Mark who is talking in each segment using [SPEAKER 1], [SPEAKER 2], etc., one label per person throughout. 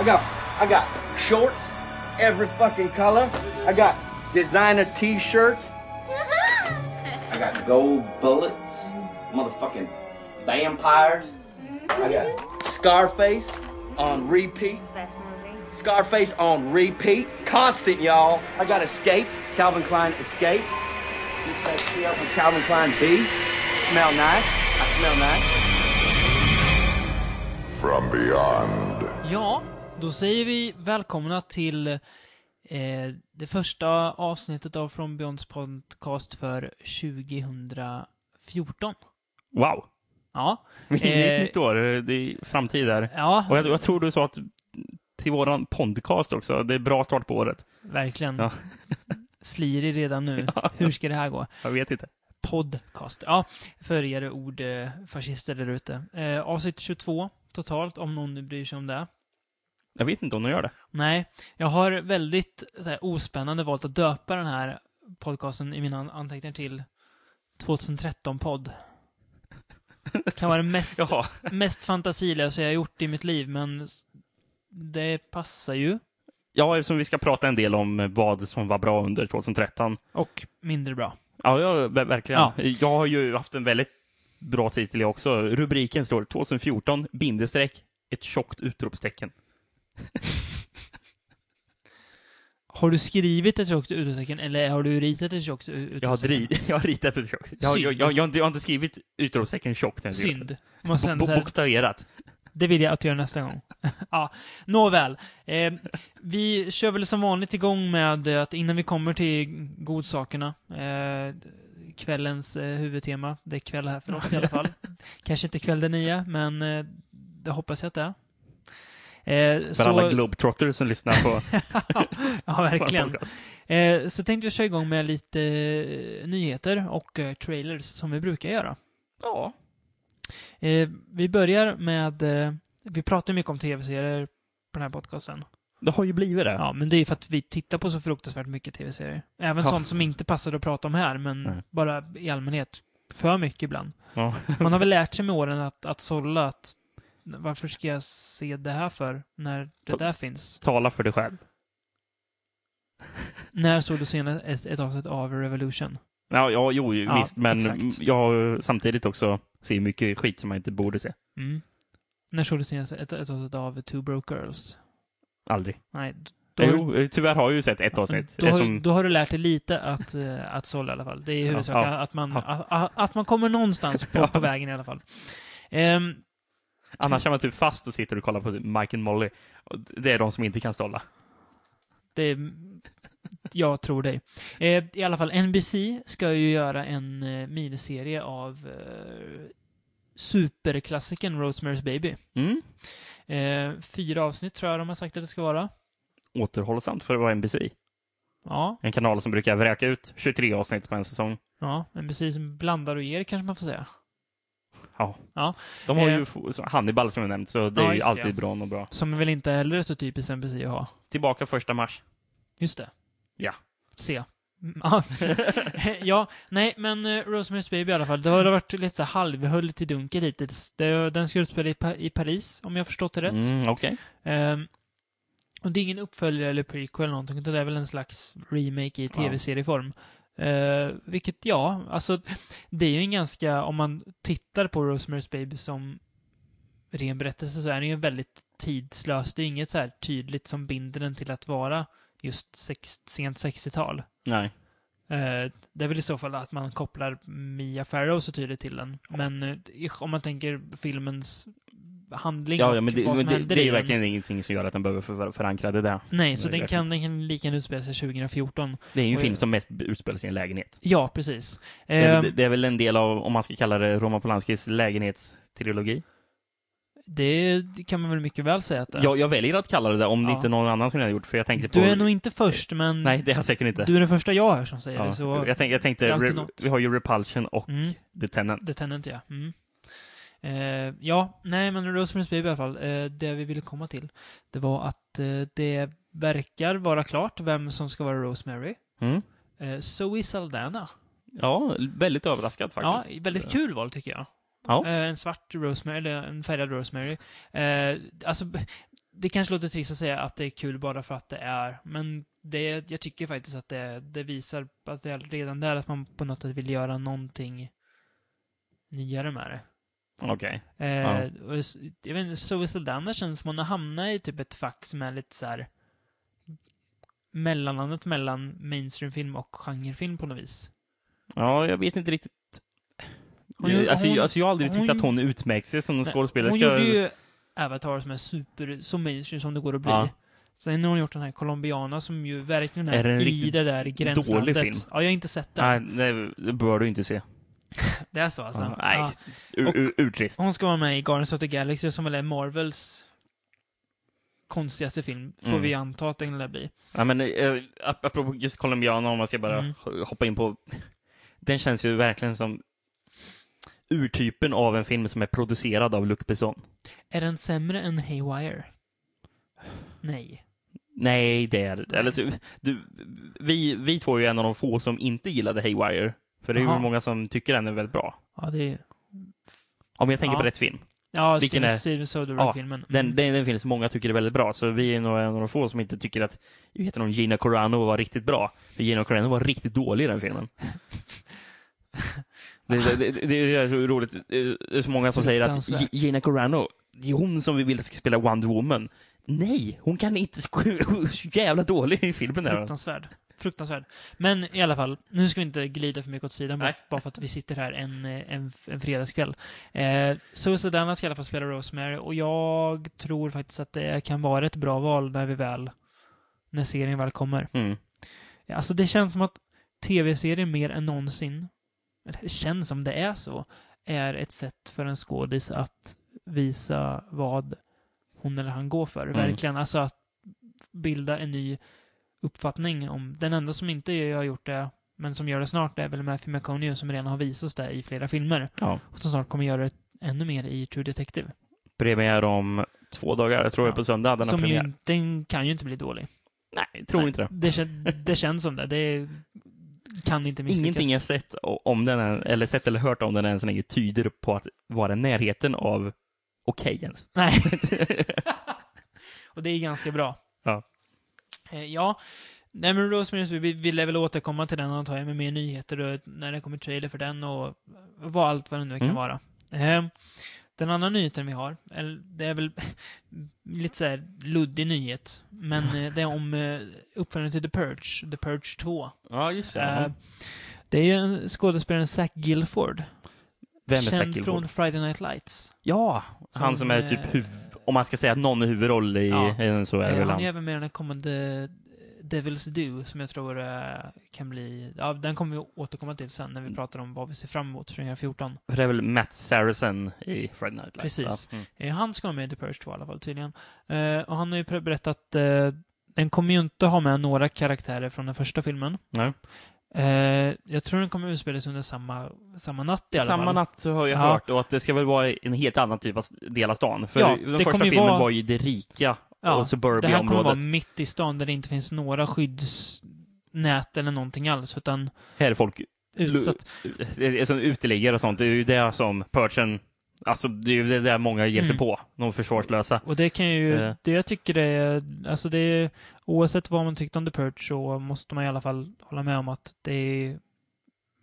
[SPEAKER 1] I got I got shorts, every fucking color. I got designer T-shirts. I got gold bullets, motherfucking vampires. I got Scarface on repeat.
[SPEAKER 2] Best movie.
[SPEAKER 1] Scarface on repeat. Constant, y'all. I got Escape. Calvin Klein Escape. Mix that shit up with Calvin Klein B. Smell nice. I smell nice.
[SPEAKER 3] From beyond.
[SPEAKER 4] Ja, då säger vi välkomna till eh, det första avsnittet av From Beyonds podcast för 2014.
[SPEAKER 5] Wow.
[SPEAKER 4] Ja.
[SPEAKER 5] Det är
[SPEAKER 4] Eh,
[SPEAKER 5] ett nytt år, det är framtid där. Och
[SPEAKER 4] Ja,
[SPEAKER 5] jag, jag tror du sa att till våran podcast också, det är bra start på året.
[SPEAKER 4] verkligen.
[SPEAKER 5] Ja.
[SPEAKER 4] Slirig redan nu. Hur ska det här gå?
[SPEAKER 5] Jag vet inte.
[SPEAKER 4] Podcast. Ja, för er ordfascister eh, där ute. Eh, avsnitt 22 totalt, om någon nu bryr sig om det.
[SPEAKER 5] Jag vet inte om de gör det.
[SPEAKER 4] Nej, jag har väldigt så här, ospännande valt att döpa den här podcasten i mina an- anteckningar till 2013-podd. Det kan vara det mest,
[SPEAKER 5] Jaha.
[SPEAKER 4] mest fantasilösa jag har gjort i mitt liv, men s- det passar ju.
[SPEAKER 5] Ja, eftersom vi ska prata en del om vad som var bra under 2013.
[SPEAKER 4] Och mindre bra.
[SPEAKER 5] Ja, ja ver- verkligen.
[SPEAKER 4] Ja.
[SPEAKER 5] Jag har ju haft en väldigt bra titel jag också. Rubriken står 2014 bindestreck ett tjockt utropstecken.
[SPEAKER 4] Har du skrivit ett tjockt utropstecken, eller har du ritat ett tjockt utropstecken?
[SPEAKER 5] Jag har, dri- jag har ritat ett tjockt. Jag, har-
[SPEAKER 4] Synd.
[SPEAKER 5] jag, jag, jag, har inte- jag har inte skrivit utropstecken tjockt. när jag gjorde
[SPEAKER 4] Synd.
[SPEAKER 5] det.
[SPEAKER 4] Och sen,
[SPEAKER 5] Bo-
[SPEAKER 4] så
[SPEAKER 5] bo-
[SPEAKER 4] här,
[SPEAKER 5] Bokstaverat.
[SPEAKER 4] Det vill jag att du gör nästa gång. ja, nåväl. Eh, vi kör väl som vanligt igång med eh, att innan vi kommer till godsakerna, eh, kvällens eh, huvudtema, det är kväll här för oss i alla fall. Kanske inte kväll den nya, men eh, det hoppas jag att det är. Eh,
[SPEAKER 5] För alla globetrotters som lyssnar på
[SPEAKER 4] ja, verkligen.
[SPEAKER 5] podcast.
[SPEAKER 4] Eh, så tänkte vi köra igång med lite eh, nyheter och eh, trailers som vi brukar göra.
[SPEAKER 5] Ja.
[SPEAKER 4] Eh, vi börjar med, eh, vi pratar ju mycket om tv-serier på den här podcasten.
[SPEAKER 5] Det har ju blivit det.
[SPEAKER 4] Ja, men det är ju för att vi tittar på så fruktansvärt mycket tv-serier. Även
[SPEAKER 5] Ja.
[SPEAKER 4] sånt som inte passar att prata om här, men
[SPEAKER 5] Nej.
[SPEAKER 4] bara i allmänhet. För mycket ibland.
[SPEAKER 5] Ja.
[SPEAKER 4] Man har väl lärt sig med åren att, att sålla att varför ska jag se det här för när det
[SPEAKER 5] Ta-
[SPEAKER 4] där finns?
[SPEAKER 5] Tala för dig själv.
[SPEAKER 4] När såg du senast ett, ett avsnitt av Revolution?
[SPEAKER 5] Ja, ja jo, ju,
[SPEAKER 4] Ja,
[SPEAKER 5] visst. Men
[SPEAKER 4] exakt.
[SPEAKER 5] jag samtidigt också ser mycket skit som man inte borde se.
[SPEAKER 4] Mm. När såg du senast ett, ett avsnitt av Two Broke Girls?
[SPEAKER 5] Aldrig. Eh,
[SPEAKER 4] Nej, då, har-
[SPEAKER 5] Jo, tyvärr har jag ju sett ett avsnitt.
[SPEAKER 4] Då har,
[SPEAKER 5] Eftersom-
[SPEAKER 4] då har du lärt dig lite att, eh, att sålla i alla fall. Det är
[SPEAKER 5] Ja,
[SPEAKER 4] huvudsaken,
[SPEAKER 5] ja,
[SPEAKER 4] att, man,
[SPEAKER 5] ja.
[SPEAKER 4] att, att man kommer någonstans på, på vägen i alla fall. Ehm,
[SPEAKER 5] Annars är man typ fast och sitter och kollar på typ Mike and Molly. Och Det är de som inte kan stålla.
[SPEAKER 4] Det är, jag tror dig. Eh, I alla fall, NBC ska ju göra en eh, miniserie av eh, superklassikern Rosemary's Baby.
[SPEAKER 5] Mm.
[SPEAKER 4] Eh, fyra avsnitt tror jag de har sagt att det ska vara.
[SPEAKER 5] Återhållsamt för att vara NBC.
[SPEAKER 4] Ja,
[SPEAKER 5] En kanal som brukar vräka ut 23 avsnitt på en säsong.
[SPEAKER 4] ja NBC som blandar och ger kanske man får säga.
[SPEAKER 5] De har
[SPEAKER 4] Eh.
[SPEAKER 5] ju f- så Hannibal som jag nämnt, så det
[SPEAKER 4] Ja,
[SPEAKER 5] är ju
[SPEAKER 4] just det,
[SPEAKER 5] alltid
[SPEAKER 4] ja.
[SPEAKER 5] bra och bra.
[SPEAKER 4] Som väl inte heller är så typiskt NBC att ha.
[SPEAKER 5] Tillbaka första mars.
[SPEAKER 4] Just det.
[SPEAKER 5] Ja.
[SPEAKER 4] Se. Mm, ja. ja, nej, men eh, Rosemary's Baby i alla fall. Det har varit lite så här halvhullet i dunkel hittills. Det, den ska utspela i, Pa- i Paris, om jag förstått det rätt.
[SPEAKER 5] Mm, Okej.
[SPEAKER 4] Ehm, och det är ingen uppföljare eller prequel eller någonting, utan det är väl en slags remake i tv-serieform. Eh, vilket, ja, alltså, det är ju en ganska, om man tittar på Rosemary's Baby som ren berättelse så är den ju väldigt tidslös. Det är inget så här tydligt som binder den till att vara just sex, sent 60-tal.
[SPEAKER 5] Nej.
[SPEAKER 4] Eh, Det är väl i så fall att man kopplar Mia Farrow så tydligt till den. Men eh, om man tänker filmens handling
[SPEAKER 5] Ja, ja,
[SPEAKER 4] och typ
[SPEAKER 5] men det,
[SPEAKER 4] vad
[SPEAKER 5] men
[SPEAKER 4] som
[SPEAKER 5] det,
[SPEAKER 4] händer
[SPEAKER 5] det är
[SPEAKER 4] i
[SPEAKER 5] ju
[SPEAKER 4] den.
[SPEAKER 5] verkligen ingenting som gör att den behöver för- förankra det där.
[SPEAKER 4] Nej, så
[SPEAKER 5] Det är
[SPEAKER 4] den kan, den kan lika gärna utspela sig 2014.
[SPEAKER 5] Det är ju en
[SPEAKER 4] Och-
[SPEAKER 5] film som mest utspelar sig i en lägenhet.
[SPEAKER 4] Ja, precis.
[SPEAKER 5] Det är,
[SPEAKER 4] Eh,
[SPEAKER 5] väl- det är väl en del av, om man ska kalla det, Roman Polanskis lägenhetstrilogi?
[SPEAKER 4] det kan man väl mycket väl säga att det är.
[SPEAKER 5] Jag, jag väljer att kalla det det, om det
[SPEAKER 4] Ja.
[SPEAKER 5] inte är någon annan som jag har gjort, för jag tänkte på...
[SPEAKER 4] Du är nog inte först, men
[SPEAKER 5] Nej, det är jag säkert inte.
[SPEAKER 4] du är den första jag hör som säger
[SPEAKER 5] Ja,
[SPEAKER 4] det. Så
[SPEAKER 5] jag, tänk, jag tänkte,
[SPEAKER 4] det är alltid
[SPEAKER 5] re,
[SPEAKER 4] något.
[SPEAKER 5] vi har ju Repulsion och
[SPEAKER 4] Mm.
[SPEAKER 5] The Tenant.
[SPEAKER 4] Det tänder inte jag. Mm. Eh, ja, nej men Rosemary's Baby i alla fall. Eh, det vi ville komma till, det var att eh, det verkar vara klart vem som ska vara Rosemary.
[SPEAKER 5] Mm.
[SPEAKER 4] Eh, Zoe Saldana.
[SPEAKER 5] Ja, väldigt överraskad faktiskt.
[SPEAKER 4] Ja, väldigt kul val tycker jag.
[SPEAKER 5] Ja.
[SPEAKER 4] Eh, en svart Rosemary, eller en färgad Rosemary. Eh, alltså, b- det kanske låter trist att säga att det är kul bara för att det är, men det, jag tycker faktiskt att det, det visar att det är redan där att man på något sätt vill göra någonting nyare med det.
[SPEAKER 5] Okej.
[SPEAKER 4] Eh,
[SPEAKER 5] Ja.
[SPEAKER 4] och s- jag vet inte, Suicide Damned känns som hon har hamnat i typ ett fack som är lite så här mellanlandet mellan mainstreamfilm och genrefilm på något vis.
[SPEAKER 5] Ja, jag vet inte riktigt.
[SPEAKER 4] Hon gjorde-
[SPEAKER 5] alltså,
[SPEAKER 4] hon-
[SPEAKER 5] jag, alltså, jag har aldrig tyckt
[SPEAKER 4] hon-
[SPEAKER 5] att hon utmärkt sig som en
[SPEAKER 4] Nej,
[SPEAKER 5] skådespelerska.
[SPEAKER 4] Hon gjorde ju Avatar som är super, så mainstream som det går att bli.
[SPEAKER 5] Ja.
[SPEAKER 4] Sen har hon gjort den här Colombiana som ju verkligen är,
[SPEAKER 5] Är det en
[SPEAKER 4] i
[SPEAKER 5] riktigt
[SPEAKER 4] det där gränslandet.
[SPEAKER 5] dålig film?
[SPEAKER 4] Ja, jag har inte sett den.
[SPEAKER 5] Nej, nej, det bör du inte se.
[SPEAKER 4] Det är så alltså?
[SPEAKER 5] Ja, nej,
[SPEAKER 4] Ja.
[SPEAKER 5] ur,
[SPEAKER 4] Och-
[SPEAKER 5] ur, urtrist.
[SPEAKER 4] Hon ska vara med i Guardians of the Galaxy som väl är Marvels konstigaste film, får
[SPEAKER 5] Mm.
[SPEAKER 4] vi anta att den lär bli.
[SPEAKER 5] Ja, men, eh, ap- apropå just Colombiana, om man ska bara
[SPEAKER 4] Mm.
[SPEAKER 5] ho- hoppa in på... Den känns ju verkligen som urtypen av en film som är producerad av Luc Besson.
[SPEAKER 4] Är den sämre än Haywire? Nej.
[SPEAKER 5] Nej, det är det. Eller, så- du, vi, vi två är ju en av de få som inte gillade Haywire. För det är
[SPEAKER 4] Jaha.
[SPEAKER 5] ju många som tycker den är väldigt bra.
[SPEAKER 4] Ja, det är...
[SPEAKER 5] Om jag tänker
[SPEAKER 4] Ja.
[SPEAKER 5] på rätt film.
[SPEAKER 4] Ja,
[SPEAKER 5] Vilken
[SPEAKER 4] Steven-
[SPEAKER 5] är-
[SPEAKER 4] Steven Soderbergh-filmen.
[SPEAKER 5] Den, den, den finns många tycker är väldigt bra, så vi är nog en av de få som inte tycker att vad heter hon, Gina Carano var riktigt bra. För Gina Carano var riktigt dålig i den filmen. Det, det, det, det är så roligt. Det är så många som säger att
[SPEAKER 4] Fruktansvärt.
[SPEAKER 5] Gi- Gina Carano, det är hon som vi vill ska spela Wonder Woman. Nej, hon kan inte... sk- Hon är så jävla dålig i filmen. Där.
[SPEAKER 4] Fruktansvärd. Fruktansvärd. Men i alla fall, nu ska vi inte glida för mycket åt sidan bara,
[SPEAKER 5] Nej.
[SPEAKER 4] bara för att vi sitter här en, eh, en, en fredagskväll. Eh, Suicide Anna ska i alla fall spela Rosemary och jag tror faktiskt att det kan vara ett bra val när vi väl, när serien väl kommer.
[SPEAKER 5] Mm.
[SPEAKER 4] Alltså det känns som att tv-serier mer än någonsin, eller det känns som det är så, är ett sätt för en skådis att visa vad hon eller han går för.
[SPEAKER 5] Mm.
[SPEAKER 4] Verkligen. Alltså att bilda en ny uppfattning om... Den enda som inte har gjort det, men som gör det snart, är väl Matthew McConaughey som redan har visats det i flera filmer.
[SPEAKER 5] Ja.
[SPEAKER 4] Och som snart kommer göra det ännu mer i True Detective.
[SPEAKER 5] Premiär om två dagar, jag tror jag,
[SPEAKER 4] Ja.
[SPEAKER 5] på söndag. Den har
[SPEAKER 4] som
[SPEAKER 5] premiär.
[SPEAKER 4] ju, den kan ju inte bli dålig.
[SPEAKER 5] Nej, tror
[SPEAKER 4] Nej,
[SPEAKER 5] inte det.
[SPEAKER 4] Det, kän, det känns som det. Det kan inte misslyckas.
[SPEAKER 5] Ingenting jag sett o- om den, än- eller sett eller hört om den än så länge tyder på att vara i närheten av okej ens.
[SPEAKER 4] Nej. och det är ganska bra.
[SPEAKER 5] Ja.
[SPEAKER 4] Eh, ja. Nej men Rosemary's Baby, vi lär väl återkomma till den antar jag med mer nyheter och när det kommer trailer för den och vad allt vad det nu kan
[SPEAKER 5] Mm.
[SPEAKER 4] vara. Eh, den andra nyheten vi har, eller det är väl lite så här luddig nyhet, men eh, det är om eh, uppföljningen till The Purge, The Purge 2.
[SPEAKER 5] Ja, just
[SPEAKER 4] Eh, det är ju en- skådespelaren Zach Gilford,
[SPEAKER 5] Vem är
[SPEAKER 4] känd
[SPEAKER 5] Zac Gilford?
[SPEAKER 4] från Friday Night Lights.
[SPEAKER 5] Ja, han som är
[SPEAKER 4] eh,
[SPEAKER 5] typ huv... Om man ska säga att någon är huvudroll i
[SPEAKER 4] Ja.
[SPEAKER 5] ja. så är det
[SPEAKER 4] Eh,
[SPEAKER 5] väl
[SPEAKER 4] han är
[SPEAKER 5] han.
[SPEAKER 4] även med i den här kommande eh, Devils Do, som jag tror eh, kan bli... Ja, den kommer vi återkomma till sen
[SPEAKER 5] Mm.
[SPEAKER 4] när vi pratar om vad vi ser fram emot 2014.
[SPEAKER 5] För det är väl Matt Saracen i Friday Night Lights.
[SPEAKER 4] Precis.
[SPEAKER 5] Ja. Mm.
[SPEAKER 4] Eh, han ska vara med i The Purge 2 i alla fall, tydligen. Eh, och han har ju pre- berättat... Eh, den kommer ju inte ha med några karaktärer från den första filmen.
[SPEAKER 5] Nej.
[SPEAKER 4] Eh, jag tror den kommer utspelas under samma, samma natt i alla
[SPEAKER 5] Samma
[SPEAKER 4] fall.
[SPEAKER 5] natt så har jag
[SPEAKER 4] Ja.
[SPEAKER 5] hört och att det ska väl vara en helt annan typ av s- del av stan. För
[SPEAKER 4] Ja, det
[SPEAKER 5] den första
[SPEAKER 4] kommer ju
[SPEAKER 5] filmen
[SPEAKER 4] vara-
[SPEAKER 5] var ju det rika
[SPEAKER 4] Ja,
[SPEAKER 5] och suburbia
[SPEAKER 4] Det här kommer vara
[SPEAKER 5] området.
[SPEAKER 4] mitt i stan där det inte finns några skyddsnät eller någonting alls, utan
[SPEAKER 5] Här är folk
[SPEAKER 4] utsatt.
[SPEAKER 5] Det är som uteliggare och sånt, det är ju det som Perchen, alltså det är ju det där många ger sig
[SPEAKER 4] Mm.
[SPEAKER 5] på, de försvarslösa.
[SPEAKER 4] Och det kan ju,
[SPEAKER 5] Eh.
[SPEAKER 4] det jag tycker det är, alltså det är, oavsett vad man tyckte om The Purge så måste man i alla fall hålla med om att det är,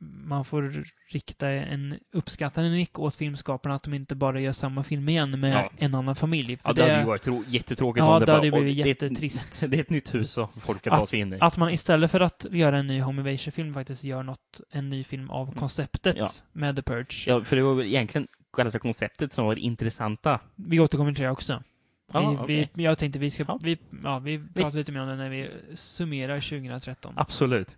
[SPEAKER 4] man får rikta en uppskattande nick åt filmskaparna att de inte bara gör samma film igen med
[SPEAKER 5] Ja.
[SPEAKER 4] en annan familj. För
[SPEAKER 5] Ja, det, hade ju varit trå- jättetråkigt
[SPEAKER 4] ja,
[SPEAKER 5] om
[SPEAKER 4] det,
[SPEAKER 5] bara-
[SPEAKER 4] hade ju
[SPEAKER 5] och
[SPEAKER 4] blivit
[SPEAKER 5] det är ett-
[SPEAKER 4] jättetrist.
[SPEAKER 5] Det är ett nytt hus som folk ska ta sig in i.
[SPEAKER 4] Att man istället för att göra en ny Home Invasion-film faktiskt gör något, en ny film av konceptet
[SPEAKER 5] Mm. Ja.
[SPEAKER 4] med The Purge.
[SPEAKER 5] Ja, för det var väl egentligen själva konceptet som var det intressanta.
[SPEAKER 4] Vi återkommer till det också. Vi,
[SPEAKER 5] Ja, okej.
[SPEAKER 4] vi, jag tänkte vi ska,
[SPEAKER 5] Ja.
[SPEAKER 4] vi, ja, vi
[SPEAKER 5] Visst.
[SPEAKER 4] pratar lite mer om det när vi summerar 2013.
[SPEAKER 5] Absolut.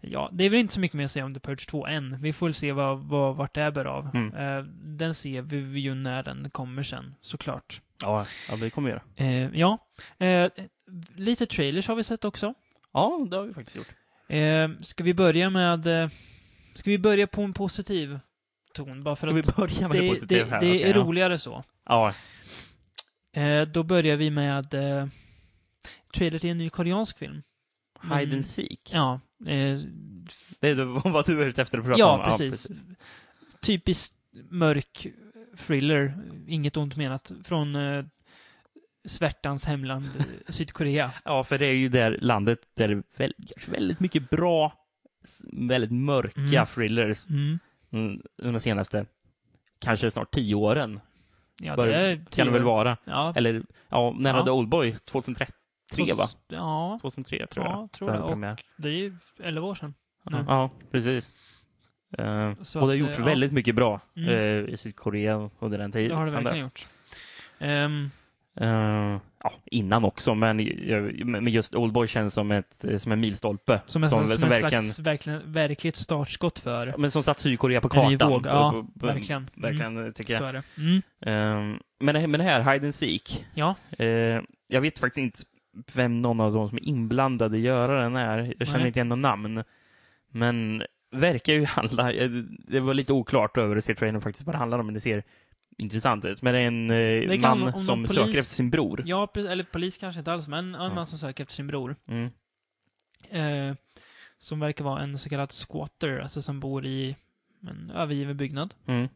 [SPEAKER 4] Ja, det är väl inte så mycket mer att säga om The Purge 2 än. Vi får väl se vad, vad, vart det här bär av.
[SPEAKER 5] Mm.
[SPEAKER 4] Eh, den ser vi ju när den kommer sen, såklart.
[SPEAKER 5] Ja, ja det kommer vi göra.
[SPEAKER 4] Eh, ja, eh, lite trailers har vi sett också.
[SPEAKER 5] Ja, det har vi faktiskt gjort.
[SPEAKER 4] Eh, ska vi börja med... Eh, ska vi börja på en positiv ton? Bara för
[SPEAKER 5] Ska
[SPEAKER 4] att
[SPEAKER 5] vi börja med det,
[SPEAKER 4] det,
[SPEAKER 5] positiva
[SPEAKER 4] det,
[SPEAKER 5] här?
[SPEAKER 4] det
[SPEAKER 5] Okej,
[SPEAKER 4] är roligare så.
[SPEAKER 5] Ja.
[SPEAKER 4] Eh, då börjar vi med eh, trailer till en ny koreansk film.
[SPEAKER 5] ja. Hide
[SPEAKER 4] Men-
[SPEAKER 5] and seek.
[SPEAKER 4] Ja, eh,
[SPEAKER 5] Det är det- vad du är ute efter att prata om.
[SPEAKER 4] Ja, precis. Typiskt mörk thriller, inget ont menat, från eh, svärtans hemland eh, Sydkorea.
[SPEAKER 5] Ja, för det är ju där landet där det väl- görs väldigt mycket bra, s- väldigt mörka
[SPEAKER 4] Mm.
[SPEAKER 5] thrillers
[SPEAKER 4] Mm.
[SPEAKER 5] mm, under de senaste, kanske snart tio åren.
[SPEAKER 4] Ja,
[SPEAKER 5] Bör-
[SPEAKER 4] det är tio
[SPEAKER 5] Kan det väl
[SPEAKER 4] år.
[SPEAKER 5] vara.
[SPEAKER 4] Ja,
[SPEAKER 5] Eller, ja, när
[SPEAKER 4] Ja.
[SPEAKER 5] hade Oldboy? 2003, va?
[SPEAKER 4] Ja,
[SPEAKER 5] 2003 tror jag.
[SPEAKER 4] ja, tror
[SPEAKER 5] Den
[SPEAKER 4] det. Och
[SPEAKER 5] premiär.
[SPEAKER 4] det är ju 11 år sedan. nu.
[SPEAKER 5] Ja, precis. Eh,
[SPEAKER 4] Så
[SPEAKER 5] och det har
[SPEAKER 4] att, eh,
[SPEAKER 5] gjorts
[SPEAKER 4] ja.
[SPEAKER 5] väldigt mycket bra
[SPEAKER 4] Mm.
[SPEAKER 5] eh, i Sydkorea under den tiden.
[SPEAKER 4] Det har det
[SPEAKER 5] sedan
[SPEAKER 4] verkligen
[SPEAKER 5] dess.
[SPEAKER 4] gjort. Ehm,
[SPEAKER 5] Eh, ja, innan också, men, jag- men just Oldboy känns som, ett, eh, som en milstolpe.
[SPEAKER 4] som en, som,
[SPEAKER 5] som
[SPEAKER 4] en
[SPEAKER 5] verkligen-
[SPEAKER 4] slags verkligen, verkligt startskott för
[SPEAKER 5] Ja, Men som satt Sydkorea på
[SPEAKER 4] en ny
[SPEAKER 5] kartan.
[SPEAKER 4] våg. Ja,
[SPEAKER 5] B- b-
[SPEAKER 4] verkligen.
[SPEAKER 5] Verkligen, tycker
[SPEAKER 4] Mm,
[SPEAKER 5] jag.
[SPEAKER 4] så är det. Mm.
[SPEAKER 5] Ehm, men, det, men det här, Hide and Seek.
[SPEAKER 4] Ja.
[SPEAKER 5] eh, jag vet faktiskt inte vem någon av de som är inblandade göra den är. Jag känner
[SPEAKER 4] Nej.
[SPEAKER 5] inte igen något namn. Men verkar ju handla... eh, Det var lite oklart över att se trailern faktiskt vad det handlar om, men det ser intressant ut. Men det är en eh,
[SPEAKER 4] kan handla om
[SPEAKER 5] man
[SPEAKER 4] någon
[SPEAKER 5] som
[SPEAKER 4] polis.
[SPEAKER 5] söker efter sin bror.
[SPEAKER 4] Ja, precis, eller polis kanske inte alls, men en
[SPEAKER 5] Ja.
[SPEAKER 4] man som söker efter sin bror.
[SPEAKER 5] Mm.
[SPEAKER 4] Eh, som verkar vara en så kallad squatter, alltså som bor i en övergiven byggnad.
[SPEAKER 5] Mm.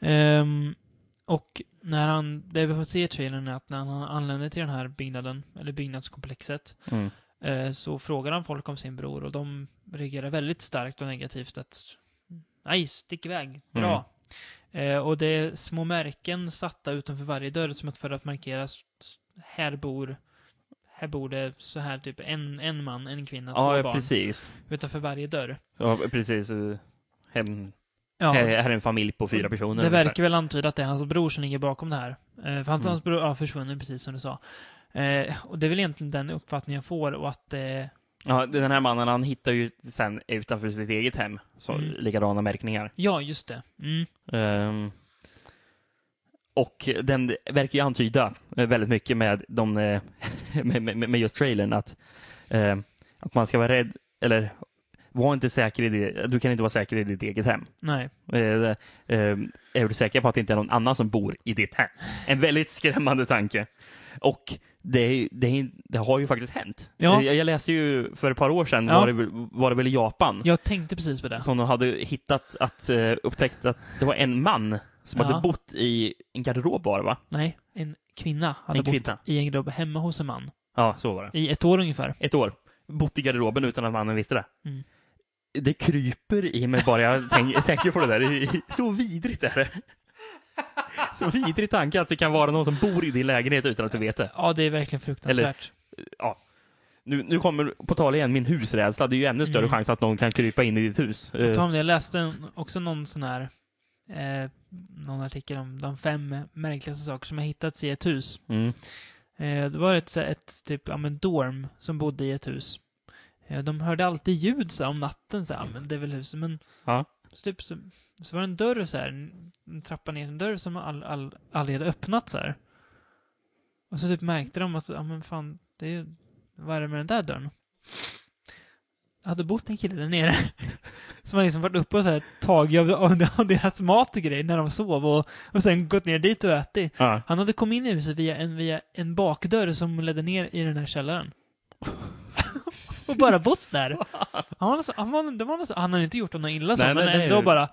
[SPEAKER 4] Ehm, och när han, det vi får se i trailern är att när han anländer till den här byggnaden, eller byggnadskomplexet,
[SPEAKER 5] Mm.
[SPEAKER 4] eh, så frågar han folk om sin bror och de reagerar väldigt starkt och negativt att nej, stick iväg,
[SPEAKER 5] Mm.
[SPEAKER 4] dra. Eh, och det är små märken satta utanför varje dörr som att för att markera s- s- här bor här bor det så här typ en, en man, en kvinna,
[SPEAKER 5] Ja,
[SPEAKER 4] två
[SPEAKER 5] ja,
[SPEAKER 4] barn
[SPEAKER 5] precis.
[SPEAKER 4] utanför varje dörr.
[SPEAKER 5] Ja, precis. eh, Hem,
[SPEAKER 4] Ja,
[SPEAKER 5] Här här är en familj på fyra personer.
[SPEAKER 4] det
[SPEAKER 5] ungefär.
[SPEAKER 4] verkar väl antyda att det är hans bror som ligger bakom det här. Eh, för han
[SPEAKER 5] Mm.
[SPEAKER 4] hans bror har försvunnit, precis som du sa. Eh, och det är väl egentligen den uppfattningen jag får och att eh,
[SPEAKER 5] Ja, den här mannen han hittar ju sen utanför sitt eget hem så
[SPEAKER 4] Mm.
[SPEAKER 5] likadana märkningar.
[SPEAKER 4] ja, just det. Mm.
[SPEAKER 5] Ehm, och den verkar ju antyda eh, väldigt mycket med, de, eh, med, med, med just trailern att, eh, att man ska vara rädd, eller var inte säker i det, du kan inte vara säker i ditt eget hem.
[SPEAKER 4] Nej.
[SPEAKER 5] Eh, det- eh, är du säker på att det inte är någon annan som bor i ditt hem? En väldigt skrämmande tanke. Och det, är- det, är- det har ju faktiskt hänt.
[SPEAKER 4] Ja.
[SPEAKER 5] Eh, Jag, jag läste ju för ett par år sedan,
[SPEAKER 4] Ja.
[SPEAKER 5] var, det, väl- var det väl i Japan,
[SPEAKER 4] Jag tänkte precis på det.
[SPEAKER 5] som de hade hittat att, eh, upptäckt att det var en man som
[SPEAKER 4] Ja.
[SPEAKER 5] hade bott i en garderob bara, va?
[SPEAKER 4] Nej, en kvinna hade
[SPEAKER 5] En
[SPEAKER 4] bott
[SPEAKER 5] kvinna.
[SPEAKER 4] i en garderob hemma hos en man.
[SPEAKER 5] Ja, så var det.
[SPEAKER 4] I ett år ungefär.
[SPEAKER 5] Ett år. Bott i garderoben utan att mannen visste det.
[SPEAKER 4] Mm.
[SPEAKER 5] Det kryper i mig bara jag tänk, tänker på det där. Det är Så vidrigt är det. Så vidrig tanke att det kan vara någon som bor i din lägenhet utan att du vet det.
[SPEAKER 4] Ja, det är verkligen fruktansvärt.
[SPEAKER 5] Nu, nu kommer på tal igen min husrädsla. Det är ju ännu större
[SPEAKER 4] Mm.
[SPEAKER 5] chans att någon kan krypa in i ditt hus.
[SPEAKER 4] På
[SPEAKER 5] Eh,
[SPEAKER 4] tal om det, jag läste en- också någon sån här eh, någon artikel om de fem märkligaste saker som har hittats i ett hus.
[SPEAKER 5] Mm.
[SPEAKER 4] Eh, det var ett, så här, ett typ, ja men dorm som bodde i ett hus. Eh, de hörde alltid ljud så här, om natten så här, "Ja, men det är väl huset, men
[SPEAKER 5] Ja.
[SPEAKER 4] så, typ, så, så var det en dörr så här, en en trappa ner, en dörr som all, all, aldrig hade öppnat så här. Och så typ märkte de att, ja men fan, det är ju, vad är det med den där dörren? Det hade bott en kille där nere. Som har liksom varit uppe och så här tagit av, av, av deras mat och grejer när de sov och, och sen gått ner dit och ätit.
[SPEAKER 5] Ja.
[SPEAKER 4] Han hade kommit in i huset via en, via en bakdörr som ledde ner i den här källaren. och bara bott där. Han var, så, han, var, det var så, han hade inte gjort honom illa så,
[SPEAKER 5] Nej,
[SPEAKER 4] men
[SPEAKER 5] nej, nej.
[SPEAKER 4] ändå bara...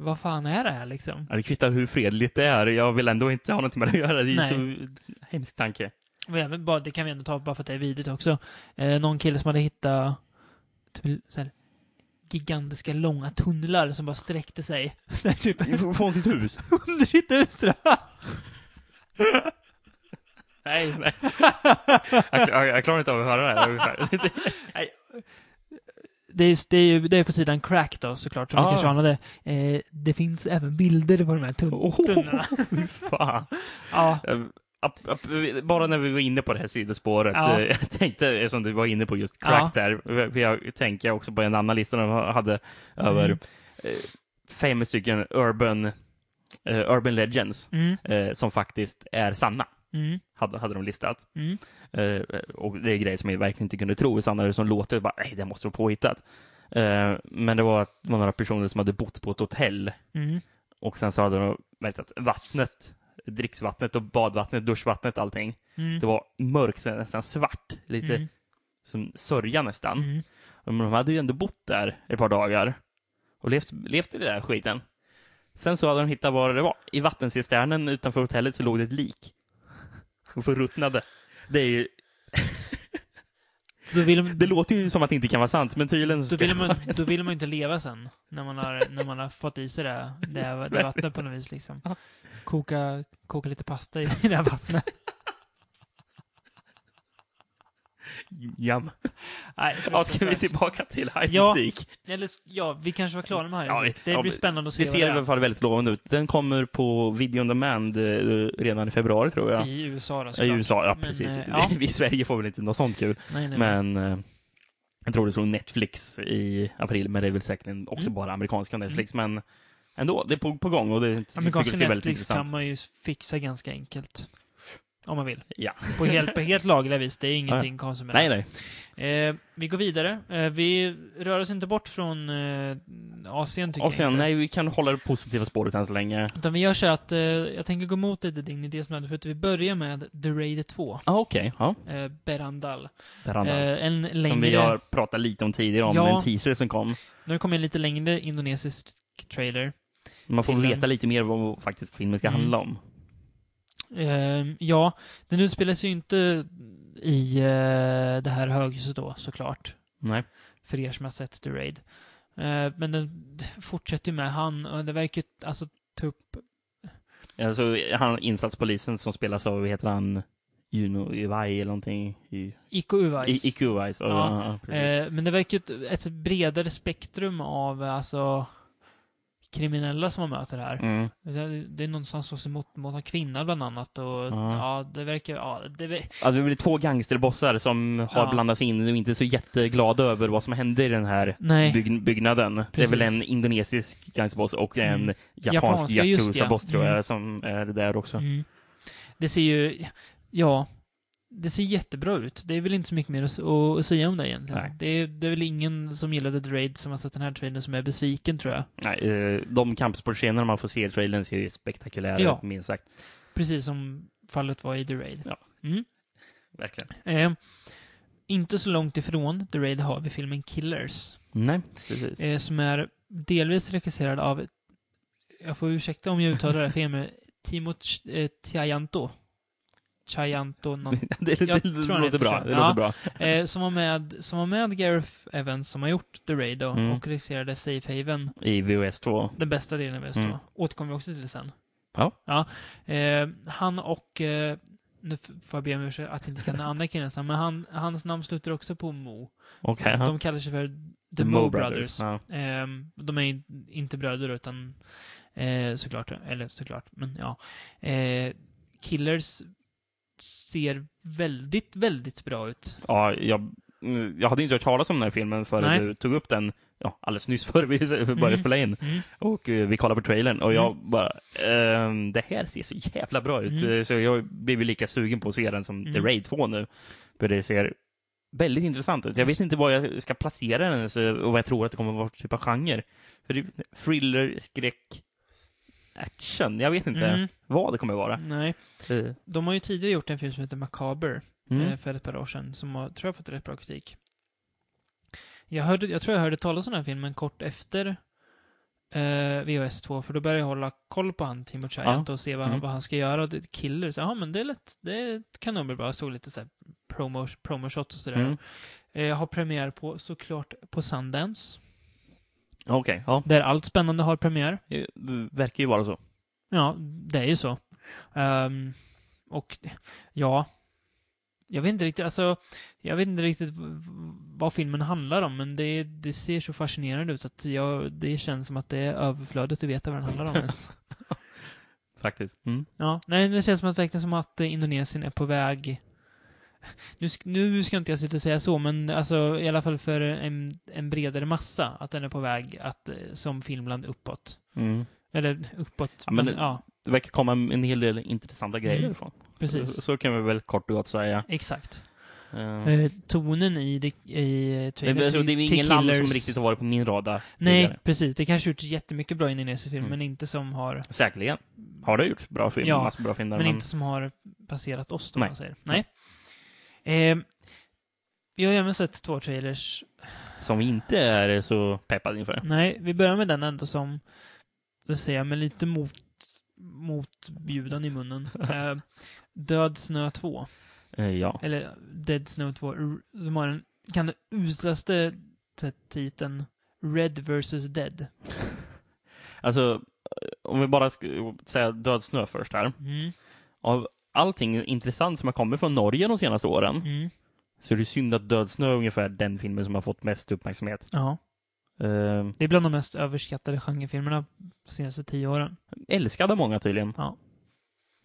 [SPEAKER 4] Vad fan är det här liksom?
[SPEAKER 5] Ja, det kvittar hur fredligt det är. Jag vill ändå inte ha något med det att göra. Det är
[SPEAKER 4] Nej.
[SPEAKER 5] så hemsk tanke.
[SPEAKER 4] Och även bara, det kan vi ändå ta bara för att det är vidrigt också. Eh, någon kille som hade hittat typ, så här, gigantiska långa tunnlar som bara sträckte sig. Så här, typ
[SPEAKER 5] Från sitt hus?
[SPEAKER 4] under sitt hus tror jag.
[SPEAKER 5] Nej, nej. Jag, jag, jag klarar inte av att höra det här. ungefär.
[SPEAKER 4] det är, det, är ju, det är på sidan crack då såklart, som
[SPEAKER 5] Ah.
[SPEAKER 4] ni kanske anade. Eh, det finns även bilder på de här tun-
[SPEAKER 5] Åh.
[SPEAKER 4] tunnorna.
[SPEAKER 5] Fan.
[SPEAKER 4] Ja,
[SPEAKER 5] Eh, app- app- Bara när vi var inne på det här sidospåret,
[SPEAKER 4] Ja.
[SPEAKER 5] eh, jag tänkte, eftersom du var inne på just
[SPEAKER 4] Ja.
[SPEAKER 5] crack där, eh, för jag tänker också på en annan lista de hade över
[SPEAKER 4] Mm.
[SPEAKER 5] eh, fem stycken urban, eh, urban legends
[SPEAKER 4] mm,
[SPEAKER 5] eh, som faktiskt är sanna,
[SPEAKER 4] mm,
[SPEAKER 5] hade, hade de listat.
[SPEAKER 4] mm.
[SPEAKER 5] Eh, och det är grejer som jag verkligen inte kunde tro. Sanna som låter bara, nej, det måste vara påhittat. Eh, men det var, att- det var några personer som hade bott på ett hotell
[SPEAKER 4] mm.
[SPEAKER 5] och sen så hade de märkt att vattnet, dricksvattnet och badvattnet, duschvattnet, allting,
[SPEAKER 4] Mm.
[SPEAKER 5] det var mörkt, så nästan svart, lite
[SPEAKER 4] Mm.
[SPEAKER 5] som sörja nästan.
[SPEAKER 4] Mm.
[SPEAKER 5] Men de hade ju ändå bott där ett par dagar och levt, levt i den där skiten. Sen så hade de hittat vad det var. I vattencisternen utanför hotellet så låg det ett lik. och förruttnade. Det är ju,
[SPEAKER 4] Så vill de,
[SPEAKER 5] det låter ju som att det inte kan vara sant, men tydligen så
[SPEAKER 4] då,
[SPEAKER 5] ska
[SPEAKER 4] vill man, då vill man ju inte leva sen, när man har, när man har fått i sig det, det, det vattnet på något vis. Liksom.
[SPEAKER 5] Ah.
[SPEAKER 4] Koka, koka lite pasta i det här vattnet.
[SPEAKER 5] Jam.
[SPEAKER 4] Nej,
[SPEAKER 5] Ja, ska vi tillbaka till high
[SPEAKER 4] Ja.
[SPEAKER 5] musik?
[SPEAKER 4] Eller, ja, vi kanske var klara med
[SPEAKER 5] Ja,
[SPEAKER 4] här.
[SPEAKER 5] vi-
[SPEAKER 4] det
[SPEAKER 5] ja,
[SPEAKER 4] blir
[SPEAKER 5] vi-
[SPEAKER 4] spännande att se
[SPEAKER 5] Det ser i alla
[SPEAKER 4] vad
[SPEAKER 5] fall väldigt lovande ut. Den kommer på video on demand eh, redan i februari tror
[SPEAKER 4] det
[SPEAKER 5] jag.
[SPEAKER 4] är. I USA då,
[SPEAKER 5] I
[SPEAKER 4] såklart.
[SPEAKER 5] USA, ja
[SPEAKER 4] Men,
[SPEAKER 5] precis.
[SPEAKER 4] eh, ja.
[SPEAKER 5] Vi i Sverige får väl inte något sånt kul.
[SPEAKER 4] Nej, nej,
[SPEAKER 5] Men eh, jag tror det slog Netflix i april, men det är väl säkert också
[SPEAKER 4] Mm.
[SPEAKER 5] bara amerikanska Netflix. Men ändå, det är på, på gång och det jag tycker
[SPEAKER 4] Amerikanska
[SPEAKER 5] det ser väldigt
[SPEAKER 4] Netflix kan
[SPEAKER 5] intressant
[SPEAKER 4] man ju fixa ganska enkelt. Om man vill.
[SPEAKER 5] Ja.
[SPEAKER 4] På helt, på helt laglig vis. Det är ingenting konstigt med
[SPEAKER 5] Nej, nej.
[SPEAKER 4] det. Eh, vi går vidare. Eh, vi rör oss inte bort från eh, Asien, tycker
[SPEAKER 5] Och sen,
[SPEAKER 4] jag inte.
[SPEAKER 5] nej, vi kan hålla det positiva spåret än så länge.
[SPEAKER 4] Utan vi gör så här att eh, jag tänker gå emot lite din idé som jag hade förut. Vi börjar med The Raid 2,
[SPEAKER 5] Ah, Okej, ja.
[SPEAKER 4] eh, Berandal.
[SPEAKER 5] Veranda.
[SPEAKER 4] Eh, en längre...
[SPEAKER 5] Som vi har pratat lite om tidigare, om
[SPEAKER 4] Ja.
[SPEAKER 5] en teaser som kom.
[SPEAKER 4] Nu kommer en lite längre indonesisk trailer.
[SPEAKER 5] Man får
[SPEAKER 4] Till en-
[SPEAKER 5] veta lite mer vad faktiskt filmen ska
[SPEAKER 4] Mm.
[SPEAKER 5] handla om.
[SPEAKER 4] Ehm, ja, den utspelas ju inte i eh, det här höghuset då, såklart.
[SPEAKER 5] Nej.
[SPEAKER 4] För er som har sett The Raid. Eh, men den fortsätter ju med han, och det verkar ju alltså ta upp...
[SPEAKER 5] Alltså, han, insatspolisen som spelas av, vad heter han? Juno Iwai eller någonting. I,
[SPEAKER 4] Iko Uwais.
[SPEAKER 5] I, Iku Uwais. Ja,
[SPEAKER 4] Ja.
[SPEAKER 5] ja, precis.
[SPEAKER 4] Eh, men det verkar ju ett, ett bredare spektrum av, eh, alltså kriminella som man möter här.
[SPEAKER 5] Mm.
[SPEAKER 4] Det, det är någon som slåss emot mot en kvinna bland annat och
[SPEAKER 5] Ja.
[SPEAKER 4] ja, det verkar, ja, det, ver-
[SPEAKER 5] Ja, det blir två gangsterbossar som har
[SPEAKER 4] Ja.
[SPEAKER 5] blandats in och inte är så jätteglada över vad som hände i den här
[SPEAKER 4] nej.
[SPEAKER 5] bygg byggnaden.
[SPEAKER 4] Precis.
[SPEAKER 5] Det är väl en indonesisk gangsterboss och en
[SPEAKER 4] Mm.
[SPEAKER 5] japansk
[SPEAKER 4] Japanska, just det, ja.
[SPEAKER 5] yakuza-boss tror jag
[SPEAKER 4] Mm.
[SPEAKER 5] som är där också.
[SPEAKER 4] Mm. Det ser ju, ja, det ser jättebra ut. Det är väl inte så mycket mer att, att, att säga om det egentligen.
[SPEAKER 5] Nej.
[SPEAKER 4] Det, är, det är väl ingen som gillade The Raid som har sett den här trailern som är besviken tror jag.
[SPEAKER 5] Nej, eh, de kampsportscener man får se i trailern ser ju spektakulära
[SPEAKER 4] Ja.
[SPEAKER 5] ut minst sagt.
[SPEAKER 4] Precis som fallet var i The Raid.
[SPEAKER 5] Ja.
[SPEAKER 4] Mm.
[SPEAKER 5] Verkligen.
[SPEAKER 4] Eh, inte så långt ifrån The Raid har vi filmen Killers.
[SPEAKER 5] Nej, precis.
[SPEAKER 4] Eh, som är delvis regisserad av, jag får ursäkta om jag uttalar det här fel, men Timo Ch- eh, Chianto. Chianto någon,
[SPEAKER 5] det det,
[SPEAKER 4] jag
[SPEAKER 5] det
[SPEAKER 4] tror han heter
[SPEAKER 5] låter bra.
[SPEAKER 4] så.
[SPEAKER 5] Det
[SPEAKER 4] Ja.
[SPEAKER 5] låter bra.
[SPEAKER 4] Eh, som, var med, som var med Gareth Evans som har gjort The Raid då,
[SPEAKER 5] Mm.
[SPEAKER 4] och regisserade Safe Haven,
[SPEAKER 5] I VOS 2.
[SPEAKER 4] den bästa delen av Västå.
[SPEAKER 5] Mm.
[SPEAKER 4] Återkommer vi också till sen.
[SPEAKER 5] Ja.
[SPEAKER 4] Eh, han och, eh, nu f- får jag be om ursäkt att jag inte kan den andra killens namn, men han, hans namn slutar också på Mo.
[SPEAKER 5] Okej. ja.
[SPEAKER 4] De kallar sig för The Mo Brothers.
[SPEAKER 5] Ja.
[SPEAKER 4] Eh, de är in- inte bröder utan, eh, såklart, eller såklart, men ja. Eh, Killers ser väldigt, väldigt bra ut.
[SPEAKER 5] Ja, jag, mm, jag hade inte hört talas om den här filmen
[SPEAKER 4] Nej.
[SPEAKER 5] förrän du tog upp den ja, alldeles nyss före vi började
[SPEAKER 4] Mm.
[SPEAKER 5] spela in.
[SPEAKER 4] Mm.
[SPEAKER 5] Och eh, vi kollade på trailern och jag bara, ehm, det här ser så jävla bra ut.
[SPEAKER 4] Mm.
[SPEAKER 5] Eh, Så jag blev ju lika sugen på att se den som The
[SPEAKER 4] Mm.
[SPEAKER 5] Raid 2 nu. För det ser väldigt intressant ut. Jag vet inte var jag ska placera den så- och vad jag tror att det kommer vara för typ av genre. För det är thriller, skräck, action. Jag vet inte
[SPEAKER 4] Mm.
[SPEAKER 5] vad det kommer vara.
[SPEAKER 4] Nej.
[SPEAKER 5] Eh,
[SPEAKER 4] De har ju tidigare gjort en film som heter Macabre eh,
[SPEAKER 5] Mm.
[SPEAKER 4] för ett par år sedan som har, tror jag fått rätt bra kritik. Jag, hörde, jag tror jag hörde talas om den här filmen kort efter eh, VHS 2 för då började jag hålla koll på han Timo Chiant och se vad, han-
[SPEAKER 5] Mm.
[SPEAKER 4] vad han ska göra. Och det, killer, så, ja men det är lätt, det kan nog bli bra. Jag såg lite så här promo, promo shots och sådär.
[SPEAKER 5] Mm.
[SPEAKER 4] Eh, har premiär på, såklart, på Sundance.
[SPEAKER 5] Okej, ja.
[SPEAKER 4] Där allt spännande har premiär.
[SPEAKER 5] Det verkar ju vara så.
[SPEAKER 4] Ja, det är ju så. Ehm, och ja, jag vet inte riktigt, alltså, jag vet inte riktigt v- v- vad filmen handlar om, men det, det ser så fascinerande ut så att jag, det känns som att det är överflödigt att veta vad den handlar om ens.
[SPEAKER 5] Faktiskt. Mm.
[SPEAKER 4] Ja, nej, det känns som att, verkligen som att eh, Indonesien är på väg nu, sk- nu ska inte jag sitta och säga så, men alltså, i alla fall för en, en bredare massa, att den är på väg att, eh, som filmland uppåt.
[SPEAKER 5] Mm.
[SPEAKER 4] Eller uppåt,
[SPEAKER 5] Ja,
[SPEAKER 4] men,
[SPEAKER 5] men-
[SPEAKER 4] ja,
[SPEAKER 5] Det verkar komma en hel del intressanta grejer
[SPEAKER 4] Mm.
[SPEAKER 5] ifrån.
[SPEAKER 4] precis.
[SPEAKER 5] Så, så kan vi väl kort och gott säga.
[SPEAKER 4] Exakt.
[SPEAKER 5] Eh,
[SPEAKER 4] Eh, tonen i, det- i eh,
[SPEAKER 5] men
[SPEAKER 4] trailern
[SPEAKER 5] jag tror
[SPEAKER 4] till-
[SPEAKER 5] det är
[SPEAKER 4] till
[SPEAKER 5] ingen land som
[SPEAKER 4] Killers-
[SPEAKER 5] riktigt har varit på min radar
[SPEAKER 4] Nej,
[SPEAKER 5] tidigare.
[SPEAKER 4] precis. Det kanske gjorts jättemycket bra indonesisk film,
[SPEAKER 5] Mm.
[SPEAKER 4] men inte som har...
[SPEAKER 5] Säkerligen har det gjort bra filmer,
[SPEAKER 4] Ja,
[SPEAKER 5] massor bra filmer.
[SPEAKER 4] Men inte som har passerat oss, då, om
[SPEAKER 5] Nej.
[SPEAKER 4] man säger. Nej. Eh, vi har ju även sett två trailers.
[SPEAKER 5] som vi inte är så peppade inför.
[SPEAKER 4] Nej, vi börjar med den ändå som, vad säger jag, med lite mot... motbjudan i munnen. Eh, Död snö 2.
[SPEAKER 5] Eh, ja.
[SPEAKER 4] Eller Dead Snow 2. r- De har den kan uslaste t- titeln Red vs Dead.
[SPEAKER 5] Alltså, eh, om vi bara ska säga Död snö först här.
[SPEAKER 4] Mm.
[SPEAKER 5] Av allting intressant som har kommit från Norge de senaste åren
[SPEAKER 4] Mm.
[SPEAKER 5] så är det synd att Död snö är ungefär den filmen som har fått mest uppmärksamhet.
[SPEAKER 4] Ja.
[SPEAKER 5] Eh,
[SPEAKER 4] Det är bland de mest överskattade genrefilmerna de senaste tio åren.
[SPEAKER 5] älskad av många tydligen.
[SPEAKER 4] Ja.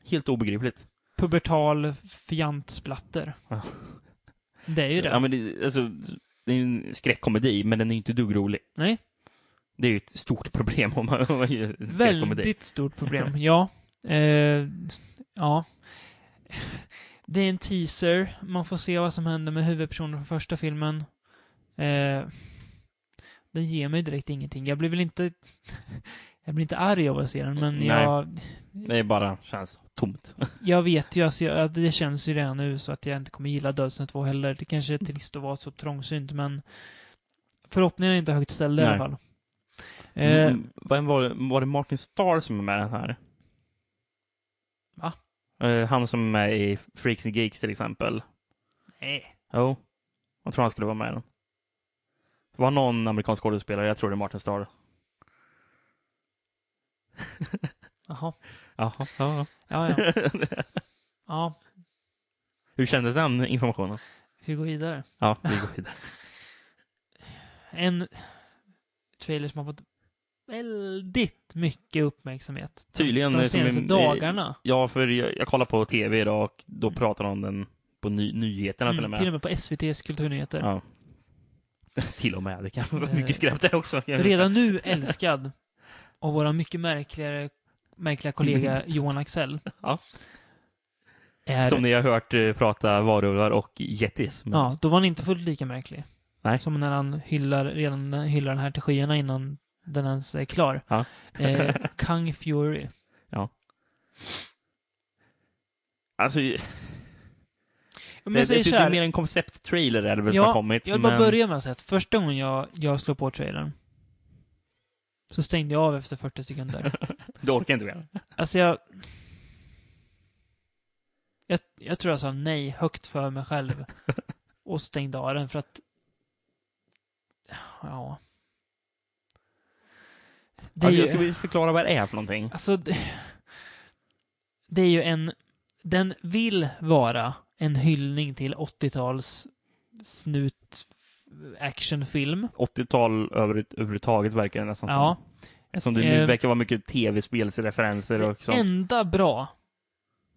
[SPEAKER 5] Helt obegripligt.
[SPEAKER 4] Pubertal fjantsplatter.
[SPEAKER 5] Ja.
[SPEAKER 4] Det är ju
[SPEAKER 5] Så,
[SPEAKER 4] det.
[SPEAKER 5] Ja, men det, alltså, det är en skräckkomedi, men den är inte dugrolig.
[SPEAKER 4] Nej.
[SPEAKER 5] Det är ju ett stort problem om man, om man gör en skräckkomedi.
[SPEAKER 4] Väldigt stort problem, ja. Eh, ja. Det är en teaser. Man får se vad som händer med huvudpersonen från första filmen. Eh, den ger mig direkt ingenting. Jag blir väl inte... Jag blir inte arg av att se den, men
[SPEAKER 5] Nej.
[SPEAKER 4] jag,
[SPEAKER 5] Det är bara känns tomt.
[SPEAKER 4] jag vet ju, alltså, jag, att det känns ju redan nu så att jag inte kommer gilla Dödsnö 2 heller. Det kanske är trist att vara så trångsynt, men förhoppningarna är inte högt ställda i alla
[SPEAKER 5] Nej.
[SPEAKER 4] fall. Eh,
[SPEAKER 5] Mm, vem var, det- var det Martin Starr som är med i den här?
[SPEAKER 4] Va?
[SPEAKER 5] Eh, Han som är med i Freaks and Geeks till exempel.
[SPEAKER 4] Nej.
[SPEAKER 5] Jo. Jag tror han skulle vara med i den. Det var någon amerikansk skådespelare, jag tror det är Martin Starr.
[SPEAKER 4] Jaha.
[SPEAKER 5] Jaha. Ja, ja.
[SPEAKER 4] Ja, ja. ja,
[SPEAKER 5] Hur kändes den informationen?
[SPEAKER 4] vi går vidare.
[SPEAKER 5] Ja, vi går vidare.
[SPEAKER 4] en trailer som har fått väldigt mycket uppmärksamhet.
[SPEAKER 5] Tydligen,
[SPEAKER 4] De, de
[SPEAKER 5] eh, som
[SPEAKER 4] senaste
[SPEAKER 5] en-
[SPEAKER 4] dagarna.
[SPEAKER 5] Ja, för jag, jag kollade på tv idag och då pratade de om den på ny, nyheterna till och
[SPEAKER 4] Mm,
[SPEAKER 5] med.
[SPEAKER 4] till och med på SVTs kulturnyheter.
[SPEAKER 5] Ja. till och med, det kan vara
[SPEAKER 4] Eh,
[SPEAKER 5] mycket skräp där också.
[SPEAKER 4] Redan nu älskad av våra mycket märkligare, märkliga kollega Johan Axel.
[SPEAKER 5] Ja.
[SPEAKER 4] Är,
[SPEAKER 5] Som ni har hört eh, prata varulvar och yetis. Men-
[SPEAKER 4] ja, då var han inte fullt lika märklig.
[SPEAKER 5] Nej.
[SPEAKER 4] Som när han hyllar, redan när han hyllar den här till skyarna innan den ens är klar.
[SPEAKER 5] Ja.
[SPEAKER 4] Eh, Kung Fury.
[SPEAKER 5] Alltså,
[SPEAKER 4] Men
[SPEAKER 5] det,
[SPEAKER 4] jag säger
[SPEAKER 5] det, det
[SPEAKER 4] så
[SPEAKER 5] är typ
[SPEAKER 4] här,
[SPEAKER 5] mer en koncepttrailer är det väl som
[SPEAKER 4] Ja,
[SPEAKER 5] har kommit.
[SPEAKER 4] Jag vill bara börja med att säga att första gången jag, jag slår på trailern så stängde jag av efter 40 sekunder.
[SPEAKER 5] Du orkar inte mer.
[SPEAKER 4] alltså jag... Jag, jag tror jag sa nej högt för mig själv och stängde av den för att... Ja. Det är
[SPEAKER 5] Alltså,
[SPEAKER 4] ju...
[SPEAKER 5] jag ska vi förklara vad det är för någonting?
[SPEAKER 4] Alltså... Det, det är ju en... Den vill vara en hyllning till 80-tals snut actionfilm.
[SPEAKER 5] 80-tal över, överhuvudtaget verkar det nästan
[SPEAKER 4] Ja.
[SPEAKER 5] som. Som det nu
[SPEAKER 4] Eh,
[SPEAKER 5] verkar vara mycket tv-spelsreferenser och sånt.
[SPEAKER 4] Det enda bra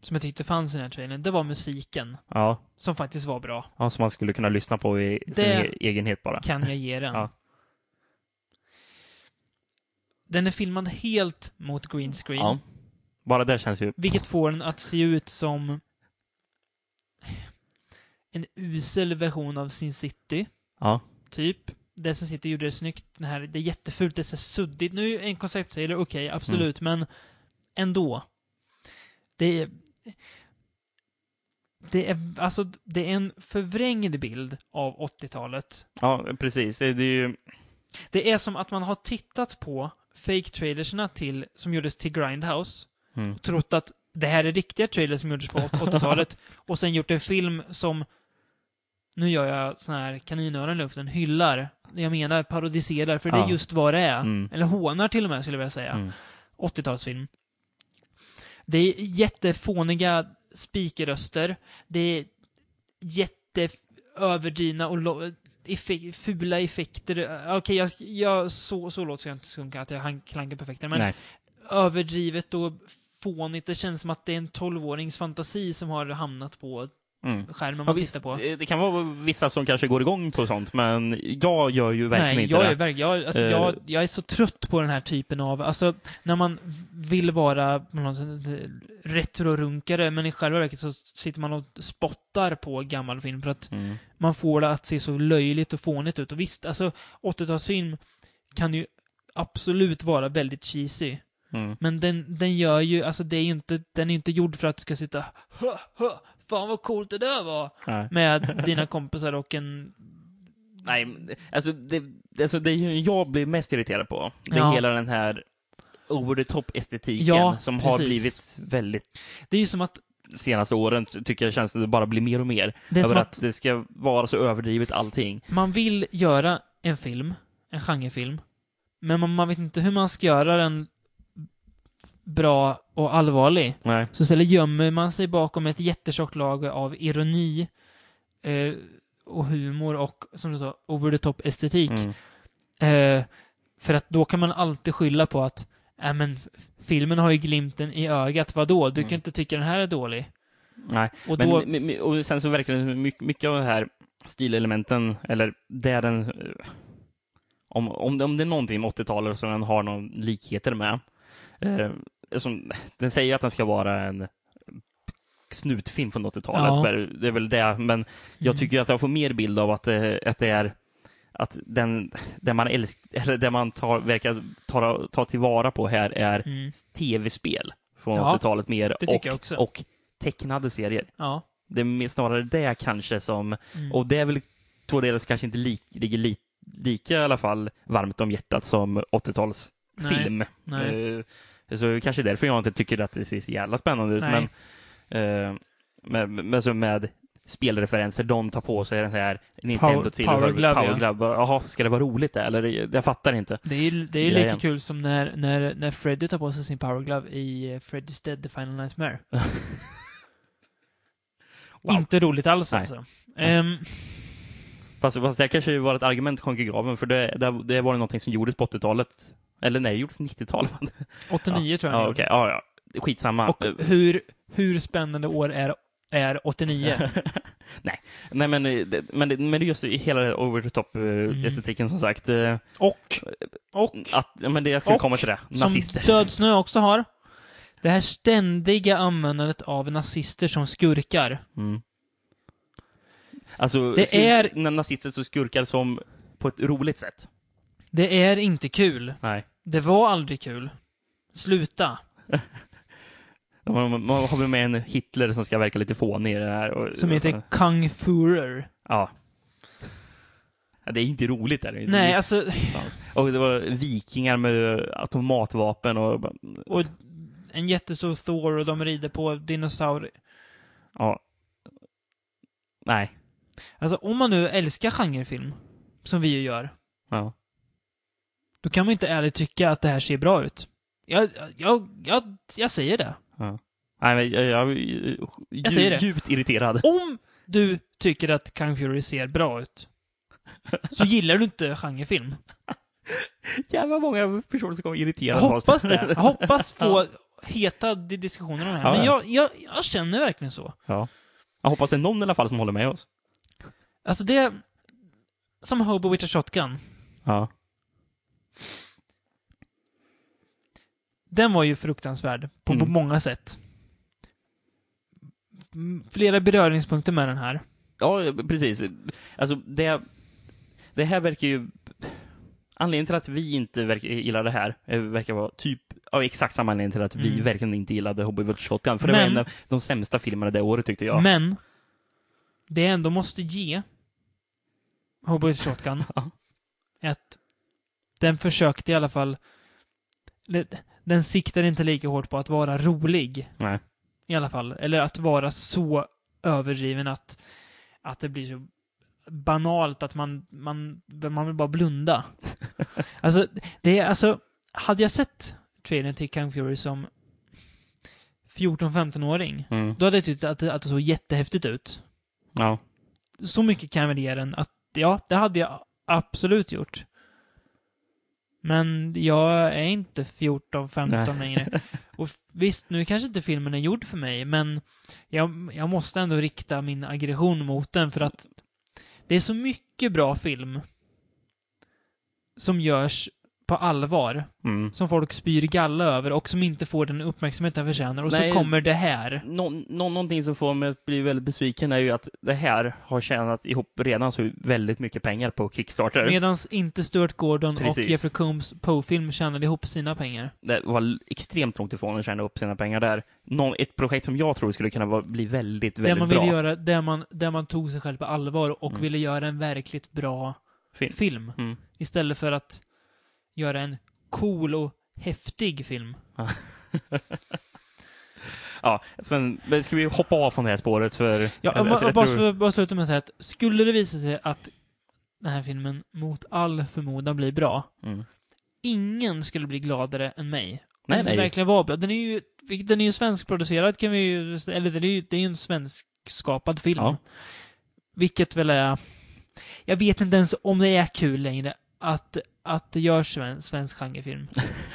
[SPEAKER 4] som jag tyckte fanns i den här trailern, det var musiken.
[SPEAKER 5] Ja.
[SPEAKER 4] Som faktiskt var bra.
[SPEAKER 5] ja, som man skulle kunna lyssna på i sin
[SPEAKER 4] Det-
[SPEAKER 5] e- egenhet bara.
[SPEAKER 4] Kan jag ge den.
[SPEAKER 5] Ja.
[SPEAKER 4] Den är filmad helt mot green screen.
[SPEAKER 5] Ja. Bara där känns ju...
[SPEAKER 4] Vilket får den att se ut som en usel version av Sin City.
[SPEAKER 5] Ja.
[SPEAKER 4] typ. Det som sitter gjorde det snyggt. Den här, det är jättefult, det är så suddigt. Nu är en koncepttrailer, okej, absolut, men ändå. Det är... Det är, alltså, det är en förvrängd bild av 80-talet.
[SPEAKER 5] ja, precis. Det är ju...
[SPEAKER 4] Det är som att man har tittat på fake-trailerserna till, som gjordes till Grindhouse
[SPEAKER 5] Mm.
[SPEAKER 4] och trott att det här är riktiga trailers som gjordes på 80-talet och sen gjort en film som, nu gör jag sån här kaninöron i luften, hyllar, jag menar parodiserar, för det är
[SPEAKER 5] Ja.
[SPEAKER 4] just vad det är.
[SPEAKER 5] Mm.
[SPEAKER 4] Eller hånar till och med, skulle jag vilja säga.
[SPEAKER 5] Mm.
[SPEAKER 4] 80-talsfilm. Det är jättefåniga spikröster. Det är jätteöverdrivna och lo- effe- fula effekter. Okej, jag, jag, så, så låter jag inte sjunka att jag han- klankar på effekter, men
[SPEAKER 5] Nej.
[SPEAKER 4] överdrivet och fånigt. Det känns som att det är en 12-årings fantasi som har hamnat på
[SPEAKER 5] Mm.
[SPEAKER 4] skärmen man
[SPEAKER 5] Ja,
[SPEAKER 4] tittar
[SPEAKER 5] visst,
[SPEAKER 4] på.
[SPEAKER 5] eh, det kan vara vissa som kanske går igång på sånt, men jag gör ju verkligen
[SPEAKER 4] Nej,
[SPEAKER 5] inte
[SPEAKER 4] jag
[SPEAKER 5] det.
[SPEAKER 4] Är, verk- jag, alltså,
[SPEAKER 5] Eh.
[SPEAKER 4] jag, jag är så trött på den här typen av, alltså när man vill vara på något sätt, eh, retrorunkare, men i själva verket så sitter man och spottar på gammal film för att
[SPEAKER 5] Mm.
[SPEAKER 4] man får det att se så löjligt och fånigt ut. Och visst, alltså 80-talsfilm kan ju absolut vara väldigt cheesy.
[SPEAKER 5] Mm.
[SPEAKER 4] Men den, den gör ju, alltså det är ju inte, den är ju inte gjord för att du ska sitta hö, hö, fan vad coolt det där var
[SPEAKER 5] Nej.
[SPEAKER 4] med dina kompisar och en
[SPEAKER 5] Nej, men, alltså det, alltså det jag blir mest irriterad på, det är
[SPEAKER 4] Ja.
[SPEAKER 5] hela den här over the top-estetiken
[SPEAKER 4] Ja,
[SPEAKER 5] som har
[SPEAKER 4] precis.
[SPEAKER 5] blivit väldigt
[SPEAKER 4] Det är ju som att
[SPEAKER 5] de senaste åren, ty- tycker jag känns att det bara blir mer och mer.
[SPEAKER 4] Det är
[SPEAKER 5] Över
[SPEAKER 4] som
[SPEAKER 5] att...
[SPEAKER 4] att-
[SPEAKER 5] det ska vara så överdrivet allting.
[SPEAKER 4] man vill göra en film, en genrefilm, men man, man vet inte hur man ska göra den bra och allvarlig.
[SPEAKER 5] Nej.
[SPEAKER 4] Så istället gömmer man sig bakom ett jättetjockt lager av ironi eh, och humor och, som du sa, over the top estetik.
[SPEAKER 5] Mm.
[SPEAKER 4] Eh, för att då kan man alltid skylla på att äh, men, f- filmen har ju glimten i ögat, vadå? Du kan
[SPEAKER 5] Mm.
[SPEAKER 4] inte tycka den här är dålig.
[SPEAKER 5] Nej.
[SPEAKER 4] Och
[SPEAKER 5] Men,
[SPEAKER 4] då,
[SPEAKER 5] men- men- och sen så verkar det som mycket, mycket av de här stilelementen, eller där den... eh, Om, om, det- om det är någonting med 80-talet som den har någon likheter med. Eh, som, den säger att den ska vara en snutfilm från 80-talet.
[SPEAKER 4] Ja.
[SPEAKER 5] men Det är väl det, men jag
[SPEAKER 4] Mm.
[SPEAKER 5] tycker att jag får mer bild av att, eh, att det är att den, det man, älsk, eller det man tar, verkar ta, ta tillvara på här är
[SPEAKER 4] mm,
[SPEAKER 5] tv-spel från
[SPEAKER 4] Ja,
[SPEAKER 5] 80-talet mer
[SPEAKER 4] det tycker
[SPEAKER 5] och,
[SPEAKER 4] jag också.
[SPEAKER 5] och tecknade serier.
[SPEAKER 4] ja.
[SPEAKER 5] Det är mer- snarare det kanske som,
[SPEAKER 4] Mm.
[SPEAKER 5] och det är väl två delar som kanske inte lik, ligger li, lika i alla fall varmt om hjärtat som 80-talsfilm.
[SPEAKER 4] nej.
[SPEAKER 5] Eh, Så kanske därför jag inte tycker att det ser så jävla spännande ut.
[SPEAKER 4] Nej.
[SPEAKER 5] Men, eh, men, men så med spelreferenser, de tar på sig den här Nintendo
[SPEAKER 4] Power-
[SPEAKER 5] till
[SPEAKER 4] Power Glove, ja.
[SPEAKER 5] Power Glove. Jaha, ska det vara roligt det? Eller jag fattar inte.
[SPEAKER 4] Det är, det är
[SPEAKER 5] Ja,
[SPEAKER 4] lika
[SPEAKER 5] ja.
[SPEAKER 4] kul som när, när, när Freddy tar på sig sin power glove i eh, Freddy's Dead The Final Nightmare.
[SPEAKER 5] Wow.
[SPEAKER 4] Inte roligt alls
[SPEAKER 5] Nej.
[SPEAKER 4] alltså.
[SPEAKER 5] Nej.
[SPEAKER 4] Ehm,
[SPEAKER 5] Fast, fast det kanske var ett argument sjönk i graven, för det, det, det var ju någonting som gjordes på 80-talet. Eller nej, det gjordes 90-talet.
[SPEAKER 4] 89 tror jag
[SPEAKER 5] Ja,
[SPEAKER 4] han
[SPEAKER 5] okej. Ja, ja. Skitsamma.
[SPEAKER 4] gjorde. Och hur, hur spännande år är, är 89?
[SPEAKER 5] nej, nej men, eh, det, men, det, men det är just hela det over the
[SPEAKER 4] Mm.
[SPEAKER 5] top-estetiken som sagt. eh,
[SPEAKER 4] Och, och
[SPEAKER 5] Att, ja, men det, jag skulle
[SPEAKER 4] Och
[SPEAKER 5] komma till det.
[SPEAKER 4] som
[SPEAKER 5] Nazister.
[SPEAKER 4] Dödsnö också har. Det här ständiga användandet av nazister som skurkar.
[SPEAKER 5] Mm. Alltså,
[SPEAKER 4] Det
[SPEAKER 5] skur-
[SPEAKER 4] är-
[SPEAKER 5] när nazister så skurkar som på ett roligt sätt.
[SPEAKER 4] Det är inte kul.
[SPEAKER 5] Nej.
[SPEAKER 4] Det var aldrig kul. Sluta.
[SPEAKER 5] Man, man, man har väl med en Hitler som ska verka lite fånig i det här. Och,
[SPEAKER 4] Som heter Kung Führer.
[SPEAKER 5] Ja. Ja, Det är inte roligt. Är det? inte.
[SPEAKER 4] Nej, alltså...
[SPEAKER 5] Och det var vikingar med automatvapen och...
[SPEAKER 4] Och en jättestor Thor och de rider på dinosaurier.
[SPEAKER 5] Ja. Nej.
[SPEAKER 4] Alltså om man nu älskar genrefilm, som vi ju gör,
[SPEAKER 5] Ja.
[SPEAKER 4] då kan man ju inte ärligt tycka att det här ser bra ut. Jag, jag, jag, jag säger det.
[SPEAKER 5] Nej, men jag, jag, jag,
[SPEAKER 4] Jag säger det.
[SPEAKER 5] djupt irriterad.
[SPEAKER 4] Om du tycker att Kung Fury ser bra ut, så gillar du inte genrefilm.
[SPEAKER 5] Jävla många personer som kommer
[SPEAKER 4] Jag
[SPEAKER 5] irriterade
[SPEAKER 4] hoppas det. Jag hoppas få heta di- diskussioner om det
[SPEAKER 5] Ja,
[SPEAKER 4] här. Men
[SPEAKER 5] ja.
[SPEAKER 4] jag, jag, jag känner verkligen så.
[SPEAKER 5] Ja. Jag hoppas det är någon i alla fall som håller med oss.
[SPEAKER 4] Alltså det... Som Hobo with a Shotgun.
[SPEAKER 5] Ja.
[SPEAKER 4] Den var ju fruktansvärd på, på
[SPEAKER 5] Mm.
[SPEAKER 4] många sätt. Mm, Flera beröringspunkter med den här.
[SPEAKER 5] Ja, precis. Alltså, det, det här verkar ju... Anledningen till att vi inte verkar, gillar det här eh, verkar vara typ av exakt samma anledning till att vi
[SPEAKER 4] Mm.
[SPEAKER 5] verkligen inte gillade Hobby World Shotgun. För det var
[SPEAKER 4] Men-
[SPEAKER 5] en av de sämsta filmerna det året tyckte jag.
[SPEAKER 4] Men, det jag ändå måste ge Hobo with a Shotgun
[SPEAKER 5] Ja.
[SPEAKER 4] är att den försökte i alla fall... eller, Den siktar inte lika hårt på att vara rolig.
[SPEAKER 5] Nej.
[SPEAKER 4] I alla fall. Eller att vara så överdriven att, att det blir så banalt att man, man, man vill bara blunda. alltså, det är alltså... Hade jag sett trailern till Kung Fury som 14-15-åring
[SPEAKER 5] Mm.
[SPEAKER 4] då hade jag tyckt att det, att det såg jättehäftigt ut.
[SPEAKER 5] Ja.
[SPEAKER 4] Så mycket kan jag väl ge den att, ja, det hade jag absolut gjort. Men jag är inte 14-15 längre. Och visst, nu kanske inte filmen är gjord för mig, men jag, jag måste ändå rikta min aggression mot den för att det är så mycket bra film som görs på allvar,
[SPEAKER 5] Mm.
[SPEAKER 4] som folk spyr galla över och som inte får den uppmärksamhet den förtjänar. Och
[SPEAKER 5] Nej.
[SPEAKER 4] så kommer det här.
[SPEAKER 5] Nå, nå, någonting som får mig att bli väldigt besviken är ju att det här har tjänat ihop redan så väldigt mycket pengar på Kickstarter.
[SPEAKER 4] Medan inte Stuart Gordon och
[SPEAKER 5] Precis.
[SPEAKER 4] Jeffrey Combs Poe-film tjänade ihop sina pengar.
[SPEAKER 5] Det var l- extremt långt ifrån att tjäna upp sina pengar där. Någon, ett projekt som jag tror skulle kunna vara, bli väldigt,
[SPEAKER 4] Där
[SPEAKER 5] väldigt
[SPEAKER 4] man,
[SPEAKER 5] bra.
[SPEAKER 4] ville göra, där, man, där man tog sig själv på allvar och
[SPEAKER 5] Mm.
[SPEAKER 4] ville göra en verkligt bra
[SPEAKER 5] Film.
[SPEAKER 4] film.
[SPEAKER 5] Mm.
[SPEAKER 4] Istället för att göra en cool och häftig film.
[SPEAKER 5] Ja, sen men ska vi hoppa av från det här spåret för...
[SPEAKER 4] Ja,
[SPEAKER 5] jag-
[SPEAKER 4] jag,
[SPEAKER 5] jag- jag
[SPEAKER 4] bara,
[SPEAKER 5] tror-
[SPEAKER 4] bara sluta med att säga att skulle det visa sig att den här filmen mot all förmodan blir bra,
[SPEAKER 5] Mm.
[SPEAKER 4] ingen skulle bli gladare än mig.
[SPEAKER 5] Nej,
[SPEAKER 4] Om den
[SPEAKER 5] nej.
[SPEAKER 4] verkligen var bra. Den är ju, vilket- den är ju svenskproducerad kan vi ju, eller det är ju, det är ju en svenskskapad film.
[SPEAKER 5] Ja.
[SPEAKER 4] Vilket väl är, jag vet inte ens om det är kul längre att, att det görs svensk, svensk genrefilm.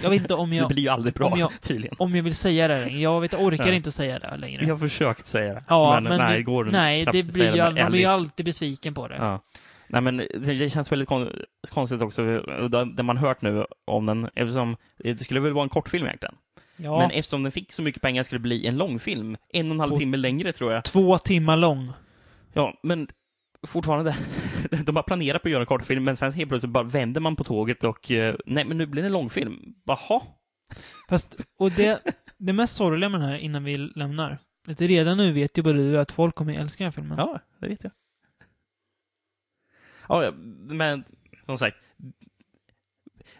[SPEAKER 4] Jag vet inte om
[SPEAKER 5] Det
[SPEAKER 4] jag,
[SPEAKER 5] blir ju aldrig bra,
[SPEAKER 4] om jag-
[SPEAKER 5] tydligen.
[SPEAKER 4] om jag vill säga det längre. Jag vet, jag orkar
[SPEAKER 5] Ja.
[SPEAKER 4] inte säga det längre.
[SPEAKER 5] Vi har försökt säga det,
[SPEAKER 4] Ja,
[SPEAKER 5] men, nej, det går
[SPEAKER 4] nej,
[SPEAKER 5] knappt
[SPEAKER 4] det
[SPEAKER 5] att säga
[SPEAKER 4] blir ju,
[SPEAKER 5] med
[SPEAKER 4] all- man blir ju
[SPEAKER 5] ärlighet.
[SPEAKER 4] alltid besviken på det.
[SPEAKER 5] Ja. Nej, men det det känns väldigt kon- konstigt också, det det man hört nu om den, eftersom det skulle väl vara en kortfilm egentligen.
[SPEAKER 4] Ja.
[SPEAKER 5] Men eftersom den fick så mycket pengar skulle det bli en långfilm. En och en halv
[SPEAKER 4] På-
[SPEAKER 5] timme längre, tror jag.
[SPEAKER 4] Två timmar lång.
[SPEAKER 5] Ja, men fortfarande. De har planerat på att göra en kortfilm, men sen helt plötsligt bara vänder man på tåget och eh, nej, men nu blir det en långfilm. Jaha?
[SPEAKER 4] Fast, och det, det mest sorgliga med den här innan vi lämnar, är att redan nu vet ju både du att folk kommer älska den här filmen.
[SPEAKER 5] Ja, det vet jag. Ja, ja, men som sagt.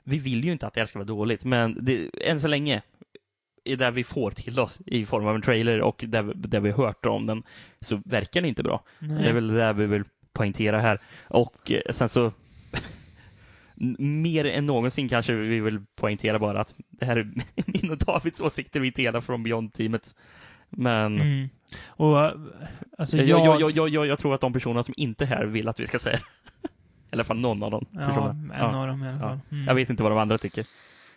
[SPEAKER 5] Vi vill ju inte att det här ska vara dåligt, men det, än så länge i det vi får till oss i form av en trailer och där, vi- där vi hört om den så verkar det inte bra.
[SPEAKER 4] Nej.
[SPEAKER 5] Det är väl det där vi vill poängtera här. Och eh, sen så mer än någonsin kanske vi vill poängtera bara att det här är min och Davids åsikter vi delar från Beyond-teamet. Men
[SPEAKER 4] Mm. Och, äh, alltså
[SPEAKER 5] jag,
[SPEAKER 4] jag...
[SPEAKER 5] Eh, jag, jag, jag, jag, jag tror att de personerna som inte är här vill att vi ska säga det. I alla fall någon av dem.
[SPEAKER 4] ja, en
[SPEAKER 5] personerna. Ja.
[SPEAKER 4] av dem i alla fall. Mm.
[SPEAKER 5] Jag vet inte vad de andra tycker.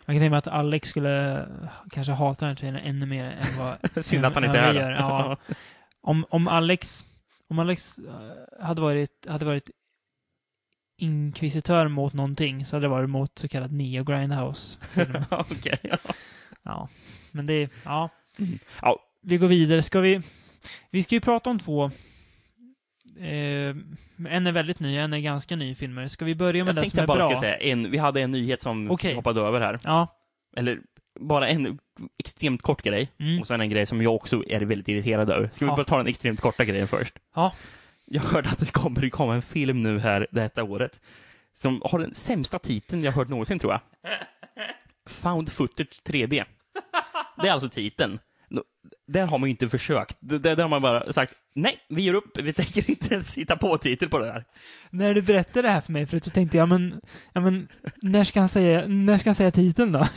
[SPEAKER 4] Jag kan tänka mig att Alex skulle eh, kanske hata den här trailern ännu mer än vad...
[SPEAKER 5] Synd att han
[SPEAKER 4] än
[SPEAKER 5] inte
[SPEAKER 4] vad
[SPEAKER 5] är
[SPEAKER 4] vi
[SPEAKER 5] här.
[SPEAKER 4] gör. Ja. Om, om Alex... Om Alex eh, hade varit, hade varit inkvisitör mot någonting så hade det varit mot så kallad Neo Grindhouse.
[SPEAKER 5] Ja, okej. ja.
[SPEAKER 4] Ja, men det är... Ja.
[SPEAKER 5] Ja.
[SPEAKER 4] Vi går vidare. Ska vi... Vi ska ju prata om två... Eh, en är väldigt ny, en är ganska ny filmer. Ska vi börja med
[SPEAKER 5] Jag
[SPEAKER 4] den
[SPEAKER 5] tänkte
[SPEAKER 4] som är
[SPEAKER 5] jag bara
[SPEAKER 4] bra?
[SPEAKER 5] ska säga en, vi hade en nyhet som
[SPEAKER 4] Okej.
[SPEAKER 5] hoppade över här.
[SPEAKER 4] Ja.
[SPEAKER 5] Eller bara en extremt kort grej.
[SPEAKER 4] Mm.
[SPEAKER 5] Och sen en grej som jag också är väldigt irriterad över. Ska vi
[SPEAKER 4] Ja.
[SPEAKER 5] bara ta den extremt korta grejen först?
[SPEAKER 4] Ja.
[SPEAKER 5] Jag hörde att det kommer komma en film nu här detta året. Som har den sämsta titeln jag hört någonsin tror jag. Found footage 3D. Det är alltså titeln. Nå- Där har man ju inte försökt. D- Där, där har man bara sagt nej, vi ger upp. Vi tänker inte ens hitta på titel på det här.
[SPEAKER 4] När du berättade det här för mig förut så tänkte jag, men, ja, men när, ska han säga, när ska han säga titeln då?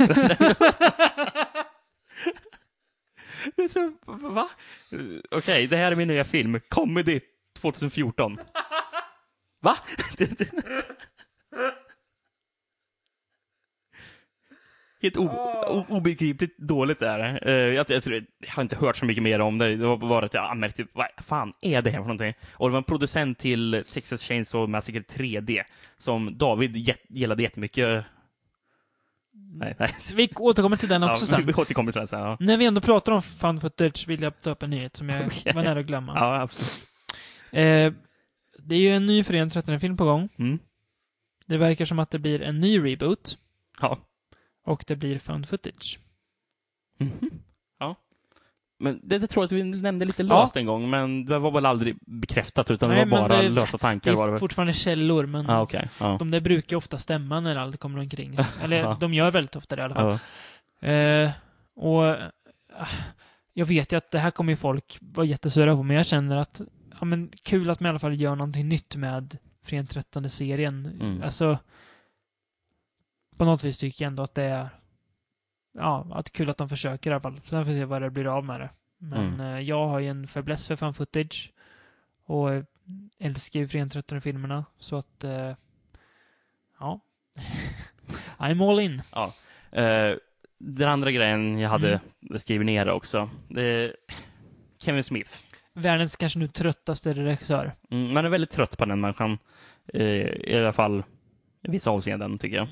[SPEAKER 5] Det är Så, va? Eh, Okej, det här är min nya film. Comedy 2014. Va? Det- det- Helt o- o- obegripligt dåligt är det. Eh, Jag, jag, tror- jag har inte hört så mycket mer om det. Det var bara att jag anmärkte, vad fan är det här för någonting? Och det var en producent till Texas Chainsaw Massacre 3D som David jät- gillade jättemycket. Nej, nej.
[SPEAKER 4] Vi återkommer till den också
[SPEAKER 5] ja,
[SPEAKER 4] sen.
[SPEAKER 5] Vi återkommer till det sen. Ja,
[SPEAKER 4] När vi ändå pratar om fan footage vill jag ta upp en nyhet som jag
[SPEAKER 5] Okej.
[SPEAKER 4] var nära att glömma.
[SPEAKER 5] ja absolut.
[SPEAKER 4] Eh, det är ju en ny Fredagen 13 film på gång.
[SPEAKER 5] Mm.
[SPEAKER 4] Det verkar som att det blir en ny reboot
[SPEAKER 5] Ja.
[SPEAKER 4] och det blir found footage.
[SPEAKER 5] Mhm. Ja. Men det, det tror jag att vi nämnde lite löst en gång, men det var väl aldrig bekräftat utan
[SPEAKER 4] Nej,
[SPEAKER 5] det var
[SPEAKER 4] men
[SPEAKER 5] bara
[SPEAKER 4] det-
[SPEAKER 5] lösa
[SPEAKER 4] Det
[SPEAKER 5] tankar. Var det
[SPEAKER 4] är
[SPEAKER 5] väl?
[SPEAKER 4] fortfarande källor, men
[SPEAKER 5] Ja, okej. Ja.
[SPEAKER 4] de där brukar ju ofta stämma när allt kommer omkring. Eller
[SPEAKER 5] Ja.
[SPEAKER 4] de gör väldigt ofta det i alla fall.
[SPEAKER 5] Ja.
[SPEAKER 4] Eh, och eh, jag vet ju att det här kommer ju folk vara jättesura på, men jag känner att ja, men kul att man i alla fall gör någonting nytt med Fren 13 serien.
[SPEAKER 5] Mm.
[SPEAKER 4] Alltså, på något vis tycker jag ändå att det är ja, att det är kul att de försöker i alla fall. Sen får vi se vad det blir av med det. Men
[SPEAKER 5] Mm.
[SPEAKER 4] eh, jag har ju en fäbless för fan footage och eh, älskar ju Fren 13 filmerna så att eh, ja. I'm all in.
[SPEAKER 5] Eh, den andra grejen jag hade
[SPEAKER 4] Mm.
[SPEAKER 5] skrivit ner också, det är Kevin Smith.
[SPEAKER 4] världens kanske nu tröttaste regissör.
[SPEAKER 5] Mm, man är väldigt trött på den människan, eh, i alla fall i vissa avseenden tycker jag.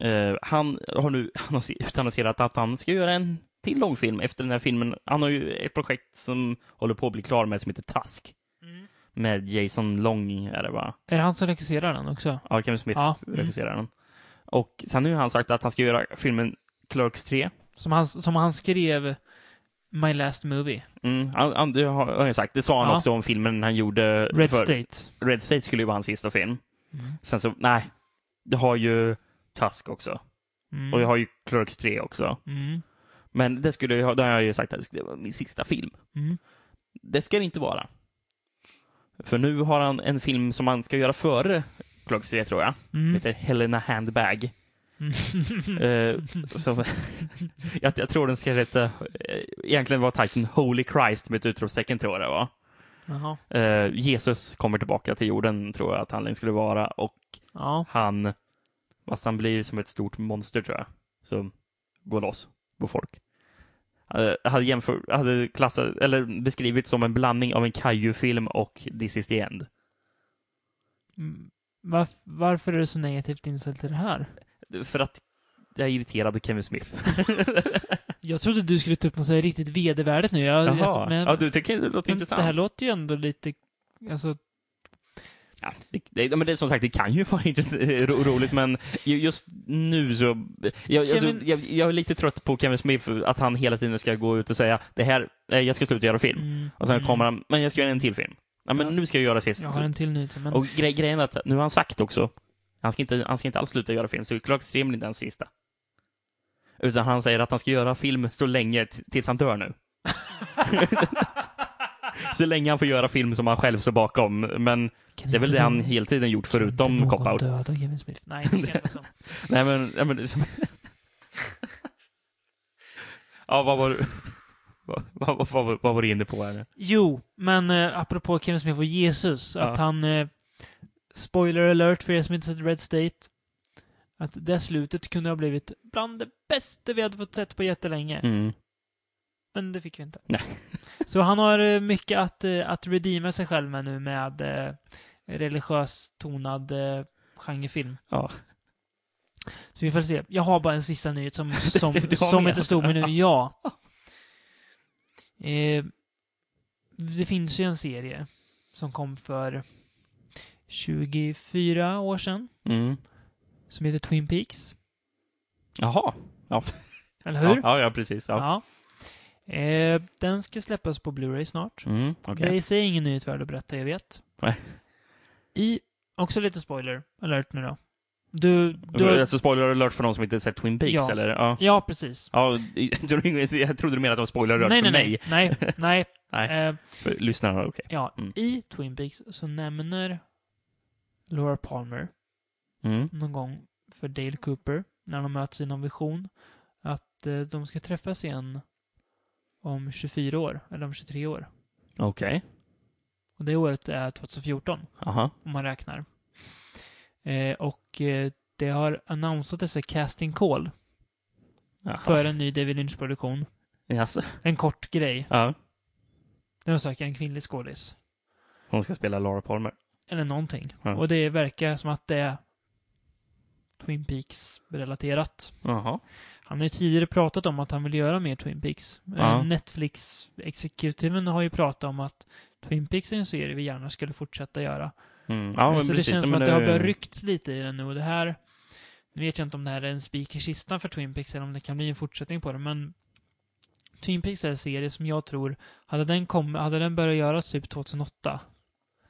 [SPEAKER 4] Mm.
[SPEAKER 5] Eh, han har nu annonse- utannonserat att han ska göra en till långfilm efter den här filmen. Han har ju ett projekt som håller på att bli klar med som heter Task.
[SPEAKER 4] Mm.
[SPEAKER 5] Med Jason Long är det va?
[SPEAKER 4] Är det han som regisserar den också?
[SPEAKER 5] Ja, Kevin Smith
[SPEAKER 4] Ja, mm.
[SPEAKER 5] regisserar den. Och sen har ju han sagt att han ska göra filmen Clerks 3.
[SPEAKER 4] Som han, som han skrev My Last Movie,
[SPEAKER 5] Mm, han, han, det har har jag sagt. Det sa han
[SPEAKER 4] Ja.
[SPEAKER 5] också om filmen han gjorde.
[SPEAKER 4] Red
[SPEAKER 5] för-
[SPEAKER 4] State.
[SPEAKER 5] Red State skulle ju vara hans sista film.
[SPEAKER 4] Mm.
[SPEAKER 5] Sen så, nej. Du har ju Task också.
[SPEAKER 4] Mm.
[SPEAKER 5] Och jag har ju Clerks 3 också.
[SPEAKER 4] Mm.
[SPEAKER 5] Men det skulle jag, det har jag ju sagt att det skulle vara min sista film.
[SPEAKER 4] Mm.
[SPEAKER 5] Det ska det inte vara. För nu har han en film som han ska göra före Clerks 3 tror jag.
[SPEAKER 4] Mm.
[SPEAKER 5] Heter Helena Handbag. Eh, som, jag, jag tror den ska heta, eh, egentligen var titeln Holy Christ med ett utropstecken tror jag det var.
[SPEAKER 4] Jaha.
[SPEAKER 5] Eh, Jesus kommer tillbaka till jorden tror jag att handlingen skulle vara och
[SPEAKER 4] Ja.
[SPEAKER 5] han, fast han blir som ett stort monster tror jag, som går loss på folk. Eh, hade, jämför, hade klassat, eller beskrivit som en blandning av en Kaiju-film och This is the end.
[SPEAKER 4] Mm. Var, varför är du så negativt inställd till det här?
[SPEAKER 5] För att jag är irriterad på Kevin Smith.
[SPEAKER 4] Jag trodde du skulle ta upp något så här riktigt vedervärdigt nu. Jag,
[SPEAKER 5] Jaha.
[SPEAKER 4] Jag, men,
[SPEAKER 5] ja, du tycker det låter
[SPEAKER 4] men
[SPEAKER 5] intressant.
[SPEAKER 4] det här låter ju ändå lite... Alltså,
[SPEAKER 5] Ja, det, det, men det är som sagt, det kan ju vara intress- ro, roligt, men ju- just nu så... Jag, alltså,
[SPEAKER 4] Kevin-
[SPEAKER 5] jag, jag är lite trött på Kevin Smith, för att han hela tiden ska gå ut och säga det här, eh, jag ska sluta göra film.
[SPEAKER 4] mm,
[SPEAKER 5] Och sen
[SPEAKER 4] mm.
[SPEAKER 5] kommer han, men jag ska göra en till film. Ja, men
[SPEAKER 4] Ja.
[SPEAKER 5] nu ska jag göra sist.
[SPEAKER 4] Jag har en till nu till, men...
[SPEAKER 5] Och gre- grejen är att nu har han sagt också, han ska inte, han ska inte alls sluta göra film, så Clark Stream är inte hans sista. Utan han säger att han ska göra film så länge, t- tills han dör nu. så länge han får göra film som han själv står bakom, men
[SPEAKER 4] Kan
[SPEAKER 5] det är väl
[SPEAKER 4] inte
[SPEAKER 5] det han
[SPEAKER 4] någon-
[SPEAKER 5] hela tiden gjort
[SPEAKER 4] kan inte
[SPEAKER 5] förutom
[SPEAKER 4] någon
[SPEAKER 5] cop-out.
[SPEAKER 4] döda Kevin Smith? Nej, det ska inte vara så.
[SPEAKER 5] Nej men, nej, men det är som- Ja, vad var du... Vad, vad, vad, vad, vad var du inne på här nu?
[SPEAKER 4] Jo, men eh, apropå Kevin Smith och Jesus,
[SPEAKER 5] Ja.
[SPEAKER 4] att han... Eh, spoiler alert för er som inte sett Red State. Att det slutet kunde ha blivit bland det bästa vi hade fått sett på jättelänge.
[SPEAKER 5] Mm.
[SPEAKER 4] Men det fick vi inte.
[SPEAKER 5] Nej.
[SPEAKER 4] Så han har eh, mycket att, eh, att redeema sig själv med nu med eh, religiös tonad eh, genrefilm.
[SPEAKER 5] Ja.
[SPEAKER 4] Så vi får se. Jag har bara en sista nyhet som, som,
[SPEAKER 5] det- det var
[SPEAKER 4] som
[SPEAKER 5] med.
[SPEAKER 4] inte stod mig nu. Ja. Eh, det finns ju en serie som kom för 24 år sedan
[SPEAKER 5] Mm.
[SPEAKER 4] som heter Twin Peaks.
[SPEAKER 5] Jaha. Ja.
[SPEAKER 4] Eller hur?
[SPEAKER 5] Ja, ja, ja, precis. Ja.
[SPEAKER 4] Ja. Eh, den ska släppas på Blu-ray snart.
[SPEAKER 5] Mm, okej.
[SPEAKER 4] Det i sig är ingen nyhet värd att berätta, jag vet.
[SPEAKER 5] Nej.
[SPEAKER 4] I, också lite spoiler alert nu då. Du, du
[SPEAKER 5] Du... Alltså spoiler alert för någon som inte sett Twin Peaks,
[SPEAKER 4] Ja.
[SPEAKER 5] eller? Ja.
[SPEAKER 4] Ja, precis.
[SPEAKER 5] ja. jag trodde- Jag trodde du menade att det var spoiler alert
[SPEAKER 4] Nej,
[SPEAKER 5] för
[SPEAKER 4] nej,
[SPEAKER 5] mig.
[SPEAKER 4] nej, nej, nej.
[SPEAKER 5] Nej.
[SPEAKER 4] Eh,
[SPEAKER 5] För lyssnarna, okej.
[SPEAKER 4] ja,
[SPEAKER 5] Mm.
[SPEAKER 4] i Twin Peaks så nämner Laura Palmer
[SPEAKER 5] Mm.
[SPEAKER 4] någon gång för Dale Cooper, när de möts i någon vision, att eh, de ska träffas igen om 24 år, eller om 23 år.
[SPEAKER 5] Okej.
[SPEAKER 4] Och det året är 2014.
[SPEAKER 5] Aha.
[SPEAKER 4] om man räknar. Eh, och eh, det har annonsat dessa casting call
[SPEAKER 5] Jaha.
[SPEAKER 4] för en ny David Lynch-produktion.
[SPEAKER 5] Jaså?
[SPEAKER 4] En kort grej.
[SPEAKER 5] Ja.
[SPEAKER 4] Där de söker en kvinnlig skådis.
[SPEAKER 5] Hon ska spela Laura Palmer.
[SPEAKER 4] Eller någonting.
[SPEAKER 5] Ja.
[SPEAKER 4] Och det verkar som att det är Twin Peaks-relaterat.
[SPEAKER 5] Jaha. Mm.
[SPEAKER 4] Han har ju tidigare pratat om att han vill göra mer Twin Peaks. Eh,
[SPEAKER 5] Ja.
[SPEAKER 4] Netflix-exekutiven har ju pratat om att Twin Peaks är en serie vi gärna skulle fortsätta göra.
[SPEAKER 5] Mm. Ja, men
[SPEAKER 4] så
[SPEAKER 5] precis.
[SPEAKER 4] Alltså, det känns som
[SPEAKER 5] men
[SPEAKER 4] att det har
[SPEAKER 5] nu-
[SPEAKER 4] börjat ryckts lite i den nu och det här... Nu vet jag inte om det här är en spik i kistan för Twin Peaks eller om det kan bli en fortsättning på det, men... Twin Peaks är en serie som jag tror, hade den, kom, hade den börjat göras typ 2008,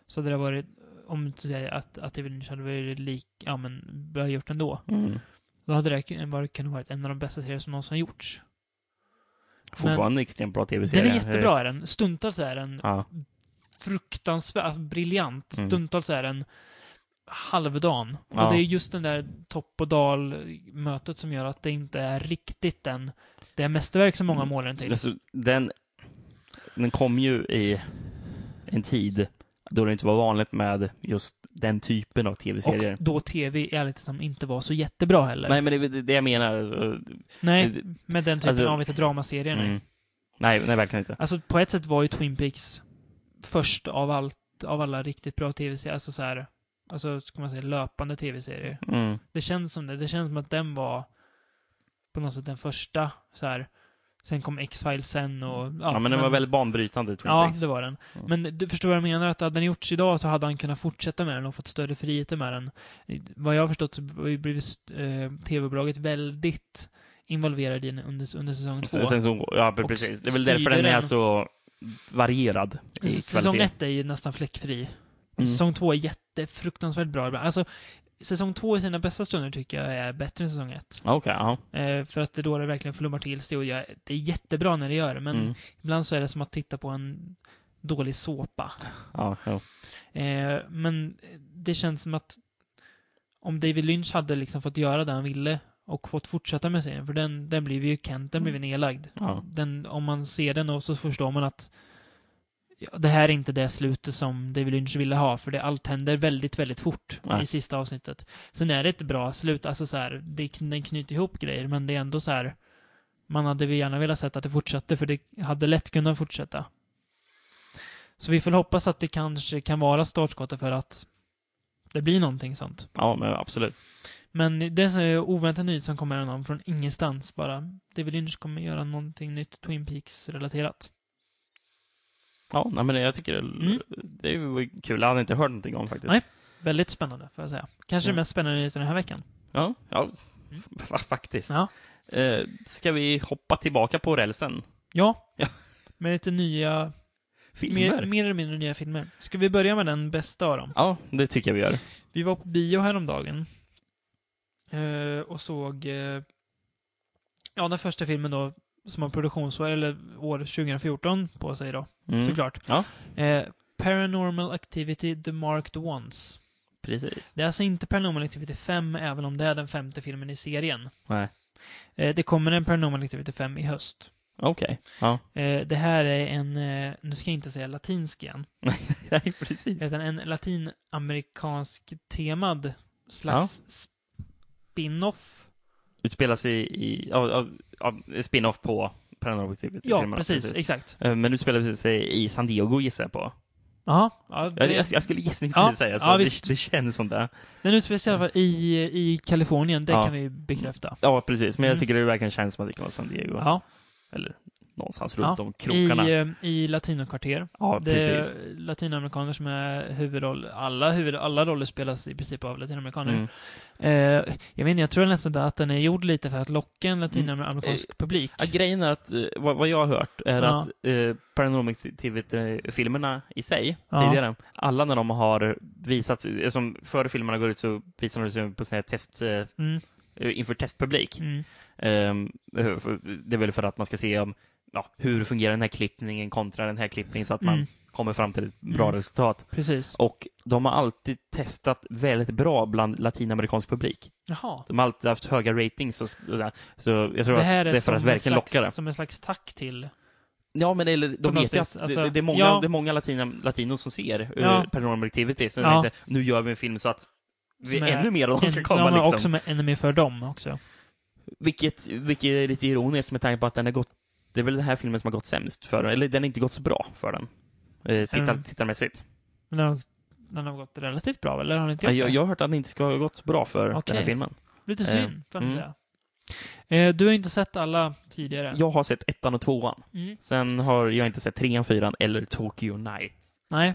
[SPEAKER 4] så hade det varit, om du säger att, att David Lynch hade varit lik, ja men, börjat gjort ändå.
[SPEAKER 5] Mm.
[SPEAKER 4] Då hade det kun- varit, kunnat varit en av de bästa serier som någonsin har gjorts.
[SPEAKER 5] Fortfarande en extremt bra tv-serie.
[SPEAKER 4] Den är jättebra är den. Stundtals är den
[SPEAKER 5] Ja.
[SPEAKER 4] fruktansvärt briljant.
[SPEAKER 5] Mm.
[SPEAKER 4] Stundtals är den halvdan.
[SPEAKER 5] Ja.
[SPEAKER 4] Och det är just den där topp och dal-mötet som gör att det inte är riktigt den, det är mästerverk som många
[SPEAKER 5] Mm.
[SPEAKER 4] målar den till.
[SPEAKER 5] Alltså, den, den kom ju i en tid då det inte var vanligt med just den typen av tv-serier.
[SPEAKER 4] Och då tv i ärlighetens namn inte var så jättebra heller.
[SPEAKER 5] Nej, men det är det jag menar. Alltså,
[SPEAKER 4] Nej, med den typen
[SPEAKER 5] Alltså-
[SPEAKER 4] av vet, dramaserie.
[SPEAKER 5] mm.
[SPEAKER 4] Mm.
[SPEAKER 5] Nej, nej, verkligen inte.
[SPEAKER 4] Alltså på ett sätt var ju Twin Peaks först av allt, av alla riktigt bra tv-serier, alltså så här, alltså ska man säga löpande tv-serier.
[SPEAKER 5] Mm.
[SPEAKER 4] Det känns som det. Det känns som att den var på något sätt den första så här. Sen kom X-Files sen och...
[SPEAKER 5] Ja, men den var väldigt banbrytande, Twin
[SPEAKER 4] Ja,
[SPEAKER 5] Peaks. Mm.
[SPEAKER 4] det var den.
[SPEAKER 5] Ja.
[SPEAKER 4] Men du förstår vad jag menar? Att hade den gjorts idag så hade han kunnat fortsätta med den och fått större friheter med den. Vad jag har förstått så har ju blivit eh, tv-bolaget väldigt involverad i den under, under säsong två.
[SPEAKER 5] Sen, sen så, ja,
[SPEAKER 4] Och
[SPEAKER 5] precis. Det är väl
[SPEAKER 4] styr
[SPEAKER 5] därför den är
[SPEAKER 4] den.
[SPEAKER 5] så varierad i
[SPEAKER 4] Alltså, säsong
[SPEAKER 5] kvalitet.
[SPEAKER 4] ett är ju nästan fläckfri.
[SPEAKER 5] Mm.
[SPEAKER 4] Säsong två är jättefruktansvärt bra ibland. Alltså, säsong två i sina bästa stunder tycker jag är bättre än säsong ett.
[SPEAKER 5] Okej, ja.
[SPEAKER 4] Eh, för att det är då det verkligen flummar till sig och jag, det är jättebra när det gör det, men
[SPEAKER 5] Mm.
[SPEAKER 4] ibland så är det som att titta på en dålig såpa.
[SPEAKER 5] ja, ja.
[SPEAKER 4] Eh, men det känns som att om David Lynch hade liksom fått göra det han ville och fått fortsätta med serien, för den, den blev ju Kent, den blev ju nedlagd.
[SPEAKER 5] Mm. ja.
[SPEAKER 4] Den, om man ser den och så förstår man att ja, det här är inte det slutet som David Lynch ville ha, för det, allt händer väldigt, väldigt fort
[SPEAKER 5] Nej.
[SPEAKER 4] i sista avsnittet. Sen är det ett bra slut, alltså så här, det, kn- den knyter ihop grejer, men det är ändå så här, man hade väl gärna velat sett att det fortsatte, för det hade lätt kunnat fortsätta. Så vi får hoppas att det kanske kan vara startskottet för att det blir någonting sånt.
[SPEAKER 5] ja men absolut.
[SPEAKER 4] Men det är en sån här oväntad nyhet som kommer någon från ingenstans bara. David Lynch kommer göra någonting nytt Twin Peaks-relaterat.
[SPEAKER 5] Ja, nej, men jag tycker det,
[SPEAKER 4] Mm.
[SPEAKER 5] det var kul. Jag hade inte hört någonting om faktiskt.
[SPEAKER 4] Nej. Väldigt spännande, får jag säga. Kanske
[SPEAKER 5] Ja.
[SPEAKER 4] den mest spännande nyheten den här veckan.
[SPEAKER 5] Ja, ja.
[SPEAKER 4] Mm.
[SPEAKER 5] F- f- faktiskt.
[SPEAKER 4] Ja.
[SPEAKER 5] Eh, ska vi hoppa tillbaka på rälsen?
[SPEAKER 4] Ja.
[SPEAKER 5] Ja.
[SPEAKER 4] Med lite nya,
[SPEAKER 5] Filmer?
[SPEAKER 4] mer, mer eller mindre nya filmer. Ska vi börja med den bästa av dem?
[SPEAKER 5] Ja, det tycker jag vi gör.
[SPEAKER 4] Vi var på bio häromdagen. Eh, och såg, eh, ja, den första filmen då, som har produktionsår, eller år 2014 på sig då,
[SPEAKER 5] Mm.
[SPEAKER 4] såklart.
[SPEAKER 5] Ja.
[SPEAKER 4] Eh, Paranormal Activity The Marked Ones.
[SPEAKER 5] Precis.
[SPEAKER 4] Det är alltså inte Paranormal Activity 5, även om det är den femte filmen i serien.
[SPEAKER 5] Nej.
[SPEAKER 4] Eh, Det kommer en Paranormal Activity 5 i höst.
[SPEAKER 5] Okej. Ja.
[SPEAKER 4] Eh, Det här är en, eh, nu ska jag inte säga latinsk igen,
[SPEAKER 5] Nej, precis.
[SPEAKER 4] utan en latinamerikansk temad slags spin-off.
[SPEAKER 5] Utspelas i, i av, av, av spin-off på Paranormal Activity.
[SPEAKER 4] Ja,
[SPEAKER 5] filmerna,
[SPEAKER 4] precis, exakt.
[SPEAKER 5] Eh, Men nu spelar det sig i San Diego gissar jag på.
[SPEAKER 4] Jaha. Ja,
[SPEAKER 5] Jag, jag,
[SPEAKER 4] det,
[SPEAKER 5] jag skulle gissningsvis
[SPEAKER 4] Ja,
[SPEAKER 5] säga så.
[SPEAKER 4] ja,
[SPEAKER 5] det,
[SPEAKER 4] visst.
[SPEAKER 5] det känns som det.
[SPEAKER 4] den utspelar sig i alla fall i, i Kalifornien, det
[SPEAKER 5] Ja.
[SPEAKER 4] kan vi ju bekräfta.
[SPEAKER 5] Ja, precis. Men jag
[SPEAKER 4] Mm.
[SPEAKER 5] tycker det verkligen känns som att det kan vara San Diego.
[SPEAKER 4] Ja,
[SPEAKER 5] Eller någonstans
[SPEAKER 4] Ja.
[SPEAKER 5] Mm. runt om
[SPEAKER 4] i,
[SPEAKER 5] krokarna.
[SPEAKER 4] eh, i latinokvarter.
[SPEAKER 5] ja,
[SPEAKER 4] Det är
[SPEAKER 5] precis.
[SPEAKER 4] latinamerikaner som är huvudroll. Alla, huvud, alla roller spelas i princip av latinamerikaner.
[SPEAKER 5] Mm.
[SPEAKER 4] Eh, jag vet inte, jag tror nästan att den är gjord lite för att locka
[SPEAKER 5] Mm.
[SPEAKER 4] en
[SPEAKER 5] Eh,
[SPEAKER 4] latinamerikansk publik.
[SPEAKER 5] Ja, grejen är att, eh, vad, vad jag har hört, är
[SPEAKER 4] Ja.
[SPEAKER 5] att eh, Paranormal Activity-filmerna i sig,
[SPEAKER 4] Ja.
[SPEAKER 5] tidigare, alla när de har visats, eh, som före filmerna går ut så visar de sig på såna här test, eh,
[SPEAKER 4] Mm,
[SPEAKER 5] inför testpublik.
[SPEAKER 4] mm,
[SPEAKER 5] Ehm, för- det är väl för att man ska se om, ja, hur fungerar den här klippningen kontra den här klippningen så att man
[SPEAKER 4] Mm.
[SPEAKER 5] kommer fram till ett bra
[SPEAKER 4] Mm.
[SPEAKER 5] resultat.
[SPEAKER 4] precis.
[SPEAKER 5] Och de har alltid testat väldigt bra bland latinamerikansk publik.
[SPEAKER 4] Jaha.
[SPEAKER 5] De har alltid haft höga ratings och sådär. Så jag tror
[SPEAKER 4] Det här
[SPEAKER 5] att
[SPEAKER 4] är,
[SPEAKER 5] det är för att
[SPEAKER 4] som, en
[SPEAKER 5] verkligen
[SPEAKER 4] slags,
[SPEAKER 5] locka det.
[SPEAKER 4] som en slags tack till...
[SPEAKER 5] Ja, men eller, de
[SPEAKER 4] något
[SPEAKER 5] vet ju
[SPEAKER 4] vis,
[SPEAKER 5] att
[SPEAKER 4] alltså,
[SPEAKER 5] det, det är många,
[SPEAKER 4] ja.
[SPEAKER 5] det är många latina, latinos som ser
[SPEAKER 4] Ja.
[SPEAKER 5] ja. Paranormal Activity, så
[SPEAKER 4] Ja.
[SPEAKER 5] jag tänkte, nu gör vi en film så att vi
[SPEAKER 4] Som är
[SPEAKER 5] ännu mer av dem ska
[SPEAKER 4] en-
[SPEAKER 5] komma.
[SPEAKER 4] ja, men
[SPEAKER 5] liksom.
[SPEAKER 4] också med enemy för dem också.
[SPEAKER 5] vilket, vilket är lite ironiskt med tanke på att den har gått, det är väl den här filmen som har gått sämst för den, eller den har inte gått så bra för den. Eh, tittar,
[SPEAKER 4] Mm.
[SPEAKER 5] Tittarmässigt.
[SPEAKER 4] Men den har, den har gått relativt bra, eller har den inte
[SPEAKER 5] Jag,
[SPEAKER 4] gjort
[SPEAKER 5] jag
[SPEAKER 4] det?
[SPEAKER 5] jag har hört att den inte ska ha gått så bra för den
[SPEAKER 4] Okej.
[SPEAKER 5] här filmen.
[SPEAKER 4] Lite
[SPEAKER 5] eh,
[SPEAKER 4] synd, får man
[SPEAKER 5] mm.
[SPEAKER 4] säga. Eh, du har inte sett alla tidigare.
[SPEAKER 5] Jag har sett ettan och tvåan.
[SPEAKER 4] Mm.
[SPEAKER 5] Sen har jag inte sett trean, fyran eller Tokyo Night.
[SPEAKER 4] Nej.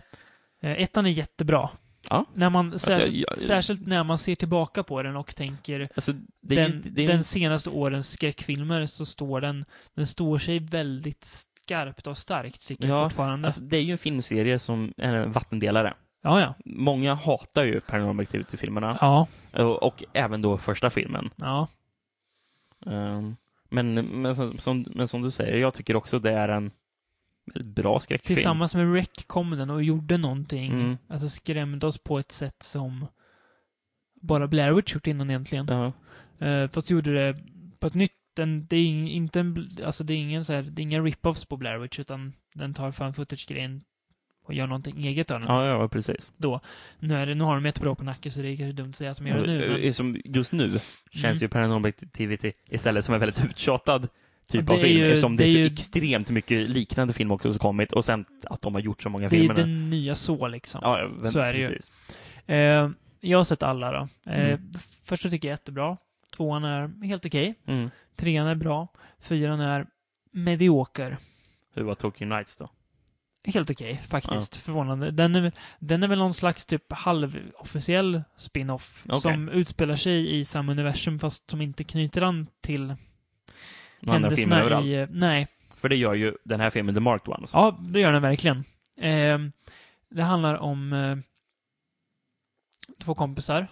[SPEAKER 4] Eh, Ettan är jättebra.
[SPEAKER 5] Ja.
[SPEAKER 4] När man, särskilt,
[SPEAKER 5] jag- jag-
[SPEAKER 4] särskilt när man ser tillbaka på den och tänker
[SPEAKER 5] Alltså, det är,
[SPEAKER 4] den,
[SPEAKER 5] ju- det är,
[SPEAKER 4] den senaste årens skräckfilmer så står den, den står sig väldigt skarpt och starkt tycker jag
[SPEAKER 5] Ja,
[SPEAKER 4] fortfarande.
[SPEAKER 5] alltså, det är ju en filmserie som är en vattendelare.
[SPEAKER 4] ja, ja.
[SPEAKER 5] Många hatar ju Paranormal Activity-filmerna.
[SPEAKER 4] Ja,
[SPEAKER 5] Och, och även då första filmen.
[SPEAKER 4] ja.
[SPEAKER 5] Ehm, Men, men, som, som, men som du säger, jag tycker också det är en väldigt bra skräckfilm.
[SPEAKER 4] Tillsammans med Rec kom den och gjorde någonting.
[SPEAKER 5] Mm.
[SPEAKER 4] Alltså skrämde oss på ett sätt som bara Blair Witch gjort innan egentligen.
[SPEAKER 5] Ja.
[SPEAKER 4] Eh, fast gjorde det på ett nytt, den, det är ing- inte en, bl- alltså det är ingen så här, det är inga rip-offs på Blair Witch utan den tar fan footage-grejen och gör någonting eget av den.
[SPEAKER 5] ja, ja, precis.
[SPEAKER 4] Nu, är det, nu har de jättebra på nacken så det är kanske dumt att säga att de gör det nu. men-
[SPEAKER 5] Eh,
[SPEAKER 4] Mm.
[SPEAKER 5] Som just nu känns ju Paranormal Activity istället som en väldigt uttjatad typ
[SPEAKER 4] Det
[SPEAKER 5] av
[SPEAKER 4] är
[SPEAKER 5] film.
[SPEAKER 4] ju-
[SPEAKER 5] eftersom det är
[SPEAKER 4] det är
[SPEAKER 5] så
[SPEAKER 4] ju-
[SPEAKER 5] extremt mycket liknande film också som kommit och sen att de har gjort så många
[SPEAKER 4] Det är ju
[SPEAKER 5] filmer. nu.
[SPEAKER 4] den nya så liksom.
[SPEAKER 5] Ja, ja, men
[SPEAKER 4] så är det ju.
[SPEAKER 5] precis.
[SPEAKER 4] Eh, jag har sett alla då. Eh,
[SPEAKER 5] Mm.
[SPEAKER 4] f- Första tycker jag är jättebra. Tvåan är helt okej.
[SPEAKER 5] Mm.
[SPEAKER 4] Trean är bra. Fyran är medioker.
[SPEAKER 5] Hur var Tokyo Nights då?
[SPEAKER 4] Helt okej, faktiskt. Förvånande. Den är, väl- den är väl någon slags typ halvofficiell spin-off
[SPEAKER 5] Okej.
[SPEAKER 4] som utspelar sig i samma universum fast som inte knyter an till
[SPEAKER 5] De andra filmerna överallt.
[SPEAKER 4] i... Nej,
[SPEAKER 5] För det gör ju den här filmen, The Marked Ones.
[SPEAKER 4] Ja, det gör den verkligen. Ehm, Eh, det handlar om eh, två kompisar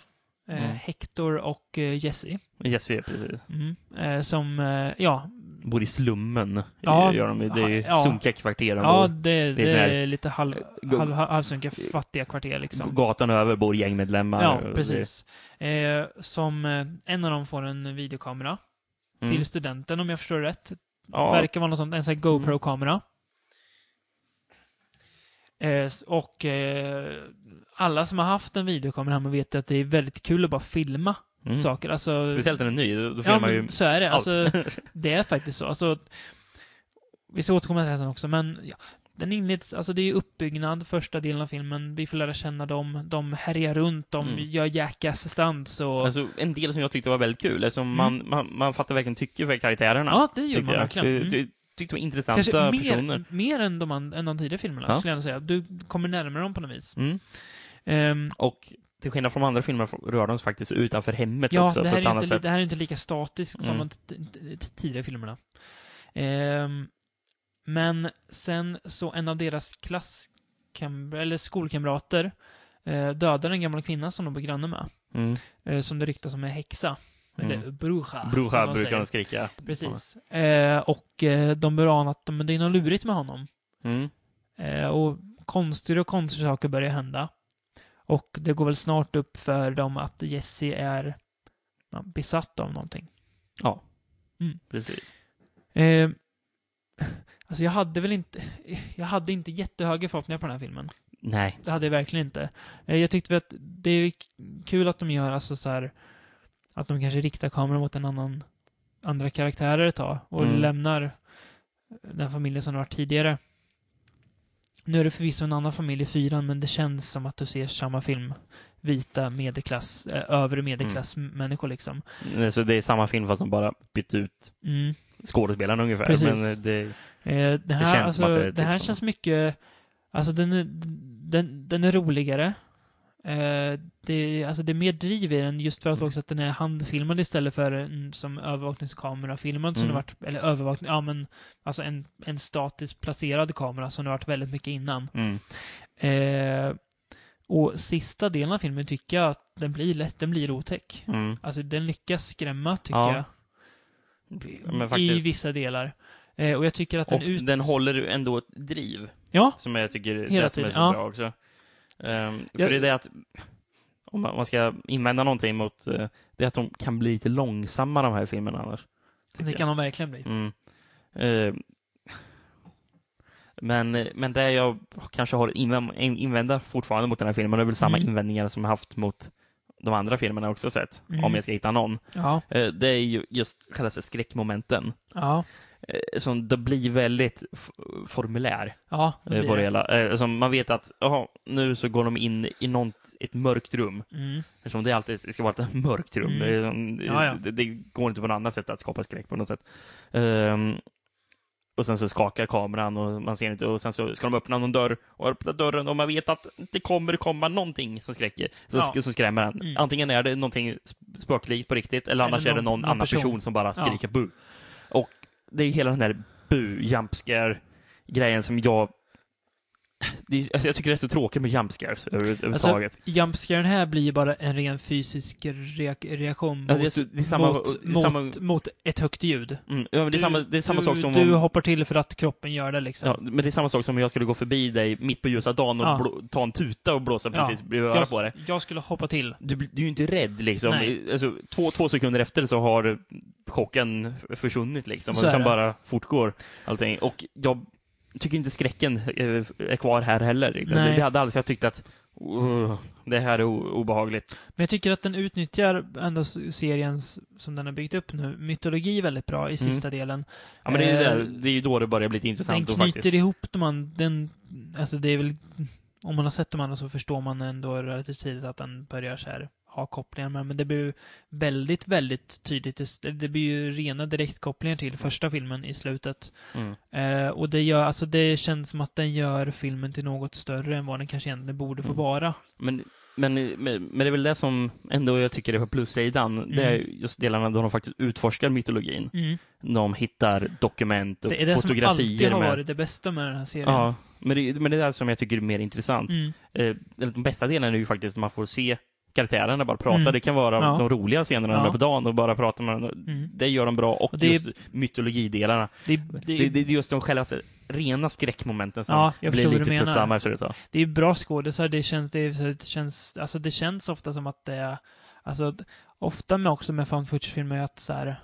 [SPEAKER 4] eh,
[SPEAKER 5] Mm.
[SPEAKER 4] Hector och eh, Jesse.
[SPEAKER 5] Jesse, precis.
[SPEAKER 4] Mm. Eh, som, eh, ja,
[SPEAKER 5] Bor i slummen. eh,
[SPEAKER 4] Ja,
[SPEAKER 5] gör de, ju. det är ju
[SPEAKER 4] ja.
[SPEAKER 5] sunkiga kvarter. de
[SPEAKER 4] ja
[SPEAKER 5] bor.
[SPEAKER 4] det,
[SPEAKER 5] det är
[SPEAKER 4] det
[SPEAKER 5] så här- eh,
[SPEAKER 4] är lite halv,
[SPEAKER 5] Go-
[SPEAKER 4] halv, halvsunkiga, fattiga kvarter liksom.
[SPEAKER 5] Gatan över bor gängmedlemmar.
[SPEAKER 4] Ja,
[SPEAKER 5] och det-
[SPEAKER 4] precis. Eh, som eh, en av dem får en videokamera
[SPEAKER 5] Mm.
[SPEAKER 4] till studenten om jag förstår rätt.
[SPEAKER 5] Ja. Mm.
[SPEAKER 4] Verkar vara något sånt, en sån här GoPro-kamera. Eh, s- och eh, alla som har haft en videokamera hemma vet ju att det är väldigt kul att bara filma
[SPEAKER 5] Mm.
[SPEAKER 4] saker. Alltså,
[SPEAKER 5] Speciellt när den är ny, då, då får
[SPEAKER 4] ja,
[SPEAKER 5] man ju
[SPEAKER 4] men så är det.
[SPEAKER 5] allt.
[SPEAKER 4] Alltså, det är faktiskt så. Alltså, vi ska återkomma till det här sen också, men ja, den inleds, alltså det är ju uppbyggnad, första delen av filmen. Vi får lära känna dem, de härjar runt, de
[SPEAKER 5] Mm.
[SPEAKER 4] gör jackass stunts och... Mm.
[SPEAKER 5] Alltså, en del som jag tyckte var väldigt kul, alltså, man, man, man fattar verkligen tycke för karaktärerna.
[SPEAKER 4] ja, det gör
[SPEAKER 5] tyckte
[SPEAKER 4] man
[SPEAKER 5] jag.
[SPEAKER 4] verkligen.
[SPEAKER 5] Jag
[SPEAKER 4] Mm.
[SPEAKER 5] ty- tyckte de var intressanta
[SPEAKER 4] Kanske mer,
[SPEAKER 5] personer.
[SPEAKER 4] mer än, de, an- än de tidigare filmerna,
[SPEAKER 5] Ja.
[SPEAKER 4] skulle jag ändå säga. Du kommer närmare dem på något vis.
[SPEAKER 5] Mm.
[SPEAKER 4] Ehm,
[SPEAKER 5] Och till skillnad från andra filmer rör de sig faktiskt utanför hemmet
[SPEAKER 4] ja,
[SPEAKER 5] också
[SPEAKER 4] det
[SPEAKER 5] på
[SPEAKER 4] här,
[SPEAKER 5] ett
[SPEAKER 4] är
[SPEAKER 5] annat
[SPEAKER 4] inte, li-
[SPEAKER 5] sätt.
[SPEAKER 4] det här är inte lika statiskt som
[SPEAKER 5] Mm.
[SPEAKER 4] de t- t- t- tidigare filmerna. Ehm, men sen så en av deras klasskam- eller skolkamrater eh, dödar en gammal kvinna som de var granne med.
[SPEAKER 5] Mm.
[SPEAKER 4] Eh, som det ryktas om är häxa.
[SPEAKER 5] Mm.
[SPEAKER 4] Eller bruja. som
[SPEAKER 5] Bruja
[SPEAKER 4] de
[SPEAKER 5] brukar
[SPEAKER 4] säger.
[SPEAKER 5] de skrika.
[SPEAKER 4] Precis. Eh, och eh, de börjar ana att men det är något lurigt med honom.
[SPEAKER 5] Mm.
[SPEAKER 4] Eh, och konstiga och konstiga saker börjar hända. Och det går väl snart upp för dem att Jesse är ja, besatt av någonting.
[SPEAKER 5] Ja,
[SPEAKER 4] Mm.
[SPEAKER 5] precis.
[SPEAKER 4] Eh, alltså jag hade väl inte, jag hade inte jättehöga förhoppningar på den här filmen.
[SPEAKER 5] Nej.
[SPEAKER 4] Det hade jag verkligen inte. Eh, jag tyckte väl att det är k- kul att de gör alltså så här, att de kanske riktar kameran mot en annan, andra karaktärer ett tag och
[SPEAKER 5] Mm.
[SPEAKER 4] lämnar den familjen som det var tidigare. Nu är det förvisso en annan familj i fyran, men det känns som att du ser samma film. Vita medelklass, eh, övre medelklass människor liksom.
[SPEAKER 5] Nej, Så det är samma film fast de bara bytt ut
[SPEAKER 4] Mm.
[SPEAKER 5] skådespelarna ungefär.
[SPEAKER 4] Precis.
[SPEAKER 5] Men eh, det,
[SPEAKER 4] Eh, det här,
[SPEAKER 5] känns
[SPEAKER 4] alltså,
[SPEAKER 5] som att det
[SPEAKER 4] det
[SPEAKER 5] är typ
[SPEAKER 4] här
[SPEAKER 5] så.
[SPEAKER 4] känns mycket... Alltså den är, den, den är roligare. Eh, det, är- alltså det är mer driv i den just för
[SPEAKER 5] Mm.
[SPEAKER 4] att också att den är handfilmad istället för en, som övervakningskamerafilmad som
[SPEAKER 5] Mm.
[SPEAKER 4] det varit, eller övervakning, ja men alltså en, en statiskt placerad kamera som det varit väldigt mycket innan.
[SPEAKER 5] mm.
[SPEAKER 4] Eh, och sista delen av filmen tycker jag att den blir lätt, den blir otäck.
[SPEAKER 5] Mm.
[SPEAKER 4] Alltså den lyckas skrämma tycker
[SPEAKER 5] Ja.
[SPEAKER 4] jag.
[SPEAKER 5] Men
[SPEAKER 4] I
[SPEAKER 5] faktiskt.
[SPEAKER 4] vissa delar. Eh, och jag tycker att den
[SPEAKER 5] Och
[SPEAKER 4] ut...
[SPEAKER 5] den håller ju ändå ett driv.
[SPEAKER 4] Ja.
[SPEAKER 5] Som jag tycker är
[SPEAKER 4] Hela
[SPEAKER 5] det som är så
[SPEAKER 4] tiden, ja.
[SPEAKER 5] bra också. Ehm, för
[SPEAKER 4] Jag-
[SPEAKER 5] det är det att, om man man ska invända någonting mot, eh, det är att de kan bli lite långsamma de här filmerna annars. tycker
[SPEAKER 4] Det
[SPEAKER 5] jag.
[SPEAKER 4] kan de verkligen bli.
[SPEAKER 5] Mm. Ehm, men, men det jag kanske har invän- in- invända fortfarande mot den här filmen, det är väl samma
[SPEAKER 4] Mm.
[SPEAKER 5] invändningar som jag haft mot de andra filmerna jag också sett,
[SPEAKER 4] Mm.
[SPEAKER 5] om jag ska hitta någon.
[SPEAKER 4] Ja.
[SPEAKER 5] Eh, Det är ju just själva skräckmomenten.
[SPEAKER 4] Ja.
[SPEAKER 5] Eh, Som det blir väldigt f- formulär.
[SPEAKER 4] Ja, det
[SPEAKER 5] Eh,
[SPEAKER 4] blir
[SPEAKER 5] på det
[SPEAKER 4] det.
[SPEAKER 5] hela. Eh, Som man vet att jaha, nu så går de in i något, ett mörkt rum.
[SPEAKER 4] Mm.
[SPEAKER 5] Eftersom det, är alltid, det ska vara ett mörkt rum.
[SPEAKER 4] Mm.
[SPEAKER 5] Det är som- Det,
[SPEAKER 4] Ja, ja.
[SPEAKER 5] Det, det går inte på något annat sätt att skapa skräck på något sätt. Ehm, och sen så skakar kameran och man ser inte. Och sen så ska de öppna någon dörr och öppna dörren och man vet att det kommer komma någonting som skräcker. Så,
[SPEAKER 4] Ja.
[SPEAKER 5] sk- så skrämmer den.
[SPEAKER 4] Mm.
[SPEAKER 5] Antingen är det någonting sp- spöklikt på riktigt eller annars är det någon, annan person. som bara
[SPEAKER 4] Ja.
[SPEAKER 5] skriker bu. Och det är ju hela den där bu, jump scare grejen som jag det är, alltså jag tycker det är så tråkigt med jump scares över-
[SPEAKER 4] Alltså,
[SPEAKER 5] överhuvudtaget.
[SPEAKER 4] Jumpscaren här blir ju bara en ren fysisk reak reaktion mot,
[SPEAKER 5] Ja, det är så- det är samma-
[SPEAKER 4] mot,
[SPEAKER 5] det är samma-
[SPEAKER 4] mot, mot ett högt ljud.
[SPEAKER 5] Mm, ja, men det är
[SPEAKER 4] Du-
[SPEAKER 5] samma, det är samma
[SPEAKER 4] du,
[SPEAKER 5] sak som
[SPEAKER 4] Du
[SPEAKER 5] om,
[SPEAKER 4] hoppar till för att kroppen gör det liksom.
[SPEAKER 5] ja, men det är samma sak som om jag skulle gå förbi dig mitt på ljusa dagen och
[SPEAKER 4] Ja.
[SPEAKER 5] blå, ta en tuta och blåsa
[SPEAKER 4] Ja.
[SPEAKER 5] precis bredvid örat på dig.
[SPEAKER 4] jag, jag skulle hoppa till.
[SPEAKER 5] Du, blir- du är ju inte rädd liksom.
[SPEAKER 4] Nej.
[SPEAKER 5] Alltså, två, två sekunder efter så har chocken försvunnit liksom.
[SPEAKER 4] Så
[SPEAKER 5] och
[SPEAKER 4] är
[SPEAKER 5] sen
[SPEAKER 4] det.
[SPEAKER 5] bara fortgår allting. Och jag tycker inte skräcken eh, är kvar här heller. riktigt.
[SPEAKER 4] Nej.
[SPEAKER 5] Det, det hade aldrig jag tyckt att "Ugh, det här är o- obehagligt.
[SPEAKER 4] Men jag tycker att den utnyttjar ändå s- seriens, som den har byggt upp nu, mytologi väldigt
[SPEAKER 5] Mm.
[SPEAKER 4] bra i sista delen.
[SPEAKER 5] Ja, men det, är ju
[SPEAKER 4] Eh,
[SPEAKER 5] där, det är ju då det börjar bli lite
[SPEAKER 4] Alltså, Den
[SPEAKER 5] intressant. då,
[SPEAKER 4] knyter
[SPEAKER 5] faktiskt.
[SPEAKER 4] ihop de an, den, alltså det är väl, om man har sett de andra så förstår man ändå relativt tidigt att den börjar så här ha kopplingar med, men det blir ju väldigt, väldigt tydligt, det- det blir ju rena direktkopplingar till första filmen i slutet.
[SPEAKER 5] Mm.
[SPEAKER 4] Eh, och det gör, alltså det känns som att den gör filmen till något större än vad den kanske egentligen borde få
[SPEAKER 5] Mm.
[SPEAKER 4] vara.
[SPEAKER 5] Men, men, men, men det är väl det som ändå jag tycker är på plussidan. Det är
[SPEAKER 4] Mm.
[SPEAKER 5] just delarna där de faktiskt utforskar mytologin. De hittar dokument och
[SPEAKER 4] Det är det som
[SPEAKER 5] fotografier.
[SPEAKER 4] alltid har
[SPEAKER 5] med,
[SPEAKER 4] varit det bästa med den här serien.
[SPEAKER 5] ja, men, det, men det är det som jag tycker är mer intressant.
[SPEAKER 4] Mm.
[SPEAKER 5] Eh, eller de bästa delarna är ju faktiskt att man får se karaktärerna bara pratar.
[SPEAKER 4] Mm.
[SPEAKER 5] Det kan vara
[SPEAKER 4] Ja.
[SPEAKER 5] de roliga scenerna de
[SPEAKER 4] Ja.
[SPEAKER 5] är på dagen och bara pratar med varandra.
[SPEAKER 4] Mm.
[SPEAKER 5] Det gör de bra och
[SPEAKER 4] Och det är-
[SPEAKER 5] just mytologidelarna.
[SPEAKER 4] Det, det,
[SPEAKER 5] Det, det är just de själva rena skräckmomenten som
[SPEAKER 4] Ja, jag
[SPEAKER 5] blir
[SPEAKER 4] förstår vad du
[SPEAKER 5] lite
[SPEAKER 4] menar.
[SPEAKER 5] tröttsamma efter ett tag.
[SPEAKER 4] det är bra skådisar, det känns, det, är så här, det känns, alltså det känns ofta som att det är, alltså att- ofta med också med fan footage-filmer är att så här,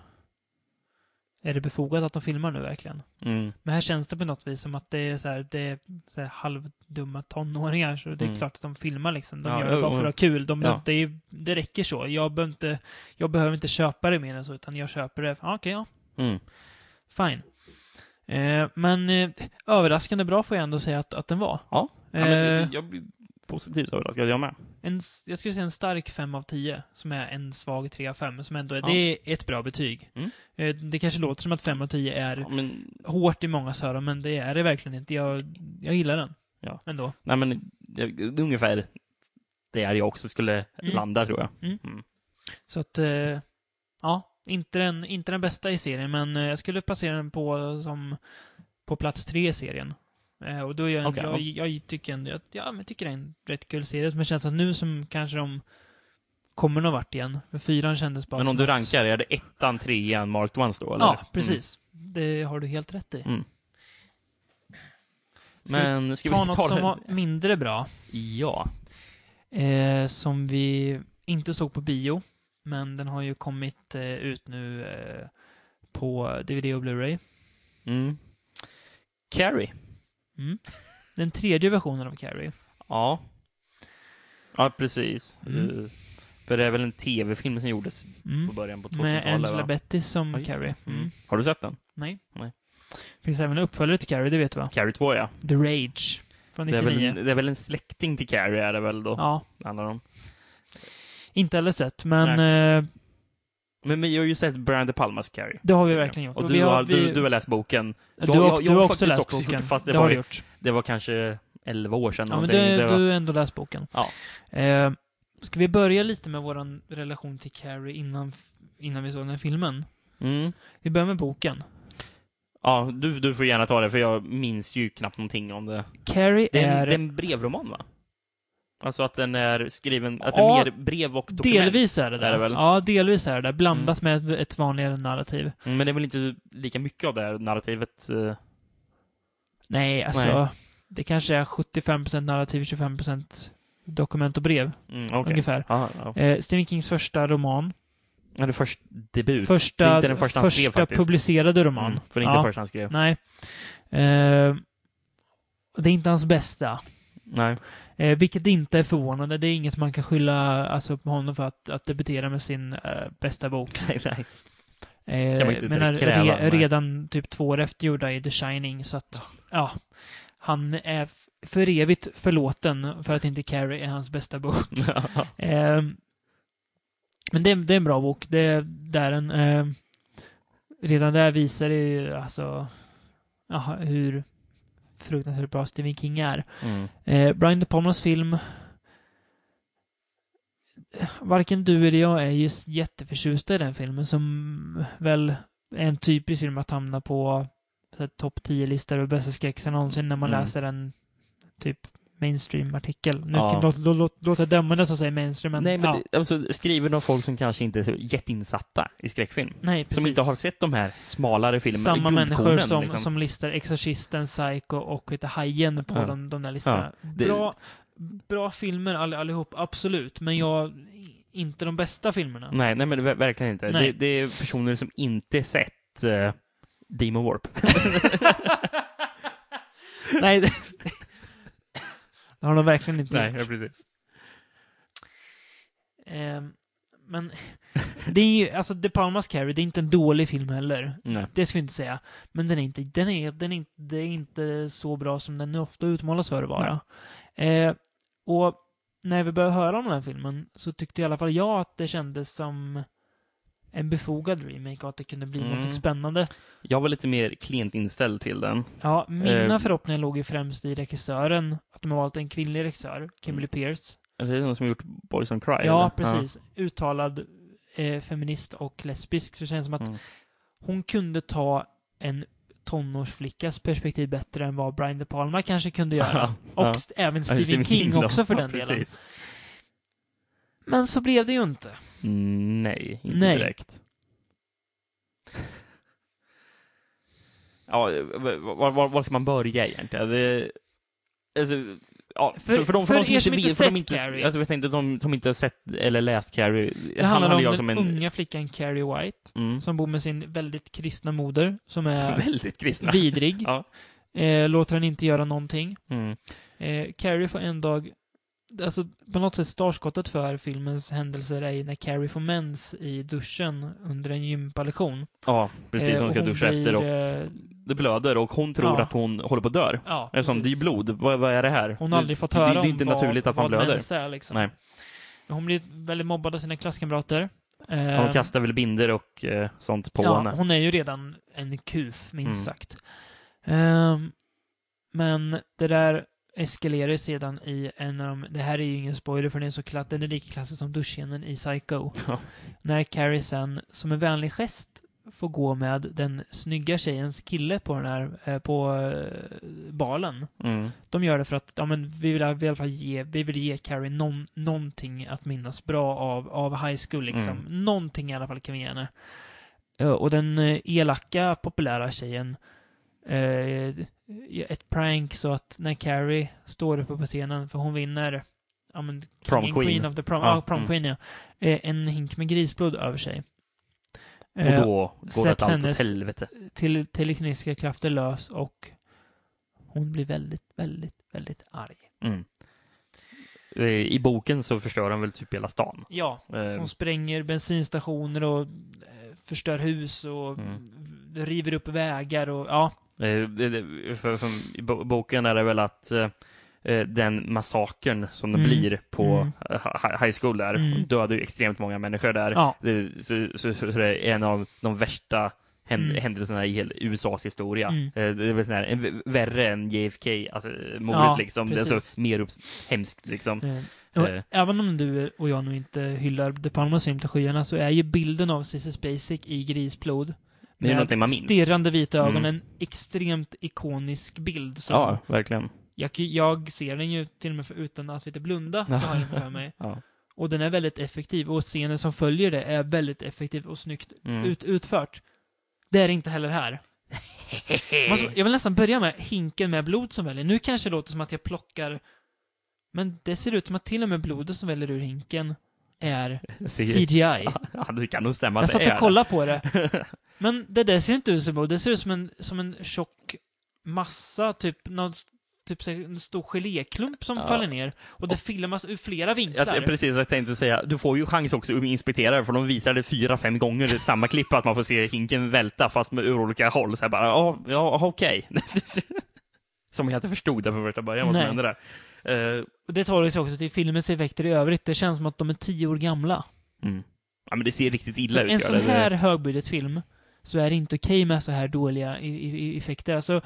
[SPEAKER 4] är det befogat att de filmar nu verkligen?
[SPEAKER 5] Mm.
[SPEAKER 4] Men här känns det på något vis som att det är så här, det är så här halvdumma tonåringar, så det är
[SPEAKER 5] Mm.
[SPEAKER 4] klart att de filmar liksom. De
[SPEAKER 5] Ja,
[SPEAKER 4] gör det bara för att ha kul. De,
[SPEAKER 5] Ja.
[SPEAKER 4] det, är, det räcker så. Jag behöver, inte, jag behöver inte köpa det mer än så, utan jag köper det, ah, okej, ja,
[SPEAKER 5] Mm.
[SPEAKER 4] fine. Eh, men eh, överraskande bra får jag ändå säga att, att den var.
[SPEAKER 5] Ja. Ja,
[SPEAKER 4] Eh,
[SPEAKER 5] men jag blir positivt överraskad, jag med.
[SPEAKER 4] en, s- jag skulle säga en stark 5 av 10, som är en svag 3 av 5, som ändå är,
[SPEAKER 5] Ja.
[SPEAKER 4] det är ett bra betyg.
[SPEAKER 5] Mm.
[SPEAKER 4] Eh, det kanske låter som att 5 av 10 är
[SPEAKER 5] Ja, men,
[SPEAKER 4] hårt i många öron, men det är det verkligen inte. Jag, jag gillar den.
[SPEAKER 5] Ja.
[SPEAKER 4] Ändå.
[SPEAKER 5] nej, men jag, ungefär där jag också skulle
[SPEAKER 4] Mm.
[SPEAKER 5] landa, tror jag.
[SPEAKER 4] Så att, eh, ja, inte den, inte den bästa i serien, men eh, jag skulle placera den på, som, på plats tre i serien. Eh, och då är jag,
[SPEAKER 5] Okej,
[SPEAKER 4] jag, jag tycker ändå, jag, ja, men jag tycker det är en rätt kul serie, men det känns att nu som kanske de kommer någon vart igen. För fyran kändes bara
[SPEAKER 5] Men om
[SPEAKER 4] som
[SPEAKER 5] du
[SPEAKER 4] att-
[SPEAKER 5] rankar, är det ettan, trean, marked ones då? Eller?
[SPEAKER 4] Ja, precis. Det har du helt rätt i.
[SPEAKER 5] Mm.
[SPEAKER 4] Ska
[SPEAKER 5] Men ska
[SPEAKER 4] vi
[SPEAKER 5] vi
[SPEAKER 4] ta något som
[SPEAKER 5] den?
[SPEAKER 4] var mindre bra,
[SPEAKER 5] Ja.
[SPEAKER 4] eh, som vi inte såg på bio, men den har ju kommit eh, ut nu eh, på DVD och Blu-ray.
[SPEAKER 5] Mm. Carrie.
[SPEAKER 4] Mm. Den tredje versionen av Carrie.
[SPEAKER 5] Ja. Ja, precis.
[SPEAKER 4] Mm.
[SPEAKER 5] Eh, För det är väl en tv-film som gjordes
[SPEAKER 4] Mm.
[SPEAKER 5] på början på 2000-talet?
[SPEAKER 4] Med Angela
[SPEAKER 5] va?
[SPEAKER 4] Betty som
[SPEAKER 5] Ja, just det.
[SPEAKER 4] Carrie. Mm.
[SPEAKER 5] Mm. Har du sett den?
[SPEAKER 4] Nej.
[SPEAKER 5] Nej.
[SPEAKER 4] Finns även en uppföljare till Carrie, det vet du va?
[SPEAKER 5] Carrie 2, ja.
[SPEAKER 4] The Rage. Från
[SPEAKER 5] Det är,
[SPEAKER 4] 99.
[SPEAKER 5] väl en, det är väl en släkting till Carrie, är det väl då?
[SPEAKER 4] Ja,
[SPEAKER 5] Handlar om.
[SPEAKER 4] inte heller sett, men eh,
[SPEAKER 5] Men vi har ju sett Brian De Palmas Carrie.
[SPEAKER 4] det har vi verkligen gjort.
[SPEAKER 5] Och
[SPEAKER 4] vi
[SPEAKER 5] du har, du,
[SPEAKER 4] vi-
[SPEAKER 5] du har läst boken.
[SPEAKER 4] du
[SPEAKER 5] jag-
[SPEAKER 4] har-
[SPEAKER 5] jag-
[SPEAKER 4] du
[SPEAKER 5] jag
[SPEAKER 4] har
[SPEAKER 5] har
[SPEAKER 4] också
[SPEAKER 5] faktiskt
[SPEAKER 4] läst
[SPEAKER 5] också gjort
[SPEAKER 4] boken.
[SPEAKER 5] det, fast det
[SPEAKER 4] har
[SPEAKER 5] var
[SPEAKER 4] du
[SPEAKER 5] ju-
[SPEAKER 4] gjort.
[SPEAKER 5] Det var kanske 11 år sedan.
[SPEAKER 4] Ja, men
[SPEAKER 5] någonting.
[SPEAKER 4] du,
[SPEAKER 5] det var,
[SPEAKER 4] du har ändå läst boken.
[SPEAKER 5] Ja.
[SPEAKER 4] Eh, ska vi börja lite med vår relation till Carrie innan, innan vi såg den här filmen?
[SPEAKER 5] Mm.
[SPEAKER 4] Vi börjar med boken.
[SPEAKER 5] Ja, du, du får gärna ta det, för jag minns ju knappt någonting om det.
[SPEAKER 4] Carrie
[SPEAKER 5] Det är
[SPEAKER 4] är...
[SPEAKER 5] en, det är en brevroman, va? Alltså att den är skriven, att
[SPEAKER 4] Ja,
[SPEAKER 5] det är mer brev och dokument.
[SPEAKER 4] Delvis är det där.
[SPEAKER 5] är det väl?
[SPEAKER 4] Ja, delvis är det där. Blandat med ett vanligare narrativ.
[SPEAKER 5] Mm, Men det är väl inte lika mycket av det här narrativet? eh.
[SPEAKER 4] Nej, alltså.
[SPEAKER 5] Nej.
[SPEAKER 4] Det kanske är 75% narrativ, 25% dokument och brev,
[SPEAKER 5] Mm, okej.
[SPEAKER 4] ungefär.
[SPEAKER 5] Ja, ja.
[SPEAKER 4] Eh, Stephen Kings första roman.
[SPEAKER 5] Ja, det är först debut. Det är
[SPEAKER 4] Första,
[SPEAKER 5] inte den första han skrev, faktiskt.
[SPEAKER 4] publicerade roman.
[SPEAKER 5] Mm, för det är inte
[SPEAKER 4] Ja.
[SPEAKER 5] först han skrev.
[SPEAKER 4] Nej. Eh, det är inte hans bästa.
[SPEAKER 5] Nej.
[SPEAKER 4] Eh, vilket inte är förvånande. Det är inget man kan skylla alltså, på honom för att, att debutera med sin eh, bästa bok.
[SPEAKER 5] Nej, nej.
[SPEAKER 4] Eh,
[SPEAKER 5] Kan man inte
[SPEAKER 4] men
[SPEAKER 5] direkt
[SPEAKER 4] re,
[SPEAKER 5] kräva, nej.
[SPEAKER 4] redan typ två år efter gjorde han ju The Shining, så att ja. han är f- för evigt förlåten för att inte Carrie är hans bästa bok. Eh, men det, är- det är en bra bok. Det, det är den. Eh, redan där visar det ju alltså jaha, hur fruktansvärt bra Stephen King är.
[SPEAKER 5] Mm.
[SPEAKER 4] Eh, Brian De Palmas film Varken du eller jag är just jätteförtjusta i den filmen som väl är en typisk film att hamna på så här topp 10-listor och bästa skräckisar någonsin när man
[SPEAKER 5] Mm.
[SPEAKER 4] läser en typ mainstream-artikel. Nu
[SPEAKER 5] Ja.
[SPEAKER 4] kan låt, låt, låt, låt jag döma den som säger mainstream, men,
[SPEAKER 5] nej, men
[SPEAKER 4] ja.
[SPEAKER 5] det, alltså, skriven av folk som kanske inte är så jätteinsatta i skräckfilm.
[SPEAKER 4] nej, precis.
[SPEAKER 5] Som inte har sett de här smalare filmerna.
[SPEAKER 4] Samma
[SPEAKER 5] guldkornen,
[SPEAKER 4] människor som,
[SPEAKER 5] liksom.
[SPEAKER 4] som listar Exorcisten, Psycho och Vita Hajen på
[SPEAKER 5] Ja.
[SPEAKER 4] de, de där listorna.
[SPEAKER 5] det-
[SPEAKER 4] Bra, bra filmer all, allihop, absolut. Men jag, inte de bästa filmerna.
[SPEAKER 5] Nej, nej men ver- verkligen inte.
[SPEAKER 4] Nej.
[SPEAKER 5] Det, det är personer som inte sett eh, Demon Warp.
[SPEAKER 4] Nej. det- det har de verkligen inte gjort.
[SPEAKER 5] precis.
[SPEAKER 4] Ehm, men det är ju, alltså De Palmas Carrie, det är inte en dålig film heller.
[SPEAKER 5] Nej.
[SPEAKER 4] Det ska vi inte säga. Men den är inte, den är, den är inte, det är inte så bra som den ofta utmålas för att vara. Eh, och när vi började höra om den här filmen så tyckte i alla fall jag att det kändes som en befogad remake och att det kunde bli
[SPEAKER 5] Mm.
[SPEAKER 4] något spännande.
[SPEAKER 5] Jag var lite mer klent inställd till den.
[SPEAKER 4] Ja, mina
[SPEAKER 5] Eh.
[SPEAKER 4] förhoppningar låg ju främst i regissören, att de har valt en kvinnlig regissör, Kimberly
[SPEAKER 5] Mm.
[SPEAKER 4] Pierce.
[SPEAKER 5] Är det någon som har gjort Boys on Cry?
[SPEAKER 4] Ja,
[SPEAKER 5] eller?
[SPEAKER 4] precis. Uttalad eh, feminist och lesbisk. Så det känns som att
[SPEAKER 5] Mm.
[SPEAKER 4] hon kunde ta en tonårsflickas perspektiv bättre än vad Brian De Palma kanske kunde göra.
[SPEAKER 5] Ja,
[SPEAKER 4] och
[SPEAKER 5] ja.
[SPEAKER 4] st- även
[SPEAKER 5] Ja,
[SPEAKER 4] Stephen King
[SPEAKER 5] då.
[SPEAKER 4] också för
[SPEAKER 5] Ja,
[SPEAKER 4] den delen.
[SPEAKER 5] precis.
[SPEAKER 4] Men så blev det ju inte.
[SPEAKER 5] Mm, Nej, inte
[SPEAKER 4] Nej.
[SPEAKER 5] direkt. ja, var, var, var ska man börja egentligen? Det, alltså, ja, för, för, de, för, de som
[SPEAKER 4] er
[SPEAKER 5] inte
[SPEAKER 4] som inte
[SPEAKER 5] vet, för de
[SPEAKER 4] sett
[SPEAKER 5] inte,
[SPEAKER 4] Carrie.
[SPEAKER 5] Alltså, jag tänkte, de som inte har sett eller läst Carrie.
[SPEAKER 4] Det handlar om den unga flickan Carrie White
[SPEAKER 5] Mm,
[SPEAKER 4] som bor med sin väldigt kristna moder som är
[SPEAKER 5] väldigt kristna.
[SPEAKER 4] vidrig.
[SPEAKER 5] Ja.
[SPEAKER 4] Eh, låter henne inte göra någonting.
[SPEAKER 5] Mm.
[SPEAKER 4] Eh, Carrie får en dag... Alltså, på något sätt startskottet för filmens händelser är ju när Carrie får mens i duschen under en gympalektion.
[SPEAKER 5] Ja, precis.
[SPEAKER 4] Eh,
[SPEAKER 5] hon ska
[SPEAKER 4] och
[SPEAKER 5] duscha efter och
[SPEAKER 4] eh,
[SPEAKER 5] det blöder och hon tror
[SPEAKER 4] ja.
[SPEAKER 5] att hon håller på att dö.
[SPEAKER 4] ja,
[SPEAKER 5] Eftersom det är
[SPEAKER 4] precis.
[SPEAKER 5] ju blod. Vad, vad är det här?
[SPEAKER 4] Hon har aldrig fått
[SPEAKER 5] det,
[SPEAKER 4] höra
[SPEAKER 5] det, det är inte
[SPEAKER 4] om vad,
[SPEAKER 5] naturligt att man
[SPEAKER 4] vad
[SPEAKER 5] blöder.
[SPEAKER 4] mens är, liksom.
[SPEAKER 5] Nej.
[SPEAKER 4] Hon blir väldigt mobbad av sina klasskamrater. Eh,
[SPEAKER 5] Ja, Hon kastar väl binder och eh, sånt på
[SPEAKER 4] ja,
[SPEAKER 5] henne.
[SPEAKER 4] hon är ju redan en kuf, minst
[SPEAKER 5] Mm.
[SPEAKER 4] sagt. Ehm, men det där eskalerar ju sedan i en av de... Det här är ju ingen spoiler för den är, så klass, den är lika klassisk som duschscenen i Psycho.
[SPEAKER 5] Ja.
[SPEAKER 4] När Carrie sen, som en vänlig gest, får gå med den snygga tjejens kille på den här, eh, på eh, balen.
[SPEAKER 5] Mm.
[SPEAKER 4] De gör det för att, ja men vi vill i alla fall ge, vi vill ge Carrie någon, någonting att minnas bra av, av high school liksom.
[SPEAKER 5] Mm.
[SPEAKER 4] Någonting i alla fall kan vi ge henne. Eh, Och den eh, elaka, populära tjejen eh, gör ett prank så att när Carrie står uppe på scenen, för hon vinner ja, men, King
[SPEAKER 5] Prom
[SPEAKER 4] and
[SPEAKER 5] Queen.
[SPEAKER 4] of the prom,
[SPEAKER 5] Ja,
[SPEAKER 4] ja, prom
[SPEAKER 5] mm.
[SPEAKER 4] queen, ja. Eh, En hink med grisblod över sig. Eh,
[SPEAKER 5] Och då går
[SPEAKER 4] släpps
[SPEAKER 5] det allt åt
[SPEAKER 4] hennes-
[SPEAKER 5] helvete.
[SPEAKER 4] till telekinesiska krafter lös och hon blir väldigt, väldigt, väldigt arg.
[SPEAKER 5] Mm. Eh, I boken så förstör han väl typ hela stan.
[SPEAKER 4] Ja,
[SPEAKER 5] Eh,
[SPEAKER 4] Hon spränger bensinstationer och eh, förstör hus och
[SPEAKER 5] Mm.
[SPEAKER 4] v- river upp vägar och ja.
[SPEAKER 5] eh, det- det- för, för, I bo- boken är det väl att eh, eh, den massakern som det
[SPEAKER 4] Mm.
[SPEAKER 5] blir på
[SPEAKER 4] Mm.
[SPEAKER 5] eh, hi- high school där,
[SPEAKER 4] Mm.
[SPEAKER 5] dödar ju extremt många människor där.
[SPEAKER 4] ja.
[SPEAKER 5] Det, så, så, så det är en av de värsta hän-
[SPEAKER 4] Mm.
[SPEAKER 5] händelserna i hela USAs historia.
[SPEAKER 4] Mm.
[SPEAKER 5] Eh, Det är väl sån här, eh, v- värre än JFK, alltså eh, mordet
[SPEAKER 4] Ja,
[SPEAKER 5] liksom. Det är
[SPEAKER 4] precis.
[SPEAKER 5] så mer upp, hemskt liksom.
[SPEAKER 4] Eh, och
[SPEAKER 5] Eh.
[SPEAKER 4] Även om du och jag nu inte hyllar De Palmas film till skyarna så är ju bilden av Cissi Spacek i Grisblod
[SPEAKER 5] Det är ju någonting man minns.
[SPEAKER 4] stirrande vita ögon
[SPEAKER 5] Mm.
[SPEAKER 4] en extremt ikonisk bild. Som
[SPEAKER 5] Ja, verkligen.
[SPEAKER 4] jag, jag ser den ju till och med för, utan att veta blunda, jag har den för mig.
[SPEAKER 5] Ja.
[SPEAKER 4] Och den är väldigt effektiv och scenen som följer det är väldigt effektivt och snyggt
[SPEAKER 5] Mm.
[SPEAKER 4] ut, utfört. Det är det inte heller här. Man ska- Jag vill nästan börja med hinken med blod som väljer. Nu kanske det låter som att jag plockar... Men det ser ut som att till och med blodet som väljer ur hinken är CGI.
[SPEAKER 5] Ja, det kan nog stämma.
[SPEAKER 4] Jag
[SPEAKER 5] att det
[SPEAKER 4] satt
[SPEAKER 5] är
[SPEAKER 4] och kollade på det. Men det där ser inte ut som blod. Det ser ut som en, som en tjock massa, typ någon, s- typ så här, en stor geléklump som
[SPEAKER 5] Ja.
[SPEAKER 4] faller ner. Och det filmas ur flera
[SPEAKER 5] det.
[SPEAKER 4] vinklar.
[SPEAKER 5] jag, precis, jag tänkte säga, du får ju chans också att inspektera det, för de visar det fyra, fem gånger i samma klipp, att man får se hinken välta, fast med ur olika håll. Så här bara, ja, ja okej. som jag inte förstod det från första början, vad som
[SPEAKER 4] Nej.
[SPEAKER 5] hände där. Eh,
[SPEAKER 4] Och det talar ju sig också till filmens effekter i övrigt. Det känns som att de är tio år gamla.
[SPEAKER 5] mm. Ja, men det ser riktigt illa ut.
[SPEAKER 4] en
[SPEAKER 5] gör
[SPEAKER 4] sån
[SPEAKER 5] det. Det-
[SPEAKER 4] här högbudgetfilm så är det inte okej med så här dåliga i- i- i- effekter. Alltså,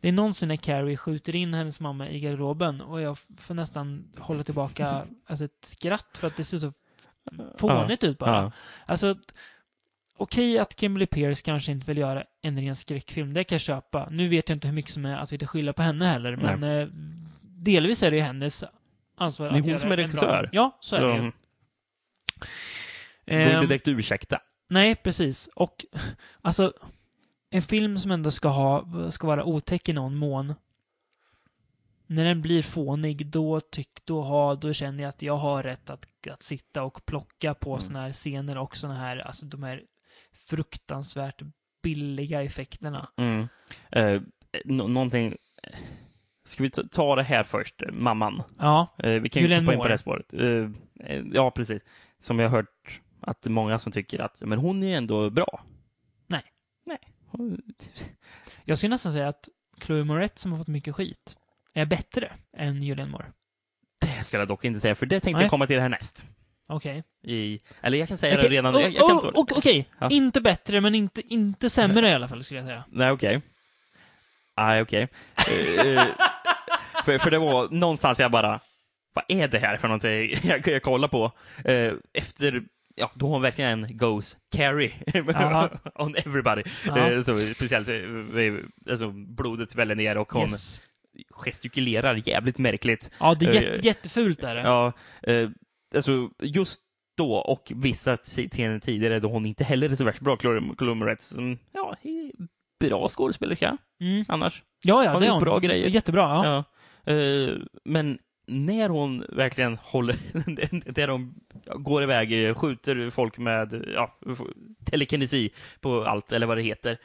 [SPEAKER 4] det är någonsin när Carrie skjuter in hennes mamma i garderoben och jag f- får nästan hålla tillbaka alltså, ett skratt för att det ser så f- fånigt ut bara.
[SPEAKER 5] Ja.
[SPEAKER 4] Alltså, t- okej att Kimberly Pierce kanske inte vill göra en ren skräckfilm, det kan jag köpa. Nu vet jag inte hur mycket som är att vi inte skylla på henne heller, men eh, delvis är det ju hennes ansvar
[SPEAKER 5] Det är
[SPEAKER 4] att
[SPEAKER 5] hon
[SPEAKER 4] göra
[SPEAKER 5] som är
[SPEAKER 4] en bra-
[SPEAKER 5] regissör.
[SPEAKER 4] Ja, så,
[SPEAKER 5] Så
[SPEAKER 4] är det ju.
[SPEAKER 5] de går
[SPEAKER 4] Ehm,
[SPEAKER 5] inte direkt att ursäkta.
[SPEAKER 4] Nej, precis. Och alltså, en film som ändå ska, ha, ska vara otäck i någon mån. När den blir fånig, då tyck, då ha, då känner jag att jag har rätt att, att sitta och plocka på
[SPEAKER 5] Mm.
[SPEAKER 4] såna här scener och såna här, alltså de här fruktansvärt billiga effekterna.
[SPEAKER 5] Mm. Eh, nå- någonting... Ska vi ta- ta det här först, eh, mamman?
[SPEAKER 4] Ja,
[SPEAKER 5] Eh, vi kan ju
[SPEAKER 4] Julianne
[SPEAKER 5] hoppa in på
[SPEAKER 4] Moore.
[SPEAKER 5] det spåret. Eh, eh, ja, precis. Som jag har hört att det är många som tycker att men hon är ändå bra.
[SPEAKER 4] Nej.
[SPEAKER 5] Nej. Hon-
[SPEAKER 4] jag skulle nästan säga att Chloe Moretz som har fått mycket skit är bättre än Julianne Moore.
[SPEAKER 5] Det skulle jag dock inte säga, för det tänkte
[SPEAKER 4] Nej.
[SPEAKER 5] jag komma till härnäst.
[SPEAKER 4] Okej.
[SPEAKER 5] I, eller jag kan säga
[SPEAKER 4] Okej,
[SPEAKER 5] det redan.
[SPEAKER 4] oh,
[SPEAKER 5] jag, jag kan
[SPEAKER 4] oh,
[SPEAKER 5] ta det.
[SPEAKER 4] och- Okej,
[SPEAKER 5] Ja.
[SPEAKER 4] inte bättre men inte, inte sämre i alla fall skulle jag säga.
[SPEAKER 5] Nej, okej. Nej, okej. Eh, eh, för, för det var någonstans jag bara, vad är det här för någonting? Jag, jag kollar på. Eh, efter, ja, då hon verkligen goes carry
[SPEAKER 4] Jaha.
[SPEAKER 5] on everybody.
[SPEAKER 4] Ja.
[SPEAKER 5] Eh, så, speciellt, eh, eh, alltså, blodet väller ner och hon
[SPEAKER 4] Yes.
[SPEAKER 5] gestikulerar jävligt märkligt.
[SPEAKER 4] Ja, det är
[SPEAKER 5] Eh,
[SPEAKER 4] jätte, jättefult är det.
[SPEAKER 5] Ja, eh, alltså just då och vissa scener tidigare då hon inte heller är så värst bra, Chloe Chloe Moretz, som, ja, är bra skådespelerska
[SPEAKER 4] Mm.
[SPEAKER 5] annars.
[SPEAKER 4] Ja, ja,
[SPEAKER 5] Har
[SPEAKER 4] det
[SPEAKER 5] ni
[SPEAKER 4] är hon.
[SPEAKER 5] bra grejer?
[SPEAKER 4] Jättebra, ja.
[SPEAKER 5] Ja. Eh, men när hon verkligen håller, där de går iväg, eh, skjuter folk med ja, f- telekinesi på allt, eller vad det heter.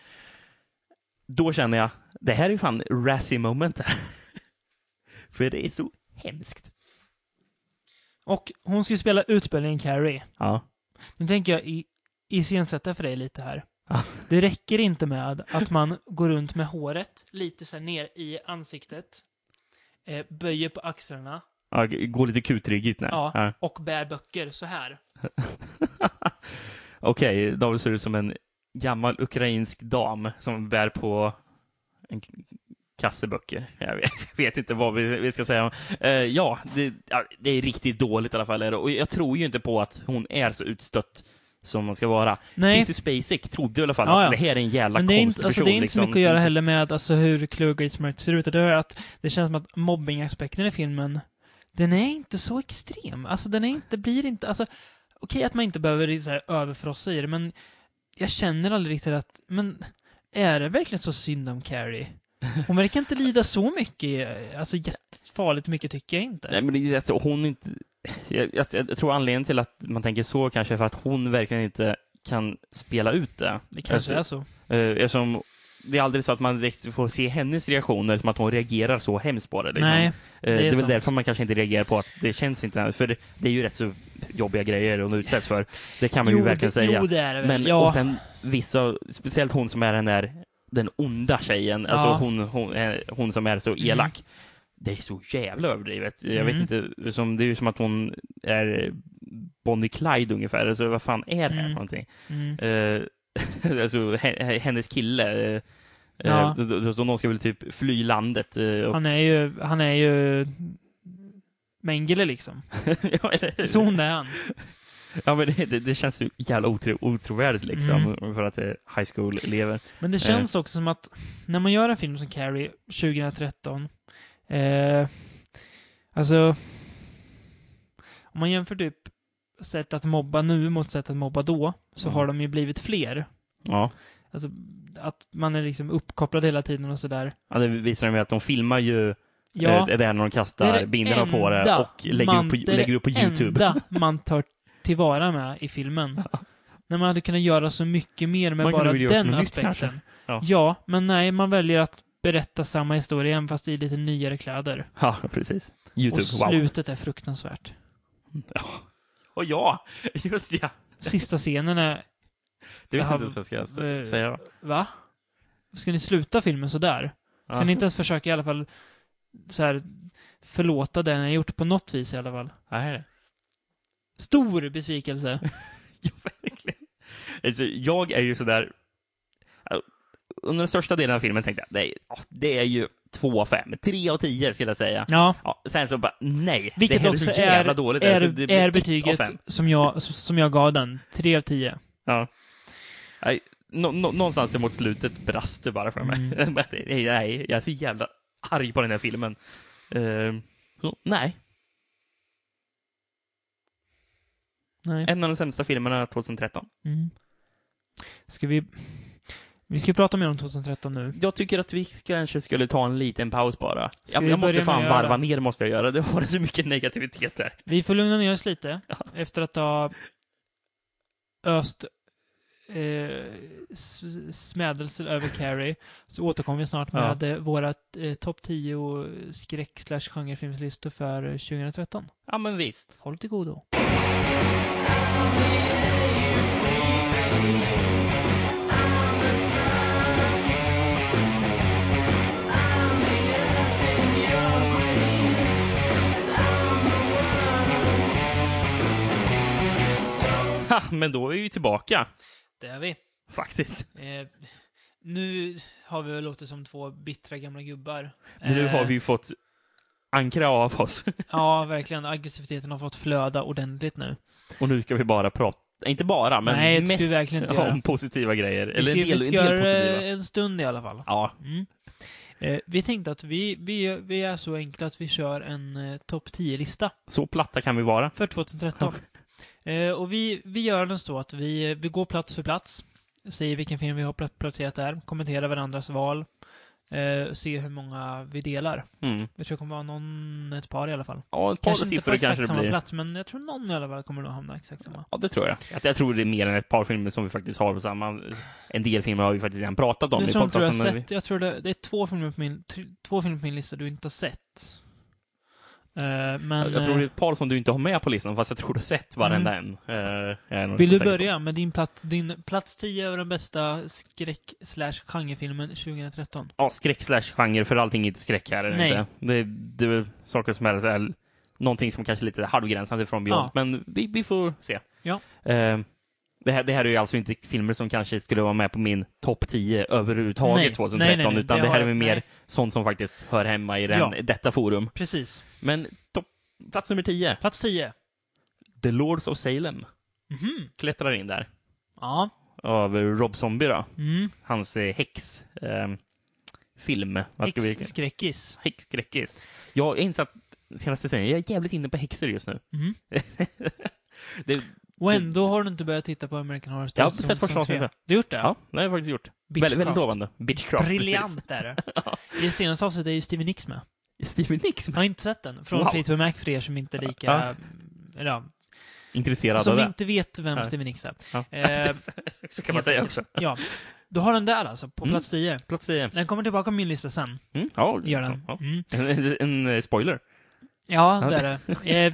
[SPEAKER 5] Då känner jag, det här är ju fan razzy moment här. För det är så hemskt.
[SPEAKER 4] Och hon ska ju spela utspelningen Carrie.
[SPEAKER 5] Ja.
[SPEAKER 4] Nu tänker jag i- iscensätta för dig lite här.
[SPEAKER 5] Ja.
[SPEAKER 4] Det räcker inte med att man går runt med håret lite så här ner i ansiktet, eh, böjer på axlarna
[SPEAKER 5] ja g- går lite kutryggigt nu.
[SPEAKER 4] ja,
[SPEAKER 5] Ja.
[SPEAKER 4] och bär böcker så här.
[SPEAKER 5] Okej, David ser ut som en gammal ukrainsk dam som bär på en k- kasse böcker. Jag vet, vet inte vad vi, vi ska säga. Eh, ja, det, ja, det är riktigt dåligt i alla fall. är det. Och jag tror ju inte på att hon är så utstött som hon ska vara.
[SPEAKER 4] Nej.
[SPEAKER 5] Sissy Spacek trodde i alla fall
[SPEAKER 4] Ja, ja.
[SPEAKER 5] att det här är en jävla
[SPEAKER 4] Men det är,
[SPEAKER 5] konstig
[SPEAKER 4] inte, alltså,
[SPEAKER 5] person.
[SPEAKER 4] det är inte
[SPEAKER 5] liksom.
[SPEAKER 4] så mycket att göra heller med alltså, hur Chloe Grace Moretz ser ut. Det, är att det känns som att mobbingaspekten i filmen, den är inte så extrem. Alltså den är inte, blir inte, alltså okej att man inte behöver så här, överfrossa i det, men jag känner aldrig riktigt att, men är det verkligen så synd om Carrie? Hon verkar inte lida så mycket, alltså jättefarligt mycket tycker jag inte.
[SPEAKER 5] Nej, men det är alltså, hon inte... Jag, jag, jag tror anledningen till att man tänker så kanske är för att hon verkligen inte kan spela ut det.
[SPEAKER 4] det kanske är så.
[SPEAKER 5] Eh, Eftersom det är aldrig så att man direkt får se hennes reaktioner, som att hon reagerar så hemskt på det. Liksom.
[SPEAKER 4] Nej,
[SPEAKER 5] Eh, det är,
[SPEAKER 4] är
[SPEAKER 5] väl
[SPEAKER 4] sant.
[SPEAKER 5] därför man kanske inte reagerar på att det känns inte ens, för det, det är ju rätt så jobbiga grejer hon utsätts för. Det kan man ju verkligen
[SPEAKER 4] det,
[SPEAKER 5] säga.
[SPEAKER 4] jo det är det väl.
[SPEAKER 5] Men,
[SPEAKER 4] ja.
[SPEAKER 5] och sen vissa, speciellt hon som är den där, den onda tjejen, alltså
[SPEAKER 4] Ja.
[SPEAKER 5] hon, hon, eh, hon som är så elak. Det är så jävla överdrivet. Jag
[SPEAKER 4] Mm.
[SPEAKER 5] vet inte, som, det är ju som att hon är Bonnie Clyde ungefär, alltså vad fan är det här för
[SPEAKER 4] Mm.
[SPEAKER 5] någonting?
[SPEAKER 4] mm.
[SPEAKER 5] Eh, alltså he- hennes kille. eh,
[SPEAKER 4] Ja.
[SPEAKER 5] eh, då- då- då någon ska väl typ fly landet. eh, och,
[SPEAKER 4] Han är ju, han är ju Mengele liksom.
[SPEAKER 5] ja, eller-
[SPEAKER 4] Så hon är han.
[SPEAKER 5] ja, men det, det, det känns ju jävla otro, otrovärdigt liksom.
[SPEAKER 4] Mm.
[SPEAKER 5] För att det är high school-elever.
[SPEAKER 4] Men det känns också som att när man gör en film som Carrie 2013, eh, alltså om man jämför typ sätt att mobba nu mot sätt att mobba då, så
[SPEAKER 5] Mm.
[SPEAKER 4] har de ju blivit fler.
[SPEAKER 5] Ja.
[SPEAKER 4] Alltså att man är liksom uppkopplad hela tiden och sådär.
[SPEAKER 5] ja, det visar de ju att de filmar ju
[SPEAKER 4] Ja,
[SPEAKER 5] eh, det där när de
[SPEAKER 4] det
[SPEAKER 5] kastar
[SPEAKER 4] är det
[SPEAKER 5] binderna på det
[SPEAKER 4] enda
[SPEAKER 5] och lägger, upp, på,
[SPEAKER 4] det är
[SPEAKER 5] lägger upp på YouTube.
[SPEAKER 4] Det enda man tar tillvara med i filmen. När man hade kunnat göra så mycket mer med
[SPEAKER 5] Man kunde
[SPEAKER 4] bara
[SPEAKER 5] väl gjort
[SPEAKER 4] den
[SPEAKER 5] något nytt
[SPEAKER 4] aspekten.
[SPEAKER 5] kanske? Ja.
[SPEAKER 4] ja, men nej, man väljer att berätta samma historia även fast i lite nyare kläder.
[SPEAKER 5] Ja, precis. YouTube,
[SPEAKER 4] och
[SPEAKER 5] wow.
[SPEAKER 4] slutet är fruktansvärt.
[SPEAKER 5] Och ja, just ja.
[SPEAKER 4] Sista scenen är,
[SPEAKER 5] Det vet
[SPEAKER 4] Jag
[SPEAKER 5] jag
[SPEAKER 4] har-
[SPEAKER 5] inte ens vad jag ska
[SPEAKER 4] eh,
[SPEAKER 5] s- säga.
[SPEAKER 4] va? Ska ni sluta filmen sådär? Ska
[SPEAKER 5] Ja.
[SPEAKER 4] ni inte ens försöka i alla fall så här, förlåta det ni har gjort på något vis i alla fall?
[SPEAKER 5] Nej.
[SPEAKER 4] Stor besvikelse.
[SPEAKER 5] Ja, verkligen. Alltså, jag är ju sådär... alltså, Under den största delen av filmen tänkte jag, nej, ja, det är ju 2 av 5. 3 av 10 skulle jag säga.
[SPEAKER 4] Ja.
[SPEAKER 5] Ja, sen så bara, nej.
[SPEAKER 4] Vilket
[SPEAKER 5] det här
[SPEAKER 4] också
[SPEAKER 5] är så
[SPEAKER 4] är,
[SPEAKER 5] jävla dåligt.
[SPEAKER 4] är,
[SPEAKER 5] Alltså, det blir ett
[SPEAKER 4] är
[SPEAKER 5] av
[SPEAKER 4] betyget
[SPEAKER 5] fem.
[SPEAKER 4] som jag, som jag gav den. 3 av 10.
[SPEAKER 5] Ja. Nej, nå- nå- någonstans mot slutet brast det bara för mig.
[SPEAKER 4] Mm.
[SPEAKER 5] Bara, nej, nej, jag är så jävla arg på den här filmen. Ehm, så, nej,
[SPEAKER 4] Nej.
[SPEAKER 5] en av de sämsta filmerna 2013.
[SPEAKER 4] Mm. Ska vi... Vi ska ju prata mer om 2013 nu.
[SPEAKER 5] Jag tycker att vi kanske skulle ta en liten paus bara.
[SPEAKER 4] Ska
[SPEAKER 5] Jag,
[SPEAKER 4] vi
[SPEAKER 5] jag
[SPEAKER 4] börja
[SPEAKER 5] måste fan
[SPEAKER 4] med att göra-
[SPEAKER 5] varva ner, måste jag göra. Det har så mycket negativitet där.
[SPEAKER 4] Vi får lugna ner oss lite efter att ha öst eh, s- smädelsel över Carrie. Så återkommer vi snart
[SPEAKER 5] Ja.
[SPEAKER 4] med eh, våra eh, topp 10 skräck slash genrefilmslistor för eh, 2013.
[SPEAKER 5] Ja, men visst.
[SPEAKER 4] Håll till godo.
[SPEAKER 5] Ha, men då är vi ju tillbaka,
[SPEAKER 4] Det är vi.
[SPEAKER 5] faktiskt.
[SPEAKER 4] Eh, nu har vi väl låtit som två bittra gamla gubbar.
[SPEAKER 5] Men nu
[SPEAKER 4] Eh,
[SPEAKER 5] har vi ju fått ankra av oss.
[SPEAKER 4] Ja, verkligen. Aggressiviteten har fått flöda ordentligt nu.
[SPEAKER 5] Och nu ska vi bara prata, inte bara, men
[SPEAKER 4] Nej, det ska vi
[SPEAKER 5] mest
[SPEAKER 4] verkligen inte göra.
[SPEAKER 5] om positiva grejer. Eller en
[SPEAKER 4] vi
[SPEAKER 5] del,
[SPEAKER 4] ska
[SPEAKER 5] en
[SPEAKER 4] göra
[SPEAKER 5] del positiva.
[SPEAKER 4] en stund i alla fall.
[SPEAKER 5] Ja,
[SPEAKER 4] Mm. Eh, vi tänkte att vi, vi, vi är så enkla att vi kör en eh, topp 10-lista
[SPEAKER 5] Så platta kan vi vara.
[SPEAKER 4] för 2013. eh, och vi, vi gör den så att vi, vi går plats för plats, säger vilken film vi har pla- placerat där, kommenterar varandras val, eh, ser hur många vi delar.
[SPEAKER 5] Mm.
[SPEAKER 4] Jag tror det kommer vara någon, ett par i alla fall.
[SPEAKER 5] Ja, ett par
[SPEAKER 4] Kanske inte på
[SPEAKER 5] siffror
[SPEAKER 4] exakt
[SPEAKER 5] kanske det
[SPEAKER 4] samma
[SPEAKER 5] blir.
[SPEAKER 4] plats, men jag tror någon i alla fall kommer nog hamna exakt samma.
[SPEAKER 5] Ja, det tror jag. Att jag tror det är mer än ett par filmer som vi faktiskt har på samma. En del filmer har vi faktiskt redan pratat om
[SPEAKER 4] jag
[SPEAKER 5] i
[SPEAKER 4] tror inte du har
[SPEAKER 5] podcasten.
[SPEAKER 4] sett, jag tror det, det är två filmer, på min, tre, två filmer på min lista du inte har sett. Eh, men,
[SPEAKER 5] jag tror det är
[SPEAKER 4] eh, Mm.
[SPEAKER 5] ett par som du inte har med på listan, fast jag tror du har sett varenda en. Eh, jag är nog
[SPEAKER 4] vill
[SPEAKER 5] så
[SPEAKER 4] du
[SPEAKER 5] säker på.
[SPEAKER 4] börja med din plats, din plats 10 över den bästa skräck slash genrefilmen 2013?
[SPEAKER 5] Ja, skräck slash genre, för allting är inte skräck här. Är det,
[SPEAKER 4] Nej.
[SPEAKER 5] inte. det, det är väl saker som är så här, någonting som kanske är lite halvgränsande från Beyond,
[SPEAKER 4] Ja.
[SPEAKER 5] men vi, vi får se.
[SPEAKER 4] Ja.
[SPEAKER 5] Eh, det, här, det här är ju alltså inte filmer som kanske skulle vara med på min topp 10 överhuvudtaget
[SPEAKER 4] Nej.
[SPEAKER 5] 2013,
[SPEAKER 4] Nej, nej, nej.
[SPEAKER 5] utan
[SPEAKER 4] Det
[SPEAKER 5] det, här
[SPEAKER 4] har-
[SPEAKER 5] är väl mer
[SPEAKER 4] nej.
[SPEAKER 5] sånt som faktiskt hör hemma i den,
[SPEAKER 4] Ja.
[SPEAKER 5] detta forum.
[SPEAKER 4] Precis.
[SPEAKER 5] Men topp, plats nummer 10,
[SPEAKER 4] Plats 10.
[SPEAKER 5] The Lords of Salem, Mhm. klättrar in där.
[SPEAKER 4] Ja.
[SPEAKER 5] Av Rob Zombie då,
[SPEAKER 4] Mm.
[SPEAKER 5] hans eh, häx, eh, film. Vad ska vi
[SPEAKER 4] Skräckis.
[SPEAKER 5] Häxskräckis. Jag är insatt senaste tiden, jag är jävligt inne på häxor just nu.
[SPEAKER 4] Mm.
[SPEAKER 5] Det,
[SPEAKER 4] Och ändå har du inte börjat titta på American Horror Story.
[SPEAKER 5] Jag har sett första
[SPEAKER 4] säsong tre.
[SPEAKER 5] avsnittet.
[SPEAKER 4] Du har gjort det?
[SPEAKER 5] ja, det har jag faktiskt gjort.
[SPEAKER 4] Bitchcraft.
[SPEAKER 5] Väldigt, väldigt lovande. Bitchcraft.
[SPEAKER 4] Briljant är det. I det senaste avsnittet är ju Steven Nicks med.
[SPEAKER 5] Precis. Steven Nicks.
[SPEAKER 4] Jag har inte sett den. Från
[SPEAKER 5] Wow.
[SPEAKER 4] Fleetwood Mac för er som inte är lika...
[SPEAKER 5] Ja.
[SPEAKER 4] Eller ja,
[SPEAKER 5] Intresserad av
[SPEAKER 4] som
[SPEAKER 5] det.
[SPEAKER 4] inte vet vem
[SPEAKER 5] Nej.
[SPEAKER 4] Steven Nicks är.
[SPEAKER 5] Ja.
[SPEAKER 4] Eh,
[SPEAKER 5] Så kan man säga också.
[SPEAKER 4] Ja. Du har den där alltså, på
[SPEAKER 5] Mm.
[SPEAKER 4] plats 10.
[SPEAKER 5] Plats tio.
[SPEAKER 4] Den kommer tillbaka på min lista sen.
[SPEAKER 5] Mm, ja, det
[SPEAKER 4] Gör
[SPEAKER 5] är så.
[SPEAKER 4] den.
[SPEAKER 5] Ja.
[SPEAKER 4] Mm.
[SPEAKER 5] En, en, en eh, spoiler.
[SPEAKER 4] Ja,
[SPEAKER 5] Ja.
[SPEAKER 4] det är det. Eh,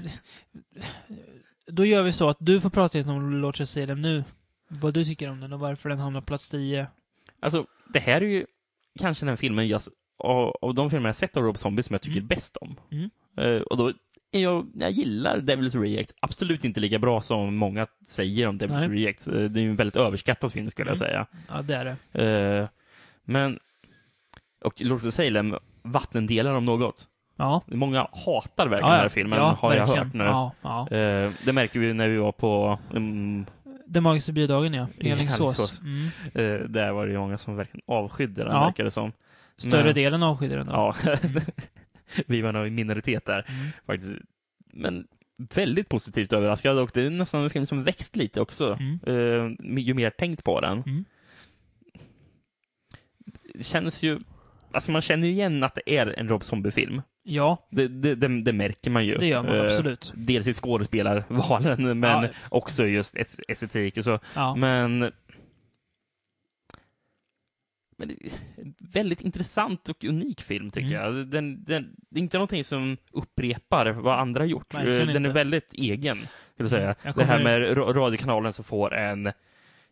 [SPEAKER 4] Då gör vi så att du får prata lite om Lord of Salem nu. Vad du tycker om den och varför den hamnar på plats 10.
[SPEAKER 5] Alltså, det här är ju kanske den filmen jag, s- av, av de filmer jag sett av Rob Zombie som jag tycker
[SPEAKER 4] Mm.
[SPEAKER 5] bäst om.
[SPEAKER 4] Mm.
[SPEAKER 5] Eh, och då, är jag, jag gillar Devil's Rejects absolut inte lika bra som många säger om Devil's
[SPEAKER 4] Nej.
[SPEAKER 5] Rejects. Eh, Det är ju en väldigt överskattad film skulle jag
[SPEAKER 4] Mm.
[SPEAKER 5] säga.
[SPEAKER 4] Ja, det är det.
[SPEAKER 5] Eh, men... Och Lords of Salem, vattendelar om något.
[SPEAKER 4] Ja.
[SPEAKER 5] Många hatar verkligen
[SPEAKER 4] ja,
[SPEAKER 5] den här filmen, har jag
[SPEAKER 4] verkligen.
[SPEAKER 5] hört nu.
[SPEAKER 4] Ja, ja.
[SPEAKER 5] Eh, det märkte vi när vi var på... Um,
[SPEAKER 4] Den magiska biodagen, ja. I
[SPEAKER 5] I
[SPEAKER 4] Alingsås.
[SPEAKER 5] Alingsås.
[SPEAKER 4] Mm.
[SPEAKER 5] eh, där var det ju många som verkligen avskydde den,
[SPEAKER 4] Ja.
[SPEAKER 5] verkar det som.
[SPEAKER 4] Större
[SPEAKER 5] Men-
[SPEAKER 4] delen avskydde den. då.
[SPEAKER 5] Ja. vi var nog i minoritet där,
[SPEAKER 4] Mm.
[SPEAKER 5] faktiskt. Men väldigt positivt överraskad och det är nästan en film som växt lite också.
[SPEAKER 4] Mm.
[SPEAKER 5] Eh, ju mer jag tänkt på den.
[SPEAKER 4] Mm.
[SPEAKER 5] Det känns ju... Alltså man känner ju igen att det är en Rob Zombie-film.
[SPEAKER 4] Ja,
[SPEAKER 5] Det, det, det, det märker man ju.
[SPEAKER 4] det gör man
[SPEAKER 5] Eh,
[SPEAKER 4] absolut.
[SPEAKER 5] Dels i skådespelarvalen, men
[SPEAKER 4] Ja.
[SPEAKER 5] också just es- estetik och så.
[SPEAKER 4] Ja.
[SPEAKER 5] Men... Men det är en väldigt intressant och unik film, tycker
[SPEAKER 4] Mm.
[SPEAKER 5] jag. Den, den, det är inte någonting som upprepar vad andra har gjort.
[SPEAKER 4] Verkligen
[SPEAKER 5] Eh, den
[SPEAKER 4] inte.
[SPEAKER 5] är väldigt egen, skulle Mm. jag säga.
[SPEAKER 4] Jag
[SPEAKER 5] Det här
[SPEAKER 4] kommer-
[SPEAKER 5] med ra- radiokanalen som får en,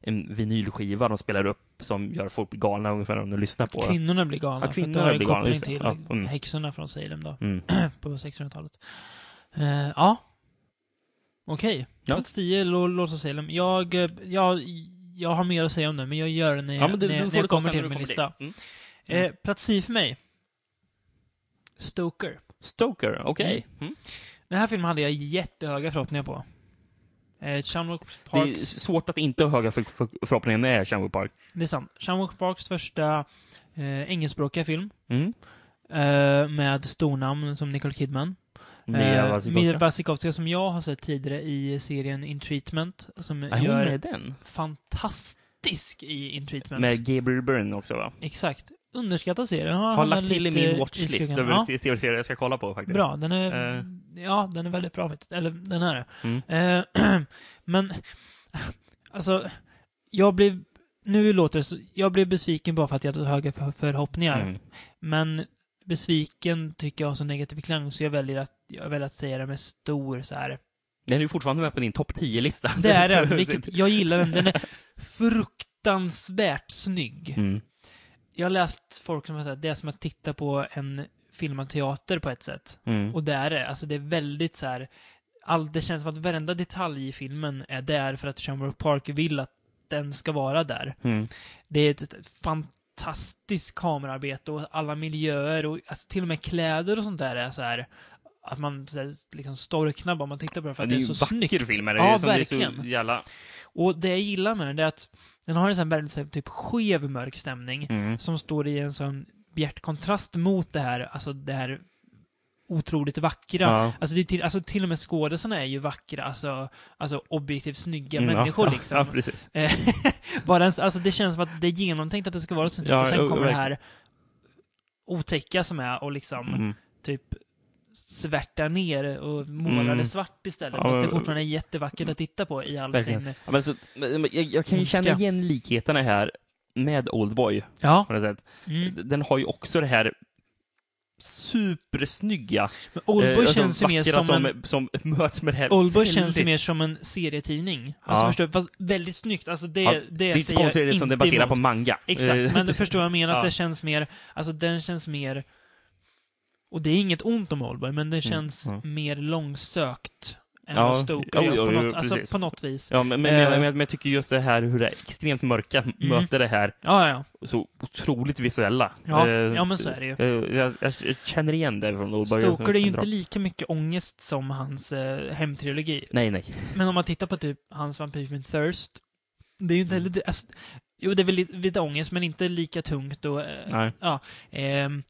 [SPEAKER 5] en vinylskiva de spelar upp som gör folk galna ungefär när de lyssnar på den.
[SPEAKER 4] Kvinnorna blir galna.
[SPEAKER 5] Ja,
[SPEAKER 4] för att
[SPEAKER 5] kvinnorna
[SPEAKER 4] då har ju
[SPEAKER 5] blir galna,
[SPEAKER 4] koppling
[SPEAKER 5] just det.
[SPEAKER 4] till
[SPEAKER 5] Ja, mm.
[SPEAKER 4] häxorna från Salem då,
[SPEAKER 5] Mm.
[SPEAKER 4] på 1600-talet. Eh, ja. Okej.
[SPEAKER 5] Ja.
[SPEAKER 4] Plats 10, Lo- Lords of Salem. Jag, eh, jag, jag har mer att säga om den, men jag gör det när jag,
[SPEAKER 5] Ja, men du,
[SPEAKER 4] när,
[SPEAKER 5] du
[SPEAKER 4] jag-
[SPEAKER 5] får
[SPEAKER 4] när jag
[SPEAKER 5] det ta
[SPEAKER 4] kommer
[SPEAKER 5] sen när
[SPEAKER 4] till
[SPEAKER 5] du
[SPEAKER 4] min
[SPEAKER 5] kommer dit.
[SPEAKER 4] lista.
[SPEAKER 5] Mm.
[SPEAKER 4] Eh, plats 10 för mig. Stoker.
[SPEAKER 5] Stoker, okej. Mm.
[SPEAKER 4] Den här filmen hade jag jättehöga förhoppningar på. Eh, Shamrock
[SPEAKER 5] Det
[SPEAKER 4] Parks...
[SPEAKER 5] är svårt att inte ha höga för, för, förhoppningar när jag är Shamwood Park.
[SPEAKER 4] Det är sant. Shamrock Parks första eh, engelskspråkiga film.
[SPEAKER 5] Mm.
[SPEAKER 4] Eh, med stornamn som Nicole Kidman.
[SPEAKER 5] Mia Wasikowska.
[SPEAKER 4] Mia Wasikowska som jag har sett tidigare i serien In Treatment. Som
[SPEAKER 5] Är Ah, hon
[SPEAKER 4] gör
[SPEAKER 5] med i den?
[SPEAKER 4] fantastisk i In Treatment.
[SPEAKER 5] Med Gabriel Byrne också va?
[SPEAKER 4] Exakt. Underskattad serie. Den Har
[SPEAKER 5] Har
[SPEAKER 4] hamnat
[SPEAKER 5] lagt till i
[SPEAKER 4] lite
[SPEAKER 5] min watchlist
[SPEAKER 4] skuggan.
[SPEAKER 5] över
[SPEAKER 4] Ja,
[SPEAKER 5] tv-serier jag ska kolla på faktiskt.
[SPEAKER 4] bra. Mm. Den är,
[SPEAKER 5] Eh.
[SPEAKER 4] ja, den är väldigt bra. faktiskt. Eller den är det.
[SPEAKER 5] Mm.
[SPEAKER 4] Eh, men, alltså, jag blev, nu låter det så, jag blev besviken bara för att jag hade så höga för, förhoppningar.
[SPEAKER 5] Mm.
[SPEAKER 4] Men besviken tycker jag har så negativ klang så jag väljer att, jag väljer att säga det med stor så här.
[SPEAKER 5] Den är ju fortfarande med på din topp 10-lista.
[SPEAKER 4] Det är den, vilket jag gillar den. Den är fruktansvärt snygg.
[SPEAKER 5] Mm.
[SPEAKER 4] Jag har läst folk som har sagt att det är som att titta på en filmad teater på ett sätt.
[SPEAKER 5] Mm.
[SPEAKER 4] Och det är det. Alltså det är väldigt så här. All, det känns som att varenda detalj i filmen är där för att Shamrock Park vill att den ska vara där.
[SPEAKER 5] Mm.
[SPEAKER 4] Det är ett, ett fantastiskt kamerarbete och alla miljöer och alltså, till och med kläder och sånt där är så här. Att man så här, liksom storknar bara man tittar på det för att det är,
[SPEAKER 5] ju
[SPEAKER 4] så
[SPEAKER 5] vacker
[SPEAKER 4] snyggt.
[SPEAKER 5] film. är Det
[SPEAKER 4] Ja,
[SPEAKER 5] som Det är så
[SPEAKER 4] verkligen.
[SPEAKER 5] jävla...
[SPEAKER 4] Och det jag gillar med den det är att den har en sån här väldigt så här, typ skev mörk stämning
[SPEAKER 5] Mm.
[SPEAKER 4] som står i en sån bjärt kontrast mot det här, alltså det här otroligt vackra.
[SPEAKER 5] Ja.
[SPEAKER 4] Alltså, det är till, alltså till och med skådisarna är ju vackra, alltså, alltså objektivt snygga
[SPEAKER 5] Mm, ja.
[SPEAKER 4] människor
[SPEAKER 5] ja,
[SPEAKER 4] liksom.
[SPEAKER 5] Ja, precis.
[SPEAKER 4] Eh, Bara ens, alltså det känns som att det är genomtänkt att det ska vara så snyggt
[SPEAKER 5] Ja,
[SPEAKER 4] och sen
[SPEAKER 5] jo,
[SPEAKER 4] kommer det
[SPEAKER 5] verkligen.
[SPEAKER 4] här otäcka som är och liksom
[SPEAKER 5] Mm.
[SPEAKER 4] typ svärta ner och måla
[SPEAKER 5] Mm.
[SPEAKER 4] det svart istället.
[SPEAKER 5] Ja,
[SPEAKER 4] fast det
[SPEAKER 5] men-
[SPEAKER 4] fortfarande är jättevackert att titta på i all
[SPEAKER 5] Verkligen.
[SPEAKER 4] sin...
[SPEAKER 5] Ja, men så, men- men jag, jag kan ju
[SPEAKER 4] Ondska.
[SPEAKER 5] känna igen likheterna här med Oldboy
[SPEAKER 4] Ja.
[SPEAKER 5] på något sätt.
[SPEAKER 4] Mm.
[SPEAKER 5] Den har ju också det här supersnygga.
[SPEAKER 4] Men Oldboy
[SPEAKER 5] alltså,
[SPEAKER 4] känns ju mer
[SPEAKER 5] vackra
[SPEAKER 4] som, en...
[SPEAKER 5] som, som möts med det här.
[SPEAKER 4] Oldboy känns ju
[SPEAKER 5] väldigt-
[SPEAKER 4] mer som en serietidning. Alltså
[SPEAKER 5] Ja.
[SPEAKER 4] förstår du? Fast väldigt snyggt. Alltså det,
[SPEAKER 5] Ja,
[SPEAKER 4] det,
[SPEAKER 5] Det är inte
[SPEAKER 4] säger jag
[SPEAKER 5] konstigt
[SPEAKER 4] inte
[SPEAKER 5] som det baserar
[SPEAKER 4] emot.
[SPEAKER 5] på manga. Eh,
[SPEAKER 4] Exakt, men du förstår vad jag menar, att
[SPEAKER 5] Ja.
[SPEAKER 4] det känns mer, alltså den känns mer, och det är inget ont om Holberg, men den känns
[SPEAKER 5] Mm, ja.
[SPEAKER 4] mer långsökt än
[SPEAKER 5] Ja,
[SPEAKER 4] vad Stoker
[SPEAKER 5] jo,
[SPEAKER 4] gör
[SPEAKER 5] jo,
[SPEAKER 4] på,
[SPEAKER 5] jo,
[SPEAKER 4] något, alltså,
[SPEAKER 5] precis.
[SPEAKER 4] på något vis.
[SPEAKER 5] Ja, men, men,
[SPEAKER 4] Eh. Mm.
[SPEAKER 5] men, men, men jag tycker just det här hur det extremt mörka möter det här
[SPEAKER 4] Ja, ja,
[SPEAKER 5] så otroligt visuella.
[SPEAKER 4] ja.
[SPEAKER 5] Eh,
[SPEAKER 4] ja men så är det ju.
[SPEAKER 5] eh, jag, jag, jag känner igen det från Oldboy.
[SPEAKER 4] Stoker är ju inte lika mycket ångest som hans eh, hemtrilogi.
[SPEAKER 5] Nej, nej.
[SPEAKER 4] Men om man tittar på typ hans vampyrfilm Thirst, det är ju inte
[SPEAKER 5] Mm.
[SPEAKER 4] heller, det- alltså, jo det är väl lite, lite ångest, men inte lika tungt och eh,
[SPEAKER 5] nej.
[SPEAKER 4] Ehm,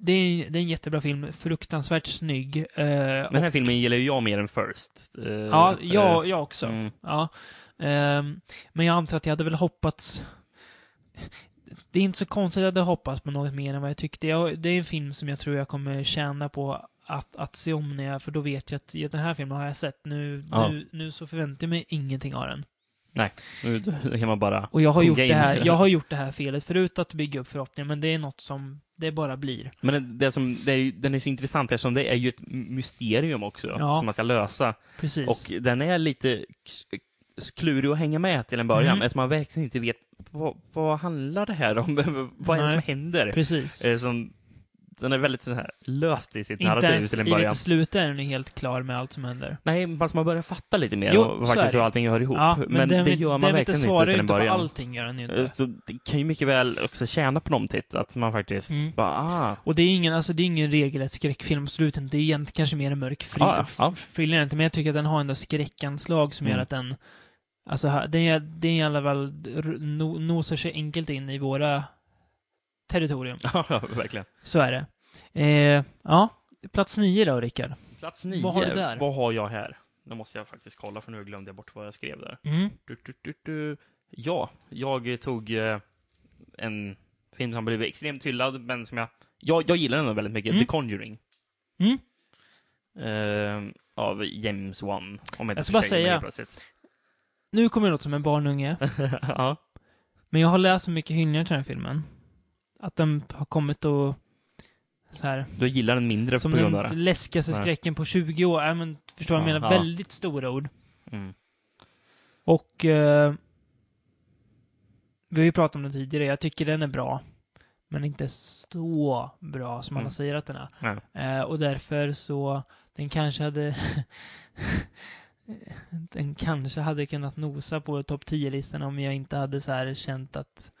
[SPEAKER 4] det, är, det är en jättebra film, fruktansvärt snygg. Eh,
[SPEAKER 5] Den här filmen gillar ju jag mer än First. Eh,
[SPEAKER 4] ja,
[SPEAKER 5] eh,
[SPEAKER 4] jag, jag också.
[SPEAKER 5] mm.
[SPEAKER 4] Ja. Ehm, men jag antar att jag hade väl hoppats... Det är inte så konstigt att jag hade hoppats på något mer än vad jag tyckte. Jag, det är en film som jag tror jag kommer tjäna på att, att se om när jag, för då vet jag att ja, den här filmen har jag sett. Nu,
[SPEAKER 5] Ja.
[SPEAKER 4] nu, nu så förväntar jag mig ingenting av den.
[SPEAKER 5] Nu då kan man bara...
[SPEAKER 4] Och jag har, gjort
[SPEAKER 5] Punga
[SPEAKER 4] det
[SPEAKER 5] in.
[SPEAKER 4] här, jag har gjort det här felet förut, att bygga upp förhoppningar, men det är något som det bara blir.
[SPEAKER 5] Men det- det som, det är ju, den är så intressant eftersom det är ju ett mysterium också
[SPEAKER 4] Ja.
[SPEAKER 5] som man ska lösa.
[SPEAKER 4] Precis.
[SPEAKER 5] Och den är lite k- klurig att hänga med till en början
[SPEAKER 4] Mm.
[SPEAKER 5] eftersom man verkligen inte vet vad, vad handlar det här om? vad är det
[SPEAKER 4] Nej.
[SPEAKER 5] som händer?
[SPEAKER 4] Precis.
[SPEAKER 5] Eh, Som, den är väldigt sån här löst i sitt
[SPEAKER 4] Inte
[SPEAKER 5] narrativ
[SPEAKER 4] ens
[SPEAKER 5] till en
[SPEAKER 4] i
[SPEAKER 5] början.
[SPEAKER 4] mitt slut är den helt klar med allt som händer.
[SPEAKER 5] Nej, fast man börjar fatta lite mer
[SPEAKER 4] Jo,
[SPEAKER 5] och
[SPEAKER 4] så är
[SPEAKER 5] faktiskt
[SPEAKER 4] det.
[SPEAKER 5] hur allting hör ihop.
[SPEAKER 4] den
[SPEAKER 5] men det
[SPEAKER 4] vill-
[SPEAKER 5] gör
[SPEAKER 4] den
[SPEAKER 5] man
[SPEAKER 4] vill
[SPEAKER 5] verkligen
[SPEAKER 4] svarar
[SPEAKER 5] inte
[SPEAKER 4] ju
[SPEAKER 5] till en
[SPEAKER 4] inte
[SPEAKER 5] början.
[SPEAKER 4] på allting, gör den ju
[SPEAKER 5] Eh,
[SPEAKER 4] inte.
[SPEAKER 5] Så det kan ju mycket väl också tjäna på någonting, att man faktiskt
[SPEAKER 4] Mm.
[SPEAKER 5] bara, ah,
[SPEAKER 4] Och det är ingen, alltså det är ingen regelrätt skräckfilm, absolut inte. Det är egentligen kanske mer en mörk fri,
[SPEAKER 5] Ja, ja, ja.
[SPEAKER 4] thriller inte, men jag tycker att den har ändå skräckanslag som gör
[SPEAKER 5] Mm.
[SPEAKER 4] att den, alltså ha- den är, den är i alla fall, r- no, nosar sig enkelt in i våra territorium.
[SPEAKER 5] ja, verkligen.
[SPEAKER 4] Så är det. Eh, ja, plats nio då, Rickard.
[SPEAKER 5] Plats nio.
[SPEAKER 4] Vad har du där?
[SPEAKER 5] Vad har jag här? Nu måste jag faktiskt kolla för nu glömde jag bort vad jag skrev där.
[SPEAKER 4] Mm.
[SPEAKER 5] Du, du, du, du. Ja, jag tog eh, en film som blev extremt hyllad, men som jag... Jag, jag gillar den väldigt mycket,
[SPEAKER 4] Mm.
[SPEAKER 5] The Conjuring.
[SPEAKER 4] Mm.
[SPEAKER 5] Eh, av James Wan. Om inte
[SPEAKER 4] Jag ska bara
[SPEAKER 5] försäger mig
[SPEAKER 4] säga-
[SPEAKER 5] plötsligt.
[SPEAKER 4] Nu kommer jag låta som en barnunge.
[SPEAKER 5] ja.
[SPEAKER 4] Men jag har läst så mycket hyllningar till den här filmen. Att den har kommit och så här,
[SPEAKER 5] Du gillar den mindre
[SPEAKER 4] som
[SPEAKER 5] på grund av
[SPEAKER 4] den
[SPEAKER 5] det.
[SPEAKER 4] läskigaste
[SPEAKER 5] Nej.
[SPEAKER 4] skräcken på 20 år. Äh, men, förstår du vad jag menar?
[SPEAKER 5] Aha.
[SPEAKER 4] Väldigt stora ord.
[SPEAKER 5] Mm.
[SPEAKER 4] Och eh, vi har ju pratat om den tidigare. Jag tycker den är bra. Men inte så bra som alla
[SPEAKER 5] Mm.
[SPEAKER 4] säger att den är. Eh, och därför så, den kanske hade den kanske hade kunnat nosa på topp 10-listan om jag inte hade så här känt att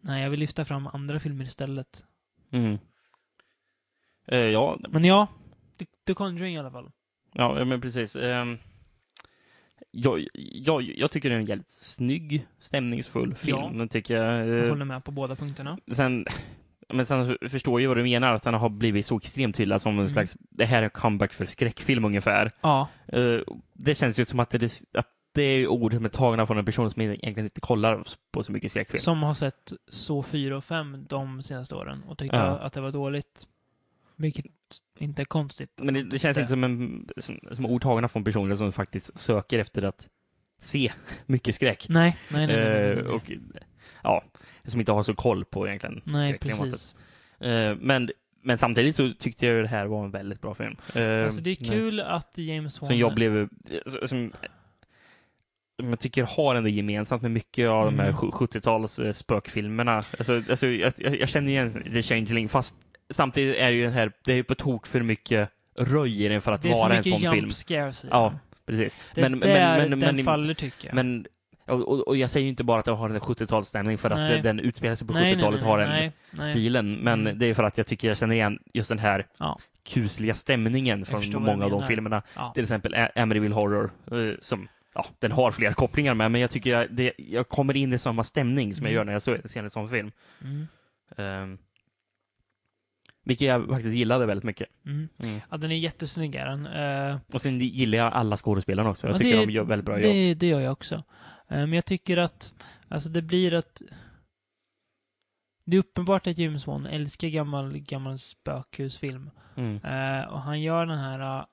[SPEAKER 4] nej, jag vill lyfta fram andra filmer istället.
[SPEAKER 5] Mm. Eh, ja,
[SPEAKER 4] Men ja, The, The Conjuring i alla fall.
[SPEAKER 5] Ja, ja, men precis. Ehm, jag, jag, jag tycker det är en jävligt snygg, stämningsfull film. Tycker jag.
[SPEAKER 4] Jag
[SPEAKER 5] Ehm,
[SPEAKER 4] håller med på båda punkterna.
[SPEAKER 5] Sen, men sen så förstår jag vad du menar, att den har blivit så extremt hyllad som en
[SPEAKER 4] Mm.
[SPEAKER 5] slags, det här är comeback för skräckfilm ungefär.
[SPEAKER 4] Ja,
[SPEAKER 5] Ehm, det känns ju som att det, är- att det är ord som är tagna från en person som egentligen inte kollar på så mycket skräckfilm.
[SPEAKER 4] som har sett så 4 och 5 de senaste åren och tyckte
[SPEAKER 5] Ja.
[SPEAKER 4] att det var dåligt. Vilket inte är konstigt.
[SPEAKER 5] Men det, det känns
[SPEAKER 4] Det.
[SPEAKER 5] inte som, en, som, som ord tagna från personer som faktiskt söker efter att se mycket skräck.
[SPEAKER 4] Nej, nej, nej. nej, nej, nej,
[SPEAKER 5] Eh,
[SPEAKER 4] nej.
[SPEAKER 5] och ja, som inte har så koll på egentligen.
[SPEAKER 4] nej
[SPEAKER 5] skräckklimatet.
[SPEAKER 4] precis.
[SPEAKER 5] Eh, men, men samtidigt så tyckte jag ju det här var en väldigt bra film. Eh,
[SPEAKER 4] Alltså det är
[SPEAKER 5] men-
[SPEAKER 4] kul att James Wan...
[SPEAKER 5] Som jag blev, eh, som som jag tycker har ändå gemensamt med mycket av de här
[SPEAKER 4] Mm.
[SPEAKER 5] sju- 70-tals eh, spökfilmerna. Alltså, alltså, jag, jag jag känner igen The Changeling, fast samtidigt är ju den här, det är ju på tok för mycket röj i den för att
[SPEAKER 4] det är för
[SPEAKER 5] vara en sån
[SPEAKER 4] mycket
[SPEAKER 5] film.
[SPEAKER 4] jump scares i den.
[SPEAKER 5] Ja, precis.
[SPEAKER 4] Det är där den faller tycker jag.
[SPEAKER 5] Men, och, och- och jag säger ju inte bara att jag har en 70-talsstämning för att
[SPEAKER 4] Nej.
[SPEAKER 5] den utspelar sig på
[SPEAKER 4] Nej, nej,
[SPEAKER 5] 70-talet,
[SPEAKER 4] nej,
[SPEAKER 5] har en
[SPEAKER 4] nej, nej.
[SPEAKER 5] stilen, men
[SPEAKER 4] Mm.
[SPEAKER 5] det är för att jag tycker jag känner igen just den här
[SPEAKER 4] Ja.
[SPEAKER 5] kusliga stämningen
[SPEAKER 4] förstår
[SPEAKER 5] från
[SPEAKER 4] vad du
[SPEAKER 5] många av de
[SPEAKER 4] menar.
[SPEAKER 5] filmerna.
[SPEAKER 4] Ja.
[SPEAKER 5] Till exempel Ä- Amityville Horror, eh, som ja, den har flera kopplingar med, men jag tycker jag, det, jag kommer in i samma stämning som jag gör när jag så- ser en sån film.
[SPEAKER 4] Mm.
[SPEAKER 5] Ehm, vilket jag faktiskt gillade väldigt mycket.
[SPEAKER 4] Mm.
[SPEAKER 5] Mm.
[SPEAKER 4] Ja, den är jättesnygg är den. Eh,
[SPEAKER 5] Och sen gillar jag alla skådespelarna också. Jag
[SPEAKER 4] Ja,
[SPEAKER 5] tycker
[SPEAKER 4] det-
[SPEAKER 5] de gör väldigt bra jobb.
[SPEAKER 4] det, det gör jag också. Eh, Men jag tycker att, alltså det blir att... Det är uppenbart att James Wan älskar gammal, gammal spökhusfilm.
[SPEAKER 5] Mm.
[SPEAKER 4] Eh, och han gör den här, eh,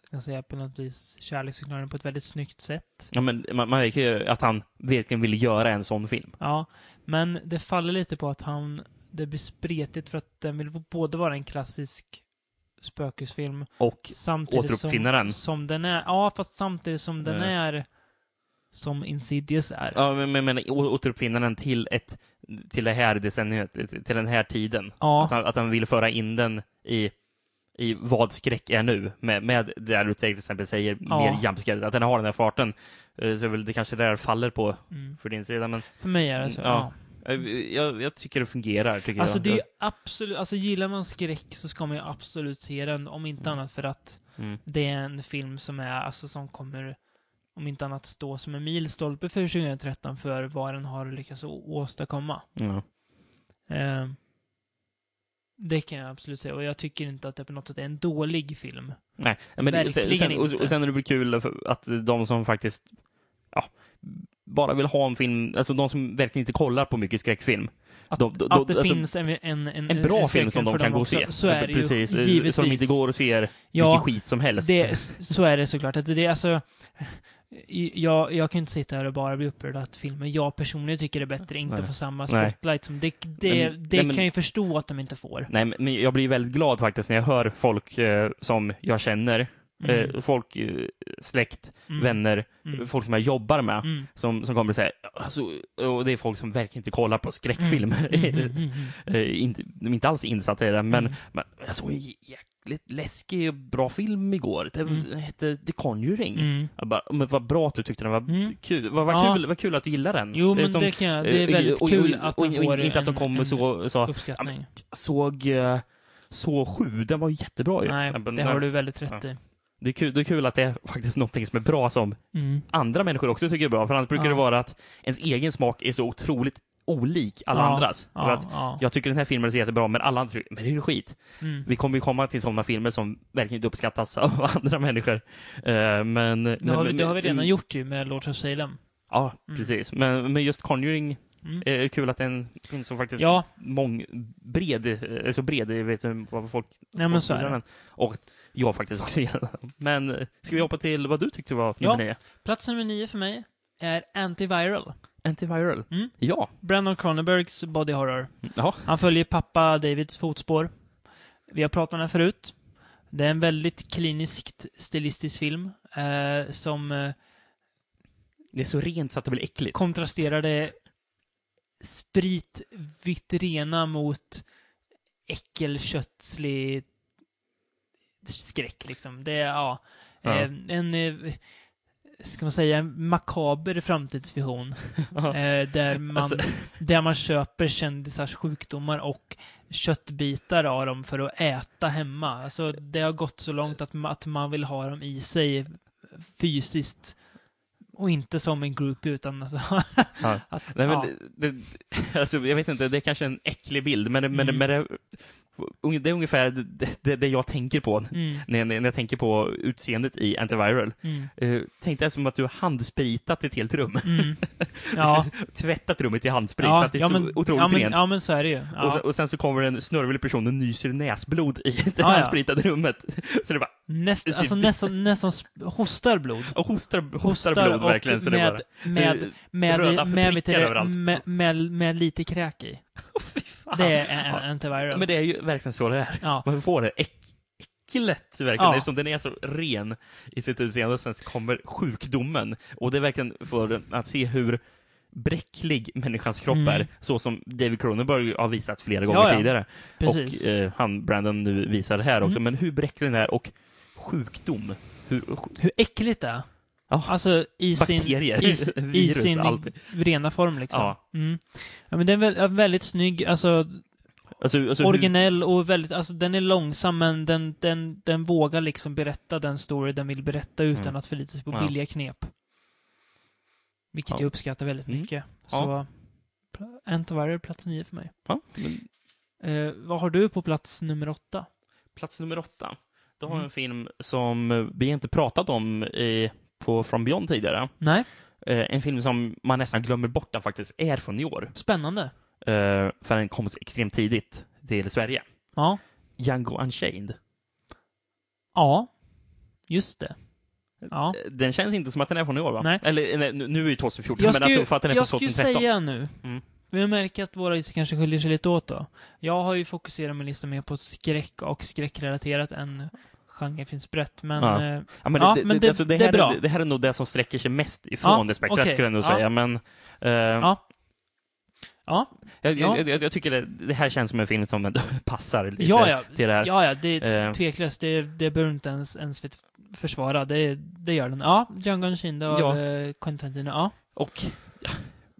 [SPEAKER 4] jag kan säga på något vis, kärleksförklaringen på ett väldigt snyggt sätt.
[SPEAKER 5] Ja, men man, man märker ju att han verkligen ville göra en sån film.
[SPEAKER 4] Ja, men det faller lite på att han, det blir spretigt för att den vill både vara en klassisk spökhusfilm
[SPEAKER 5] Och
[SPEAKER 4] samtidigt som,
[SPEAKER 5] Återuppfinna den.
[SPEAKER 4] som den är, ja fast samtidigt som den
[SPEAKER 5] Mm.
[SPEAKER 4] är som Insidious är.
[SPEAKER 5] ja, men, men, men å- återuppfinna den till, ett, till det här decenniet, till den här tiden.
[SPEAKER 4] Ja.
[SPEAKER 5] Att, han, att han ville föra in den i, i vad skräck är nu, med, med det där du till exempel säger,
[SPEAKER 4] Ja.
[SPEAKER 5] mer jumpscare, att den har den här farten. Eh, Så är väl det kanske det där faller på
[SPEAKER 4] Mm.
[SPEAKER 5] för din sida, men
[SPEAKER 4] För mig är det så.
[SPEAKER 5] Mm,
[SPEAKER 4] Ja.
[SPEAKER 5] ja. eh, jag, jag tycker det fungerar. Tycker
[SPEAKER 4] Alltså
[SPEAKER 5] jag.
[SPEAKER 4] det är ju absolut, alltså gillar man skräck så ska man ju absolut se den, om inte annat för att
[SPEAKER 5] Mm.
[SPEAKER 4] det är en film som är, alltså som kommer, om inte annat stå som en milstolpe för 2013 för vad den har lyckats å- åstadkomma.
[SPEAKER 5] Ja.
[SPEAKER 4] Eh, det kan jag absolut säga, och jag tycker inte att det på något sätt är en dålig film.
[SPEAKER 5] Nej, men det-
[SPEAKER 4] Verkligen
[SPEAKER 5] sen, sen, och,
[SPEAKER 4] inte.
[SPEAKER 5] och sen är det väl kul för att de som faktiskt ja, bara vill ha en film, alltså de som verkligen inte kollar på mycket skräckfilm.
[SPEAKER 4] Att,
[SPEAKER 5] De- de-
[SPEAKER 4] att det
[SPEAKER 5] alltså,
[SPEAKER 4] finns en, en, en,
[SPEAKER 5] en bra film som
[SPEAKER 4] skräckfilm
[SPEAKER 5] de
[SPEAKER 4] för
[SPEAKER 5] kan
[SPEAKER 4] dem
[SPEAKER 5] gå och
[SPEAKER 4] också.
[SPEAKER 5] se.
[SPEAKER 4] Så är det
[SPEAKER 5] Precis,
[SPEAKER 4] ju,
[SPEAKER 5] Så de inte går och ser
[SPEAKER 4] Ja,
[SPEAKER 5] vilken skit som helst.
[SPEAKER 4] Det, s- så är det såklart. Att det är alltså, i- jag, jag kan inte sitta här och bara bli upprörd att filmer jag personligen tycker är bättre inte
[SPEAKER 5] Nej.
[SPEAKER 4] får samma
[SPEAKER 5] Nej.
[SPEAKER 4] spotlight som... Det, det,
[SPEAKER 5] Men-
[SPEAKER 4] det
[SPEAKER 5] nej,
[SPEAKER 4] kan
[SPEAKER 5] men-
[SPEAKER 4] jag ju förstå att de inte får.
[SPEAKER 5] Nej, men- men jag blir väldigt glad faktiskt när jag hör folk eh, som jag känner,
[SPEAKER 4] Mm.
[SPEAKER 5] eh, folk, eh, släkt,
[SPEAKER 4] Mm.
[SPEAKER 5] vänner,
[SPEAKER 4] Mm.
[SPEAKER 5] folk som jag jobbar med.
[SPEAKER 4] Mm.
[SPEAKER 5] Som, som kommer säga, alltså, och det är folk som verkligen inte kollar på skräckfilmer.
[SPEAKER 4] Mm, mm, mm, mm.
[SPEAKER 5] Eh, inte, de är inte alls insatta i det, men,
[SPEAKER 4] Mm.
[SPEAKER 5] men jag såg en jä- jäkligt läskig och bra film igår. Den
[SPEAKER 4] Mm.
[SPEAKER 5] hette The Conjuring.
[SPEAKER 4] Mm.
[SPEAKER 5] Jag bara, men vad bra att du tyckte den var
[SPEAKER 4] Mm.
[SPEAKER 5] kul. Vad, vad,
[SPEAKER 4] Ja.
[SPEAKER 5] kul vad kul att du gillar den.
[SPEAKER 4] Jo,
[SPEAKER 5] Eh,
[SPEAKER 4] men
[SPEAKER 5] som-
[SPEAKER 4] det kan jag. Det är
[SPEAKER 5] eh,
[SPEAKER 4] väldigt
[SPEAKER 5] och- och-
[SPEAKER 4] kul
[SPEAKER 5] och-
[SPEAKER 4] att man
[SPEAKER 5] och-
[SPEAKER 4] får
[SPEAKER 5] Inte att de
[SPEAKER 4] en-
[SPEAKER 5] kommer
[SPEAKER 4] en
[SPEAKER 5] så, så
[SPEAKER 4] Uppskattning.
[SPEAKER 5] såg eh, så sju, den var jättebra ju.
[SPEAKER 4] Nej,
[SPEAKER 5] Jag bara,
[SPEAKER 4] det har du väldigt rätt
[SPEAKER 5] Ja.
[SPEAKER 4] i.
[SPEAKER 5] det, är kul, det är kul att det är faktiskt någonting som är bra som
[SPEAKER 4] Mm.
[SPEAKER 5] andra människor också tycker är bra. För annars brukar
[SPEAKER 4] Ja.
[SPEAKER 5] det vara att ens egen smak är så otroligt olik alla
[SPEAKER 4] Ja.
[SPEAKER 5] andras. För
[SPEAKER 4] Ja,
[SPEAKER 5] att
[SPEAKER 4] ja.
[SPEAKER 5] jag tycker den här filmen är så jättebra, men alla andra tycker men det är ju skit.
[SPEAKER 4] Mm.
[SPEAKER 5] Vi kommer ju komma till sådana filmer som verkligen inte uppskattas av andra människor. Eh, Men... mm.
[SPEAKER 4] Det har, vi, det har vi redan gjort ju med Lords of Salem.
[SPEAKER 5] Ja,
[SPEAKER 4] Mm.
[SPEAKER 5] precis. Men, men just Conjuring
[SPEAKER 4] Mm.
[SPEAKER 5] är kul att det är en film som faktiskt
[SPEAKER 4] Ja,
[SPEAKER 5] mång, bred, eh, så bred, jag vet inte vad folk...
[SPEAKER 4] nej men
[SPEAKER 5] folk
[SPEAKER 4] så är
[SPEAKER 5] gillar
[SPEAKER 4] det.
[SPEAKER 5] den. Och jag faktiskt också gillar den. Men eh, ska vi hoppa till vad du tyckte var
[SPEAKER 4] Ja.
[SPEAKER 5] nummer nio?
[SPEAKER 4] Plats nummer nio för mig är Antiviral.
[SPEAKER 5] Antiviral.
[SPEAKER 4] Mm.
[SPEAKER 5] Ja.
[SPEAKER 4] Brandon Cronenbergs Body Horror.
[SPEAKER 5] Ja.
[SPEAKER 4] Han följer pappa Davids fotspår. Vi har pratat om den förut. Det är en väldigt kliniskt stilistisk film eh, som eh,
[SPEAKER 5] Det är så rent så att det blir äckligt.
[SPEAKER 4] kontrasterar det spritvitt rena mot äckelköttslig skräck liksom. Det är, ja,
[SPEAKER 5] Ja.
[SPEAKER 4] Eh, en, eh, ska man säga, en makaber framtidsvision.
[SPEAKER 5] Ja.
[SPEAKER 4] eh, där, man,
[SPEAKER 5] Alltså-
[SPEAKER 4] där man köper kändisars sjukdomar och köttbitar av dem för att äta hemma. Alltså det har gått så långt att, ma- att man vill ha dem i sig fysiskt. Och inte som en groupie utan alltså,
[SPEAKER 5] Ja.
[SPEAKER 4] att,
[SPEAKER 5] Nej, men
[SPEAKER 4] ja.
[SPEAKER 5] det, det, alltså, jag vet inte, det är kanske en äcklig bild, men, det- men, det-
[SPEAKER 4] Mm.
[SPEAKER 5] men det, unge- det är ungefär det, det, det jag tänker på
[SPEAKER 4] Mm,
[SPEAKER 5] när, när när jag tänker på utseendet i Antiviral.
[SPEAKER 4] mm,
[SPEAKER 5] Uh, tänk dig som att du har handspritat ett helt rum.
[SPEAKER 4] mm. Ja,
[SPEAKER 5] Tvättat rummet i handsprit, så
[SPEAKER 4] ja,
[SPEAKER 5] att det är
[SPEAKER 4] ja,
[SPEAKER 5] så
[SPEAKER 4] men,
[SPEAKER 5] otroligt
[SPEAKER 4] ja, men,
[SPEAKER 5] rent.
[SPEAKER 4] ja, men så är det ju. Ja.
[SPEAKER 5] Och, sen, och sen så kommer en snörvlig person och nyser näsblod i det
[SPEAKER 4] ja.
[SPEAKER 5] handspritade rummet. Så det bara
[SPEAKER 4] Näst,
[SPEAKER 5] precis.
[SPEAKER 4] alltså nästan, nästan sp- hostar blod.
[SPEAKER 5] och hostar, hostar, blod
[SPEAKER 4] och
[SPEAKER 5] verkligen. Så det
[SPEAKER 4] med,
[SPEAKER 5] bara,
[SPEAKER 4] med, med,
[SPEAKER 5] röda
[SPEAKER 4] med, med,
[SPEAKER 5] prickar överallt.
[SPEAKER 4] med, med, med lite kräk i.
[SPEAKER 5] fy fan.
[SPEAKER 4] Det är en
[SPEAKER 5] Ja.
[SPEAKER 4] en antiviral.
[SPEAKER 5] Men det är ju verkligen så det är.
[SPEAKER 4] Ja.
[SPEAKER 5] Man får det äck, äcklet verkligen,
[SPEAKER 4] Ja.
[SPEAKER 5] eftersom den är så ren i sitt utseende. Sen så kommer sjukdomen och det är verkligen för den att se hur bräcklig människans kropp
[SPEAKER 4] Mm.
[SPEAKER 5] är, så som David Cronenberg har visat flera
[SPEAKER 4] Ja,
[SPEAKER 5] gånger
[SPEAKER 4] ja.
[SPEAKER 5] tidigare.
[SPEAKER 4] Precis.
[SPEAKER 5] Och eh, han, Brandon, nu visar det här också.
[SPEAKER 4] Mm.
[SPEAKER 5] Men hur bräcklig den är och sjukdom. Hur, sj-
[SPEAKER 4] Hur äckligt det är.
[SPEAKER 5] Ja.
[SPEAKER 4] Alltså i sin,
[SPEAKER 5] bakterier,
[SPEAKER 4] i, sin- i
[SPEAKER 5] virus,
[SPEAKER 4] sin
[SPEAKER 5] allt.
[SPEAKER 4] rena form liksom.
[SPEAKER 5] Ja.
[SPEAKER 4] Mm. ja men den är väl- väldigt snygg, alltså
[SPEAKER 5] Alltså, alltså hur,
[SPEAKER 4] originell och väldigt, alltså den är långsam men den, den, den vågar liksom berätta den story den vill berätta utan
[SPEAKER 5] Mm.
[SPEAKER 4] att förlita sig på
[SPEAKER 5] Ja.
[SPEAKER 4] billiga knep. Vilket
[SPEAKER 5] Ja.
[SPEAKER 4] jag uppskattar väldigt
[SPEAKER 5] Mm.
[SPEAKER 4] mycket.
[SPEAKER 5] Ja.
[SPEAKER 4] Så pl- Antiviral, plats nio för mig.
[SPEAKER 5] Ja, men
[SPEAKER 4] Eh, vad har du på plats nummer åtta?
[SPEAKER 5] plats nummer åtta. Då har
[SPEAKER 4] Mm.
[SPEAKER 5] vi en film som vi inte pratat om eh, på From Beyond tidigare.
[SPEAKER 4] Nej,
[SPEAKER 5] Eh, en film som man nästan glömmer bort att faktiskt är från i år.
[SPEAKER 4] spännande.
[SPEAKER 5] Eh, för den kom så extremt tidigt till Sverige.
[SPEAKER 4] Ja.
[SPEAKER 5] Django Unchained.
[SPEAKER 4] Ja. Just det. Ja.
[SPEAKER 5] Eh, Den känns inte som att den är från i år, va?
[SPEAKER 4] Nej.
[SPEAKER 5] Eller nej, nu nu är det ju 2014,
[SPEAKER 4] Jag
[SPEAKER 5] men
[SPEAKER 4] ska
[SPEAKER 5] alltså
[SPEAKER 4] ju-
[SPEAKER 5] för att den är
[SPEAKER 4] jag
[SPEAKER 5] från
[SPEAKER 4] ska ju
[SPEAKER 5] 2013.
[SPEAKER 4] säga nu.
[SPEAKER 5] Mm.
[SPEAKER 4] Vi märker att våra listor kanske skiljer sig lite åt då. Jag har ju fokuserat min lista mer på skräck och skräckrelaterat än genren finns brett, men...
[SPEAKER 5] Ja.
[SPEAKER 4] eh,
[SPEAKER 5] Ja, men
[SPEAKER 4] Ja,
[SPEAKER 5] det,
[SPEAKER 4] men
[SPEAKER 5] det,
[SPEAKER 4] det-
[SPEAKER 5] alltså, det,
[SPEAKER 4] det är
[SPEAKER 5] här är
[SPEAKER 4] bra.
[SPEAKER 5] det här är nog det som sträcker sig mest ifrån
[SPEAKER 4] Ja,
[SPEAKER 5] det spektrat,
[SPEAKER 4] okej.
[SPEAKER 5] skulle jag nog
[SPEAKER 4] Ja.
[SPEAKER 5] säga. Men, eh,
[SPEAKER 4] ja,
[SPEAKER 5] jag,
[SPEAKER 4] Ja.
[SPEAKER 5] jag, jag, jag tycker det, det här känns som en film som ändå passar lite
[SPEAKER 4] ja, ja.
[SPEAKER 5] till det här.
[SPEAKER 4] Ja, ja, det är t-
[SPEAKER 5] Eh.
[SPEAKER 4] tveklöst. Det, det behöver inte ens, ens vet- försvara. Det, det gör den. Ja, Django Unchained av
[SPEAKER 5] Ja.
[SPEAKER 4] eh, Quentin Tarantino. Ja.
[SPEAKER 5] Och ja,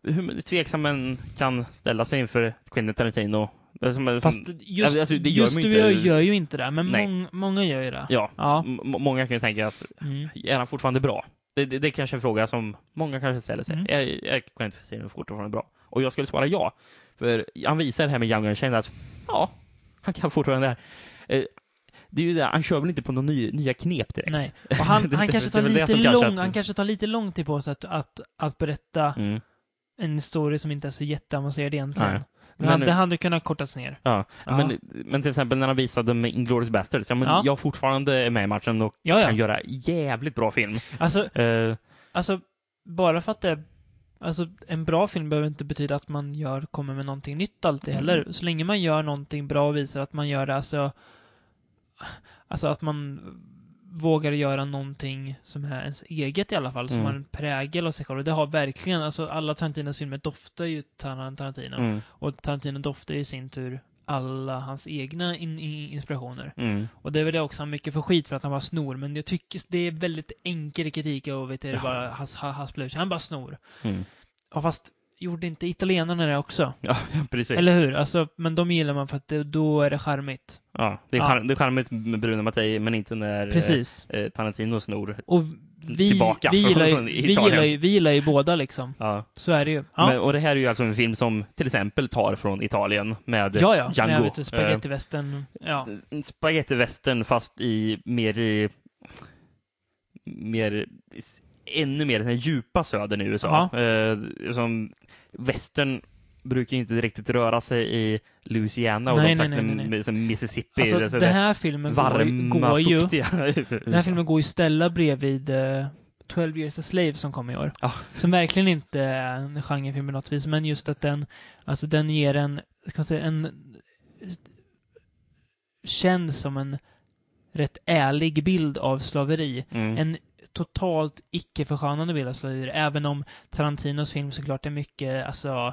[SPEAKER 5] hur tveksam man kan ställa sig inför Quentin Tarantino. Det är som- som-
[SPEAKER 4] Fast just,
[SPEAKER 5] alltså, det gör
[SPEAKER 4] just
[SPEAKER 5] man
[SPEAKER 4] du
[SPEAKER 5] ju
[SPEAKER 4] och jag
[SPEAKER 5] inte.
[SPEAKER 4] gör ju inte det, men
[SPEAKER 5] Nej.
[SPEAKER 4] mång, många gör ju det.
[SPEAKER 5] ja,
[SPEAKER 4] Ja.
[SPEAKER 5] m- många kan ju tänka att
[SPEAKER 4] Mm.
[SPEAKER 5] är han fortfarande bra? Det, det, det är kanske är en fråga som många kanske ställer sig.
[SPEAKER 4] Mm.
[SPEAKER 5] Är, är Quentin Tarantino fortfarande bra? Och jag skulle svara ja. För han visar det här med Young and Shane att ja, han kan fortfarande det här. Eh, Det är ju det, han kör väl inte på några ny, nya knep direkt?
[SPEAKER 4] Nej. Och han,
[SPEAKER 5] Det-
[SPEAKER 4] han,
[SPEAKER 5] det-
[SPEAKER 4] kanske
[SPEAKER 5] det är
[SPEAKER 4] tar
[SPEAKER 5] väl det
[SPEAKER 4] lite
[SPEAKER 5] som kanske
[SPEAKER 4] lång,
[SPEAKER 5] att-
[SPEAKER 4] han kanske tar lite lång tid på sig att, att, att berätta
[SPEAKER 5] Mm.
[SPEAKER 4] en historia som inte är så jätteavancerad egentligen.
[SPEAKER 5] Nej.
[SPEAKER 4] Men,
[SPEAKER 5] Men-
[SPEAKER 4] det hade kunnat kortas ner.
[SPEAKER 5] Ja.
[SPEAKER 4] Ja.
[SPEAKER 5] Men, men till exempel när han visade med Inglourious Basterds, ja, men
[SPEAKER 4] Ja.
[SPEAKER 5] jag fortfarande är med i matchen och
[SPEAKER 4] Ja,
[SPEAKER 5] kan
[SPEAKER 4] ja.
[SPEAKER 5] göra jävligt bra film.
[SPEAKER 4] Alltså,
[SPEAKER 5] Eh,
[SPEAKER 4] alltså, bara för att det... Alltså, en bra film behöver inte betyda att man gör, kommer med någonting nytt alltid heller.
[SPEAKER 5] Mm.
[SPEAKER 4] Så länge man gör någonting bra och visar att man gör det, alltså... Alltså att man vågar göra någonting som är ens eget i alla fall, som
[SPEAKER 5] Mm.
[SPEAKER 4] har en prägel av sig själv. Och det har verkligen, alltså alla Tarantinos filmer doftar ju Tar- Tarantino.
[SPEAKER 5] mm,
[SPEAKER 4] Och Tarantino doftar ju i sin tur alla hans egna in, in, inspirationer.
[SPEAKER 5] mm.
[SPEAKER 4] Och det är väl det också han mycket får skit för att han bara snor, men jag tycker det är väldigt enkel kritik av vet du, bara has, ha- haspla ur sig. Han bara snor.
[SPEAKER 5] Mm.
[SPEAKER 4] Ja, fast gjorde inte italienarna det också?
[SPEAKER 5] Ja, precis.
[SPEAKER 4] Eller hur? Alltså, men de gillar man för att det, då är det charmigt.
[SPEAKER 5] Ja, det är
[SPEAKER 4] Ja.
[SPEAKER 5] charm- det är charmigt med Bruno Mattei, men inte när eh,
[SPEAKER 4] Precis.
[SPEAKER 5] eh, Tarantino snor.
[SPEAKER 4] Och vi,
[SPEAKER 5] tillbaka
[SPEAKER 4] vi, gillar, ju,
[SPEAKER 5] från
[SPEAKER 4] vi,
[SPEAKER 5] Italien.
[SPEAKER 4] gillar ju, vi gillar ju båda liksom.
[SPEAKER 5] Ja.
[SPEAKER 4] Så är det ju. Ja,
[SPEAKER 5] Men, och det här är ju alltså en film som till exempel tar från Italien med
[SPEAKER 4] ja. ja. Men jag
[SPEAKER 5] Django.
[SPEAKER 4] vet inte, spagettivästern. Ja.
[SPEAKER 5] Eh, en spagettivästern fast i mer i mer s- ännu mer den här djupa södern i USA. Eh, som västern brukar ju inte riktigt röra sig i Louisiana och
[SPEAKER 4] Nej,
[SPEAKER 5] de
[SPEAKER 4] nej,
[SPEAKER 5] faktiskt
[SPEAKER 4] nej, nej, nej.
[SPEAKER 5] med- som Mississippi.
[SPEAKER 4] Alltså,
[SPEAKER 5] det är så
[SPEAKER 4] den
[SPEAKER 5] det
[SPEAKER 4] här filmen går, ju-
[SPEAKER 5] varma,
[SPEAKER 4] går ju...
[SPEAKER 5] fuktiga
[SPEAKER 4] Den här filmen går ju ställa bredvid eh, 12 years a slave som kom i år.
[SPEAKER 5] Ja.
[SPEAKER 4] Som verkligen inte är en genrefilm på något vis, men just att den, alltså den ger en, ska man säga, en känns som en rätt ärlig bild av slaveri.
[SPEAKER 5] Mm.
[SPEAKER 4] En totalt icke-förskönande bild av slaveri, även om Tarantinos film såklart är mycket, alltså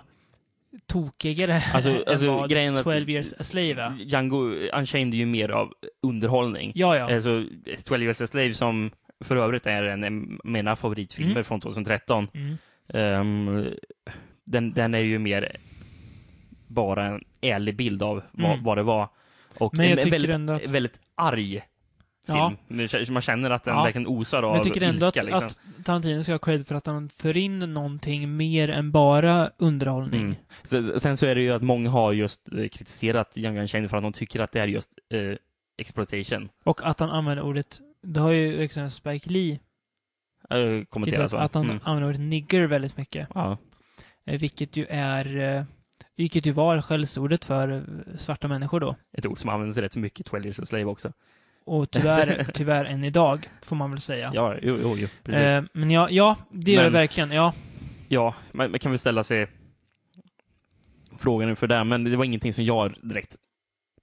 [SPEAKER 4] tokigare
[SPEAKER 5] Alltså- alltså,
[SPEAKER 4] än vad
[SPEAKER 5] grejen är att- Mm.
[SPEAKER 4] 12 years a slave är.
[SPEAKER 5] Django Unchained är ju mer av underhållning.
[SPEAKER 4] Ja, ja.
[SPEAKER 5] Eh, Så 12 Years a Slave som för övrigt är en av mina favoritfilmer
[SPEAKER 4] Mm.
[SPEAKER 5] från 2013.
[SPEAKER 4] Mm.
[SPEAKER 5] Ehm, den, den är ju mer bara en ärlig bild av vad,
[SPEAKER 4] Mm.
[SPEAKER 5] vad det var. Och
[SPEAKER 4] Men jag
[SPEAKER 5] en, en
[SPEAKER 4] tycker
[SPEAKER 5] väldigt,
[SPEAKER 4] ändå att-
[SPEAKER 5] väldigt arg
[SPEAKER 4] Ja.
[SPEAKER 5] film. Man känner- Man känner att den
[SPEAKER 4] Ja.
[SPEAKER 5] verkligen osar
[SPEAKER 4] Men
[SPEAKER 5] av
[SPEAKER 4] jag tycker ändå
[SPEAKER 5] ilska.
[SPEAKER 4] att,
[SPEAKER 5] liksom.
[SPEAKER 4] att Tarantino ska ha cred för att han för in någonting mer än bara underhållning.
[SPEAKER 5] Mm. Sen, sen så är det ju att många har just eh, kritiserat Young Unchained för att de tycker att det är just eh, exploitation.
[SPEAKER 4] Och att han använder ordet, det har ju liksom Spike Lee
[SPEAKER 5] Eh, kommenterat
[SPEAKER 4] kritiserat,
[SPEAKER 5] va?
[SPEAKER 4] att han
[SPEAKER 5] Mm.
[SPEAKER 4] använder ordet nigger väldigt mycket.
[SPEAKER 5] Ja.
[SPEAKER 4] Eh, Vilket ju är, eh, vilket ju var skällsordet för eh, svarta människor då.
[SPEAKER 5] Ett ord som används rätt så mycket i 12 Years a Slave också.
[SPEAKER 4] Och tyvärr, tyvärr än idag, får man väl säga.
[SPEAKER 5] Ja, jo, jo, jo precis.
[SPEAKER 4] Eh, men ja, ja, det gör
[SPEAKER 5] Men-
[SPEAKER 4] det verkligen. Ja,
[SPEAKER 5] Ja, man, man kan väl ställa sig frågan inför det, men det var ingenting som jag direkt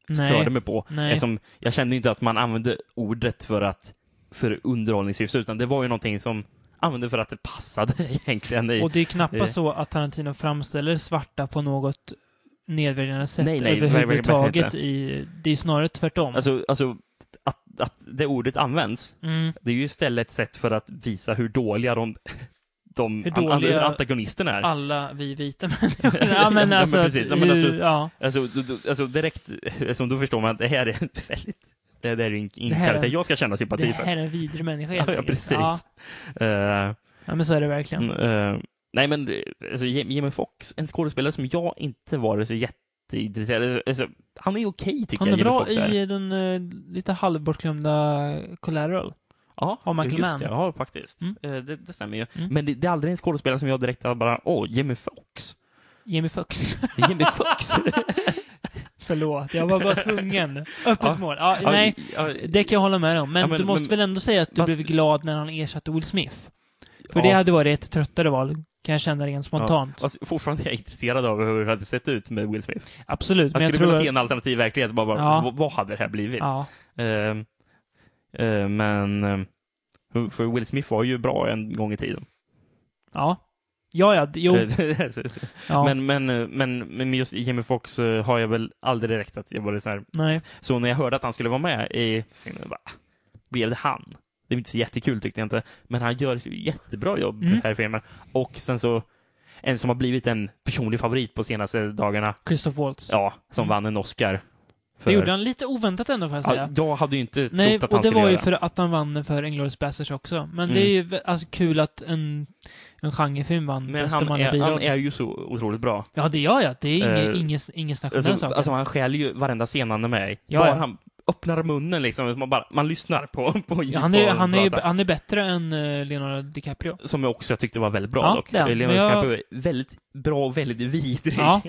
[SPEAKER 4] nej.
[SPEAKER 5] störde mig på.
[SPEAKER 4] Nej.
[SPEAKER 5] Eftersom jag kände ju inte att man använde ordet för att för underhållningssyfte, utan det var ju någonting som använde för att det passade egentligen. I,
[SPEAKER 4] Och det är ju knappast
[SPEAKER 5] Eh.
[SPEAKER 4] så att Tarantino framställer svarta på något nedvärderande sätt
[SPEAKER 5] Nej, nej, verkligen
[SPEAKER 4] överhuvudtaget.
[SPEAKER 5] inte.
[SPEAKER 4] I, det är snarare tvärtom.
[SPEAKER 5] alltså, alltså att, att det ordet används,
[SPEAKER 4] mm,
[SPEAKER 5] det är ju istället ett sätt för att visa hur dåliga de, de
[SPEAKER 4] Hur dåliga-
[SPEAKER 5] an, antagonisterna är.
[SPEAKER 4] alla vi vita människor. ja, men
[SPEAKER 5] Ja,
[SPEAKER 4] alltså,
[SPEAKER 5] men precis. Ja, men
[SPEAKER 4] hur-
[SPEAKER 5] alltså-
[SPEAKER 4] ja.
[SPEAKER 5] Alltså, du, du, alltså direkt, som då förstår man att det här är väldigt, det här är ju inte
[SPEAKER 4] Det här är-
[SPEAKER 5] karaktär jag ska känna
[SPEAKER 4] Det
[SPEAKER 5] sympati för.
[SPEAKER 4] här är en vidrig människa
[SPEAKER 5] Ja,
[SPEAKER 4] helt
[SPEAKER 5] ja,
[SPEAKER 4] enkelt.
[SPEAKER 5] precis.
[SPEAKER 4] Ja,
[SPEAKER 5] Eh,
[SPEAKER 4] ja, men så är det verkligen.
[SPEAKER 5] mm, eh, Nej, men eh, alltså, Jam- Jamie Foxx, en skådespelare som jag inte varit så jätteintresserad Alltså, han är okej, tycker
[SPEAKER 4] Han är
[SPEAKER 5] jag, Jamie
[SPEAKER 4] bra
[SPEAKER 5] Foxx är.
[SPEAKER 4] i den eh, lite halvbortglömda Collateral.
[SPEAKER 5] Ja,
[SPEAKER 4] av Michael
[SPEAKER 5] just
[SPEAKER 4] Mann.
[SPEAKER 5] det. Ja, faktiskt.
[SPEAKER 4] Mm.
[SPEAKER 5] Eh, Det, det stämmer ju.
[SPEAKER 4] Mm.
[SPEAKER 5] Men det, det är aldrig en skådespelare som jag direkt har bara, åh, Jamie Foxx.
[SPEAKER 4] Jamie Foxx.
[SPEAKER 5] Jamie Foxx.
[SPEAKER 4] Förlåt, jag var bara tvungen. Öppet
[SPEAKER 5] Ja.
[SPEAKER 4] mål. Ja,
[SPEAKER 5] Ja,
[SPEAKER 4] nej,
[SPEAKER 5] ja,
[SPEAKER 4] det kan jag hålla med om. Men,
[SPEAKER 5] Ja, men-
[SPEAKER 4] du måste
[SPEAKER 5] men-
[SPEAKER 4] väl ändå säga att du
[SPEAKER 5] Fast-
[SPEAKER 4] blev glad när han ersatte Will Smith? För
[SPEAKER 5] ja.
[SPEAKER 4] det hade varit ett tröttare val, kan jag känna rent spontant.
[SPEAKER 5] Fast fortfarande är jag intresserad av hur det hade sett ut med Will Smith.
[SPEAKER 4] Absolut,
[SPEAKER 5] Jag
[SPEAKER 4] men jag
[SPEAKER 5] skulle vilja
[SPEAKER 4] tror...
[SPEAKER 5] se en alternativ verklighet. Bara, bara,
[SPEAKER 4] Ja.
[SPEAKER 5] vad- Vad hade det här blivit?
[SPEAKER 4] ja.
[SPEAKER 5] Ehm, eh, men... eh, för Will Smith var ju bra en gång i tiden.
[SPEAKER 4] ja. Ja, ja, d- jo.
[SPEAKER 5] Så-
[SPEAKER 4] Ja,
[SPEAKER 5] men, men, eh, men, men just Jamie Foxx eh, har jag väl aldrig direkt att jag var så här.
[SPEAKER 4] nej.
[SPEAKER 5] Så när jag hörde att han skulle vara med i filmen, bara, blev det han? Det är inte så jättekul tyckte jag inte. Men han gör ett jättebra jobb i
[SPEAKER 4] Mm.
[SPEAKER 5] den här filmen. Och sen så, en som har blivit en personlig favorit på senaste dagarna.
[SPEAKER 4] Christoph Waltz.
[SPEAKER 5] Ja, som
[SPEAKER 4] Mm.
[SPEAKER 5] vann en Oscar. För,
[SPEAKER 4] Det gjorde han lite oväntat ändå, får jag säga.
[SPEAKER 5] Ja, jag hade ju inte
[SPEAKER 4] Nej,
[SPEAKER 5] trott att han
[SPEAKER 4] och det
[SPEAKER 5] skulle
[SPEAKER 4] var ju
[SPEAKER 5] göra Mm.
[SPEAKER 4] för att han vann för Inglourious Basterds också. Men det är ju vä- alltså, kul att en, en genrefilm vann
[SPEAKER 5] Men
[SPEAKER 4] bästa
[SPEAKER 5] han
[SPEAKER 4] manliga
[SPEAKER 5] är, han
[SPEAKER 4] biroll.
[SPEAKER 5] är ju så otroligt bra.
[SPEAKER 4] Ja, det gör jag. Det är inget
[SPEAKER 5] Eh,
[SPEAKER 4] inget, inget snack om den
[SPEAKER 5] Alltså,
[SPEAKER 4] saken.
[SPEAKER 5] alltså han skäl ju varenda scen han är med i.
[SPEAKER 4] Ja,
[SPEAKER 5] Bara
[SPEAKER 4] ja.
[SPEAKER 5] han öppnar munnen liksom, man, bara, man lyssnar på, på
[SPEAKER 4] Ja, han, är,
[SPEAKER 5] på
[SPEAKER 4] han, är, ju-
[SPEAKER 5] prata.
[SPEAKER 4] han är bättre än eh, Leonardo DiCaprio.
[SPEAKER 5] Som jag också tyckte var väldigt bra
[SPEAKER 4] Ja,
[SPEAKER 5] dock.
[SPEAKER 4] det är han.
[SPEAKER 5] Leonardo
[SPEAKER 4] Men jag-
[SPEAKER 5] DiCaprio är väldigt bra och väldigt vidrig.
[SPEAKER 4] Ja.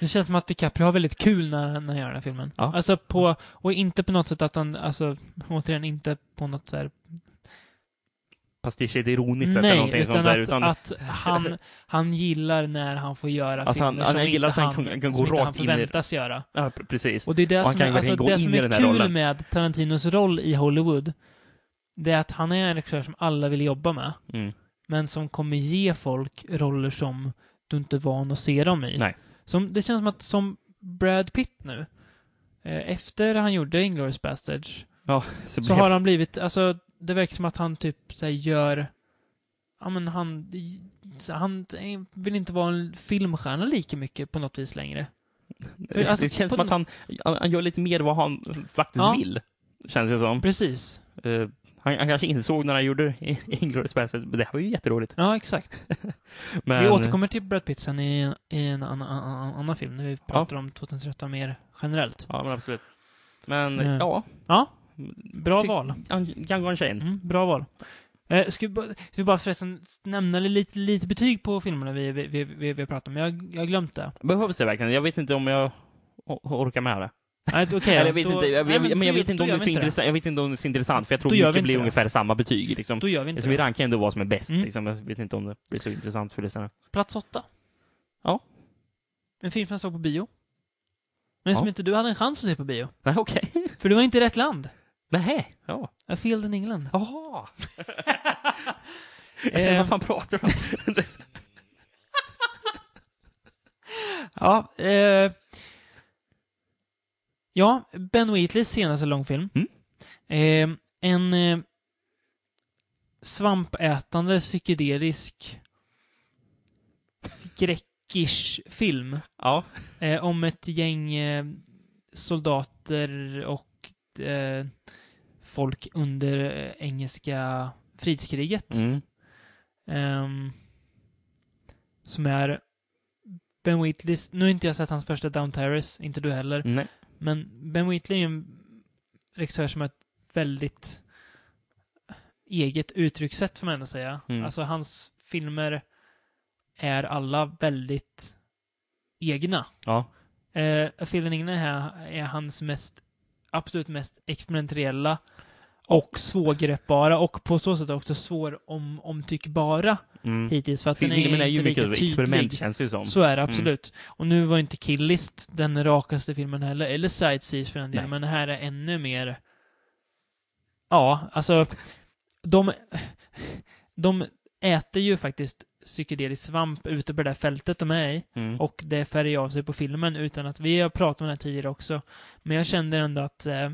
[SPEAKER 4] Det känns som att DiCaprio har väldigt kul när, när han gör den här filmen.
[SPEAKER 5] Ja.
[SPEAKER 4] Alltså på, och inte på något sätt att han, alltså återigen inte på något sådär,
[SPEAKER 5] Pastisch är ett ironiskt sätt eller
[SPEAKER 4] nej,
[SPEAKER 5] någonting
[SPEAKER 4] utan,
[SPEAKER 5] sånt
[SPEAKER 4] att,
[SPEAKER 5] där. Utan,
[SPEAKER 4] att han, han gillar när han får göra
[SPEAKER 5] Alltså, han-
[SPEAKER 4] filmer
[SPEAKER 5] han
[SPEAKER 4] som
[SPEAKER 5] gillar
[SPEAKER 4] inte
[SPEAKER 5] att han kan- kan gå
[SPEAKER 4] som inte
[SPEAKER 5] rakt
[SPEAKER 4] han
[SPEAKER 5] in i-
[SPEAKER 4] förväntas göra.
[SPEAKER 5] ja, p- precis.
[SPEAKER 4] Och det är det
[SPEAKER 5] Och han
[SPEAKER 4] som,
[SPEAKER 5] kan
[SPEAKER 4] är-
[SPEAKER 5] verkligen
[SPEAKER 4] alltså,
[SPEAKER 5] gå
[SPEAKER 4] det
[SPEAKER 5] in
[SPEAKER 4] som
[SPEAKER 5] i
[SPEAKER 4] är
[SPEAKER 5] den här
[SPEAKER 4] kul
[SPEAKER 5] rollen.
[SPEAKER 4] med Tarantinos roll i Hollywood, det är att han är en regissör som alla vill jobba med.
[SPEAKER 5] Mm.
[SPEAKER 4] men som kommer ge folk roller som du inte är van att se dem i.
[SPEAKER 5] Nej.
[SPEAKER 4] Som, det känns som att, som Brad Pitt nu, eh, efter han gjorde Inglourious Basterds,
[SPEAKER 5] Ja, så
[SPEAKER 4] så
[SPEAKER 5] blev...
[SPEAKER 4] har han blivit, alltså det verkar som att han typ så här, gör, ja men han, så han vill inte vara en filmstjärna lika mycket på något vis längre. för, alltså,
[SPEAKER 5] det känns
[SPEAKER 4] på
[SPEAKER 5] som att han, han, han gör lite mer vad han faktiskt
[SPEAKER 4] Ja.
[SPEAKER 5] vill. Känns det som.
[SPEAKER 4] Precis.
[SPEAKER 5] Eh, han, han kanske insåg när han gjorde Inglourious Basterds, men det här var ju jätteroligt.
[SPEAKER 4] Ja, exakt.
[SPEAKER 5] Men,
[SPEAKER 4] Vi återkommer till Brad Pitt sen i, en- i en annan, annan, annan film, när vi pratar om 2013 mer generellt.
[SPEAKER 5] Ja, men absolut. Men
[SPEAKER 4] Mm.
[SPEAKER 5] ja,
[SPEAKER 4] Ja, bra
[SPEAKER 5] Ty-
[SPEAKER 4] val.
[SPEAKER 5] han kan gå en tjej.
[SPEAKER 4] Mm, bra val. Eh, ska, vi, bara- ska vi bara förresten nämna lite, lite betyg på filmerna vi, vi, vi, vi, vi har pratat om? Jag, jag har glömt det.
[SPEAKER 5] Behövs det verkligen? Jag vet inte om jag o- orkar med det.
[SPEAKER 4] Nej, okej.
[SPEAKER 5] Eller jag vet
[SPEAKER 4] då-
[SPEAKER 5] inte, jag,
[SPEAKER 4] nej,
[SPEAKER 5] jag, men jag
[SPEAKER 4] då-
[SPEAKER 5] vet inte
[SPEAKER 4] då
[SPEAKER 5] om det
[SPEAKER 4] gör
[SPEAKER 5] är
[SPEAKER 4] vi
[SPEAKER 5] så intressant, jag vet inte om det är så intressant, för jag tror
[SPEAKER 4] Då gör vi
[SPEAKER 5] mycket
[SPEAKER 4] inte
[SPEAKER 5] blir
[SPEAKER 4] det.
[SPEAKER 5] ungefär samma betyg liksom.
[SPEAKER 4] Då gör vi inte
[SPEAKER 5] Så vi
[SPEAKER 4] det.
[SPEAKER 5] rankar ändå vad som är bäst
[SPEAKER 4] Mm.
[SPEAKER 5] liksom. Jag vet inte om det blir så intressant för lyssnarna.
[SPEAKER 4] Plats åtta.
[SPEAKER 5] Ja.
[SPEAKER 4] En film som jag såg på bio. Men som
[SPEAKER 5] Ja.
[SPEAKER 4] inte du hade en chans att se på bio.
[SPEAKER 5] Nej, okej.
[SPEAKER 4] För du var inte i rätt land.
[SPEAKER 5] Nej. Ja.
[SPEAKER 4] I failed in England.
[SPEAKER 5] Jaha.
[SPEAKER 4] Eh,
[SPEAKER 5] Vad fan pratar du om?
[SPEAKER 4] Ja, eh, ja Ben Wheatleys senaste långfilm.
[SPEAKER 5] Mm.
[SPEAKER 4] Eh, en eh, svampätande, psykedelisk skräckish film
[SPEAKER 5] ja.
[SPEAKER 4] eh, om ett gäng eh, soldater och eh, folk under eh, engelska frihetskriget.
[SPEAKER 5] Mm.
[SPEAKER 4] Ehm, som är Ben Wheatleys, nu har inte jag sett hans första Down Terrace, inte du heller,
[SPEAKER 5] Nej.
[SPEAKER 4] men Ben Wheatley är ju en regissör som har ett väldigt eget uttryckssätt får man ändå säga.
[SPEAKER 5] Mm.
[SPEAKER 4] Alltså hans filmer är alla väldigt egna.
[SPEAKER 5] Ja.
[SPEAKER 4] Uh, Filmen Ingne här är hans mest, absolut mest experimentella och svårgreppbara och på så sätt också svår om, omtyckbara
[SPEAKER 5] Mm.
[SPEAKER 4] hittills för att den är,
[SPEAKER 5] Filmen är ju
[SPEAKER 4] inte
[SPEAKER 5] mycket
[SPEAKER 4] lika
[SPEAKER 5] experiment
[SPEAKER 4] tydlig.
[SPEAKER 5] känns det ju som.
[SPEAKER 4] Så är det absolut. Och nu var ju inte Killist den rakaste filmen heller, eller Sightseas för den delen,
[SPEAKER 5] Nej.
[SPEAKER 4] men det här är ännu mer... Ja, alltså, de... De äter ju faktiskt psykedelisk svamp ute på det där fältet de är i.
[SPEAKER 5] Mm.
[SPEAKER 4] Och det färgar av sig på filmen utan att vi har pratat om det här tidigare också. Men jag kände ändå att... Eh,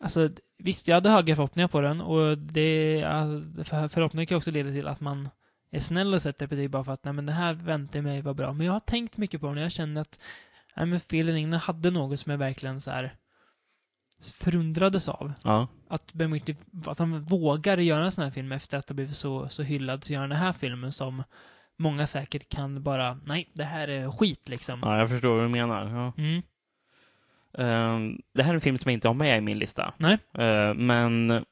[SPEAKER 4] alltså, visst, jag hade höga förhoppningar på den och det... Alltså, för- förhoppningar kan ju också leda till att man är snäll och sätter betyg bara för att nej men det här väntar jag mig var bra. Men jag har tänkt mycket på den och jag känner att nej men Feeling Inne hade något som är verkligen så här förundrades av.
[SPEAKER 5] Ja.
[SPEAKER 4] Att Ben Witty, att han vågar göra en sån här film efter att ha blivit så, så hyllad, så gör han den här filmen som många säkert kan bara, nej, det här är skit liksom.
[SPEAKER 5] ja, jag förstår vad du menar. Ja.
[SPEAKER 4] Mm.
[SPEAKER 5] Ehm, det här är en film som jag inte har med i min lista.
[SPEAKER 4] Nej.
[SPEAKER 5] Ehm, men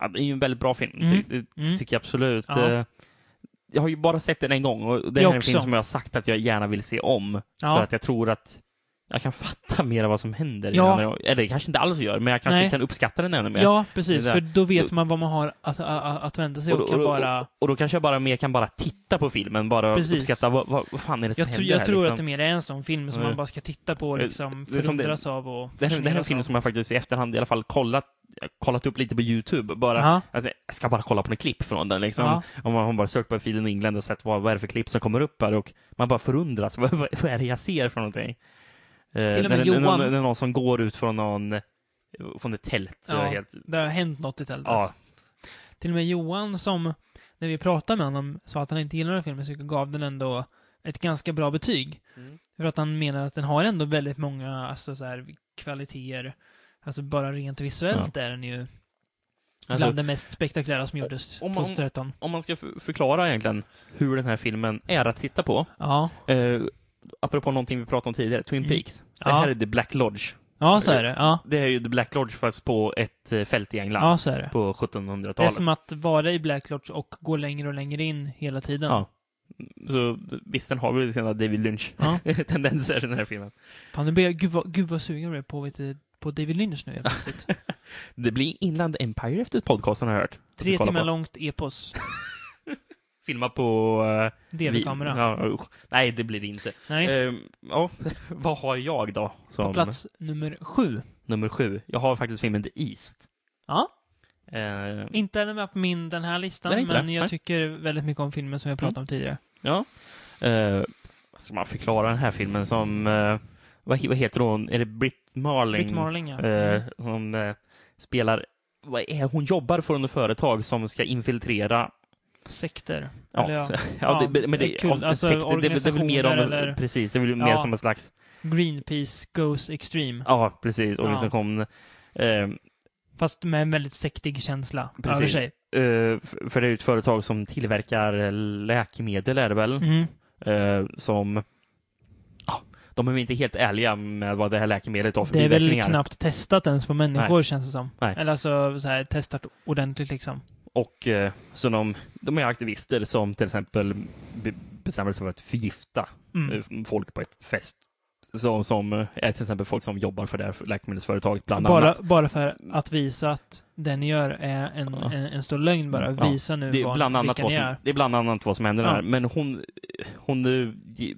[SPEAKER 5] ja, det är ju en väldigt bra film,
[SPEAKER 4] Mm.
[SPEAKER 5] ty- det
[SPEAKER 4] Mm.
[SPEAKER 5] tycker jag absolut.
[SPEAKER 4] Ja.
[SPEAKER 5] Ehm, jag har ju bara sett den en gång och det här
[SPEAKER 4] Jag
[SPEAKER 5] är en film
[SPEAKER 4] också.
[SPEAKER 5] som jag har sagt att jag gärna vill se om. För
[SPEAKER 4] Ja,
[SPEAKER 5] att jag tror att jag kan fatta mer av vad som händer. i
[SPEAKER 4] Ja.
[SPEAKER 5] den här- Eller det kanske inte alls gör, men jag kanske
[SPEAKER 4] Nej.
[SPEAKER 5] kan uppskatta den ännu mer.
[SPEAKER 4] ja, precis.
[SPEAKER 5] Det där.
[SPEAKER 4] För då vet man vad man har att, att, att vänta sig
[SPEAKER 5] Och
[SPEAKER 4] och
[SPEAKER 5] då-
[SPEAKER 4] kan
[SPEAKER 5] och då-
[SPEAKER 4] bara...
[SPEAKER 5] Och då kanske jag bara mer kan bara titta på filmen, bara
[SPEAKER 4] Precis.
[SPEAKER 5] uppskatta vad, vad, vad fan är det som
[SPEAKER 4] Jag,
[SPEAKER 5] händer
[SPEAKER 4] tror- jag
[SPEAKER 5] här,
[SPEAKER 4] tror
[SPEAKER 5] liksom.
[SPEAKER 4] att det mer är en sån film som
[SPEAKER 5] Ja.
[SPEAKER 4] man bara ska titta på och
[SPEAKER 5] Det-
[SPEAKER 4] liksom
[SPEAKER 5] det är som det-
[SPEAKER 4] förundras av och
[SPEAKER 5] Det här, det här är en
[SPEAKER 4] fascineras
[SPEAKER 5] film
[SPEAKER 4] av.
[SPEAKER 5] som jag faktiskt i efterhand i alla fall kollat, kollat upp lite på YouTube. Bara,
[SPEAKER 4] Ja.
[SPEAKER 5] att jag ska bara kolla på några klipp från den. Liksom.
[SPEAKER 4] Ja.
[SPEAKER 5] Om man har bara sökt på Feeden England och sett vad, vad är det för klipp som kommer upp här och man bara förundras. Vad, vad, vad är det jag ser för någonting? Till
[SPEAKER 4] och med
[SPEAKER 5] det, är någon-
[SPEAKER 4] Johan-
[SPEAKER 5] det är någon som går ut från någon eh, från ett tält. så
[SPEAKER 4] Ja.
[SPEAKER 5] Helt,
[SPEAKER 4] Det har hänt något i tältet.
[SPEAKER 5] ja.
[SPEAKER 4] Till och med Johan som, när vi pratade med honom, sa att han inte gillade den här filmen, så gav den ändå ett ganska bra betyg.
[SPEAKER 5] Mm.
[SPEAKER 4] För att han menar att den har ändå väldigt många alltså, så här, kvaliteter. Alltså bara rent visuellt är den ju
[SPEAKER 5] Alltså,
[SPEAKER 4] bland det mest spektakulära som gjordes
[SPEAKER 5] om man-
[SPEAKER 4] 2013.
[SPEAKER 5] om man ska f- förklara egentligen hur den här filmen är att titta på.
[SPEAKER 4] Ja.
[SPEAKER 5] Eh, apropå någonting vi pratade om tidigare, Twin
[SPEAKER 4] Mm.
[SPEAKER 5] Peaks. Det
[SPEAKER 4] Ja.
[SPEAKER 5] här är The Black Lodge.
[SPEAKER 4] ja, så är det. Ja,
[SPEAKER 5] Det är ju The Black Lodge fast på ett eh, fält i England.
[SPEAKER 4] ja så är det.
[SPEAKER 5] på
[SPEAKER 4] Det är
[SPEAKER 5] 1700-talet.
[SPEAKER 4] som att vara i Black Lodge och gå längre och längre in hela tiden.
[SPEAKER 5] Ja. Så d- visst, den har väl sina David
[SPEAKER 4] Ja.
[SPEAKER 5] Lynch-tendenser i den här filmen.
[SPEAKER 4] Fan, nu blir jag, gud, vad, gud vad sugen jag blev på, vet du, på David Lynch nu helt plötsligt.
[SPEAKER 5] Det blir Inland Empire efter podcasten har jag hört.
[SPEAKER 4] Tre
[SPEAKER 5] Kolla
[SPEAKER 4] timmar
[SPEAKER 5] på.
[SPEAKER 4] långt epos.
[SPEAKER 5] Filma på... eh,
[SPEAKER 4] DV-kamera.
[SPEAKER 5] vi- Ja, usch. nej, det blir det inte.
[SPEAKER 4] Nej.
[SPEAKER 5] Ehm, ja, vad har jag då? Som
[SPEAKER 4] På plats nummer sju.
[SPEAKER 5] nummer sju. Jag har faktiskt filmen The East.
[SPEAKER 4] Ja.
[SPEAKER 5] Ehm,
[SPEAKER 4] Inte är den med på min, den här listan,
[SPEAKER 5] Nej, inte
[SPEAKER 4] men
[SPEAKER 5] det.
[SPEAKER 4] jag
[SPEAKER 5] Nej. Mm.
[SPEAKER 4] tycker väldigt mycket om filmen som jag pratade om tidigare.
[SPEAKER 5] Ja. Eh, vad ska man förklara den här filmen som... eh, vad, he- vad heter hon? Är det Britt Marling?
[SPEAKER 4] Britt Marling, ja.
[SPEAKER 5] Eh,
[SPEAKER 4] Mm.
[SPEAKER 5] hon eh, spelar... Vad är, hon jobbar för ett företag som ska infiltrera...
[SPEAKER 4] Sekter.
[SPEAKER 5] Ja,
[SPEAKER 4] Eller ja,
[SPEAKER 5] Ja, det, men det,
[SPEAKER 4] det är kul.
[SPEAKER 5] ja,
[SPEAKER 4] Alltså,
[SPEAKER 5] sekt- det, det, det är väl mer om,
[SPEAKER 4] organisationer eller-
[SPEAKER 5] Precis, det är väl mer
[SPEAKER 4] Ja.
[SPEAKER 5] som en slags...
[SPEAKER 4] Greenpeace Goes Extreme.
[SPEAKER 5] Ja, precis. Organisation. Eh,
[SPEAKER 4] Fast med en väldigt sektig känsla
[SPEAKER 5] Precis.
[SPEAKER 4] över sig.
[SPEAKER 5] eh, f- för det är ett företag som tillverkar läkemedel, är det väl?
[SPEAKER 4] Mm.
[SPEAKER 5] eh, som... ja, de är väl inte helt ärliga med vad det här läkemedlet har för
[SPEAKER 4] Det är väl
[SPEAKER 5] biverkningar.
[SPEAKER 4] knappt testat ens på människor, känns det som.
[SPEAKER 5] Nej.
[SPEAKER 4] Eller alltså, så här, testat ordentligt liksom.
[SPEAKER 5] Och eh, så de, de är aktivister som till exempel be- bestämmer sig för att förgifta
[SPEAKER 4] Mm.
[SPEAKER 5] eh, folk på ett fest. Som, som eh, är till exempel folk som jobbar för det här läkemedelsföretaget bland
[SPEAKER 4] Bara,
[SPEAKER 5] annat.
[SPEAKER 4] bara för att visa att det ni gör är en,
[SPEAKER 5] Ja. Mm.
[SPEAKER 4] en, en stor lögn bara.
[SPEAKER 5] Ja.
[SPEAKER 4] Visa nu
[SPEAKER 5] Det är,
[SPEAKER 4] vad,
[SPEAKER 5] bland annat
[SPEAKER 4] vilka
[SPEAKER 5] vad
[SPEAKER 4] ni
[SPEAKER 5] som,
[SPEAKER 4] är.
[SPEAKER 5] det är bland annat vad som händer
[SPEAKER 4] Ja.
[SPEAKER 5] här. Men hon, hon eh, ge-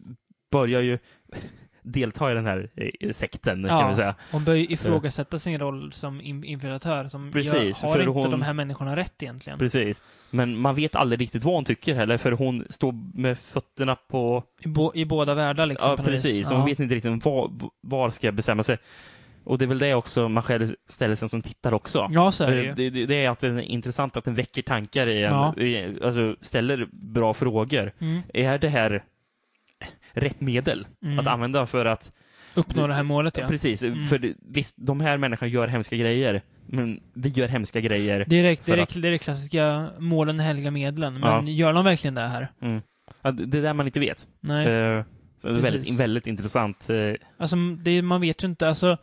[SPEAKER 5] börjar ju delta i den här eh, sekten
[SPEAKER 4] Ja.
[SPEAKER 5] kan vi säga.
[SPEAKER 4] Hon börjar ifrågasätta sin roll som in- infiltratör. Som
[SPEAKER 5] Precis,
[SPEAKER 4] gör, har
[SPEAKER 5] för
[SPEAKER 4] inte
[SPEAKER 5] hon-
[SPEAKER 4] de här människorna rätt egentligen?
[SPEAKER 5] Precis. Men man vet aldrig riktigt vad hon tycker heller för hon står med fötterna på
[SPEAKER 4] I, bo, I båda världar liksom.
[SPEAKER 5] Ja,
[SPEAKER 4] på något vis.
[SPEAKER 5] precis.
[SPEAKER 4] Ja.
[SPEAKER 5] Hon vet inte riktigt var, var ska jag bestämma sig. Och det är väl det också man själv ställer sig som tittare också.
[SPEAKER 4] Ja, så är det ju.
[SPEAKER 5] det, det, det är att den är intressant att den väcker tankar i en,
[SPEAKER 4] Ja.
[SPEAKER 5] i, alltså ställer bra frågor.
[SPEAKER 4] Mm.
[SPEAKER 5] Är det här rätt medel
[SPEAKER 4] Mm.
[SPEAKER 5] att använda för att...
[SPEAKER 4] Uppnå det här målet, ja.
[SPEAKER 5] Precis, för det- visst, de här människorna gör hemska grejer, men vi gör hemska grejer.
[SPEAKER 4] Det är, det, det,
[SPEAKER 5] För
[SPEAKER 4] är,
[SPEAKER 5] att-
[SPEAKER 4] det- det är det klassiska målen helga medlen. Men gör de verkligen det här?
[SPEAKER 5] Ja, det det är där man inte vet.
[SPEAKER 4] Nej.
[SPEAKER 5] Eh, så det är
[SPEAKER 4] Precis.
[SPEAKER 5] väldigt, väldigt intressant. eh,
[SPEAKER 4] Alltså, det, man vet ju inte. Alltså,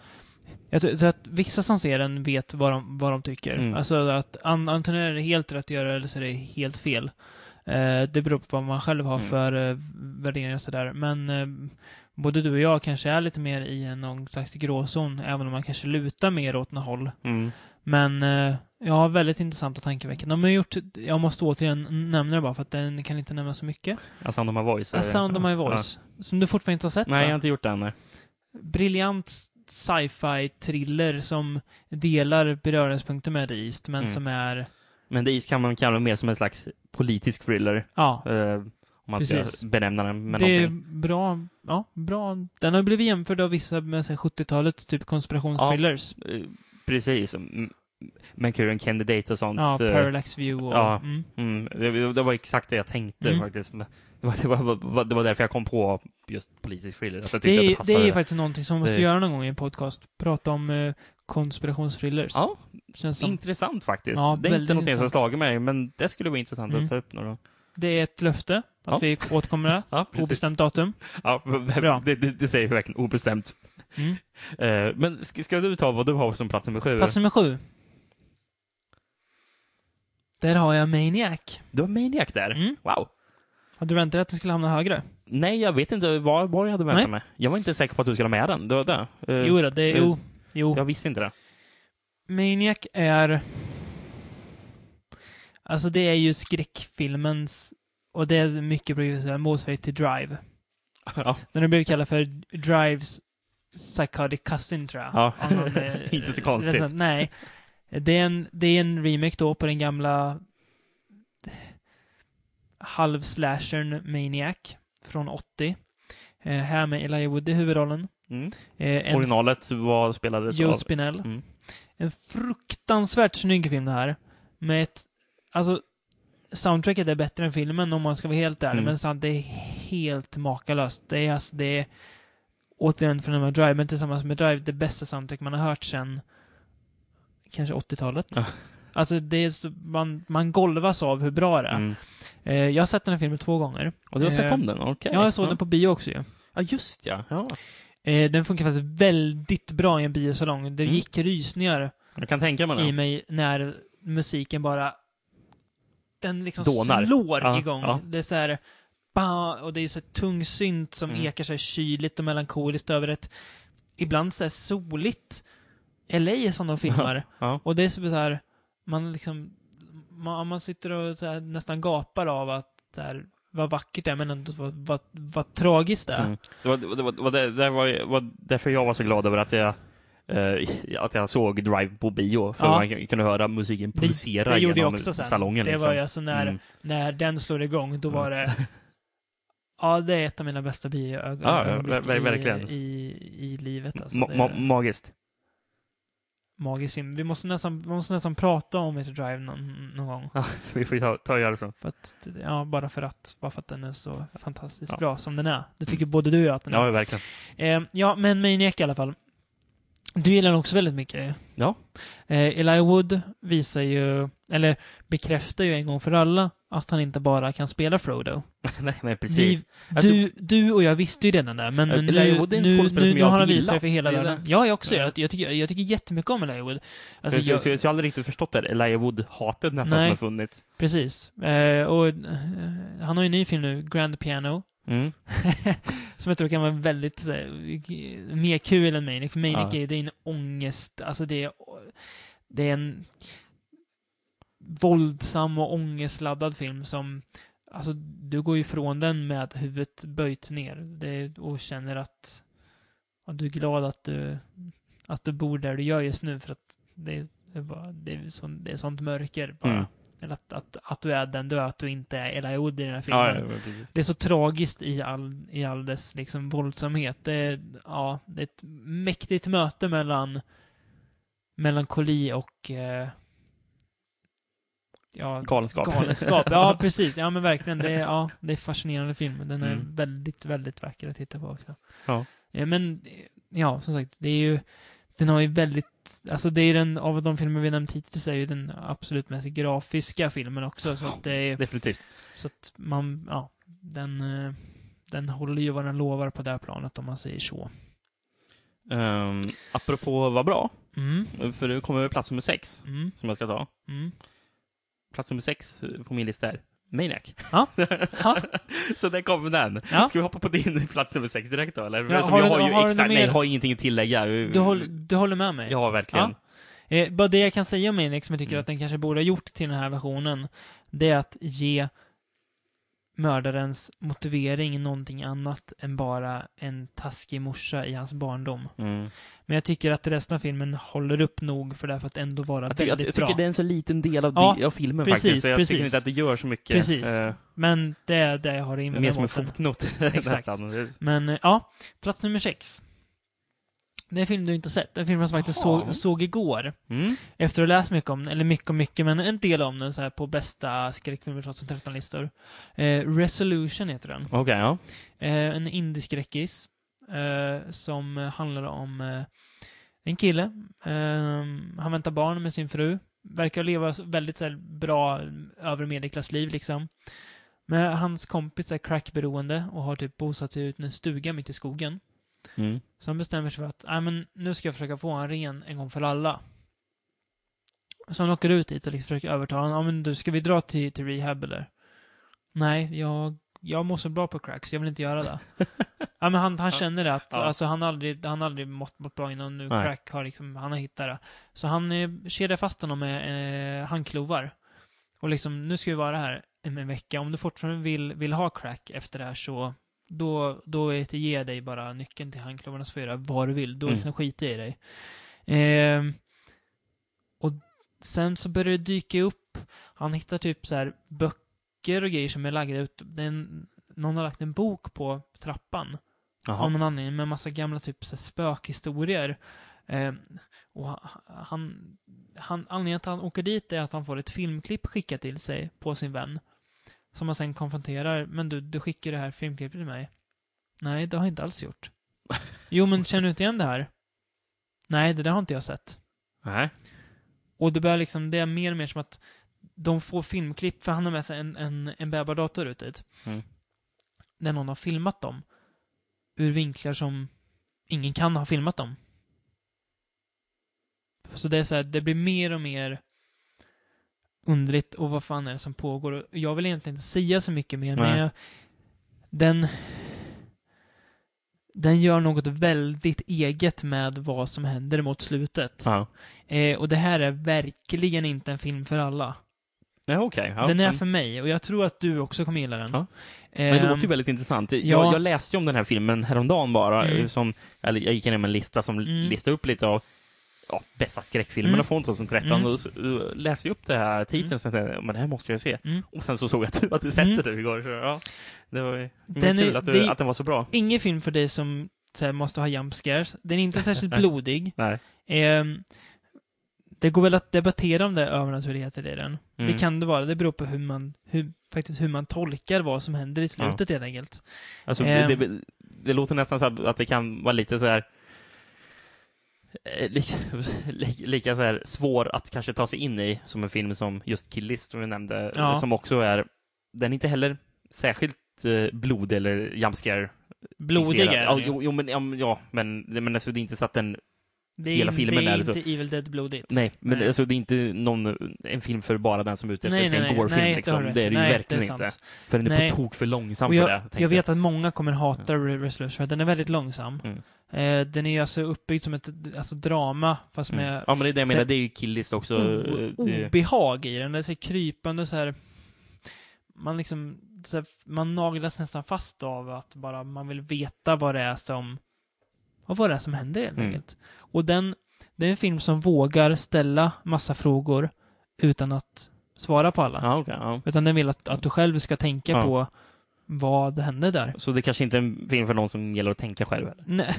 [SPEAKER 4] jag tror jag tror att vissa som ser den vet vad de, vad de tycker.
[SPEAKER 5] Mm.
[SPEAKER 4] Alltså att an, antingen är det helt rätt att göra eller så är det helt fel. Eh, det beror på vad man själv har
[SPEAKER 5] Mm.
[SPEAKER 4] för eh, värderingar och sådär. Men eh, både du och jag kanske är lite mer i en någon slags gråzon, även om man kanske lutar mer åt något håll.
[SPEAKER 5] Mm.
[SPEAKER 4] Men eh, ja, väldigt intressanta tankeväckande. De har gjort, jag måste återigen nämna det bara för att den kan inte nämna så mycket.
[SPEAKER 5] A Sound of My Voice.
[SPEAKER 4] A
[SPEAKER 5] eh,
[SPEAKER 4] Sound of My
[SPEAKER 5] ja.
[SPEAKER 4] Voice, som du fortfarande inte har sett
[SPEAKER 5] Nej, jag
[SPEAKER 4] va?
[SPEAKER 5] har inte gjort det än. nej.
[SPEAKER 4] briljant sci-fi thriller som delar beröringspunkter med The East, men
[SPEAKER 5] Mm.
[SPEAKER 4] som är,
[SPEAKER 5] Men The East kan man kalla mer som en slags politisk thriller.
[SPEAKER 4] ja,
[SPEAKER 5] Eh, om man
[SPEAKER 4] Precis.
[SPEAKER 5] ska benämna den med
[SPEAKER 4] det är
[SPEAKER 5] någonting.
[SPEAKER 4] bra, ja, bra. Den har blivit jämförd av vissa med så här 70-talets typ konspirationsthrillers.
[SPEAKER 5] Eh, precis. Mm. Manchurian Candidate och sånt.
[SPEAKER 4] Ja,
[SPEAKER 5] eh,
[SPEAKER 4] Parallax View och,
[SPEAKER 5] ja.
[SPEAKER 4] Mm.
[SPEAKER 5] mm, det, det var exakt det jag tänkte
[SPEAKER 4] Mm.
[SPEAKER 5] faktiskt. Men Det var, det, var- var, det var därför jag kom på just politisk thriller. Att jag tyckte
[SPEAKER 4] Det är,
[SPEAKER 5] att det
[SPEAKER 4] det
[SPEAKER 5] passade.
[SPEAKER 4] är ju faktiskt någonting som man måste
[SPEAKER 5] Det-
[SPEAKER 4] göra någon gång i en podcast. Prata om eh, konspirationsthrillers.
[SPEAKER 5] Ja,
[SPEAKER 4] Känns som,
[SPEAKER 5] intressant faktiskt.
[SPEAKER 4] Ja,
[SPEAKER 5] det är
[SPEAKER 4] väldigt
[SPEAKER 5] inte någonting som har
[SPEAKER 4] intressant.
[SPEAKER 5] slagit mig, men det skulle vara intressant
[SPEAKER 4] Mm.
[SPEAKER 5] att ta upp några.
[SPEAKER 4] det är ett löfte att
[SPEAKER 5] Ja.
[SPEAKER 4] vi återkommer där.
[SPEAKER 5] Ja,
[SPEAKER 4] På bestämt datum.
[SPEAKER 5] Ja,
[SPEAKER 4] Bra.
[SPEAKER 5] det, det, det säger vi verkligen obestämt.
[SPEAKER 4] Mm.
[SPEAKER 5] Eh, men ska, ska du ta vad du har som plats nummer sju?
[SPEAKER 4] Plats nummer sju. Där har jag Maniac.
[SPEAKER 5] Du har Maniac där?
[SPEAKER 4] Mm.
[SPEAKER 5] Wow.
[SPEAKER 4] Hade du väntat att den skulle hamna högre?
[SPEAKER 5] Nej, jag vet inte vad, vad jag hade väntat
[SPEAKER 4] Nej.
[SPEAKER 5] mig. Jag var inte säker på att du skulle ha med den. Det var det. Eh,
[SPEAKER 4] Jo, då, det är...
[SPEAKER 5] eh,
[SPEAKER 4] Jo. jo.
[SPEAKER 5] Jag visste inte det.
[SPEAKER 4] Maniac är... Alltså det är ju skräckfilmens... Och det är mycket på motsvarighet till Drive.
[SPEAKER 5] ja.
[SPEAKER 4] Den har blivit kallad för Drives Psychotic Cousin, tror jag.
[SPEAKER 5] Ja.
[SPEAKER 4] Av någon, eh,
[SPEAKER 5] Inte så konstigt.
[SPEAKER 4] recensent. nej. Det är, en, det är en remake då på den gamla halvslashern Maniac från 80. Eh, här med Elijah Wood i huvudrollen.
[SPEAKER 5] Mm.
[SPEAKER 4] Eh, en
[SPEAKER 5] Originalet var, spelades
[SPEAKER 4] Joe
[SPEAKER 5] av...
[SPEAKER 4] Spinell.
[SPEAKER 5] Mm.
[SPEAKER 4] En fruktansvärt snygg film det här. Med ett, alltså, soundtracket är bättre än filmen om man ska vara helt ärlig,
[SPEAKER 5] Mm.
[SPEAKER 4] men sant, det är helt makalöst. Det är alltså, det är återigen från den här Drive, men tillsammans med Drive, det bästa soundtrack man har hört sedan kanske 80-talet.
[SPEAKER 5] Ja.
[SPEAKER 4] Alltså, det är så, man, man golvas av hur bra det är.
[SPEAKER 5] Mm.
[SPEAKER 4] Eh, jag har sett den här filmen två gånger.
[SPEAKER 5] Och du har sett
[SPEAKER 4] Eh,
[SPEAKER 5] om den? Okej.
[SPEAKER 4] Ja, jag såg den på bio också ju.
[SPEAKER 5] Ja, just ja. ja.
[SPEAKER 4] Eh, den funkar faktiskt väldigt bra i en biosalong. Det
[SPEAKER 5] Mm.
[SPEAKER 4] gick rysningar
[SPEAKER 5] Jag kan tänka mig
[SPEAKER 4] i
[SPEAKER 5] det.
[SPEAKER 4] mig när musiken bara den liksom
[SPEAKER 5] Dånar.
[SPEAKER 4] slår
[SPEAKER 5] Ja,
[SPEAKER 4] igång.
[SPEAKER 5] ja.
[SPEAKER 4] Det är så här ba, och det är så här tung synt som
[SPEAKER 5] Mm.
[SPEAKER 4] ekar sig kyligt och melankoliskt över ett ibland så här soligt LA är som de filmar.
[SPEAKER 5] Ja.
[SPEAKER 4] Och det är så här man liksom man, man sitter och så här nästan gapar av att så här, vad vackert det är men ändå vad, vad, vad tragiskt det är.
[SPEAKER 5] Mm. Det, var, det, var, det, var, det, det var, var därför jag var så glad över att jag, eh, att jag såg Drive på bio. För
[SPEAKER 4] Ja.
[SPEAKER 5] man kunde höra musiken pulsera
[SPEAKER 4] det gjorde jag
[SPEAKER 5] genom
[SPEAKER 4] också sen.
[SPEAKER 5] salongen.
[SPEAKER 4] det
[SPEAKER 5] liksom.
[SPEAKER 4] var ju alltså när,
[SPEAKER 5] Mm.
[SPEAKER 4] när den slår igång, då
[SPEAKER 5] Mm.
[SPEAKER 4] var det... Ja, det är ett av mina bästa bioögon
[SPEAKER 5] Ja, ja,
[SPEAKER 4] ögonblick
[SPEAKER 5] ver- ver- verkligen.
[SPEAKER 4] I, i, i livet. Alltså,
[SPEAKER 5] Ma-
[SPEAKER 4] det
[SPEAKER 5] ma-
[SPEAKER 4] är
[SPEAKER 5] magiskt.
[SPEAKER 4] magisk film. Vi måste nästan, vi måste nästan prata om Mr Drive någon, någon gång.
[SPEAKER 5] Vi får ju ta, ta och göra så.
[SPEAKER 4] För att, ja, bara, för att, bara för att den är så fantastiskt
[SPEAKER 5] Ja. Mm.
[SPEAKER 4] bra som den är. Det tycker både du och jag att den är.
[SPEAKER 5] Ja, verkligen.
[SPEAKER 4] Eh, ja, men Maniac i alla fall. Du gillar den också väldigt mycket.
[SPEAKER 5] Ja.
[SPEAKER 4] Eh, Eli Wood visar ju, eller bekräftar ju en gång för alla att han inte bara kan spela Frodo.
[SPEAKER 5] Nej, men precis.
[SPEAKER 4] Vi,
[SPEAKER 5] Alltså-
[SPEAKER 4] du, du och jag visste ju redan det, men
[SPEAKER 5] Eh,
[SPEAKER 4] nu,
[SPEAKER 5] Eli Wood är en
[SPEAKER 4] nu,
[SPEAKER 5] skådespelare
[SPEAKER 4] nu,
[SPEAKER 5] som
[SPEAKER 4] nu
[SPEAKER 5] jag
[SPEAKER 4] har han
[SPEAKER 5] alltid
[SPEAKER 4] visat det
[SPEAKER 5] gillat.
[SPEAKER 4] för hela
[SPEAKER 5] Det är
[SPEAKER 4] världen.
[SPEAKER 5] det.
[SPEAKER 4] Ja, jag också.
[SPEAKER 5] Ja.
[SPEAKER 4] Jag, jag, tycker, jag tycker jättemycket om Eli Wood. Alltså,
[SPEAKER 5] så, jag, så,
[SPEAKER 4] jag,
[SPEAKER 5] jag har aldrig riktigt förstått det. Elijah Wood-hatet nästan
[SPEAKER 4] Nej.
[SPEAKER 5] som har funnits.
[SPEAKER 4] precis. Eh, och, eh, han har ju en ny film nu, Grand Piano,
[SPEAKER 5] Mm.
[SPEAKER 4] som jag tror kan vara väldigt så här, mer kul än Manic. För Manic
[SPEAKER 5] Ja.
[SPEAKER 4] är, det är en ångest, alltså det är, det är en våldsam och ångestladdad film som Alltså, du går ju ifrån den med huvudet böjt ner det, och känner att ja, du är glad att du, att du bor där du gör just nu för att det, är bara, det, är, så, det är sånt mörker bara.
[SPEAKER 5] Mm.
[SPEAKER 4] Eller att, att, att du är den du är, att du inte är Elijah Wood i den här filmen.
[SPEAKER 5] Ja, ja, men precis.
[SPEAKER 4] Det är så tragiskt i all, i all dess liksom våldsamhet. Det är, ja, det är ett mäktigt möte mellan melankoli och eh, ja,
[SPEAKER 5] Galenskap.
[SPEAKER 4] galenskap. Ja, precis. Ja, men verkligen. Det är, ja, det är fascinerande film. Den är
[SPEAKER 5] Mm.
[SPEAKER 4] väldigt, väldigt vacker att titta på också.
[SPEAKER 5] Ja.
[SPEAKER 4] Eh, Men, eh, ja, som sagt, det är ju, den har ju väldigt, alltså det är den, av de filmer vi nämnt hittills, så är ju den absolut mest grafiska filmen också. Så att det är,
[SPEAKER 5] Definitivt.
[SPEAKER 4] så att man, ja, den, eh, den håller ju vad den lovar på det här planet om man säger så.
[SPEAKER 5] Um, apropå vad bra,
[SPEAKER 4] Mm,
[SPEAKER 5] för nu kommer vi plats nummer sex
[SPEAKER 4] mm,
[SPEAKER 5] som jag ska ta.
[SPEAKER 4] mm.
[SPEAKER 5] Plats nummer sex på min lista är Maniac.
[SPEAKER 4] Ja. Ja.
[SPEAKER 5] så där kommer den.
[SPEAKER 4] Ja.
[SPEAKER 5] Ska vi hoppa på din plats nummer sex direkt då? Eller?
[SPEAKER 4] Ja,
[SPEAKER 5] Som
[SPEAKER 4] har
[SPEAKER 5] jag
[SPEAKER 4] du-
[SPEAKER 5] har ju
[SPEAKER 4] har du
[SPEAKER 5] exakt,
[SPEAKER 4] något
[SPEAKER 5] nej,
[SPEAKER 4] mer?
[SPEAKER 5] jag har ingenting att tillägga.
[SPEAKER 4] Du, håller, du håller med mig?
[SPEAKER 5] Mm. Ja, verkligen.
[SPEAKER 4] Eh, bara det jag kan säga om Maniac som jag tycker
[SPEAKER 5] Mm.
[SPEAKER 4] att den kanske borde ha gjort till den här versionen, det är att ge mördarens motivering någonting annat än bara en taskig morsa i hans barndom.
[SPEAKER 5] Mm.
[SPEAKER 4] Men jag tycker att resten av filmen håller upp nog för det här för att ändå vara
[SPEAKER 5] Jag, tycker, jag,
[SPEAKER 4] väldigt
[SPEAKER 5] jag
[SPEAKER 4] bra.
[SPEAKER 5] tycker det är en så liten del av,
[SPEAKER 4] Ja,
[SPEAKER 5] di- av filmen
[SPEAKER 4] precis,
[SPEAKER 5] faktiskt, så jag
[SPEAKER 4] precis.
[SPEAKER 5] tycker inte att det gör så mycket.
[SPEAKER 4] Precis.
[SPEAKER 5] Eh,
[SPEAKER 4] Men det är det jag har att invända
[SPEAKER 5] mer som en
[SPEAKER 4] mot den.
[SPEAKER 5] fotnot.
[SPEAKER 4] Exakt.
[SPEAKER 5] nästan.
[SPEAKER 4] Men eh, ja, plats nummer sex. Det är en film du inte har sett. En film som jag faktiskt
[SPEAKER 5] Jaha.
[SPEAKER 4] såg, såg igår.
[SPEAKER 5] Mm.
[SPEAKER 4] Efter att ha läst mycket om den, eller mycket och mycket, men en del om den så här på bästa skräckfilmer 2013-listor. Eh, Resolution heter den.
[SPEAKER 5] Okej, ja.
[SPEAKER 4] Eh, en indieskräckis eh, som handlar om eh, en kille. Eh, han väntar barn med sin fru. Verkar leva så- väldigt så här, bra övre medelklassliv liksom. Men hans kompis är crackberoende och har typ bosatt sig ut i en stuga mitt i skogen.
[SPEAKER 5] Mm.
[SPEAKER 4] Så han bestämmer sig för att "Nej, men nu ska jag försöka få honom ren en gång för alla. Så han åker ut dit och liksom försöker övertala honom. "Ja, men du, ska vi dra till, till rehab eller? Nej, jag, jag mår så bra på crack så jag vill inte göra det. ja, men han, han känner det att
[SPEAKER 5] Ja.
[SPEAKER 4] alltså, han aldrig, han aldrig mått, mått bra innan nu
[SPEAKER 5] Nej.
[SPEAKER 4] crack har liksom, han har hittat det. Så han eh, kedjar fast honom med eh, handklovar. Och liksom, nu ska vi vara här en en vecka. Om du fortfarande vill, vill ha crack efter det här så då, då är det, ger jag dig bara nyckeln till handklovarna så får du göra vad du vill. Då
[SPEAKER 5] Mm.
[SPEAKER 4] liksom skiter jag i dig. Ehm, och sen så börjar det dyka upp, han hittar typ så här böcker och grejer som är lagda ut. Det är en, någon har lagt en bok på trappan av
[SPEAKER 5] Jaha.
[SPEAKER 4] någon anledning med massa gamla typ så här, spökhistorier. Ehm, och ha- han, han, anledningen att han åker dit är att han får ett filmklipp skickat till sig på sin vän. Som han sen konfronterar. Men du, du skickar det här filmklippet till mig. Nej, det har jag inte alls gjort. Jo, men känner du inte igen det här? Nej, det där har inte jag sett.
[SPEAKER 5] Nej.
[SPEAKER 4] Och det börjar liksom, det är mer och mer som att de får filmklipp, för han har med sig en, en, en bärbar dator ut dit.
[SPEAKER 5] Mm.
[SPEAKER 4] Där någon har filmat dem. Ur vinklar som ingen kan ha filmat dem. Så det är så här, det blir mer och mer underligt och vad fan är det som pågår? Och Jag vill egentligen inte säga så mycket mer, men
[SPEAKER 5] Nej.
[SPEAKER 4] jag, den den gör något väldigt eget med vad som händer mot slutet.
[SPEAKER 5] Ja.
[SPEAKER 4] Eh, och det här är verkligen inte en film för alla.
[SPEAKER 5] Ja, okej. Ja.
[SPEAKER 4] den är
[SPEAKER 5] men-
[SPEAKER 4] för mig och jag tror att du också kommer gilla den.
[SPEAKER 5] Ja.
[SPEAKER 4] Ehm,
[SPEAKER 5] Men det låter ju väldigt intressant. Jag,
[SPEAKER 4] ja.
[SPEAKER 5] jag läste ju om den här filmen häromdagen bara. eh,
[SPEAKER 4] Mm.
[SPEAKER 5] Som, eller jag gick igenom en lista som
[SPEAKER 4] Mm.
[SPEAKER 5] listade upp lite av ja, bästa skräckfilmerna
[SPEAKER 4] Mm.
[SPEAKER 5] från 2013.
[SPEAKER 4] Mm.
[SPEAKER 5] Och så, uh, läste jag upp det här titeln så tänkte jag, men det här måste jag se.
[SPEAKER 4] Mm.
[SPEAKER 5] Och sen så såg jag att du hade sett
[SPEAKER 4] Mm.
[SPEAKER 5] det du igår. Så, ja, det var ju men
[SPEAKER 4] Den är-
[SPEAKER 5] kul att, du,
[SPEAKER 4] det är-
[SPEAKER 5] att den var så bra.
[SPEAKER 4] Ingen film för dig som så här, måste ha jump scares. Den är inte särskilt blodig.
[SPEAKER 5] Nej.
[SPEAKER 4] Ehm, det går väl att debattera om det är övernaturligheter i den.
[SPEAKER 5] Mm.
[SPEAKER 4] Det kan det vara. Det beror på hur man, hur, faktiskt hur man tolkar vad som händer i slutet helt enkelt.
[SPEAKER 5] Alltså,
[SPEAKER 4] Ehm.
[SPEAKER 5] det, det, det låter nästan så här att det kan vara lite så här eh, Lika, li- lika så här svår att kanske ta sig in i som en film som just Kill List som vi nämnde,
[SPEAKER 4] Ja.
[SPEAKER 5] som också är, den är inte heller särskilt eh, blod eller jumpscare
[SPEAKER 4] Blodig är
[SPEAKER 5] ja,
[SPEAKER 4] den ju.
[SPEAKER 5] jo, jo, men, ja, men- ja, men, men alltså, det är inte så att den,
[SPEAKER 4] Det är
[SPEAKER 5] hela
[SPEAKER 4] inte,
[SPEAKER 5] filmen
[SPEAKER 4] det är
[SPEAKER 5] är alltså- det så.
[SPEAKER 4] inte Evil Dead-blodigt.
[SPEAKER 5] nej, men
[SPEAKER 4] Nej.
[SPEAKER 5] Alltså, det är inte någon, en film för bara den som är ute efter
[SPEAKER 4] nej,
[SPEAKER 5] sin
[SPEAKER 4] nej.
[SPEAKER 5] gore-film
[SPEAKER 4] nej,
[SPEAKER 5] liksom.
[SPEAKER 4] har du rätt
[SPEAKER 5] Det är det
[SPEAKER 4] i.
[SPEAKER 5] ju
[SPEAKER 4] Nej,
[SPEAKER 5] verkligen
[SPEAKER 4] det är
[SPEAKER 5] inte.
[SPEAKER 4] sant.
[SPEAKER 5] För den är
[SPEAKER 4] Nej.
[SPEAKER 5] på tok för långsam
[SPEAKER 4] Och
[SPEAKER 5] för det. tänkte
[SPEAKER 4] Jag vet att många kommer hata Re- Resolution för att den är väldigt långsam.
[SPEAKER 5] Mm.
[SPEAKER 4] Eh, den är ju alltså uppbyggd som ett alltså, drama fast
[SPEAKER 5] Mm.
[SPEAKER 4] med
[SPEAKER 5] Ja, men det är det jag menar,
[SPEAKER 4] så-
[SPEAKER 5] det är ju Kill List också.
[SPEAKER 4] o-
[SPEAKER 5] eh, det-
[SPEAKER 4] obehag i den. Det är så här krypande så här. Man liksom, så här, man naglas nästan fast av att bara man vill veta vad det är som, och vad det är som händer helt
[SPEAKER 5] Mm.
[SPEAKER 4] enkelt. Och den, det är en film som vågar ställa massa frågor utan att svara på alla.
[SPEAKER 5] Ja, okej. ja.
[SPEAKER 4] Utan den vill att, att du själv ska tänka
[SPEAKER 5] Ja.
[SPEAKER 4] på vad hände där.
[SPEAKER 5] Så det kanske inte är en film för någon som gillar att tänka själv eller?
[SPEAKER 4] Nej.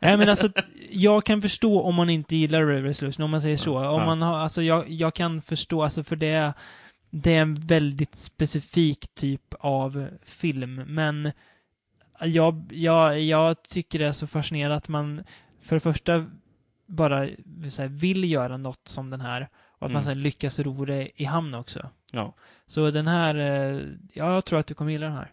[SPEAKER 4] Nej men alltså, jag kan förstå om man inte gillar Ray Resolution, om man säger så. Om
[SPEAKER 5] Ja.
[SPEAKER 4] man har, alltså jag, jag kan förstå, alltså för det, det är en väldigt specifik typ av film, men jag, jag, jag tycker det är så fascinerande att man för det första bara så här, vill göra något som den här, och att man
[SPEAKER 5] Mm.
[SPEAKER 4] sen lyckas ro det i hamn också.
[SPEAKER 5] Ja.
[SPEAKER 4] Så den här, eh, ja, jag tror att du kommer gilla den här.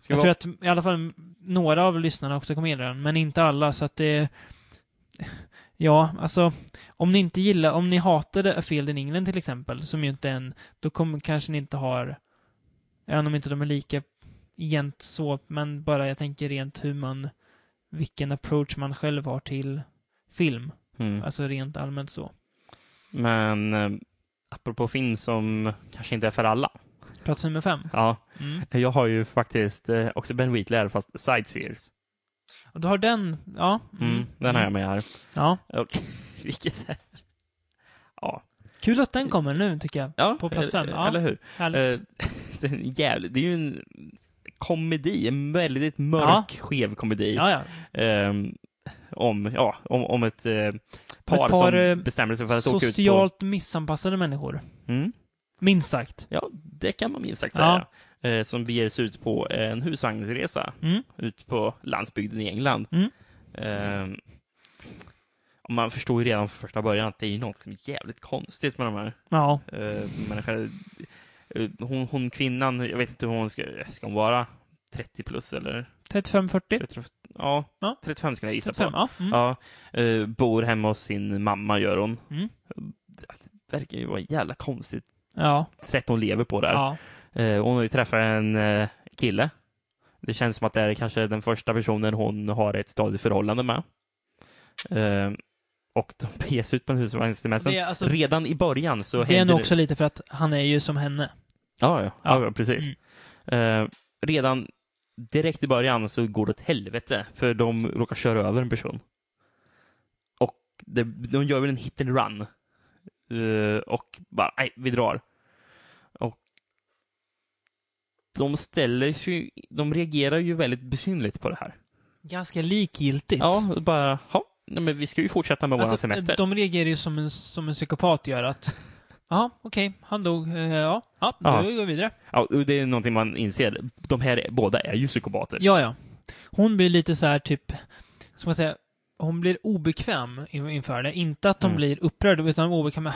[SPEAKER 5] Ska
[SPEAKER 4] Jag
[SPEAKER 5] vi
[SPEAKER 4] tror att i alla fall några av lyssnarna också kommer gilla den, men inte alla, så att det... Ja, alltså, om ni inte gillar, om ni hatade A Field in England till exempel, som ju inte är en, då kommer kanske ni inte har, även om inte de är lika gent så, men bara jag tänker rent hur man, vilken approach man själv har till film,
[SPEAKER 5] mm.
[SPEAKER 4] alltså rent allmänt så.
[SPEAKER 5] Men eh, apropå film som kanske inte är för alla.
[SPEAKER 4] Plats nummer fem.
[SPEAKER 5] Ja,
[SPEAKER 4] Mm.
[SPEAKER 5] jag har ju faktiskt eh, också Ben Wheatler fast Sightseers.
[SPEAKER 4] Och du har den, ja.
[SPEAKER 5] Mm. Den har jag med här.
[SPEAKER 4] Ja,
[SPEAKER 5] Och, vilket är... Ja.
[SPEAKER 4] kul att den kommer nu tycker jag.
[SPEAKER 5] ja.
[SPEAKER 4] På plats fem,
[SPEAKER 5] eh,
[SPEAKER 4] ja.
[SPEAKER 5] Eller hur?
[SPEAKER 4] Härligt.
[SPEAKER 5] Eh, det, är en jävligt, det är ju en komedi, en väldigt mörk, skev komedi.
[SPEAKER 4] ja, ja.
[SPEAKER 5] ehm, om, ja, om, om ett eh, par,
[SPEAKER 4] par, eh,
[SPEAKER 5] som bestämmer sig för att åka ut på...
[SPEAKER 4] Socialt missanpassade människor.
[SPEAKER 5] Mm,
[SPEAKER 4] Minst sagt.
[SPEAKER 5] ja, det kan man minst sagt
[SPEAKER 4] Ja.
[SPEAKER 5] säga. Eh, som beger sig ut på en husvagnsresa
[SPEAKER 4] Mm.
[SPEAKER 5] ut på landsbygden i England.
[SPEAKER 4] Mm.
[SPEAKER 5] Ehm, och man förstår ju redan från första början att det är ju något som är jävligt konstigt med de här
[SPEAKER 4] Ja.
[SPEAKER 5] eh, människorna. Eh, Hon, hon kvinnan, jag vet inte hur hon ska, ska hon vara 30 plus eller?
[SPEAKER 4] 35-40.
[SPEAKER 5] 30, ja,
[SPEAKER 4] Ja.
[SPEAKER 5] 35 skulle jag gissa
[SPEAKER 4] 35,
[SPEAKER 5] på.
[SPEAKER 4] ja. Mm.
[SPEAKER 5] Ja, eh, bor hemma hos sin mamma gör hon.
[SPEAKER 4] Mm.
[SPEAKER 5] Det verkar ju vara ett jävla konstigt
[SPEAKER 4] Ja.
[SPEAKER 5] sätt hon lever på där.
[SPEAKER 4] ja.
[SPEAKER 5] Eh, Hon har ju träffat en eh, kille. Det känns som att det är kanske den första personen hon har ett stadigt förhållande med. Eh, Och de beger sig ut på en husvagnssemester.
[SPEAKER 4] Det är alltså-
[SPEAKER 5] Redan i början så
[SPEAKER 4] Det är
[SPEAKER 5] händer
[SPEAKER 4] nog också lite för att han är ju som henne.
[SPEAKER 5] Ja, ja, ja, ja precis.
[SPEAKER 4] Mm.
[SPEAKER 5] Eh, Redan direkt i början så går det åt helvete för de råkar köra över en person. Och det, de gör väl en hit and run. Eh, och bara, nej, vi drar. Och de ställer sig, de reagerar ju väldigt besynligt på det här.
[SPEAKER 4] Ganska likgiltigt. Alltså,
[SPEAKER 5] Ja, bara, ja, nej, men vi ska ju fortsätta med våran semester.
[SPEAKER 4] De reagerar ju som en, som en psykopat gör att Ja, okej, han dog. Eh, Ja, ja, då
[SPEAKER 5] Ja.
[SPEAKER 4] går vi vidare.
[SPEAKER 5] Ja, och det är någonting man inser. De här båda är ju psykopater.
[SPEAKER 4] Ja, ja. Hon blir lite så här typ, ska man säga, hon blir obekväm in- inför det. Inte att de
[SPEAKER 5] Mm.
[SPEAKER 4] blir upprörda, utan obekväm.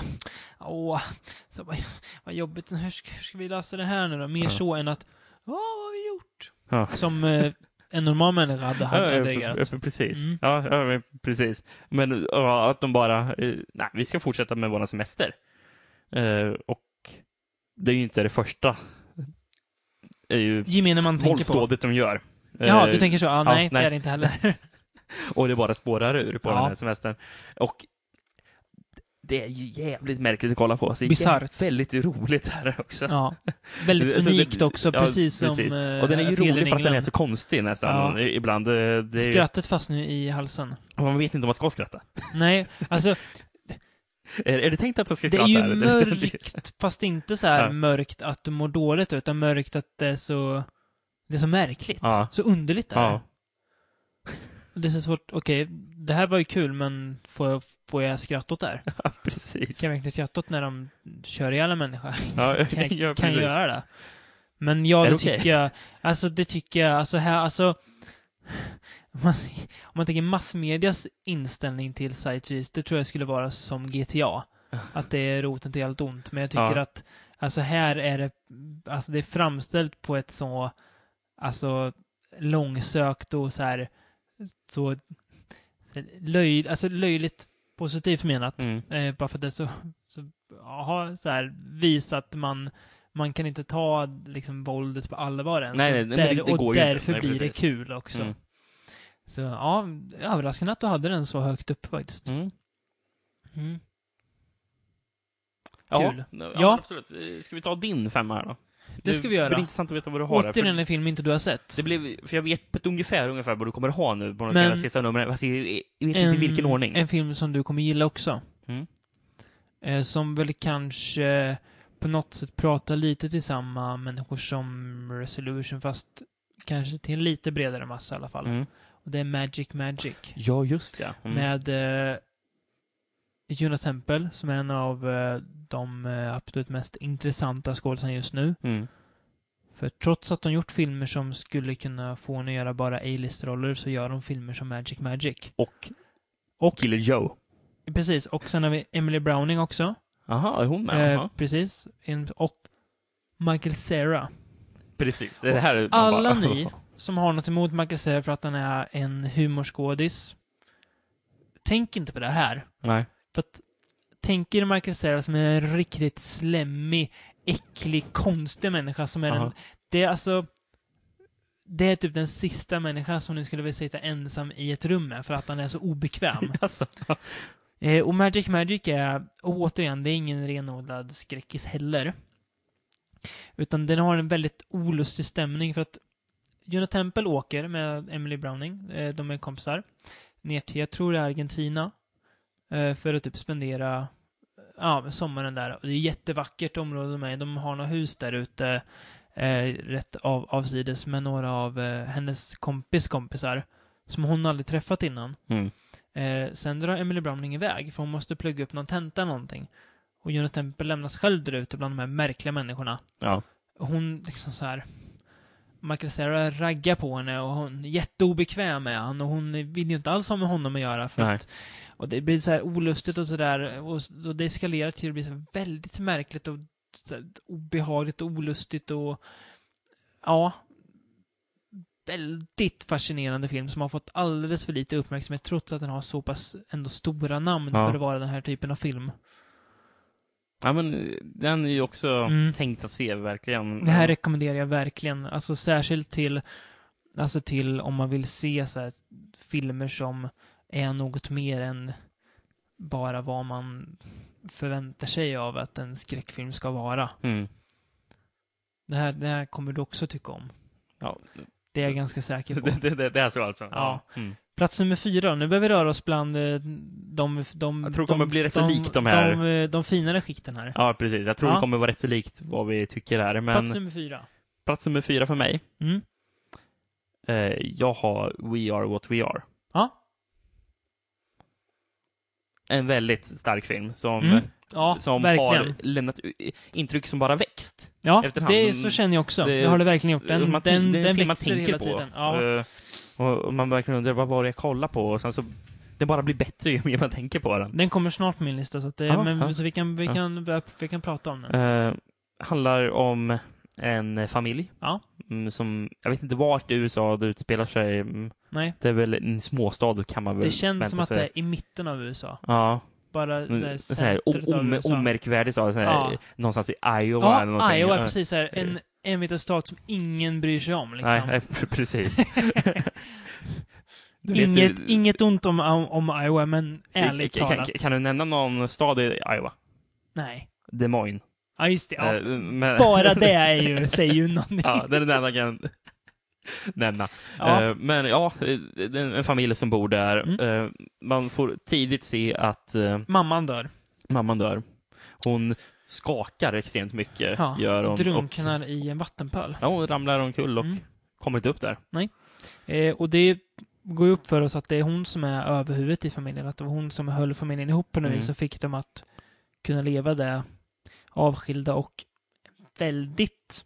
[SPEAKER 4] Åh, så, vad, vad jobbigt. Hur ska, hur ska vi lösa det här nu då? Mer
[SPEAKER 5] Ja.
[SPEAKER 4] så än att, ja, vad har vi gjort?
[SPEAKER 5] Ja.
[SPEAKER 4] Som eh, en normal människa hade, hade
[SPEAKER 5] ja, ja,
[SPEAKER 4] reagerat.
[SPEAKER 5] ja, precis.
[SPEAKER 4] Mm.
[SPEAKER 5] Ja, ja, men precis. Men ja, att de bara, eh, nej, vi ska fortsätta med våran semester. Eh, och det är ju inte det första det är ju
[SPEAKER 4] Gemene man tänker på.
[SPEAKER 5] våldsdådet de gör.
[SPEAKER 4] Ja,
[SPEAKER 5] Eh,
[SPEAKER 4] du tänker så. Ja, nej, det
[SPEAKER 5] nej.
[SPEAKER 4] är det inte heller.
[SPEAKER 5] Och det bara spårar ur på
[SPEAKER 4] Ja.
[SPEAKER 5] den här semestern. Och det är ju jävligt märkligt att kolla på. Så det är
[SPEAKER 4] Bisarrt.
[SPEAKER 5] Väldigt roligt här också.
[SPEAKER 4] Ja. Väldigt
[SPEAKER 5] Alltså, det-
[SPEAKER 4] unikt också,
[SPEAKER 5] ja,
[SPEAKER 4] precis, som eh,
[SPEAKER 5] Och den är ju
[SPEAKER 4] Fjällen
[SPEAKER 5] rolig för att den är
[SPEAKER 4] England.
[SPEAKER 5] så konstig nästan.
[SPEAKER 4] Ja.
[SPEAKER 5] Ibland. eh, Det är ju,
[SPEAKER 4] Skrattet fastnar ju i halsen.
[SPEAKER 5] man vet inte om man ska skratta.
[SPEAKER 4] Nej, alltså
[SPEAKER 5] Är, är det tänkt att man ska
[SPEAKER 4] Det
[SPEAKER 5] skratta?
[SPEAKER 4] är ju
[SPEAKER 5] eller? Det är-
[SPEAKER 4] mörkt, fast inte så här
[SPEAKER 5] Ja.
[SPEAKER 4] mörkt att du mår dåligt, utan mörkt att det är så... Det är så märkligt.
[SPEAKER 5] Ja.
[SPEAKER 4] Så underligt är
[SPEAKER 5] Ja.
[SPEAKER 4] det. Det är så svårt. Okej, det här var ju kul, men får jag, får jag skratta åt det här?
[SPEAKER 5] Ja, precis.
[SPEAKER 4] Kan jag verkligen skratta åt när de kör ihjäl en människa?
[SPEAKER 5] Ja,
[SPEAKER 4] Kan jag,
[SPEAKER 5] ja,
[SPEAKER 4] kan jag
[SPEAKER 5] precis.
[SPEAKER 4] göra det? Men
[SPEAKER 5] Är
[SPEAKER 4] ja,
[SPEAKER 5] det
[SPEAKER 4] det
[SPEAKER 5] okej?
[SPEAKER 4] tycker jag... Alltså, det tycker jag... Alltså, här, alltså... Om man, om man tänker massmedias inställning till sightsees, det tror jag skulle vara som GTA. Att det är roten till allt ont. Men jag tycker
[SPEAKER 5] Ja.
[SPEAKER 4] att, alltså här är det, alltså det är framställt på ett så, alltså långsökt och så här, så löj, alltså löjligt positivt menat.
[SPEAKER 5] Mm.
[SPEAKER 4] Eh, bara för att det är så, så, aha, så här, visat att man, man kan inte ta liksom våldet på allvar än.
[SPEAKER 5] Nej,
[SPEAKER 4] Så
[SPEAKER 5] nej, men
[SPEAKER 4] där,
[SPEAKER 5] det- det
[SPEAKER 4] och
[SPEAKER 5] går ju inte.
[SPEAKER 4] därför
[SPEAKER 5] Nej,
[SPEAKER 4] blir det
[SPEAKER 5] precis.
[SPEAKER 4] kul också.
[SPEAKER 5] Mm.
[SPEAKER 4] Så ja, överraskande att du hade den så högt upp faktiskt.
[SPEAKER 5] Mm.
[SPEAKER 4] Mm.
[SPEAKER 5] Ja,
[SPEAKER 4] Kul.
[SPEAKER 5] ja,
[SPEAKER 4] Ja.
[SPEAKER 5] absolut. Eh, Ska vi ta din femma här då?
[SPEAKER 4] Det ska vi
[SPEAKER 5] Det
[SPEAKER 4] göra.
[SPEAKER 5] blir intressant att veta vad du har. här, för-
[SPEAKER 4] Återigen en film inte du har sett.
[SPEAKER 5] Det blev, för jag vet på ett ungefär, ungefär vad du kommer ha nu på de
[SPEAKER 4] Men-
[SPEAKER 5] senaste sista numren. Fast jag jag vet inte i vilken ordning.
[SPEAKER 4] En film som du kommer gilla också.
[SPEAKER 5] Mm.
[SPEAKER 4] Eh, som väl kanske eh, på något sätt pratar lite till samma människor som Resolution, fast kanske till en lite bredare massa i alla fall.
[SPEAKER 5] Mm.
[SPEAKER 4] Och det är Magic Magic.
[SPEAKER 5] Ja, just ja. Mm.
[SPEAKER 4] Med eh, Juna Temple, som är en av eh, de eh, absolut mest intressanta skådespelarna just nu.
[SPEAKER 5] Mm.
[SPEAKER 4] För trots att de gjort filmer som skulle kunna få henne att göra bara A-list-roller så gör de filmer som Magic Magic.
[SPEAKER 5] Och
[SPEAKER 4] Och
[SPEAKER 5] Killer Joe.
[SPEAKER 4] Precis, och sen har vi Emily Browning också.
[SPEAKER 5] Jaha, är hon med?
[SPEAKER 4] eh,
[SPEAKER 5] Jaha.
[SPEAKER 4] precis. En- Och Michael Cera.
[SPEAKER 5] Precis. Det här är- man
[SPEAKER 4] Alla
[SPEAKER 5] bara-
[SPEAKER 4] ni som har något emot Michael Cera för att han är en humorskådis. Tänk inte på det här.
[SPEAKER 5] Nej.
[SPEAKER 4] För att tänk er Michael Cera som är en riktigt slemmig, äcklig, konstig människa som är en...
[SPEAKER 5] Aha.
[SPEAKER 4] Det är alltså... Det är typ den sista människan som ni skulle vilja sitta ensam i ett rum med för att han är så obekväm.
[SPEAKER 5] Alltså,
[SPEAKER 4] Eh, och Magic Magic är, och återigen, det är ingen renodlad skräckis heller. Utan den har en väldigt olustig stämning för att Jonah Temple åker med Emily Browning, eh, de är kompisar, ner till, jag tror det är Argentina, eh, för att typ spendera ja, men sommaren där. Och det är jättevackert område med, de har några hus där ute, eh, rätt av, avsides med några av eh, hennes kompis kompisar som hon aldrig träffat innan.
[SPEAKER 5] Mm.
[SPEAKER 4] Eh, sen drar Emily Browning iväg, för hon måste plugga upp någon tenta eller någonting. Och Jonah Temple lämnas själv där ute bland de här märkliga människorna.
[SPEAKER 5] Ja.
[SPEAKER 4] Hon liksom så här... Michael Cera raggar på henne och hon är jätteobekväm med han och hon vill ju inte alls ha med honom att göra. För
[SPEAKER 5] Nej.
[SPEAKER 4] att, och det blir så här olustigt och sådär och, s- och det eskalerar till att bli så här väldigt märkligt och så här obehagligt och olustigt och ja. Väldigt fascinerande film som har fått alldeles för lite uppmärksamhet trots att den har så pass ändå stora namn
[SPEAKER 5] Ja.
[SPEAKER 4] för att vara den här typen av film.
[SPEAKER 5] ja, men eh, den är ju också
[SPEAKER 4] Mm.
[SPEAKER 5] tänkt att se verkligen.
[SPEAKER 4] Det här rekommenderar jag verkligen. Alltså särskilt till, alltså till om man vill se så här filmer som är något mer än bara vad man förväntar sig av att en skräckfilm ska vara.
[SPEAKER 5] Mm.
[SPEAKER 4] Det här, det här kommer du också tycka om.
[SPEAKER 5] Ja.
[SPEAKER 4] Det är jag ganska säker på.
[SPEAKER 5] Det, det, det, det är så alltså?
[SPEAKER 4] Ja.
[SPEAKER 5] Mm.
[SPEAKER 4] Plats nummer fyra då. Nu börjar vi röra oss bland eh, de... de
[SPEAKER 5] Jag
[SPEAKER 4] de,
[SPEAKER 5] tror det kommer bli rätt så likt de här.
[SPEAKER 4] De, eh, de finare skikten här.
[SPEAKER 5] ja, precis. Jag tror
[SPEAKER 4] Ja.
[SPEAKER 5] det kommer vara rätt så likt vad vi tycker här. Men
[SPEAKER 4] Plats nummer fyra.
[SPEAKER 5] plats nummer fyra för mig.
[SPEAKER 4] Mm.
[SPEAKER 5] Eh, jag har We Are What We Are.
[SPEAKER 4] Ja.
[SPEAKER 5] En väldigt stark film som,
[SPEAKER 4] Mm. Ja,
[SPEAKER 5] som
[SPEAKER 4] verkligen.
[SPEAKER 5] har lämnat u- intryck som bara växt.
[SPEAKER 4] Ja,
[SPEAKER 5] efterhand.
[SPEAKER 4] det så känner jag också. Det,
[SPEAKER 5] Det-
[SPEAKER 4] har det verkligen gjort. Den,
[SPEAKER 5] man,
[SPEAKER 4] den,
[SPEAKER 5] det är en
[SPEAKER 4] den
[SPEAKER 5] film man
[SPEAKER 4] växer
[SPEAKER 5] tänker
[SPEAKER 4] hela
[SPEAKER 5] på.
[SPEAKER 4] tiden. Ja.
[SPEAKER 5] Eh, och och man verkligen undrar vad var det jag kollade på och sen så det bara blir bättre ju mer man tänker på den.
[SPEAKER 4] Den kommer snart på min lista, så, att, det-
[SPEAKER 5] Ja,
[SPEAKER 4] men,
[SPEAKER 5] ja.
[SPEAKER 4] så vi, kan, vi,
[SPEAKER 5] Ja.
[SPEAKER 4] kan, börja- vi kan prata om den.
[SPEAKER 5] Eh, handlar om en familj.
[SPEAKER 4] Ja.
[SPEAKER 5] Mm, som, jag vet inte vart i USA det utspelar sig. Mm,
[SPEAKER 4] Nej,
[SPEAKER 5] Det är väl en småstad kan man väl
[SPEAKER 4] det känns som
[SPEAKER 5] vänta
[SPEAKER 4] att
[SPEAKER 5] sig.
[SPEAKER 4] det är i mitten av USA.
[SPEAKER 5] Ja.
[SPEAKER 4] Bara så här,
[SPEAKER 5] Mm, så här,
[SPEAKER 4] centret av
[SPEAKER 5] om,
[SPEAKER 4] USA.
[SPEAKER 5] omärkvärdig stad. Så här,
[SPEAKER 4] Ja.
[SPEAKER 5] Någonstans i Iowa
[SPEAKER 4] ja,
[SPEAKER 5] eller någonting.
[SPEAKER 4] Iowa,
[SPEAKER 5] Ja.
[SPEAKER 4] precis. Så här, en, en liten stat som ingen bryr sig om. Liksom.
[SPEAKER 5] Nej, nej, pre- precis. Du vet
[SPEAKER 4] inget,
[SPEAKER 5] ju-
[SPEAKER 4] inget ont om, om Iowa, men ärligt
[SPEAKER 5] kan,
[SPEAKER 4] talat.
[SPEAKER 5] kan, kan du nämna någon stad i Iowa?
[SPEAKER 4] Nej.
[SPEAKER 5] Des Moines.
[SPEAKER 4] Ja, just det. Ja.
[SPEAKER 5] Eh, men-
[SPEAKER 4] Bara det är ju, säger ju någonting.
[SPEAKER 5] ja, det är den enda jag kan nämna.
[SPEAKER 4] Ja.
[SPEAKER 5] Eh, Men ja, eh, det är en familj som bor där.
[SPEAKER 4] Mm.
[SPEAKER 5] Eh, Man får tidigt se att eh,
[SPEAKER 4] Mamman dör.
[SPEAKER 5] mamman dör. Hon skakar extremt mycket.
[SPEAKER 4] Ja,
[SPEAKER 5] Gör hon, Och,
[SPEAKER 4] Drunknar i en vattenpöl.
[SPEAKER 5] ja, hon ramlar omkull och
[SPEAKER 4] Mm.
[SPEAKER 5] kommer inte upp där.
[SPEAKER 4] Eh, och det går ju upp för oss att det är hon som är överhuvudet i familjen. Att det var hon som höll familjen ihop på något
[SPEAKER 5] Mm.
[SPEAKER 4] vis och fick dem att kunna leva det avskilda och väldigt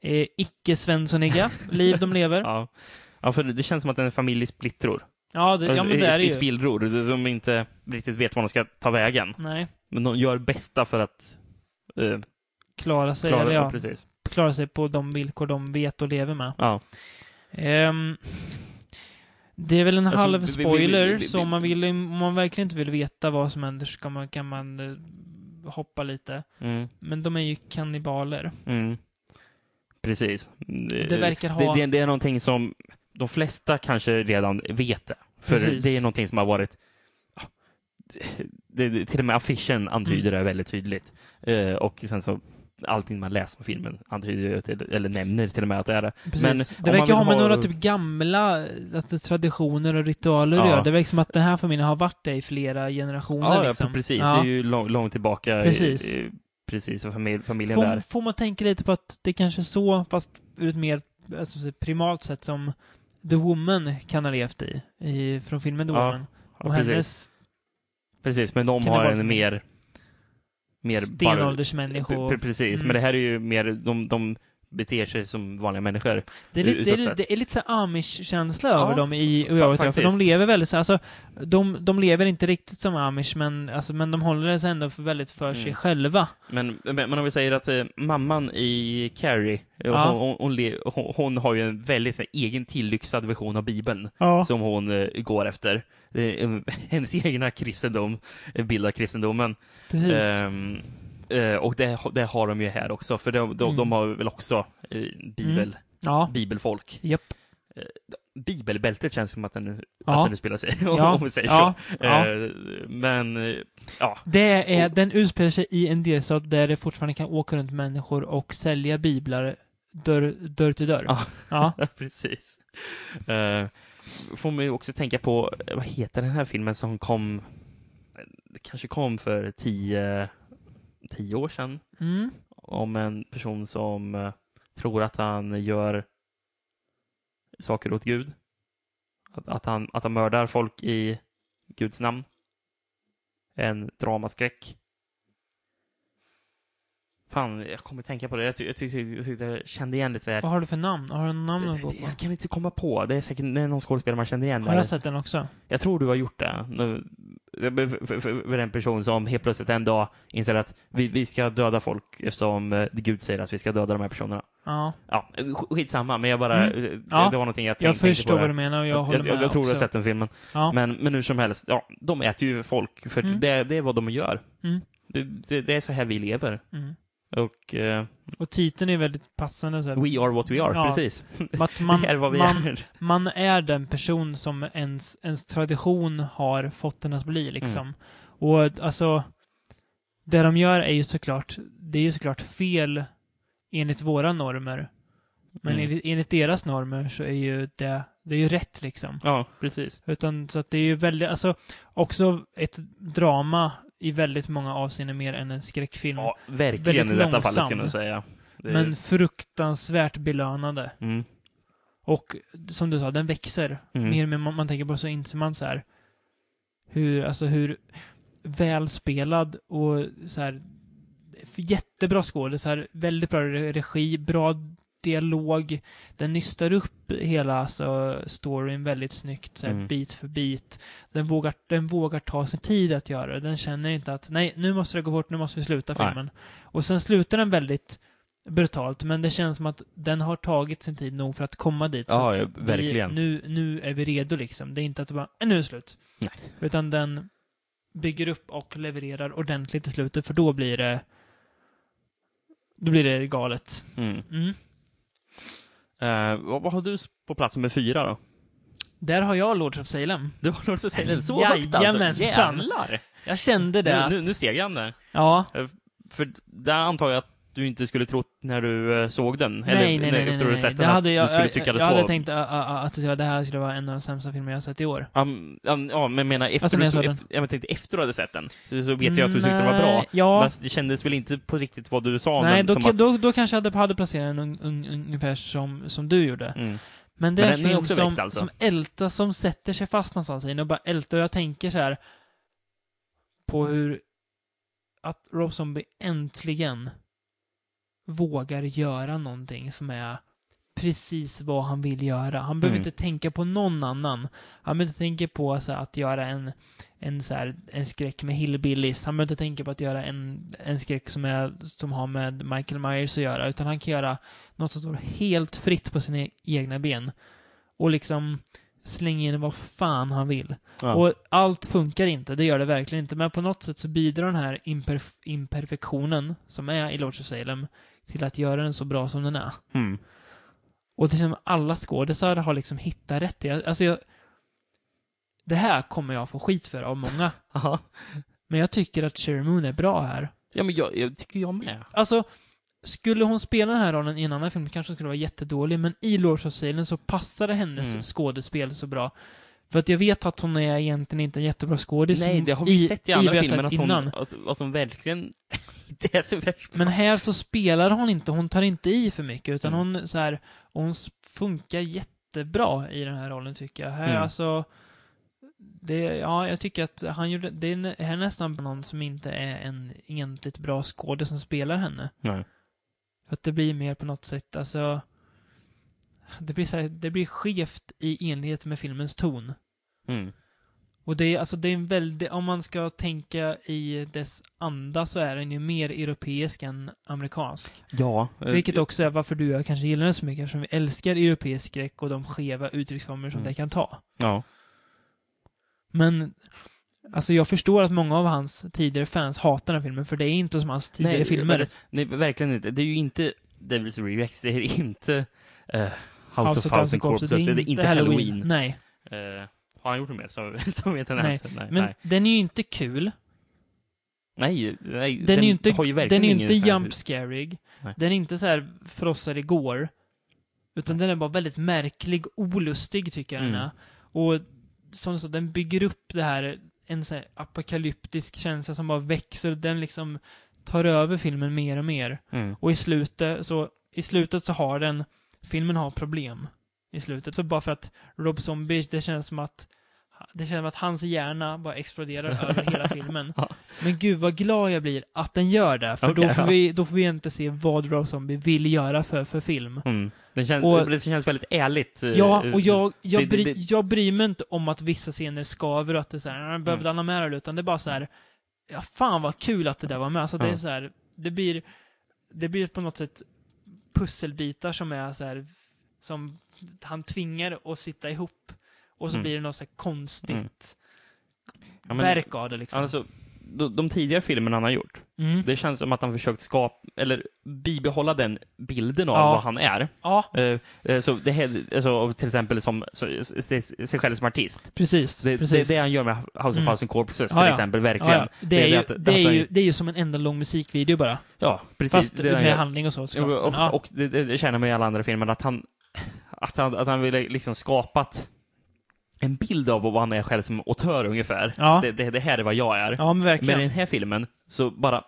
[SPEAKER 4] eh, icke-svenssoniga liv de lever. Ja,
[SPEAKER 5] Ja. ja, för det känns som att det är en familj i splittror. Alltså,
[SPEAKER 4] det, ja men det är det
[SPEAKER 5] I
[SPEAKER 4] ju.
[SPEAKER 5] spillror, som inte riktigt vet var de ska ta vägen.
[SPEAKER 4] Nej,
[SPEAKER 5] Men de gör bästa för att eh,
[SPEAKER 4] klara sig,
[SPEAKER 5] klara
[SPEAKER 4] eller
[SPEAKER 5] det.
[SPEAKER 4] ja,
[SPEAKER 5] Precis.
[SPEAKER 4] klara sig på de villkor de vet och lever med.
[SPEAKER 5] Ja.
[SPEAKER 4] Ehm, det är väl en
[SPEAKER 5] Alltså,
[SPEAKER 4] halv
[SPEAKER 5] vi- vi- vi-
[SPEAKER 4] spoiler,
[SPEAKER 5] vi- vi-
[SPEAKER 4] så om man, vill, om man verkligen inte vill veta vad som händer så kan man, kan man eh, hoppa lite.
[SPEAKER 5] Mm.
[SPEAKER 4] Men de är ju kannibaler.
[SPEAKER 5] Mm. Precis. Det,
[SPEAKER 4] verkar ha-
[SPEAKER 5] Det, det, det är någonting som de flesta kanske redan vet det. För
[SPEAKER 4] Precis.
[SPEAKER 5] det är någonting som har varit... ja, Det, det, till och med affischen antyder
[SPEAKER 4] Mm.
[SPEAKER 5] det väldigt tydligt. Eh, och sen så allting man läser på filmen antyder ju, till, eller nämner till och med att det är det.
[SPEAKER 4] Precis.
[SPEAKER 5] Men om
[SPEAKER 4] det
[SPEAKER 5] man
[SPEAKER 4] verkar
[SPEAKER 5] vill
[SPEAKER 4] ha med
[SPEAKER 5] ha-
[SPEAKER 4] några typ gamla alltså, traditioner och ritualer att
[SPEAKER 5] Ja.
[SPEAKER 4] göra. Det verkar som att den här familjen har varit där i flera generationer.
[SPEAKER 5] Ja,
[SPEAKER 4] liksom.
[SPEAKER 5] ja precis.
[SPEAKER 4] Ja.
[SPEAKER 5] Det är ju lång, långt tillbaka. i-
[SPEAKER 4] Precis.
[SPEAKER 5] i- precis, och familj, familjen
[SPEAKER 4] får,
[SPEAKER 5] där.
[SPEAKER 4] får man tänka lite på att det kanske är så, fast ur ett mer alltså, så primalt sätt som The Woman kan ha levt i, i från filmen The
[SPEAKER 5] Ja,
[SPEAKER 4] Woman.
[SPEAKER 5] Ja,
[SPEAKER 4] Och
[SPEAKER 5] precis.
[SPEAKER 4] hennes
[SPEAKER 5] precis, men de
[SPEAKER 4] kan det
[SPEAKER 5] har
[SPEAKER 4] vara
[SPEAKER 5] en
[SPEAKER 4] för-
[SPEAKER 5] mer... mer bara-
[SPEAKER 4] stenåldersmänniskor.
[SPEAKER 5] Pre- Precis,
[SPEAKER 4] Mm.
[SPEAKER 5] men det här är ju mer, de, de beter sig som vanliga människor.
[SPEAKER 4] Det är, lite, det,
[SPEAKER 5] utåt
[SPEAKER 4] är,
[SPEAKER 5] sett.
[SPEAKER 4] det är lite så här amish-känsla
[SPEAKER 5] Ja,
[SPEAKER 4] över dem i
[SPEAKER 5] fa-
[SPEAKER 4] Uravet, för de
[SPEAKER 5] faktiskt.
[SPEAKER 4] lever väldigt så här, alltså, de, de lever inte riktigt som amish, men, alltså, men de håller sig ändå för väldigt för sig
[SPEAKER 5] Mm.
[SPEAKER 4] själva.
[SPEAKER 5] Men, men, men om vi säger att eh, mamman i Carrie, eh,
[SPEAKER 4] Ja.
[SPEAKER 5] hon, hon, hon, le- hon, hon har ju en väldigt så här, egen tillyxad version av Bibeln
[SPEAKER 4] Ja.
[SPEAKER 5] som hon eh, går efter. Eh, hennes egna kristendom, eh, bild av kristendomen.
[SPEAKER 4] Precis.
[SPEAKER 5] Ehm, eh, och det, ha- det har de ju här också, för de, de,
[SPEAKER 4] Mm.
[SPEAKER 5] de har väl också eh, bibel,
[SPEAKER 4] ja.
[SPEAKER 5] bibelfolk. Eh,
[SPEAKER 4] Japp.
[SPEAKER 5] Bibelbältet känns som att den,
[SPEAKER 4] Ja.
[SPEAKER 5] att den utspelar sig,
[SPEAKER 4] Ja.
[SPEAKER 5] om vi säger så.
[SPEAKER 4] ja. ja.
[SPEAKER 5] Eh, Men eh, ja,
[SPEAKER 4] Det är, den utspelar sig i en delstat där det fortfarande kan åka runt människor och sälja biblar dörr, dörr till dörr.
[SPEAKER 5] Ja.
[SPEAKER 4] Ja.
[SPEAKER 5] precis. Eh, Får mig också tänka på, eh, vad heter den här filmen som kom, det kanske kom för tio, tio år sedan,
[SPEAKER 4] Mm.
[SPEAKER 5] om en person som eh, tror att han gör saker åt Gud. Att, att, han, att han mördar folk i Guds namn. En dramaskräck. Fan, jag kommer tänka på det. Jag, ty, jag, tyckte, jag, tyckte jag kände igen lite så här.
[SPEAKER 4] Vad har du för namn? Har du namn att gå på?
[SPEAKER 5] Jag kan inte komma på. Det är säkert det är någon skådespelare man känner igen.
[SPEAKER 4] Har
[SPEAKER 5] där.
[SPEAKER 4] jag sett den också?
[SPEAKER 5] Jag tror du har gjort det. Nu- För, för, för, för en person som helt plötsligt en dag inser att vi, vi ska döda folk eftersom eh, Gud säger att vi ska döda de här personerna.
[SPEAKER 4] Ja.
[SPEAKER 5] Ja, sk- skitsamma, men jag bara...
[SPEAKER 4] Mm.
[SPEAKER 5] eh, Det,
[SPEAKER 4] Ja.
[SPEAKER 5] det var någonting jag tänkte
[SPEAKER 4] Jag
[SPEAKER 5] tänkte
[SPEAKER 4] förstår
[SPEAKER 5] på.
[SPEAKER 4] vad du menar och jag, håller
[SPEAKER 5] jag,
[SPEAKER 4] med
[SPEAKER 5] jag, jag tror du har
[SPEAKER 4] också.
[SPEAKER 5] sett den filmen.
[SPEAKER 4] Ja.
[SPEAKER 5] Men, men hur som helst, ja, de äter ju folk. För
[SPEAKER 4] Mm.
[SPEAKER 5] det, det är vad de gör.
[SPEAKER 4] Mm.
[SPEAKER 5] Det, det, det är så här vi lever.
[SPEAKER 4] Mm.
[SPEAKER 5] Och eh,
[SPEAKER 4] Och titeln är väldigt passande. Så här.
[SPEAKER 5] we are what we are,
[SPEAKER 4] Ja.
[SPEAKER 5] precis.
[SPEAKER 4] Att man,
[SPEAKER 5] det är vad vi
[SPEAKER 4] man,
[SPEAKER 5] är.
[SPEAKER 4] man är den person som ens, ens tradition har fått den att
[SPEAKER 5] Mm.
[SPEAKER 4] bli liksom. Och alltså, det de gör är ju såklart, det är ju såklart fel enligt våra normer. Men
[SPEAKER 5] Mm.
[SPEAKER 4] enligt, enligt deras normer så är ju det, det är ju rätt liksom.
[SPEAKER 5] Ja, precis.
[SPEAKER 4] Utan så att det är ju väldigt, alltså också ett drama i väldigt många avseenden mer än en skräckfilm.
[SPEAKER 5] Ja,
[SPEAKER 4] Mm. Väldigt
[SPEAKER 5] verkligen i detta fallet,
[SPEAKER 4] långsam.
[SPEAKER 5] skulle jag säga. Det är-
[SPEAKER 4] men fruktansvärt belönande.
[SPEAKER 5] mm.
[SPEAKER 4] Och som du sa, den växer.
[SPEAKER 5] Mm.
[SPEAKER 4] Mer och mer man, man tänker på så inser man så här hur, alltså hur välspelad och så här jättebra skådis, så här, väldigt bra re- regi, bra dialog. Den nystar upp hela alltså, storyn väldigt snyggt, så här,
[SPEAKER 5] Mm.
[SPEAKER 4] bit för bit. Den vågar, den vågar ta sin tid att göra det. Den känner inte att nej, nu måste det gå fort, nu måste vi sluta
[SPEAKER 5] Nej.
[SPEAKER 4] filmen. Och sen slutar den väldigt brutalt, men det känns som att den har tagit sin tid nog för att komma dit. så
[SPEAKER 5] Ja,
[SPEAKER 4] att
[SPEAKER 5] ja, verkligen.
[SPEAKER 4] Vi, nu, nu är vi redo liksom. Det är inte att det bara, "Äh, nu är det slut.
[SPEAKER 5] Nej.
[SPEAKER 4] Utan den bygger upp och levererar ordentligt i slutet, för då blir det då blir det galet.
[SPEAKER 5] Mm.
[SPEAKER 4] Mm.
[SPEAKER 5] Eh, vad, vad har du s- på plats nummer fyra då?
[SPEAKER 4] Där har jag Lords of Salem.
[SPEAKER 5] Du har Lords of Salem så högt alltså?
[SPEAKER 4] Jajamensan.
[SPEAKER 5] Jävlar!
[SPEAKER 4] Jag kände det.
[SPEAKER 5] Nu,
[SPEAKER 4] att-
[SPEAKER 5] nu, nu steg han där.
[SPEAKER 4] Ja.
[SPEAKER 5] För där antar jag att du inte skulle trott när du eh, såg den.
[SPEAKER 4] Nej, nej, nej. nej,
[SPEAKER 5] efter du
[SPEAKER 4] nej,
[SPEAKER 5] hade sett
[SPEAKER 4] Det
[SPEAKER 5] den att
[SPEAKER 4] hade jag,
[SPEAKER 5] du skulle
[SPEAKER 4] jag-
[SPEAKER 5] tycka det
[SPEAKER 4] jag
[SPEAKER 5] så.
[SPEAKER 4] hade tänkt ä, ä, ä, att ja, det här skulle vara en av de sämsta filmer jag har sett i år.
[SPEAKER 5] Um, um, ja, men jag menar efter
[SPEAKER 4] Alltså, när
[SPEAKER 5] du,
[SPEAKER 4] jag
[SPEAKER 5] så,
[SPEAKER 4] såg den.
[SPEAKER 5] efter, jag tänkte efter du hade sett den. Så vet jag att du tyckte det var bra.
[SPEAKER 4] Nej, Ja.
[SPEAKER 5] Men det kändes väl inte på riktigt vad du sa om
[SPEAKER 4] Nej,
[SPEAKER 5] den.
[SPEAKER 4] då,
[SPEAKER 5] som
[SPEAKER 4] ka-
[SPEAKER 5] att,
[SPEAKER 4] då, då kanske jag hade, hade placerat den un, un, ungefär som, som du gjorde.
[SPEAKER 5] mm,
[SPEAKER 4] Men det
[SPEAKER 5] Men
[SPEAKER 4] är en
[SPEAKER 5] den är
[SPEAKER 4] film
[SPEAKER 5] också
[SPEAKER 4] som,
[SPEAKER 5] växt, alltså.
[SPEAKER 4] som ältar, som sätter sig fast någonstans i en och bara ältar. Och jag tänker så här på hur att Rob Zombie äntligen vågar göra någonting som är precis vad han vill göra. Han behöver
[SPEAKER 5] Mm.
[SPEAKER 4] inte tänka på någon annan. Han behöver inte tänka på så här, att göra en, en, så här, en skräck med hillbillies. Han behöver inte tänka på att göra en, en skräck som, är, som har med Michael Myers att göra. Utan han kan göra något som står helt fritt på sina e- egna ben. Och liksom slänga in vad fan han vill.
[SPEAKER 5] ja.
[SPEAKER 4] Och allt funkar inte, det gör det verkligen inte. Men på något sätt så bidrar den här imperf- imperfektionen som är i Lords of Salem till att göra den så bra som den är.
[SPEAKER 5] mm,
[SPEAKER 4] Och det känns som alla skådisar har liksom hittat rätt i. Alltså jag, det här kommer jag få skit för av många.
[SPEAKER 5] aha.
[SPEAKER 4] Men jag tycker att Cherry Moon är bra här.
[SPEAKER 5] ja, men jag, jag tycker jag med.
[SPEAKER 4] Alltså, skulle hon spela den här rollen i en annan film kanske hon skulle vara jättedålig, men i Lords of Salem så passade hennes
[SPEAKER 5] Mm.
[SPEAKER 4] skådespel så bra. För att jag vet att hon är egentligen inte en jättebra skådis.
[SPEAKER 5] Nej, det har vi ju sett i andra
[SPEAKER 4] vi har
[SPEAKER 5] filmer att
[SPEAKER 4] sett
[SPEAKER 5] hon,
[SPEAKER 4] innan.
[SPEAKER 5] att, att hon verkligen inte är så värst
[SPEAKER 4] Men här så spelar hon inte, hon tar inte i för mycket, utan
[SPEAKER 5] Mm.
[SPEAKER 4] hon så här, och hon s- funkar jättebra i den här rollen tycker jag. Här
[SPEAKER 5] Mm.
[SPEAKER 4] alltså, det, ja, jag tycker att han gjorde, det är, nä- här är nästan någon som inte är en egentligt bra skådespelare som spelar henne.
[SPEAKER 5] Nej.
[SPEAKER 4] För att det blir mer på något sätt, alltså, det blir så här, det blir skevt i enlighet med filmens ton.
[SPEAKER 5] Mm.
[SPEAKER 4] Och det är, alltså, det är en väldigt, om man ska tänka i dess anda så är den ju mer europeisk än amerikansk.
[SPEAKER 5] Ja. eh,
[SPEAKER 4] Vilket också är varför du och jag kanske gillar den så mycket, eftersom vi älskar europeisk skräck och de skeva uttrycksformer som
[SPEAKER 5] Mm.
[SPEAKER 4] det kan ta.
[SPEAKER 5] Ja.
[SPEAKER 4] Men, alltså jag förstår att många av hans tidigare fans hatar den här filmen, för det är inte som hans tidigare
[SPEAKER 5] Nej,
[SPEAKER 4] filmer.
[SPEAKER 5] ver- Nej, verkligen inte. Det är ju inte Devil's Rejects, det är inte eh, House, of Thousand Corpses, det är inte Halloween.
[SPEAKER 4] Nej,
[SPEAKER 5] Eh, har han gjort något mer som, som heter
[SPEAKER 4] Nej,
[SPEAKER 5] Nej, nej,
[SPEAKER 4] men
[SPEAKER 5] nej.
[SPEAKER 4] den är ju inte kul.
[SPEAKER 5] nej, nej,
[SPEAKER 4] Den, är ju inte,
[SPEAKER 5] har ju verkligen
[SPEAKER 4] den är ju
[SPEAKER 5] ingen
[SPEAKER 4] inte
[SPEAKER 5] sån här-
[SPEAKER 4] jump scarig.
[SPEAKER 5] Nej.
[SPEAKER 4] Den är inte så här frossar igår. Utan den är bara väldigt märklig, olustig tycker jag den
[SPEAKER 5] Mm.
[SPEAKER 4] är. Och som så, den bygger upp det här, en så här apokalyptisk känsla som bara växer. Den liksom tar över filmen mer och mer.
[SPEAKER 5] Mm.
[SPEAKER 4] Och i slutet så, i slutet så har den, filmen har problem. i slutet. Så bara för att Rob Zombie, det känns som att det känns som att hans hjärna bara exploderar över hela filmen.
[SPEAKER 5] Ja.
[SPEAKER 4] Men gud vad glad jag blir att den gör det, för då,
[SPEAKER 5] Okej,
[SPEAKER 4] får
[SPEAKER 5] ja.
[SPEAKER 4] vi, då får vi inte se vad Rob Zombie vill göra för, för film.
[SPEAKER 5] Mm. Det, känns,
[SPEAKER 4] Och-
[SPEAKER 5] det känns väldigt ärligt. eh,
[SPEAKER 4] Ja, och
[SPEAKER 5] eh,
[SPEAKER 4] jag, jag,
[SPEAKER 5] det-
[SPEAKER 4] bry,
[SPEAKER 5] det-
[SPEAKER 4] jag bryr mig inte om att vissa scener skaver och att det är så här, jag
[SPEAKER 5] Mm.
[SPEAKER 4] behövde han ha med det, utan det är bara så här, ja fan vad kul att det där var med. Så det är
[SPEAKER 5] Ja.
[SPEAKER 4] så här, det blir, det blir på något sätt pusselbitar som är så här, som han tvingar att sitta ihop. Och så
[SPEAKER 5] Mm.
[SPEAKER 4] blir det något så här
[SPEAKER 5] Mm.
[SPEAKER 4] konstigt
[SPEAKER 5] Ja, men-
[SPEAKER 4] verk av det liksom.
[SPEAKER 5] Alltså, de, de tidigare filmerna han har gjort,
[SPEAKER 4] mm.
[SPEAKER 5] det känns som att han försökt skapa, eller bibehålla den bilden av
[SPEAKER 4] Ja.
[SPEAKER 5] vad han är.
[SPEAKER 4] Ja,
[SPEAKER 5] Eh, eh, Så det, här- alltså, och till exempel som så, sig, sig själv som artist.
[SPEAKER 4] precis.
[SPEAKER 5] Det,
[SPEAKER 4] precis.
[SPEAKER 5] det, det han gör med House of
[SPEAKER 4] Mm.
[SPEAKER 5] Thousand Corpses till
[SPEAKER 4] Ja, ja.
[SPEAKER 5] exempel,
[SPEAKER 4] Ja,
[SPEAKER 5] verkligen.
[SPEAKER 4] ja. Det, är ju,
[SPEAKER 5] att- att
[SPEAKER 4] det, är
[SPEAKER 5] han-
[SPEAKER 4] ju, det är ju som en enda lång musikvideo bara.
[SPEAKER 5] Ja, precis.
[SPEAKER 4] Fast
[SPEAKER 5] det han
[SPEAKER 4] med
[SPEAKER 5] gör.
[SPEAKER 4] handling och så. såklart.
[SPEAKER 5] Och,
[SPEAKER 4] Men, ja.
[SPEAKER 5] och, och det, det det känner man i alla andra filmer, att han, att han, att han ville liksom skapat en bild av vad han är själv som autör ungefär.
[SPEAKER 4] Ja.
[SPEAKER 5] Det, det, det här är vad jag är.
[SPEAKER 4] ja, men verkligen.
[SPEAKER 5] Men i den här filmen, så bara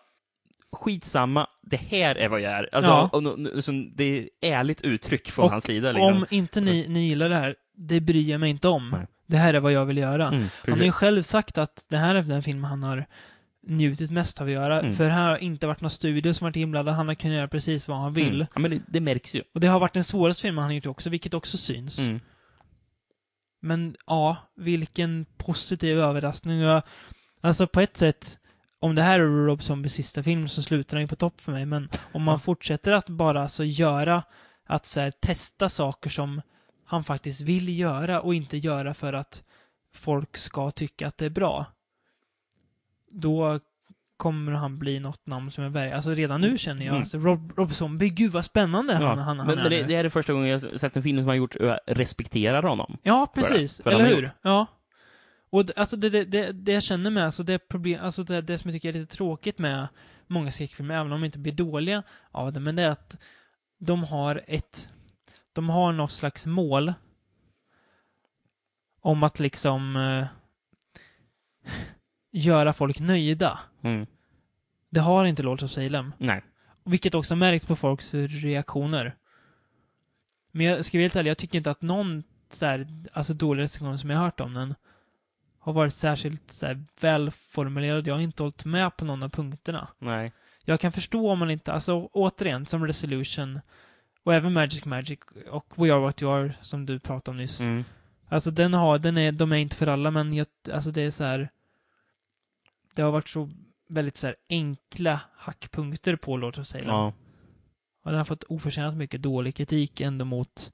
[SPEAKER 5] skitsamma, det här är vad jag är. Alltså,
[SPEAKER 4] Ja.
[SPEAKER 5] och, nu- nu- så det är ärligt uttryck från
[SPEAKER 4] Och
[SPEAKER 5] hans sida. Liksom.
[SPEAKER 4] Om inte ni, ni gillar det här, det bryr jag mig inte om.
[SPEAKER 5] Nej.
[SPEAKER 4] Det här är vad jag vill göra.
[SPEAKER 5] Mm,
[SPEAKER 4] Han har ju själv sagt att det här är den film han har njutit mest av att göra.
[SPEAKER 5] Mm.
[SPEAKER 4] För här har inte varit någon studio som varit inblandad. Han har kunnat göra precis vad han vill.
[SPEAKER 5] Mm. Ja, men det, det märks ju.
[SPEAKER 4] Och det har varit den svåraste filmen han har gjort också, vilket också syns.
[SPEAKER 5] Mm.
[SPEAKER 4] Men ja, vilken positiv överraskning. Och jag- Alltså på ett sätt, om det här är Rob Zombies sista film så slutar den ju på topp för mig. Men om man fortsätter att bara alltså göra, att så här, testa saker som han faktiskt vill göra och inte göra för att folk ska tycka att det är bra. Då kommer han bli något namn som är värre. Alltså redan nu känner jag,
[SPEAKER 5] Mm.
[SPEAKER 4] alltså, Rob, Rob Zombie, gud vad spännande han, han, han
[SPEAKER 5] men
[SPEAKER 4] är
[SPEAKER 5] men det,
[SPEAKER 4] nu.
[SPEAKER 5] det här är första gången jag har sett en film som har gjort och jag respekterar honom.
[SPEAKER 4] Ja,
[SPEAKER 5] det.
[SPEAKER 4] precis.
[SPEAKER 5] För
[SPEAKER 4] Eller
[SPEAKER 5] han har
[SPEAKER 4] hur? Ja. Och det, alltså det, det, det, det jag känner med, alltså det, problem, alltså det, det som jag tycker är lite tråkigt med många skräckfilmer, även om de inte blir dåliga av det, men det är att de har ett, de har något slags mål om att liksom eh, göra folk nöjda.
[SPEAKER 5] Mm.
[SPEAKER 4] Det har inte Lords of Salem.
[SPEAKER 5] Nej.
[SPEAKER 4] Vilket också märks på folks reaktioner. Men jag ska vara helt ärlig, jag tycker inte att någon så här, alltså dålig recension som jag har hört om den har varit särskilt så här, välformulerad. Jag har inte hållit med på någon av punkterna.
[SPEAKER 5] Nej.
[SPEAKER 4] Jag kan förstå om man inte, alltså återigen, som Resolution och även Magic Magic och We Are What You Are som du pratade om nyss.
[SPEAKER 5] Mm.
[SPEAKER 4] Alltså den har, den är, de är inte för alla men jag, alltså det är så här. Det har varit så väldigt så här enkla hackpunkter på Lords of Salem.
[SPEAKER 5] Ja.
[SPEAKER 4] Och den har fått oförtjänt mycket dålig kritik ändå mot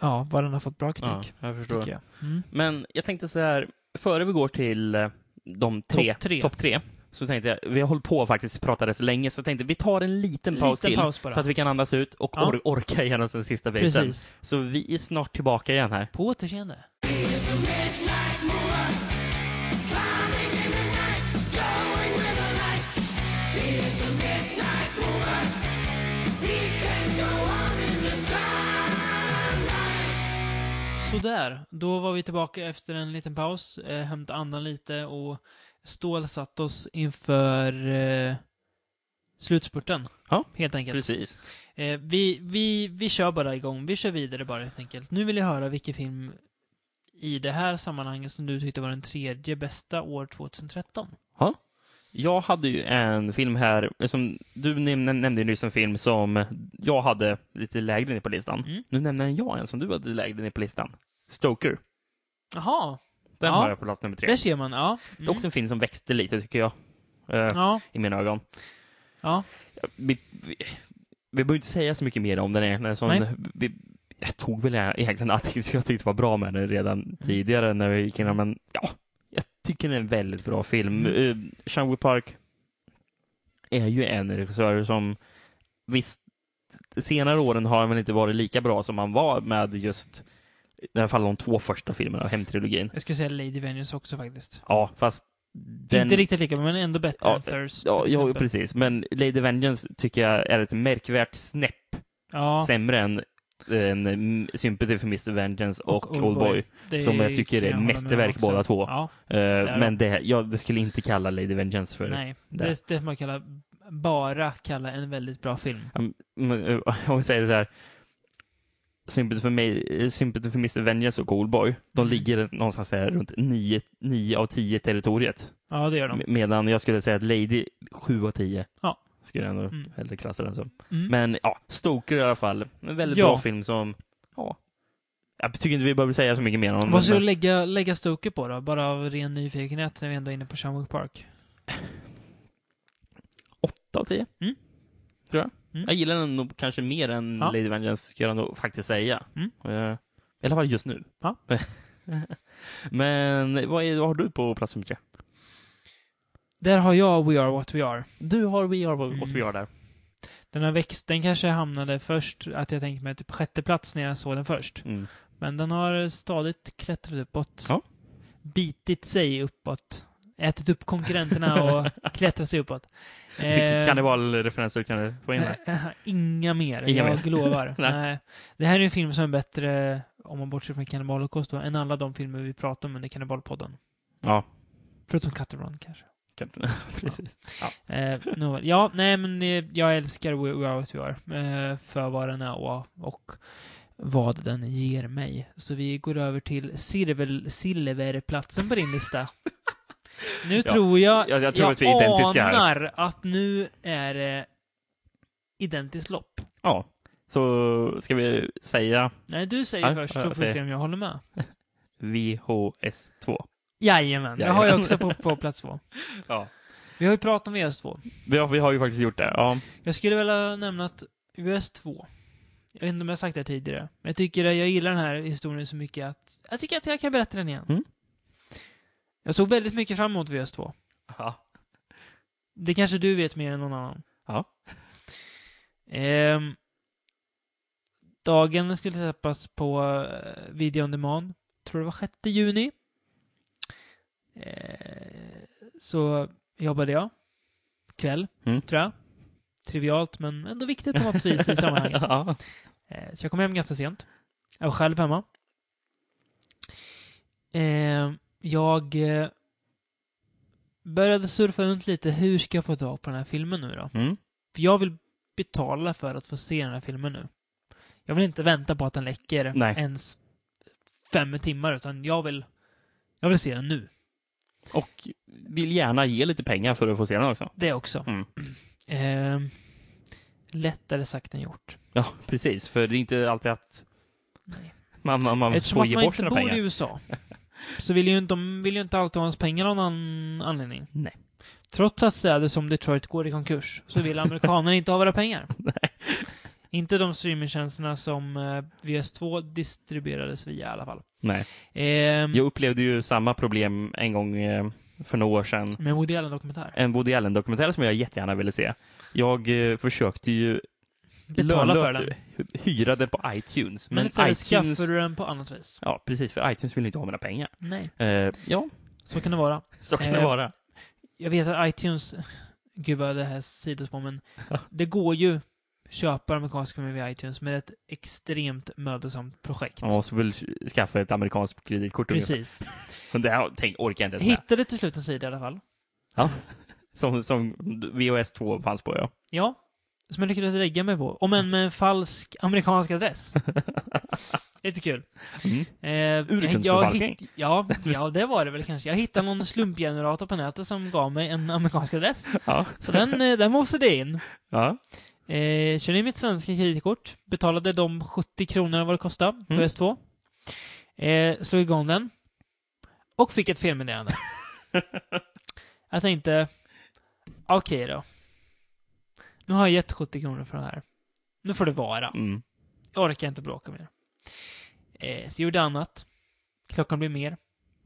[SPEAKER 4] ja, vad den har fått bra
[SPEAKER 5] ja,
[SPEAKER 4] kritik.
[SPEAKER 5] jag förstår.
[SPEAKER 4] tycker jag. Mm.
[SPEAKER 5] Men jag tänkte så här, före vi går till eh, de tre,
[SPEAKER 4] Topp tre.
[SPEAKER 5] topp tre, så tänkte jag, vi har hållit på faktiskt pratade så länge, så jag tänkte vi tar en liten
[SPEAKER 4] Liten
[SPEAKER 5] paus till.
[SPEAKER 4] paus bara.
[SPEAKER 5] Så att vi kan andas ut och
[SPEAKER 4] Ja.
[SPEAKER 5] or- orka igenom den sista biten.
[SPEAKER 4] Precis.
[SPEAKER 5] Så vi är snart tillbaka igen här.
[SPEAKER 4] På återseende. Sådär, då var vi tillbaka efter en liten paus, eh, hämtade andan lite och stålsatt oss inför eh, slutspurten.
[SPEAKER 5] Ja,
[SPEAKER 4] helt enkelt.
[SPEAKER 5] Precis.
[SPEAKER 4] Eh, vi, vi, vi kör bara igång, vi kör vidare bara helt enkelt. Nu vill jag höra vilken film i det här sammanhanget som du tyckte var den tredje bästa år 2013.
[SPEAKER 5] Jag hade ju en film här, eh, som du näm- näm- nämnde ju nyss en film som jag hade lite lägre ner på listan.
[SPEAKER 4] Mm.
[SPEAKER 5] Nu nämner jag en som du hade lägre ner på listan. Stoker.
[SPEAKER 4] Jaha,
[SPEAKER 5] Den
[SPEAKER 4] Ja.
[SPEAKER 5] har jag på plats nummer tre.
[SPEAKER 4] där ser man. Ja. Mm.
[SPEAKER 5] Det är också en film som växte lite, tycker jag. Eh,
[SPEAKER 4] Ja,
[SPEAKER 5] I mina ögon.
[SPEAKER 4] ja.
[SPEAKER 5] vi, vi, vi behöver inte säga så mycket mer om den egentligen. Som
[SPEAKER 4] Nej.
[SPEAKER 5] vi, jag tog väl egentligen allting som jag tyckte var bra med den redan
[SPEAKER 4] Mm.
[SPEAKER 5] tidigare när vi gick igenom men ja, jag tycker den är en väldigt bra film.
[SPEAKER 4] Mm.
[SPEAKER 5] Mm. Shanghai Park är ju en regissör som visst, senare åren har han väl inte varit lika bra som han var med just i alla fall de två första filmerna av hemtrilogin.
[SPEAKER 4] Jag skulle säga Lady Venus också faktiskt.
[SPEAKER 5] Ja, fast den...
[SPEAKER 4] Inte riktigt lika, men ändå bättre
[SPEAKER 5] Ja,
[SPEAKER 4] än Thirst.
[SPEAKER 5] Ja,
[SPEAKER 4] till
[SPEAKER 5] ja,
[SPEAKER 4] exempel.
[SPEAKER 5] precis. Men Lady Vengeance tycker jag är ett märkvärt snäpp
[SPEAKER 4] Ja,
[SPEAKER 5] sämre än, än mm, Sympathy for Mr. Vengeance och, Oldboy.
[SPEAKER 4] Det
[SPEAKER 5] som jag tycker
[SPEAKER 4] kan
[SPEAKER 5] är
[SPEAKER 4] hålla med om
[SPEAKER 5] mästerverk
[SPEAKER 4] också.
[SPEAKER 5] båda två.
[SPEAKER 4] Ja,
[SPEAKER 5] Eh,
[SPEAKER 4] är
[SPEAKER 5] men det, jag det skulle inte kalla Lady Vengeance för...
[SPEAKER 4] nej.
[SPEAKER 5] där.
[SPEAKER 4] Det är det man kallar, bara kalla en väldigt bra film.
[SPEAKER 5] Mm, eh, Om vi säger det så här. Sympathy for, me, Sympathy for Mr. Vengeance och Coolboy,
[SPEAKER 4] Mm.
[SPEAKER 5] de ligger någonstans här runt 9, 9 av 10 territoriet.
[SPEAKER 4] Ja, det gör de.
[SPEAKER 5] Me- Medan jag skulle säga att Lady 7 av 10.
[SPEAKER 4] Ja.
[SPEAKER 5] Skulle jag ändå
[SPEAKER 4] Mm.
[SPEAKER 5] hellre klassa den som.
[SPEAKER 4] Mm.
[SPEAKER 5] Men ja, Stoker i alla fall. En väldigt
[SPEAKER 4] Ja.
[SPEAKER 5] bra film som, ja. Jag tycker inte vi behöver säga så mycket mer om den.
[SPEAKER 4] Vad ska du
[SPEAKER 5] men-
[SPEAKER 4] lägga, lägga Stoker på då? Bara av ren nyfikenhet när vi ändå är inne på Shamwood Park.
[SPEAKER 5] 8 av 10.
[SPEAKER 4] Mm.
[SPEAKER 5] Tror jag.
[SPEAKER 4] Mm.
[SPEAKER 5] Jag gillar den nog kanske mer än
[SPEAKER 4] Ja.
[SPEAKER 5] Lady Vengeance, ska jag nog faktiskt säga.
[SPEAKER 4] Mm.
[SPEAKER 5] Eh, I alla fall just nu.
[SPEAKER 4] Ja.
[SPEAKER 5] Men vad, är, vad har du på plats nummer tre?
[SPEAKER 4] Där har jag We Are What We Are.
[SPEAKER 5] Du har We Are What
[SPEAKER 4] Mm.
[SPEAKER 5] We Are där.
[SPEAKER 4] Den har växt, den kanske hamnade först, att jag tänkte mig typ sjätte plats när jag såg den först.
[SPEAKER 5] Mm.
[SPEAKER 4] Men den har stadigt klättrat uppåt.
[SPEAKER 5] Ja.
[SPEAKER 4] Bitit sig uppåt. Ätit upp konkurrenterna och klättrat sig uppåt.
[SPEAKER 5] Vilken
[SPEAKER 4] Eh,
[SPEAKER 5] kannibalreferenser kan du få in där?
[SPEAKER 4] eh, Inga mer,
[SPEAKER 5] Inga
[SPEAKER 4] jag lovar.
[SPEAKER 5] Nej.
[SPEAKER 4] Nej. Det här är en film som är bättre, om man bortser från Cannibal Holocaust då, än alla de filmer vi pratar om under Cannibalpodden.
[SPEAKER 5] Ja.
[SPEAKER 4] Förutom Cut and Run kanske.
[SPEAKER 5] Kan- Precis.
[SPEAKER 4] Eh, nåväl. ja, nej men eh, jag älskar We, We Are What We Are eh, för vad den är och, och vad den ger mig. Så vi går över till silver, silverplatsen på din lista. Nu
[SPEAKER 5] Ja,
[SPEAKER 4] tror jag...
[SPEAKER 5] jag- jag tror att vi är identiska här.
[SPEAKER 4] anar att nu är det identiskt lopp.
[SPEAKER 5] Ja. Så ska vi säga
[SPEAKER 4] Nej, du säger
[SPEAKER 5] Ja,
[SPEAKER 4] först
[SPEAKER 5] ja,
[SPEAKER 4] så
[SPEAKER 5] jag
[SPEAKER 4] får vi
[SPEAKER 5] säger.
[SPEAKER 4] se om jag håller med.
[SPEAKER 5] VHS2.
[SPEAKER 4] Jajamän, det har jag
[SPEAKER 5] Jajamän.
[SPEAKER 4] också på, på plats två.
[SPEAKER 5] Ja.
[SPEAKER 4] Vi har ju pratat om E VS2.
[SPEAKER 5] Vi har, vi har ju faktiskt gjort det. Ja.
[SPEAKER 4] Jag skulle vilja nämna att VS2, jag vet inte om jag har sagt det tidigare, men jag tycker att jag gillar den här historien så mycket att jag tycker att jag kan berätta den igen.
[SPEAKER 5] Mm.
[SPEAKER 4] Jag såg väldigt mycket fram emot VS2.
[SPEAKER 5] ja.
[SPEAKER 4] Det kanske du vet mer än någon annan.
[SPEAKER 5] Ja.
[SPEAKER 4] Ehm, dagen skulle släppas på eh, Video On Demand. Tror det var 6 juni. Ehm, så jobbade jag. Kväll,
[SPEAKER 5] Mm.
[SPEAKER 4] tror jag. Trivialt, men ändå viktigt på något vis i sammanhanget.
[SPEAKER 5] ja.
[SPEAKER 4] Ehm, så jag kom hem ganska sent. Jag var själv hemma. Ehm, jag eh, började surfa runt lite. Hur ska jag få tag på den här filmen nu då?
[SPEAKER 5] Mm.
[SPEAKER 4] För jag vill betala för att få se den här filmen nu. Jag vill inte vänta på att den läcker
[SPEAKER 5] Nej.
[SPEAKER 4] ens fem timmar, utan jag vill, jag vill se den nu.
[SPEAKER 5] Och vill gärna ge lite pengar för att få se den också.
[SPEAKER 4] Det också.
[SPEAKER 5] Mm.
[SPEAKER 4] Ehm, lättare sagt än gjort.
[SPEAKER 5] Ja, precis. För det är inte alltid att
[SPEAKER 4] Nej.
[SPEAKER 5] man, man, man
[SPEAKER 4] Eftersom
[SPEAKER 5] får
[SPEAKER 4] att
[SPEAKER 5] ge
[SPEAKER 4] man
[SPEAKER 5] bort
[SPEAKER 4] inte
[SPEAKER 5] sina
[SPEAKER 4] bor
[SPEAKER 5] pengar.
[SPEAKER 4] i USA så vill ju inte, de vill ju inte alltid ha ens pengar av någon anledning.
[SPEAKER 5] Nej.
[SPEAKER 4] Trots att städer som Detroit går i konkurs så vill amerikanerna inte ha våra pengar. Inte de streamingtjänsterna som eh, VS2 distribuerades via i alla fall.
[SPEAKER 5] Nej.
[SPEAKER 4] Ehm,
[SPEAKER 5] Jag upplevde ju samma problem en gång eh, för några år sedan.
[SPEAKER 4] Med Woody Allen-dokumentär.
[SPEAKER 5] En Woody Allen-dokumentär som jag jättegärna ville se. Jag eh, försökte ju
[SPEAKER 4] Betala för
[SPEAKER 5] lönlöst
[SPEAKER 4] den.
[SPEAKER 5] hyra den på iTunes. Men,
[SPEAKER 4] Men istället
[SPEAKER 5] iTunes...
[SPEAKER 4] skaffar du den på annat vis.
[SPEAKER 5] Ja, precis. För iTunes vill inte ha mina pengar.
[SPEAKER 4] Nej.
[SPEAKER 5] Eh, ja,
[SPEAKER 4] Så kan det vara.
[SPEAKER 5] så kan det
[SPEAKER 4] Eh,
[SPEAKER 5] vara.
[SPEAKER 4] Jag vet att iTunes... Gud vad det här sidospår, men det går ju att köpa amerikanska filmer via iTunes med ett extremt mödosamt projekt.
[SPEAKER 5] Man måste väl skaffa ett amerikanskt kreditkort. ungefär.
[SPEAKER 4] Precis.
[SPEAKER 5] Men Det här tänk, orkar jag inte ens med.
[SPEAKER 4] Hittade till slut en sida i alla fall.
[SPEAKER 5] Som, som VHS 2 fanns på, ja.
[SPEAKER 4] Ja. Som jag lyckades lägga mig på. Om än med en falsk amerikansk adress. Lite kul.
[SPEAKER 5] Mm.
[SPEAKER 4] Eh, jag
[SPEAKER 5] Urkundsförfalskning.
[SPEAKER 4] hitt- ja, ja, det var det väl kanske. Jag hittade någon slumpgenerator på nätet som gav mig en amerikansk adress.
[SPEAKER 5] Ja.
[SPEAKER 4] Så den, eh, den mosade jag in.
[SPEAKER 5] ja.
[SPEAKER 4] Eh, körde in mitt svenska kreditkort. Betalade de 70 kronorna vad det kostade för
[SPEAKER 5] Mm.
[SPEAKER 4] S2. Eh, slog igång den. Och fick ett felmeddelande. jag tänkte, okej då. Nu har jag gett 70 kronor för det här. Nu får det vara.
[SPEAKER 5] Mm.
[SPEAKER 4] Jag orkar inte bråka mer. Eh, så jag gjorde annat. Klockan blev mer.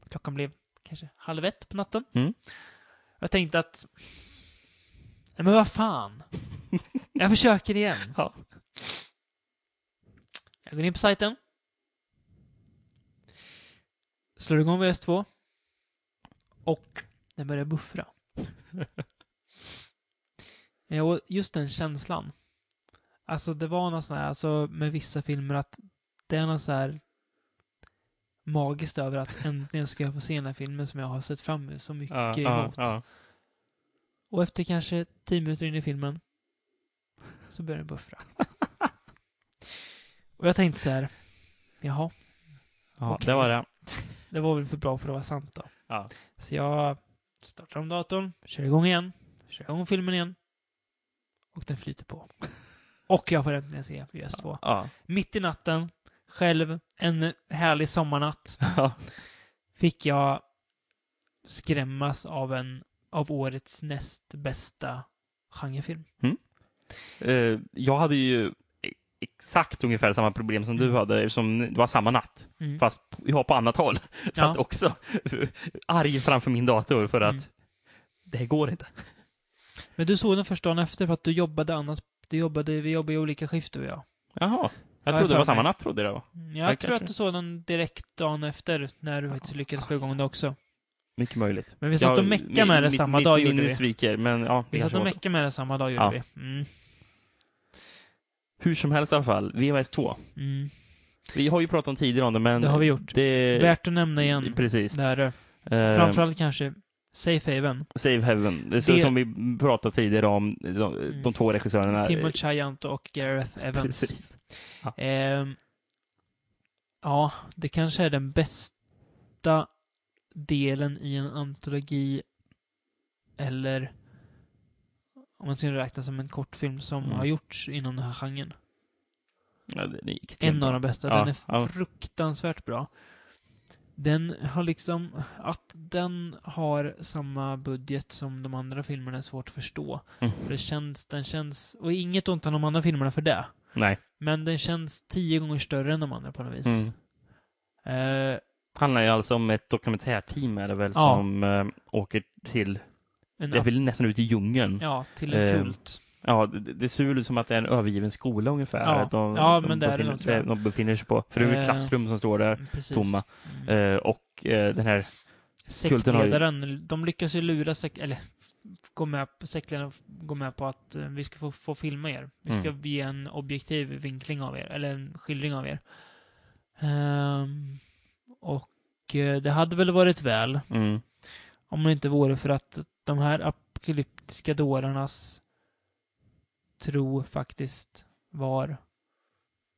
[SPEAKER 4] Klockan blev kanske halv ett på natten.
[SPEAKER 5] Mm.
[SPEAKER 4] Jag tänkte att... Nej, men vad fan. jag försöker igen.
[SPEAKER 5] Ja.
[SPEAKER 4] Jag går in på sajten. Slår igång VS2. Och den börjar buffra. Eh, och just den känslan. Alltså det var något sån här, alltså med vissa filmer att det är något så här magiskt över att äntligen ska jag få se den här filmen som jag har sett fram emot så mycket
[SPEAKER 5] Ja, ja,
[SPEAKER 4] emot.
[SPEAKER 5] ja.
[SPEAKER 4] Och efter kanske tio minuter in i filmen så börjar den buffra. Och jag tänkte så här, jaha,
[SPEAKER 5] Ja,
[SPEAKER 4] Okej.
[SPEAKER 5] det var det.
[SPEAKER 4] det var väl för bra för att vara sant då.
[SPEAKER 5] Ja.
[SPEAKER 4] Så jag startar om datorn, kör igång igen, kör igång filmen igen. Och den flyter på. Och jag får äntligen se PS2.
[SPEAKER 5] Ja.
[SPEAKER 4] Mitt i natten, själv, en härlig sommarnatt,
[SPEAKER 5] Ja.
[SPEAKER 4] fick jag skrämmas av en av årets näst bästa genrefilm.
[SPEAKER 5] Eh, jag hade ju e- exakt ungefär samma problem som du hade eftersom det var samma natt.
[SPEAKER 4] Mm.
[SPEAKER 5] Fast jag var på annat håll. Satt
[SPEAKER 4] Ja.
[SPEAKER 5] också arg framför min dator för att
[SPEAKER 4] Mm.
[SPEAKER 5] det här går inte.
[SPEAKER 4] Men du såg den första dagen efter för att du jobbade annat. Du jobbade, vi jobbade i olika skift du och jag.
[SPEAKER 5] Jaha.
[SPEAKER 4] jag
[SPEAKER 5] Jag trodde det
[SPEAKER 4] för
[SPEAKER 5] var samma
[SPEAKER 4] mig.
[SPEAKER 5] natt, trodde jag det var.
[SPEAKER 4] Jag
[SPEAKER 5] Ja,
[SPEAKER 4] tror
[SPEAKER 5] kanske.
[SPEAKER 4] att du såg den direkt dagen efter när du faktiskt lyckades få igång det också.
[SPEAKER 5] Mycket möjligt.
[SPEAKER 4] Men vi satt och meckade med det samma dag gjorde
[SPEAKER 5] minne
[SPEAKER 4] vi.
[SPEAKER 5] sviker, men ja. det
[SPEAKER 4] Vi satt
[SPEAKER 5] kanske
[SPEAKER 4] och
[SPEAKER 5] var så.
[SPEAKER 4] meckade med det samma dag gjorde
[SPEAKER 5] Ja.
[SPEAKER 4] vi. Mm.
[SPEAKER 5] Hur som helst i alla fall, VHS 2.
[SPEAKER 4] Mm.
[SPEAKER 5] Vi har ju pratat om tidigare om det, men...
[SPEAKER 4] Det har vi gjort.
[SPEAKER 5] Det...
[SPEAKER 4] Värt att nämna igen.
[SPEAKER 5] Eh, Precis.
[SPEAKER 4] Där, eh,
[SPEAKER 5] Eh,
[SPEAKER 4] framförallt kanske Safe Haven.
[SPEAKER 5] Save Heaven, det... så,
[SPEAKER 4] Det-
[SPEAKER 5] som vi pratade tidigare om, de, de
[SPEAKER 4] Mm.
[SPEAKER 5] två regissörerna.
[SPEAKER 4] Tim Chianto och Gareth Evans.
[SPEAKER 5] Precis.
[SPEAKER 4] Ehm, ja, det kanske är den bästa delen i en antologi eller om man ska räkna som en kortfilm som
[SPEAKER 5] Mm.
[SPEAKER 4] har gjorts inom den här genren.
[SPEAKER 5] Ja, det är extremt
[SPEAKER 4] En av de bästa.
[SPEAKER 5] Ja,
[SPEAKER 4] Den är
[SPEAKER 5] ja.
[SPEAKER 4] fruktansvärt bra. Den har liksom, att den har samma budget som de andra filmerna är svårt att förstå.
[SPEAKER 5] Mm.
[SPEAKER 4] För det känns, den känns, och inget ont om de andra filmerna för det.
[SPEAKER 5] Nej.
[SPEAKER 4] Men den känns tio gånger större än de andra på något vis.
[SPEAKER 5] Mm.
[SPEAKER 4] Eh,
[SPEAKER 5] Handlar ju alltså om ett dokumentärteam är det väl
[SPEAKER 4] Ja.
[SPEAKER 5] som eh, åker till,
[SPEAKER 4] en
[SPEAKER 5] det är väl nästan ut i djungeln. Ja,
[SPEAKER 4] Ja, till en
[SPEAKER 5] Ehm,
[SPEAKER 4] kult.
[SPEAKER 5] det, det ser väl ut som att det är en övergiven skola ungefär.
[SPEAKER 4] Ja.
[SPEAKER 5] att De,
[SPEAKER 4] Ja,
[SPEAKER 5] de
[SPEAKER 4] men det är det nog, tror
[SPEAKER 5] befinner,
[SPEAKER 4] jag.
[SPEAKER 5] de befinner sig på. För det är ju
[SPEAKER 4] Eh.
[SPEAKER 5] ett klassrum som står där,
[SPEAKER 4] Precis.
[SPEAKER 5] tomma.
[SPEAKER 4] Mm.
[SPEAKER 5] Eh, och eh, den här, kulten har ju-
[SPEAKER 4] Sektledaren, de lyckas ju lura sek- eller gå med på, sektledaren går med på att eh, vi ska få, få filma er. Vi ska
[SPEAKER 5] Mm.
[SPEAKER 4] ge en objektiv vinkling av er, eller en skildring av er. Ehm, och eh, det hade väl varit väl
[SPEAKER 5] mm,
[SPEAKER 4] om det inte vore för att de här apokalyptiska dårarnas tro faktiskt var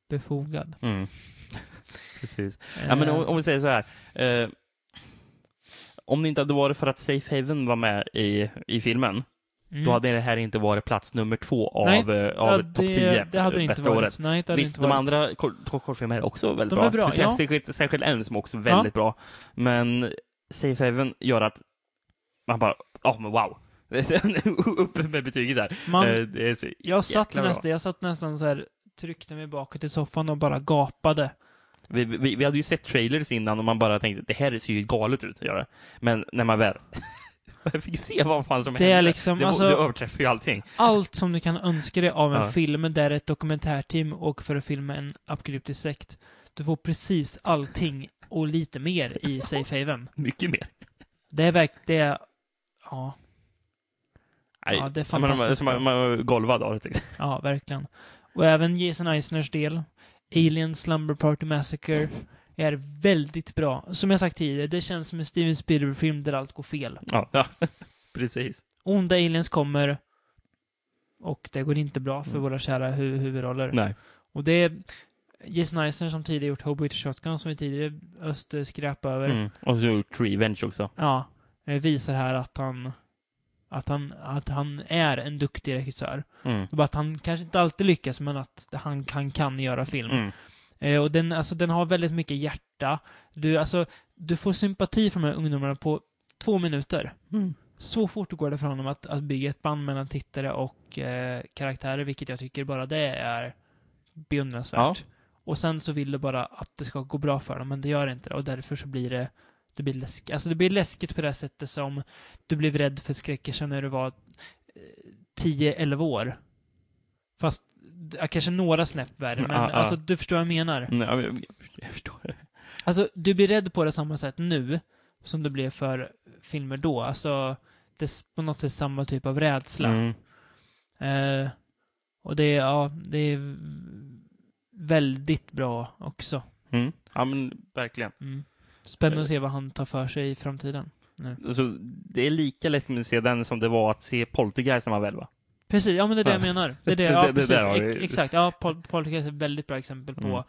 [SPEAKER 4] befogad.
[SPEAKER 5] mm. Precis. Ja, men om, om vi säger så här. Eh, om det inte hade varit för att Safe Haven var med i, i filmen,
[SPEAKER 4] Mm.
[SPEAKER 5] då hade det här inte varit plats nummer två av,
[SPEAKER 4] Nej,
[SPEAKER 5] eh, av
[SPEAKER 4] Ja,
[SPEAKER 5] topp 10
[SPEAKER 4] det hade det inte
[SPEAKER 5] bästa
[SPEAKER 4] varit.
[SPEAKER 5] året.
[SPEAKER 4] Nej, det hade
[SPEAKER 5] Visst,
[SPEAKER 4] inte
[SPEAKER 5] de
[SPEAKER 4] varit.
[SPEAKER 5] andra kor- två kortfilmerna är också väldigt
[SPEAKER 4] De
[SPEAKER 5] bra.
[SPEAKER 4] är bra,
[SPEAKER 5] speciellt,
[SPEAKER 4] ja.
[SPEAKER 5] särskilt, särskilt en som också är väldigt bra. Men Safe Haven gör att man bara, ja men wow. Upp med betyget där.
[SPEAKER 4] Man,
[SPEAKER 5] Eh, det är så,
[SPEAKER 4] jag, satt
[SPEAKER 5] jäkla bra.
[SPEAKER 4] nästan, jag satt nästan så här, tryckte mig bakåt i soffan och bara gapade.
[SPEAKER 5] vi, vi, vi hade ju sett trailers innan och man bara tänkte, det här ser ju galet ut att göra. Men när man väl man fick se vad fan som
[SPEAKER 4] Det är
[SPEAKER 5] hände,
[SPEAKER 4] liksom,
[SPEAKER 5] det, var-
[SPEAKER 4] alltså-
[SPEAKER 5] det överträffar ju allting.
[SPEAKER 4] Allt som du kan önska dig av en
[SPEAKER 5] Ja.
[SPEAKER 4] film där ett dokumentärteam och för att filma en apokalyptisk sekt. Du får precis allting och lite mer i Safe Haven.
[SPEAKER 5] Mycket mer.
[SPEAKER 4] Det är verkligen, det är, ja,
[SPEAKER 5] Nej,
[SPEAKER 4] Ja, det är
[SPEAKER 5] men man-
[SPEAKER 4] fantastiskt
[SPEAKER 5] så Man,
[SPEAKER 4] bra.
[SPEAKER 5] man var golvad av det. typ. tyckte jag.
[SPEAKER 4] ja, verkligen. Och även Jason Eisners del, Alien Slumber Party Massacre, är väldigt bra. Som jag sagt tidigare, det känns som en Steven Spielberg-film där allt går fel.
[SPEAKER 5] Ja, ja. precis.
[SPEAKER 4] onda aliens kommer och det går inte bra för våra kära hu huvudroller.
[SPEAKER 5] Mm. Nej.
[SPEAKER 4] Och det är Jason Eisner som tidigare gjort Hobbit och Shotgun som vi tidigare öst eh, skräp över.
[SPEAKER 5] Mm. Och så gjorde Tree Revenge också.
[SPEAKER 4] Ja, eh, visar här att han att han, att han är en duktig regissör.
[SPEAKER 5] Mm.
[SPEAKER 4] Bara att han kanske inte alltid lyckas, men att han kan, kan göra film.
[SPEAKER 5] Mm.
[SPEAKER 4] Eh, och den, alltså, den har väldigt mycket hjärta. Du, alltså, du får sympati för de här ungdomarna på två minuter.
[SPEAKER 5] Mm.
[SPEAKER 4] Så fort går det för honom att, att bygga ett band mellan tittare och eh, karaktärer, vilket jag tycker bara det är beundransvärt. Och sen så vill du bara att det ska gå bra för dem, men det gör inte det. Och därför så blir det, det blir läskigt. Alltså det blir läskigt på det här sättet som du blev rädd för skräckisar när du var eh, 10-11 år. Fast ja, kanske några snäpp värre, men
[SPEAKER 5] Mm, Ja, ja.
[SPEAKER 4] alltså du förstår vad jag menar.
[SPEAKER 5] Mm, ja, jag, jag förstår. det.
[SPEAKER 4] Alltså, du blir rädd på det samma sätt nu som du blev för filmer då. Alltså, det är på något sätt samma typ av rädsla.
[SPEAKER 5] Mm.
[SPEAKER 4] Eh, och det är, ja, det är väldigt bra också.
[SPEAKER 5] Mm. Ja, men verkligen.
[SPEAKER 4] Mm. Spännande att se vad han tar för sig i framtiden.
[SPEAKER 5] Alltså, det är lika läskigt att se den som det var att se Poltergeist när man väl var
[SPEAKER 4] Precis, ja men det är det jag menar. Det är det,
[SPEAKER 5] Det-
[SPEAKER 4] ja
[SPEAKER 5] det- det
[SPEAKER 4] precis.
[SPEAKER 5] där har
[SPEAKER 4] Ex-
[SPEAKER 5] vi-
[SPEAKER 4] Exakt, ja Pol- Poltergeist är ett väldigt bra exempel på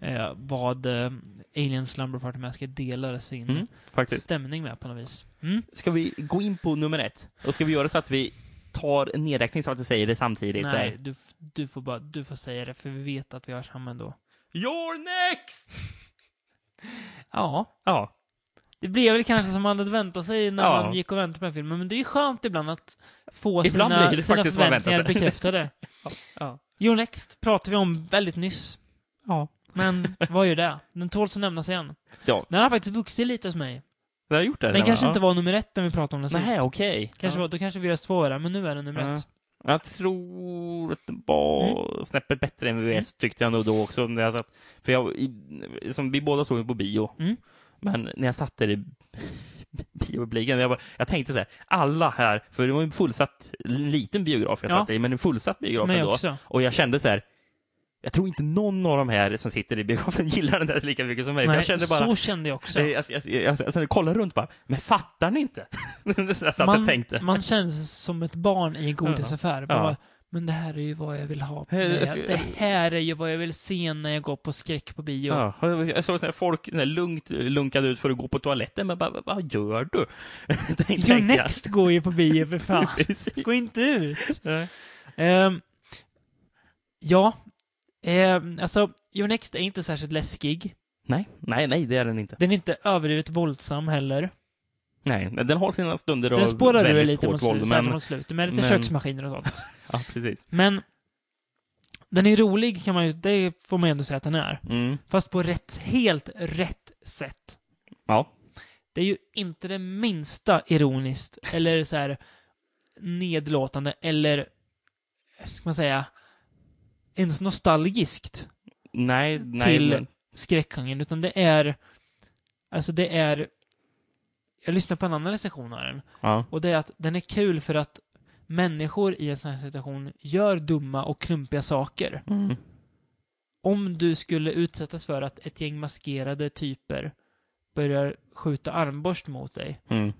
[SPEAKER 5] Mm.
[SPEAKER 4] eh, vad eh, Alien Slumber Party Massacre delar sin
[SPEAKER 5] Mm, faktiskt.
[SPEAKER 4] stämning med på något vis. Mm.
[SPEAKER 5] Ska vi gå in på nummer ett? Och ska vi göra så att vi tar en nedräkning så att vi säger det samtidigt? så här?
[SPEAKER 4] Nej, du, f- du, får bara, du får säga det för vi vet att vi har samma ändå.
[SPEAKER 5] You're next!
[SPEAKER 4] Ja,
[SPEAKER 5] Ja,
[SPEAKER 4] det blev väl kanske som man hade väntat sig när
[SPEAKER 5] Ja.
[SPEAKER 4] man gick och väntade på den här filmen, men det är ju skönt ibland att få
[SPEAKER 5] Ibland
[SPEAKER 4] sina,
[SPEAKER 5] blir det
[SPEAKER 4] sina
[SPEAKER 5] faktiskt vad man väntar
[SPEAKER 4] förväntningar
[SPEAKER 5] sig.
[SPEAKER 4] bekräftade.
[SPEAKER 5] ja.
[SPEAKER 4] Your Next pratade vi om väldigt nyss.
[SPEAKER 5] Ja.
[SPEAKER 4] Men vad gör det? Den tåls att nämnas igen.
[SPEAKER 5] Ja.
[SPEAKER 4] Den har faktiskt vuxit lite hos mig.
[SPEAKER 5] Vi har gjort det.
[SPEAKER 4] Den kanske inte var nummer ett när vi pratade om den sist.
[SPEAKER 5] Nej, okej.
[SPEAKER 4] Kanske
[SPEAKER 5] ja.
[SPEAKER 4] var, då kanske vi var svårare, men nu är den nummer
[SPEAKER 5] Ja.
[SPEAKER 4] ett.
[SPEAKER 5] Jag tror att det var snäppet bättre än VVS tyckte jag nog då också. När jag satt, för jag, i- som vi båda såg ju på bio.
[SPEAKER 4] Mm.
[SPEAKER 5] Men när jag satt där i biopubliken, jag, bara, jag tänkte så här, alla här, för det var en fullsatt en liten biograf jag
[SPEAKER 4] Ja.
[SPEAKER 5] satt i, men en fullsatt
[SPEAKER 4] För
[SPEAKER 5] biograf
[SPEAKER 4] mig
[SPEAKER 5] ändå.
[SPEAKER 4] också.
[SPEAKER 5] Och jag kände så här, jag tror inte någon av de här som sitter i biografen gillar den där lika mycket som mig. för
[SPEAKER 4] Nej,
[SPEAKER 5] jag kände bara,
[SPEAKER 4] så kände jag också.
[SPEAKER 5] jag, jag, jag, jag, jag, jag kollade runt bara, men fattar ni inte? jag satt och tänkte.
[SPEAKER 4] man känns som ett barn i en godisaffär. Man
[SPEAKER 5] Ja.
[SPEAKER 4] bara, Men det här är ju vad jag vill ha.
[SPEAKER 5] Eh,
[SPEAKER 4] Nej,
[SPEAKER 5] jag ska-
[SPEAKER 4] Det här är ju vad jag vill se när jag går på skräck på bio.
[SPEAKER 5] Ja, och jag- jag såg sådana här folk såna här lugnt lunkade ut för att gå på toaletten, men bara, "Vad- vad gör du? Tänk- tänkte
[SPEAKER 4] Your
[SPEAKER 5] jag.
[SPEAKER 4] Next går ju på bio för fan.
[SPEAKER 5] Precis.
[SPEAKER 4] Gå inte ut!
[SPEAKER 5] Nej.
[SPEAKER 4] Ehm, ja, Ehm, alltså Your Next är inte särskilt läskig.
[SPEAKER 5] Nej, nej, nej, det är den inte.
[SPEAKER 4] Den är inte överdrivet våldsam heller.
[SPEAKER 5] Nej, den har sina stunder
[SPEAKER 4] Den spårar ur
[SPEAKER 5] väldigt
[SPEAKER 4] lite mot
[SPEAKER 5] hårt
[SPEAKER 4] slutet,
[SPEAKER 5] våld,
[SPEAKER 4] men...
[SPEAKER 5] men...
[SPEAKER 4] mot slutet med lite
[SPEAKER 5] men-
[SPEAKER 4] köksmaskiner och sånt.
[SPEAKER 5] Ja, precis.
[SPEAKER 4] Men den är rolig kan man ju, det får man ju ändå säga att den är.
[SPEAKER 5] Mm.
[SPEAKER 4] Fast på rätt, helt rätt sätt.
[SPEAKER 5] Ja.
[SPEAKER 4] Det är ju inte det minsta ironiskt eller så här nedlåtande eller, ska man säga, ens nostalgiskt.
[SPEAKER 5] Nej, nej.
[SPEAKER 4] Till-
[SPEAKER 5] men-
[SPEAKER 4] skräckgenren, utan det är... Alltså det är... Jag lyssnade på en annan recension av den.
[SPEAKER 5] Ja.
[SPEAKER 4] Och det är att den är kul för att människor i en sån här situation gör dumma och klumpiga saker.
[SPEAKER 5] Mm.
[SPEAKER 4] Om du skulle utsättas för att ett gäng maskerade typer börjar skjuta armborst mot dig,
[SPEAKER 5] Mm.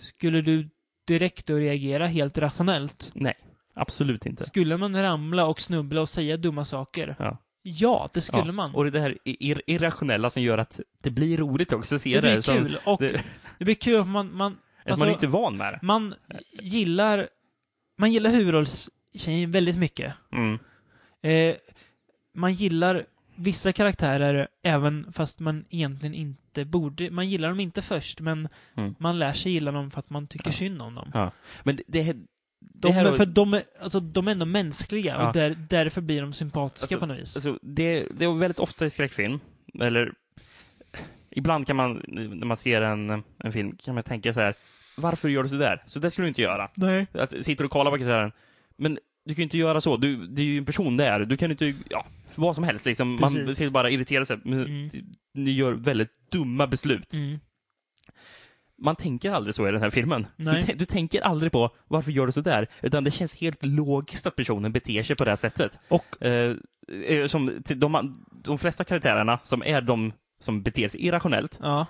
[SPEAKER 4] skulle du direkt då reagera helt rationellt?
[SPEAKER 5] Nej, absolut inte.
[SPEAKER 4] Skulle man ramla och snubbla och säga dumma saker?
[SPEAKER 5] Ja.
[SPEAKER 4] Ja, det skulle
[SPEAKER 5] ja.
[SPEAKER 4] man.
[SPEAKER 5] Och det här ir- irrationella som gör att det blir roligt också att se
[SPEAKER 4] Det
[SPEAKER 5] det.
[SPEAKER 4] blir
[SPEAKER 5] som-
[SPEAKER 4] kul. Alltså- Och
[SPEAKER 5] det-
[SPEAKER 4] det blir kul om man... man
[SPEAKER 5] Att man är inte är van med det.
[SPEAKER 4] Man gillar, man gillar huvudrollstjejen väldigt mycket.
[SPEAKER 5] Mm.
[SPEAKER 4] Eh, man gillar vissa karaktärer även fast man egentligen inte borde. Man gillar dem inte först, men
[SPEAKER 5] Mm.
[SPEAKER 4] man lär sig gilla dem för att man tycker synd om dem.
[SPEAKER 5] Ja. Men det, det, det
[SPEAKER 4] De,
[SPEAKER 5] här-
[SPEAKER 4] för de är, alltså, de är ändå mänskliga
[SPEAKER 5] Ja.
[SPEAKER 4] och där, därför blir de sympatiska
[SPEAKER 5] Alltså,
[SPEAKER 4] på något vis.
[SPEAKER 5] Alltså, det, det är väldigt ofta i skräckfilm, eller ibland kan man, när man ser en, en film, kan man tänka så här, varför gör du så där? Så det skulle du inte göra.
[SPEAKER 4] Nej.
[SPEAKER 5] Att, sitter och kollar på karaktären, men du kan ju inte göra så, du, det är ju en person där, du kan ju inte, ja, vad som helst liksom. Man
[SPEAKER 4] Precis.
[SPEAKER 5] sitter bara och irriterar sig. Men
[SPEAKER 4] Mm.
[SPEAKER 5] Ni gör väldigt dumma beslut.
[SPEAKER 4] Mm.
[SPEAKER 5] Man tänker aldrig så i den här filmen. Du,
[SPEAKER 4] Nej.
[SPEAKER 5] tän- du tänker aldrig på varför gör du så där, utan det känns helt logiskt att personen beter sig på det här sättet.
[SPEAKER 4] Och,
[SPEAKER 5] Eh, eh, som, till de, de flesta karaktärerna som är de som beter sig irrationellt,
[SPEAKER 4] ja.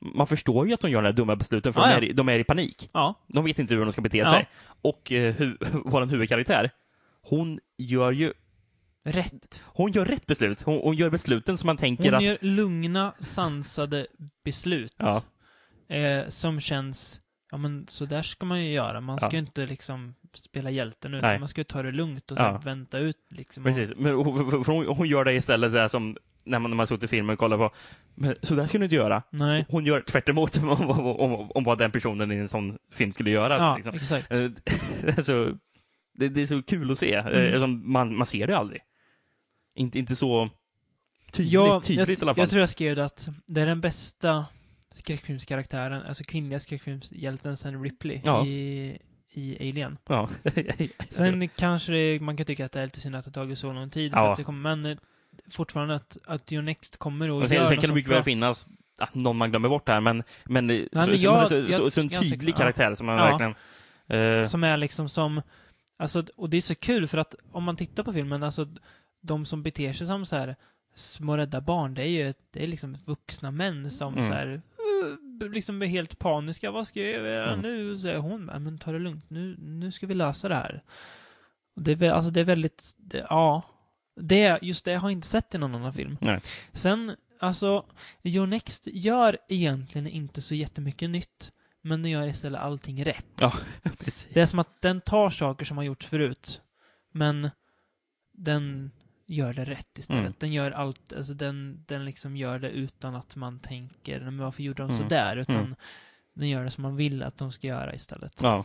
[SPEAKER 5] man förstår ju att de gör de här dumma besluten för
[SPEAKER 4] Ah,
[SPEAKER 5] de,
[SPEAKER 4] ja.
[SPEAKER 5] är, i- de är i panik.
[SPEAKER 4] Ja.
[SPEAKER 5] De vet inte hur de ska bete
[SPEAKER 4] Ja.
[SPEAKER 5] sig. Och eh, hu vår huvudkaraktär, hon gör ju
[SPEAKER 4] Rätt.
[SPEAKER 5] hon gör rätt beslut. Hon, hon gör besluten som man tänker
[SPEAKER 4] Hon
[SPEAKER 5] att...
[SPEAKER 4] gör lugna, sansade beslut.
[SPEAKER 5] Ja.
[SPEAKER 4] eh, som känns, ja men så där ska man ju göra. Man ska
[SPEAKER 5] Ja.
[SPEAKER 4] ju inte liksom spela hjälten utan
[SPEAKER 5] Nej.
[SPEAKER 4] man ska ju ta det lugnt och
[SPEAKER 5] Ja.
[SPEAKER 4] sen vänta ut liksom.
[SPEAKER 5] Precis. Men hon, för- för hon, hon gör det istället så här som när man, när man suttit i filmen och kollar på. Men så där ska du inte göra.
[SPEAKER 4] Och, nej.
[SPEAKER 5] Hon gör tvärt emot om, om, om, om vad den personen i en sån film skulle göra.
[SPEAKER 4] Ja,
[SPEAKER 5] liksom.
[SPEAKER 4] exakt.
[SPEAKER 5] Eh, alltså, det, det är så kul att se. Eh,
[SPEAKER 4] Mm.
[SPEAKER 5] eftersom Man, man ser det aldrig. Inte, inte så tydligt,
[SPEAKER 4] Jag,
[SPEAKER 5] tydligt i alla
[SPEAKER 4] jag,
[SPEAKER 5] fall.
[SPEAKER 4] jag tror jag skrev det att det är den bästa skräckfilmskaraktären, alltså kvinnliga skräckfilmshjälten sen Ripley
[SPEAKER 5] Ja.
[SPEAKER 4] i, i Alien.
[SPEAKER 5] Ja.
[SPEAKER 4] Sen kanske det, man kan tycka att det är lite synd att det har tagit så lång tid, för
[SPEAKER 5] Ja.
[SPEAKER 4] att det kommer, men eh, fortfarande att, att Your Next kommer och
[SPEAKER 5] Men sen,
[SPEAKER 4] gör något
[SPEAKER 5] sen kan det
[SPEAKER 4] sånt
[SPEAKER 5] mycket
[SPEAKER 4] bra.
[SPEAKER 5] väl finnas att någon man glömmer bort här, men, men, eh, så,
[SPEAKER 4] men
[SPEAKER 5] så,
[SPEAKER 4] jag-
[SPEAKER 5] så, så,
[SPEAKER 4] jag-
[SPEAKER 5] så en
[SPEAKER 4] jag tycker-
[SPEAKER 5] tydlig
[SPEAKER 4] ja.
[SPEAKER 5] karaktär som man
[SPEAKER 4] Ja.
[SPEAKER 5] verkligen... eh,
[SPEAKER 4] Som är liksom som, alltså, och det är så kul för att om man tittar på filmen, alltså de som beter sig som så här små rädda barn, det är ju, det är liksom vuxna män som
[SPEAKER 5] Mm.
[SPEAKER 4] så här b- liksom blir helt paniska. Vad ska jag göra
[SPEAKER 5] Mm.
[SPEAKER 4] nu? Så här, hon bara, men ta det lugnt. Nu, nu ska vi lösa det här. Och det, är, vä- alltså det är väldigt, det, ja. Det, just det har jag inte sett i någon annan film.
[SPEAKER 5] Nej.
[SPEAKER 4] Sen, alltså, Your Next gör egentligen inte så jättemycket nytt. Men den gör istället allting rätt.
[SPEAKER 5] Ja. Precis.
[SPEAKER 4] Det är som att den tar saker som har gjorts förut, men den gör det rätt istället.
[SPEAKER 5] Mm.
[SPEAKER 4] Den gör allt, alltså den, den liksom gör det utan att man tänker, men varför gjorde de
[SPEAKER 5] Mm.
[SPEAKER 4] sådär? Utan
[SPEAKER 5] Mm.
[SPEAKER 4] den gör det som man vill att de ska göra istället.
[SPEAKER 5] Ja.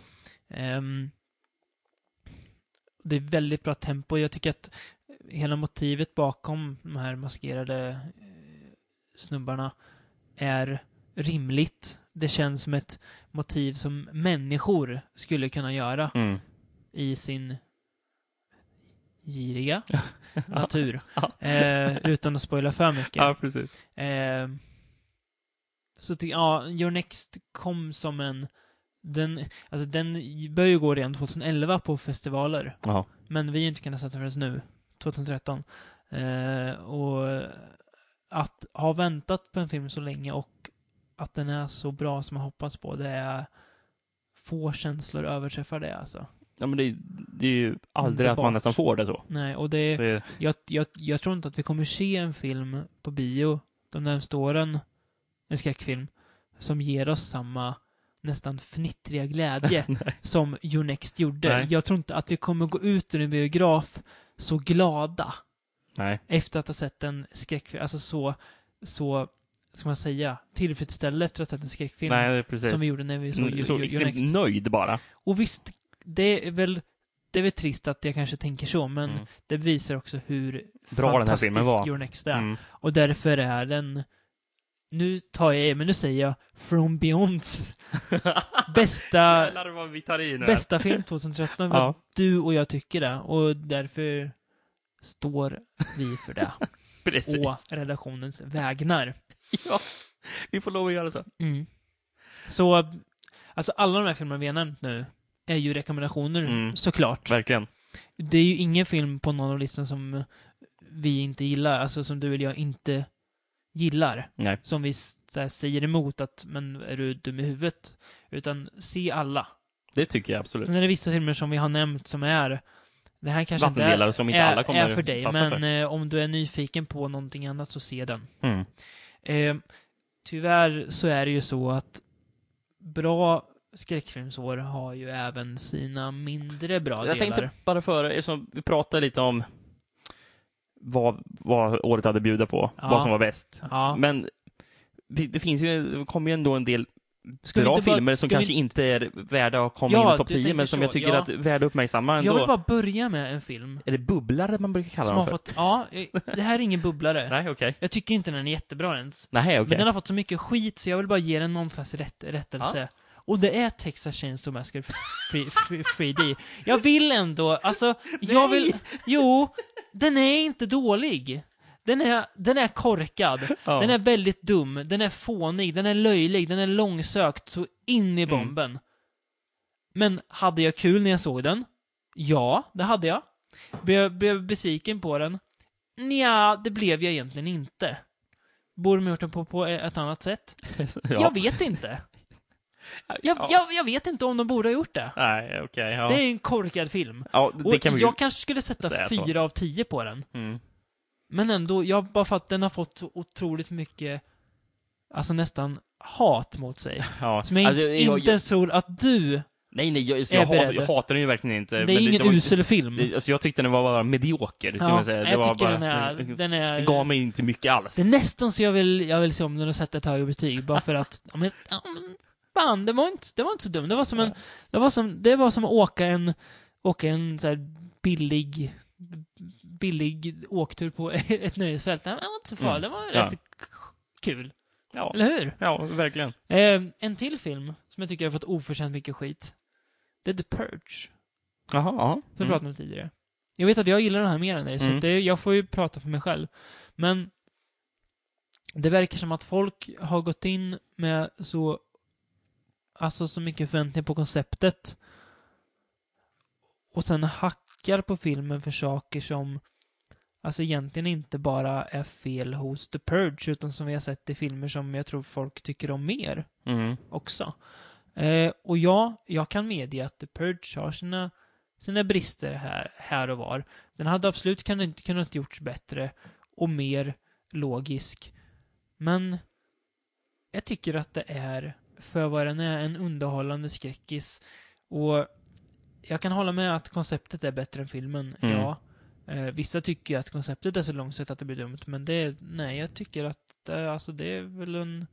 [SPEAKER 4] Ehm, det är väldigt bra tempo. Jag tycker att hela motivet bakom de här maskerade eh, snubbarna är rimligt. Det känns som ett motiv som människor skulle kunna göra
[SPEAKER 5] Mm.
[SPEAKER 4] i sin giriga natur. eh, utan att spoila för mycket.
[SPEAKER 5] ja, precis.
[SPEAKER 4] Eh, så tycker ja, Your Next kom som en... Den, alltså den började ju gå redan 2011 på festivaler.
[SPEAKER 5] Ja.
[SPEAKER 4] Men vi har ju inte kunnat sätta förrän nu, 2013. Eh, och att ha väntat på en film så länge och att den är så bra som man hoppats på, det är få känslor överträffar det alltså.
[SPEAKER 5] ja, men det, det är ju aldrig att
[SPEAKER 4] Underbart.
[SPEAKER 5] man nästan får det så.
[SPEAKER 4] Nej, och det är...
[SPEAKER 5] Det är
[SPEAKER 4] Jag, jag, jag tror inte att vi kommer se en film på bio de närmaste åren, en skräckfilm, som ger oss samma nästan fnittriga glädje som Your Next gjorde.
[SPEAKER 5] Nej.
[SPEAKER 4] Jag tror inte att vi kommer gå ut ur en biograf så glada
[SPEAKER 5] nej.
[SPEAKER 4] efter att ha sett en skräckfilm, alltså så, så, ska man säga, tillfredsställda efter att ha sett en skräckfilm.
[SPEAKER 5] Nej, det är precis.
[SPEAKER 4] Som vi gjorde när vi såg
[SPEAKER 5] Mm,
[SPEAKER 4] Your,
[SPEAKER 5] så
[SPEAKER 4] Your, Your Next.
[SPEAKER 5] extremt nöjd bara.
[SPEAKER 4] Och visst, det är väl det är väl trist att jag kanske tänker så, men
[SPEAKER 5] Mm.
[SPEAKER 4] det visar också hur
[SPEAKER 5] Bra den här filmen var.
[SPEAKER 4] Your Next är.
[SPEAKER 5] Mm.
[SPEAKER 4] Och därför är den, nu tar jag i, men nu säger jag From Beyonds bästa,
[SPEAKER 5] Jävlar vad vi tar i nu.
[SPEAKER 4] bästa film 2013. Vad
[SPEAKER 5] Ja,
[SPEAKER 4] Du och jag tycker det, och därför står vi för det.
[SPEAKER 5] precis.
[SPEAKER 4] Å redaktionens vägnar.
[SPEAKER 5] Ja. Vi får lov att göra så.
[SPEAKER 4] Mm. Så, alltså alla de här filmerna vi har nämnt nu är ju rekommendationer,
[SPEAKER 5] Mm.
[SPEAKER 4] såklart.
[SPEAKER 5] Verkligen.
[SPEAKER 4] Det är ju ingen film på någon av listan som eh, vi inte gillar, alltså som du eller jag inte gillar.
[SPEAKER 5] Nej.
[SPEAKER 4] Som vi s- så här säger emot att, men är du dum i huvudet? Utan se alla.
[SPEAKER 5] Det tycker jag absolut.
[SPEAKER 4] Sen är det vissa filmer som vi har nämnt som är, det här Mm, kanske inte är,
[SPEAKER 5] Vattendelare som inte alla kommer
[SPEAKER 4] är för dig,
[SPEAKER 5] fastna
[SPEAKER 4] men
[SPEAKER 5] för.
[SPEAKER 4] eh, om du är nyfiken på någonting annat så se den.
[SPEAKER 5] Mm.
[SPEAKER 4] Eh, tyvärr så är det ju så att bra skräckfilmsår har ju även sina mindre bra delar.
[SPEAKER 5] Jag tänkte bara före, eftersom vi pratade lite om vad, vad året hade att bjuda på,
[SPEAKER 4] Ja.
[SPEAKER 5] vad som var bäst.
[SPEAKER 4] ja.
[SPEAKER 5] Men det, det finns ju, det kommer ju ändå en del
[SPEAKER 4] Ska vi
[SPEAKER 5] bra
[SPEAKER 4] inte bara-
[SPEAKER 5] filmer som
[SPEAKER 4] ska vi
[SPEAKER 5] kanske inte är värda att komma
[SPEAKER 4] Ja,
[SPEAKER 5] in i topp
[SPEAKER 4] du
[SPEAKER 5] 10, men
[SPEAKER 4] tänker
[SPEAKER 5] som
[SPEAKER 4] så,
[SPEAKER 5] jag tycker
[SPEAKER 4] ja.
[SPEAKER 5] att är värda att uppmärksamma ändå.
[SPEAKER 4] Jag vill bara börja med en film
[SPEAKER 5] Är det bubblare man brukar kalla
[SPEAKER 4] som har
[SPEAKER 5] dem för?
[SPEAKER 4] fått, ja, eh, det här är ingen bubblare.
[SPEAKER 5] Nej, okej.
[SPEAKER 4] Jag tycker inte den är jättebra ens.
[SPEAKER 5] Nej,
[SPEAKER 4] Men
[SPEAKER 5] okej.
[SPEAKER 4] den har fått så mycket skit så jag vill bara ge den någon slags rätt, rättelse. Och det är Texas Chainsaw Massacre Free- Free- 3D. Jag vill ändå, alltså, jag vill, jo, den är inte dålig. Den är, den är korkad.
[SPEAKER 5] Ja.
[SPEAKER 4] Den är väldigt dum, den är fånig, den är löjlig, den är långsökt så in
[SPEAKER 5] Mm.
[SPEAKER 4] i bomben. Men hade jag kul när jag såg den? Ja, det hade jag. Blev jag blev jag besviken på den? Nja, det blev jag egentligen inte. Borde man gjort den på, på ett annat sätt?
[SPEAKER 5] ja.
[SPEAKER 4] Jag vet inte. Jag,
[SPEAKER 5] Ja.
[SPEAKER 4] jag, jag vet inte om de borde ha gjort det.
[SPEAKER 5] Nej, okej. ja.
[SPEAKER 4] Det är en korkad film.
[SPEAKER 5] ja,
[SPEAKER 4] Och
[SPEAKER 5] det kan vi ju...
[SPEAKER 4] jag kanske skulle sätta
[SPEAKER 5] säga så.
[SPEAKER 4] fyra av tio på den.
[SPEAKER 5] Mm.
[SPEAKER 4] Men ändå, jag bara för att den har fått så otroligt mycket, alltså nästan hat mot sig.
[SPEAKER 5] Ja.
[SPEAKER 4] Som jag
[SPEAKER 5] Alltså,
[SPEAKER 4] inte, inte ens tror att du,
[SPEAKER 5] Nej, nej, jag, så
[SPEAKER 4] är
[SPEAKER 5] jag, hat,
[SPEAKER 4] beredd.
[SPEAKER 5] jag hatar den ju verkligen inte. men
[SPEAKER 4] det är ingen
[SPEAKER 5] var-
[SPEAKER 4] usel film.
[SPEAKER 5] det- Alltså, jag tyckte den var bara medioker, skulle
[SPEAKER 4] ja,
[SPEAKER 5] jag säga. Det
[SPEAKER 4] jag
[SPEAKER 5] var
[SPEAKER 4] tycker
[SPEAKER 5] bara, Mm.
[SPEAKER 4] den är, den är,
[SPEAKER 5] Det gav mig inte mycket alls.
[SPEAKER 4] det är nästan så jag vill, jag vill se om den och sätta ett högre betyg, bara för att, ja men, ja, men fan, det var inte, det var inte så dumt. Det var som en, det var som, det var som att åka en, åka en så här billig, billig åktur på ett nöjesfält. Det var inte så farligt, det var
[SPEAKER 5] Ja.
[SPEAKER 4] rätt kul.
[SPEAKER 5] Ja.
[SPEAKER 4] Eller hur?
[SPEAKER 5] ja, verkligen.
[SPEAKER 4] Eh, en till film som jag tycker har fått oförtjänt mycket skit. Det är The Purge.
[SPEAKER 5] Jaha, ja.
[SPEAKER 4] Som vi pratade om tidigare. Jag vet att jag gillar den här mer än dig, så
[SPEAKER 5] Mm.
[SPEAKER 4] att det, jag får ju prata för mig själv. Men det verkar som att folk har gått in med så, alltså så mycket förväntningar på konceptet. Och sen hackar på filmen för saker som alltså egentligen inte bara är fel hos The Purge, utan som vi har sett i filmer som jag tror folk tycker om mer
[SPEAKER 5] Mm.
[SPEAKER 4] också. Eh, och ja, jag kan medge att The Purge har sina, sina brister här, här och var. Den hade absolut kan, inte kunnat gjorts bättre och mer logisk. Men jag tycker att det är, för vad den är, en underhållande skräckis. Och jag kan hålla med att konceptet är bättre än filmen,
[SPEAKER 5] Mm.
[SPEAKER 4] ja. Eh, vissa tycker ju att konceptet är så långsökt att det blir dumt, men det, nej, jag tycker att det, alltså det är väl en,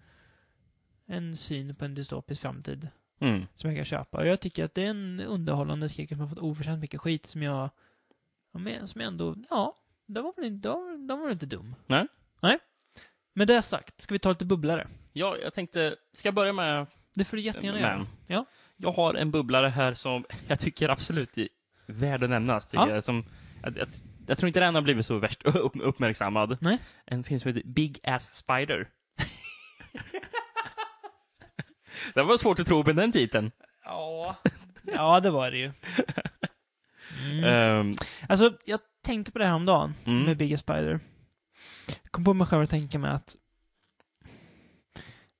[SPEAKER 4] en syn på en dystopisk framtid
[SPEAKER 5] Mm.
[SPEAKER 4] som jag kan köpa. Och jag tycker att det är en underhållande skräckis som har fått oförtjänt mycket skit som jag, ja, men som jag ändå, ja, den var väl inte, den var- den var inte dum.
[SPEAKER 5] Nej.
[SPEAKER 4] Nej. Med det sagt, ska vi ta lite bubblare?
[SPEAKER 5] Ja, jag tänkte, ska jag börja med
[SPEAKER 4] Det får du jättegärna
[SPEAKER 5] Men-
[SPEAKER 4] göra. Ja.
[SPEAKER 5] Jag har en bubblare här som jag tycker absolut är värd att nämnas. Tycker
[SPEAKER 4] Ja.
[SPEAKER 5] jag, som, jag, jag, jag tror inte den har blivit så värst upp, uppmärksammad.
[SPEAKER 4] Nej.
[SPEAKER 5] En film som heter Big Ass Spider. det var svårt att tro på den titeln.
[SPEAKER 4] Ja. ja, det var det ju. Mm.
[SPEAKER 5] Ehm,
[SPEAKER 4] Alltså, jag tänkte på det här om dagen
[SPEAKER 5] Mm.
[SPEAKER 4] med Bigger Spider. Jag kom på mig själv att tänka mig att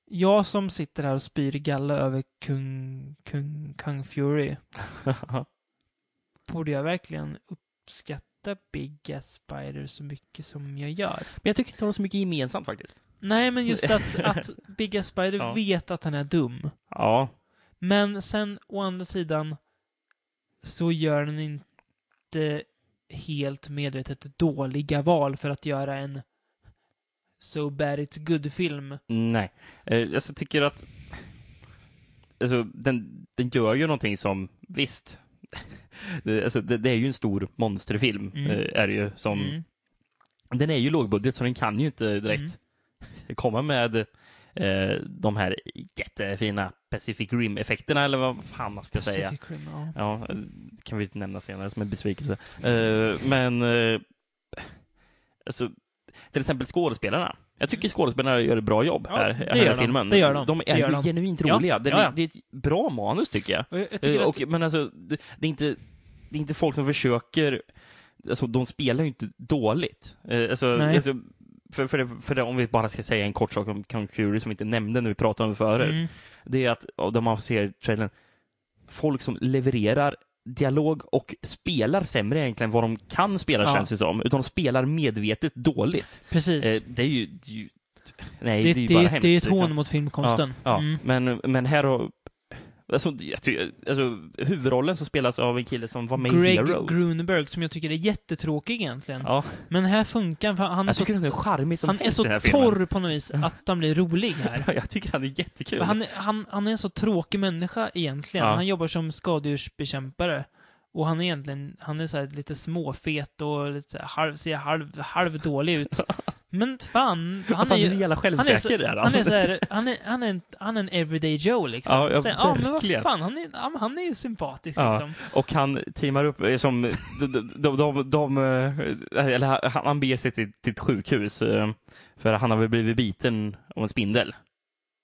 [SPEAKER 4] jag som sitter här och spyr galla över kung, kung, kung Fury, borde jag verkligen uppskatta Big Ass Spider så mycket som jag gör?
[SPEAKER 5] men jag tycker inte de har så mycket gemensamt faktiskt.
[SPEAKER 4] Nej, men just att, att Big Ass Spider
[SPEAKER 5] Ja.
[SPEAKER 4] vet att han är dum.
[SPEAKER 5] Ja.
[SPEAKER 4] Men sen å andra sidan så gör den inte helt medvetet dåliga val för att göra en So bad it's good-film.
[SPEAKER 5] Nej. Eh, jag så tycker att alltså, den, den gör ju någonting som, visst, det, alltså, det, det är ju en stor monsterfilm,
[SPEAKER 4] Mm.
[SPEAKER 5] eh, är det ju, som
[SPEAKER 4] Mm.
[SPEAKER 5] Den är ju lågbudget så den kan ju inte direkt komma med eh, de här jättefina Pacific Rim-effekterna eller vad fan man ska säga.
[SPEAKER 4] Pacific Rim, ja.
[SPEAKER 5] Ja, eh, det kan vi nämna senare som en besvikelse. Eh, men eh, alltså, till exempel skådespelarna. Jag tycker skådespelarna gör ett bra jobb
[SPEAKER 4] Mm. Ja,
[SPEAKER 5] här,
[SPEAKER 4] det
[SPEAKER 5] här
[SPEAKER 4] gör
[SPEAKER 5] i den här
[SPEAKER 4] de.
[SPEAKER 5] filmen.
[SPEAKER 4] Det gör de.
[SPEAKER 5] de är
[SPEAKER 4] Det gör
[SPEAKER 5] ju
[SPEAKER 4] de.
[SPEAKER 5] genuint
[SPEAKER 4] Ja,
[SPEAKER 5] roliga. Den
[SPEAKER 4] ja,
[SPEAKER 5] är-
[SPEAKER 4] ja.
[SPEAKER 5] Det är ett bra manus tycker jag.
[SPEAKER 4] Och jag, jag
[SPEAKER 5] Eh,
[SPEAKER 4] tycker att...
[SPEAKER 5] och, men alltså, det, det, är inte, det är inte folk som försöker... Alltså, de spelar ju inte dåligt. Eh, alltså,
[SPEAKER 4] Nej.
[SPEAKER 5] alltså, för, för, det, för det, om vi bara ska säga en kort sak om Kung Fury som vi inte nämnde när vi pratade om det förut.
[SPEAKER 4] Mm.
[SPEAKER 5] Det är att, och där man ser i trailern, folk som levererar dialog och spelar sämre egentligen vad de kan spela
[SPEAKER 4] Ja.
[SPEAKER 5] känns det som. Utan de spelar medvetet dåligt.
[SPEAKER 4] Precis.
[SPEAKER 5] Eh, det är ju... det är ju nej,
[SPEAKER 4] det,
[SPEAKER 5] det,
[SPEAKER 4] det,
[SPEAKER 5] är ju
[SPEAKER 4] det,
[SPEAKER 5] bara
[SPEAKER 4] är-
[SPEAKER 5] hemskt.
[SPEAKER 4] det är ett
[SPEAKER 5] liksom.
[SPEAKER 4] hån mot filmkonsten.
[SPEAKER 5] Ja, ja.
[SPEAKER 4] Mm.
[SPEAKER 5] Men, men här har... Alltså, jag tycker, alltså, huvudrollen som spelas av en kille som var med i
[SPEAKER 4] Greg
[SPEAKER 5] Heroes.
[SPEAKER 4] Grunberg, som jag tycker är jättetråkig egentligen.
[SPEAKER 5] ja,
[SPEAKER 4] Men här funkar han, för han är
[SPEAKER 5] jag
[SPEAKER 4] så,
[SPEAKER 5] tycker han är charmig som
[SPEAKER 4] han är
[SPEAKER 5] helst i
[SPEAKER 4] så
[SPEAKER 5] den här filmen.
[SPEAKER 4] torr på något vis att han blir rolig här.
[SPEAKER 5] Ja, Jag tycker han är jättekul.
[SPEAKER 4] För Han, han, han är en så tråkig människa egentligen.
[SPEAKER 5] Ja.
[SPEAKER 4] Han jobbar som skadedjursbekämpare. Och han är egentligen, han är så här lite småfet och lite så här halv, ser halv, halvdålig ut. Men fan, han
[SPEAKER 5] alltså,
[SPEAKER 4] är
[SPEAKER 5] han är så
[SPEAKER 4] ju...
[SPEAKER 5] jävla
[SPEAKER 4] Han är,
[SPEAKER 5] självsäker.
[SPEAKER 4] så,
[SPEAKER 5] där,
[SPEAKER 4] han är så här, han är, han är, en, han är en everyday Joe liksom.
[SPEAKER 5] Ja, ja,
[SPEAKER 4] så här, ja men vad
[SPEAKER 5] verkligen.
[SPEAKER 4] fan, han är, ja, men han är ju sympatisk
[SPEAKER 5] Ja.
[SPEAKER 4] liksom.
[SPEAKER 5] Och han teamar upp eh, som... De, de, de, de, eh, eller han, han beger sig till, till ett sjukhus. eh, För han har väl blivit biten av en spindel.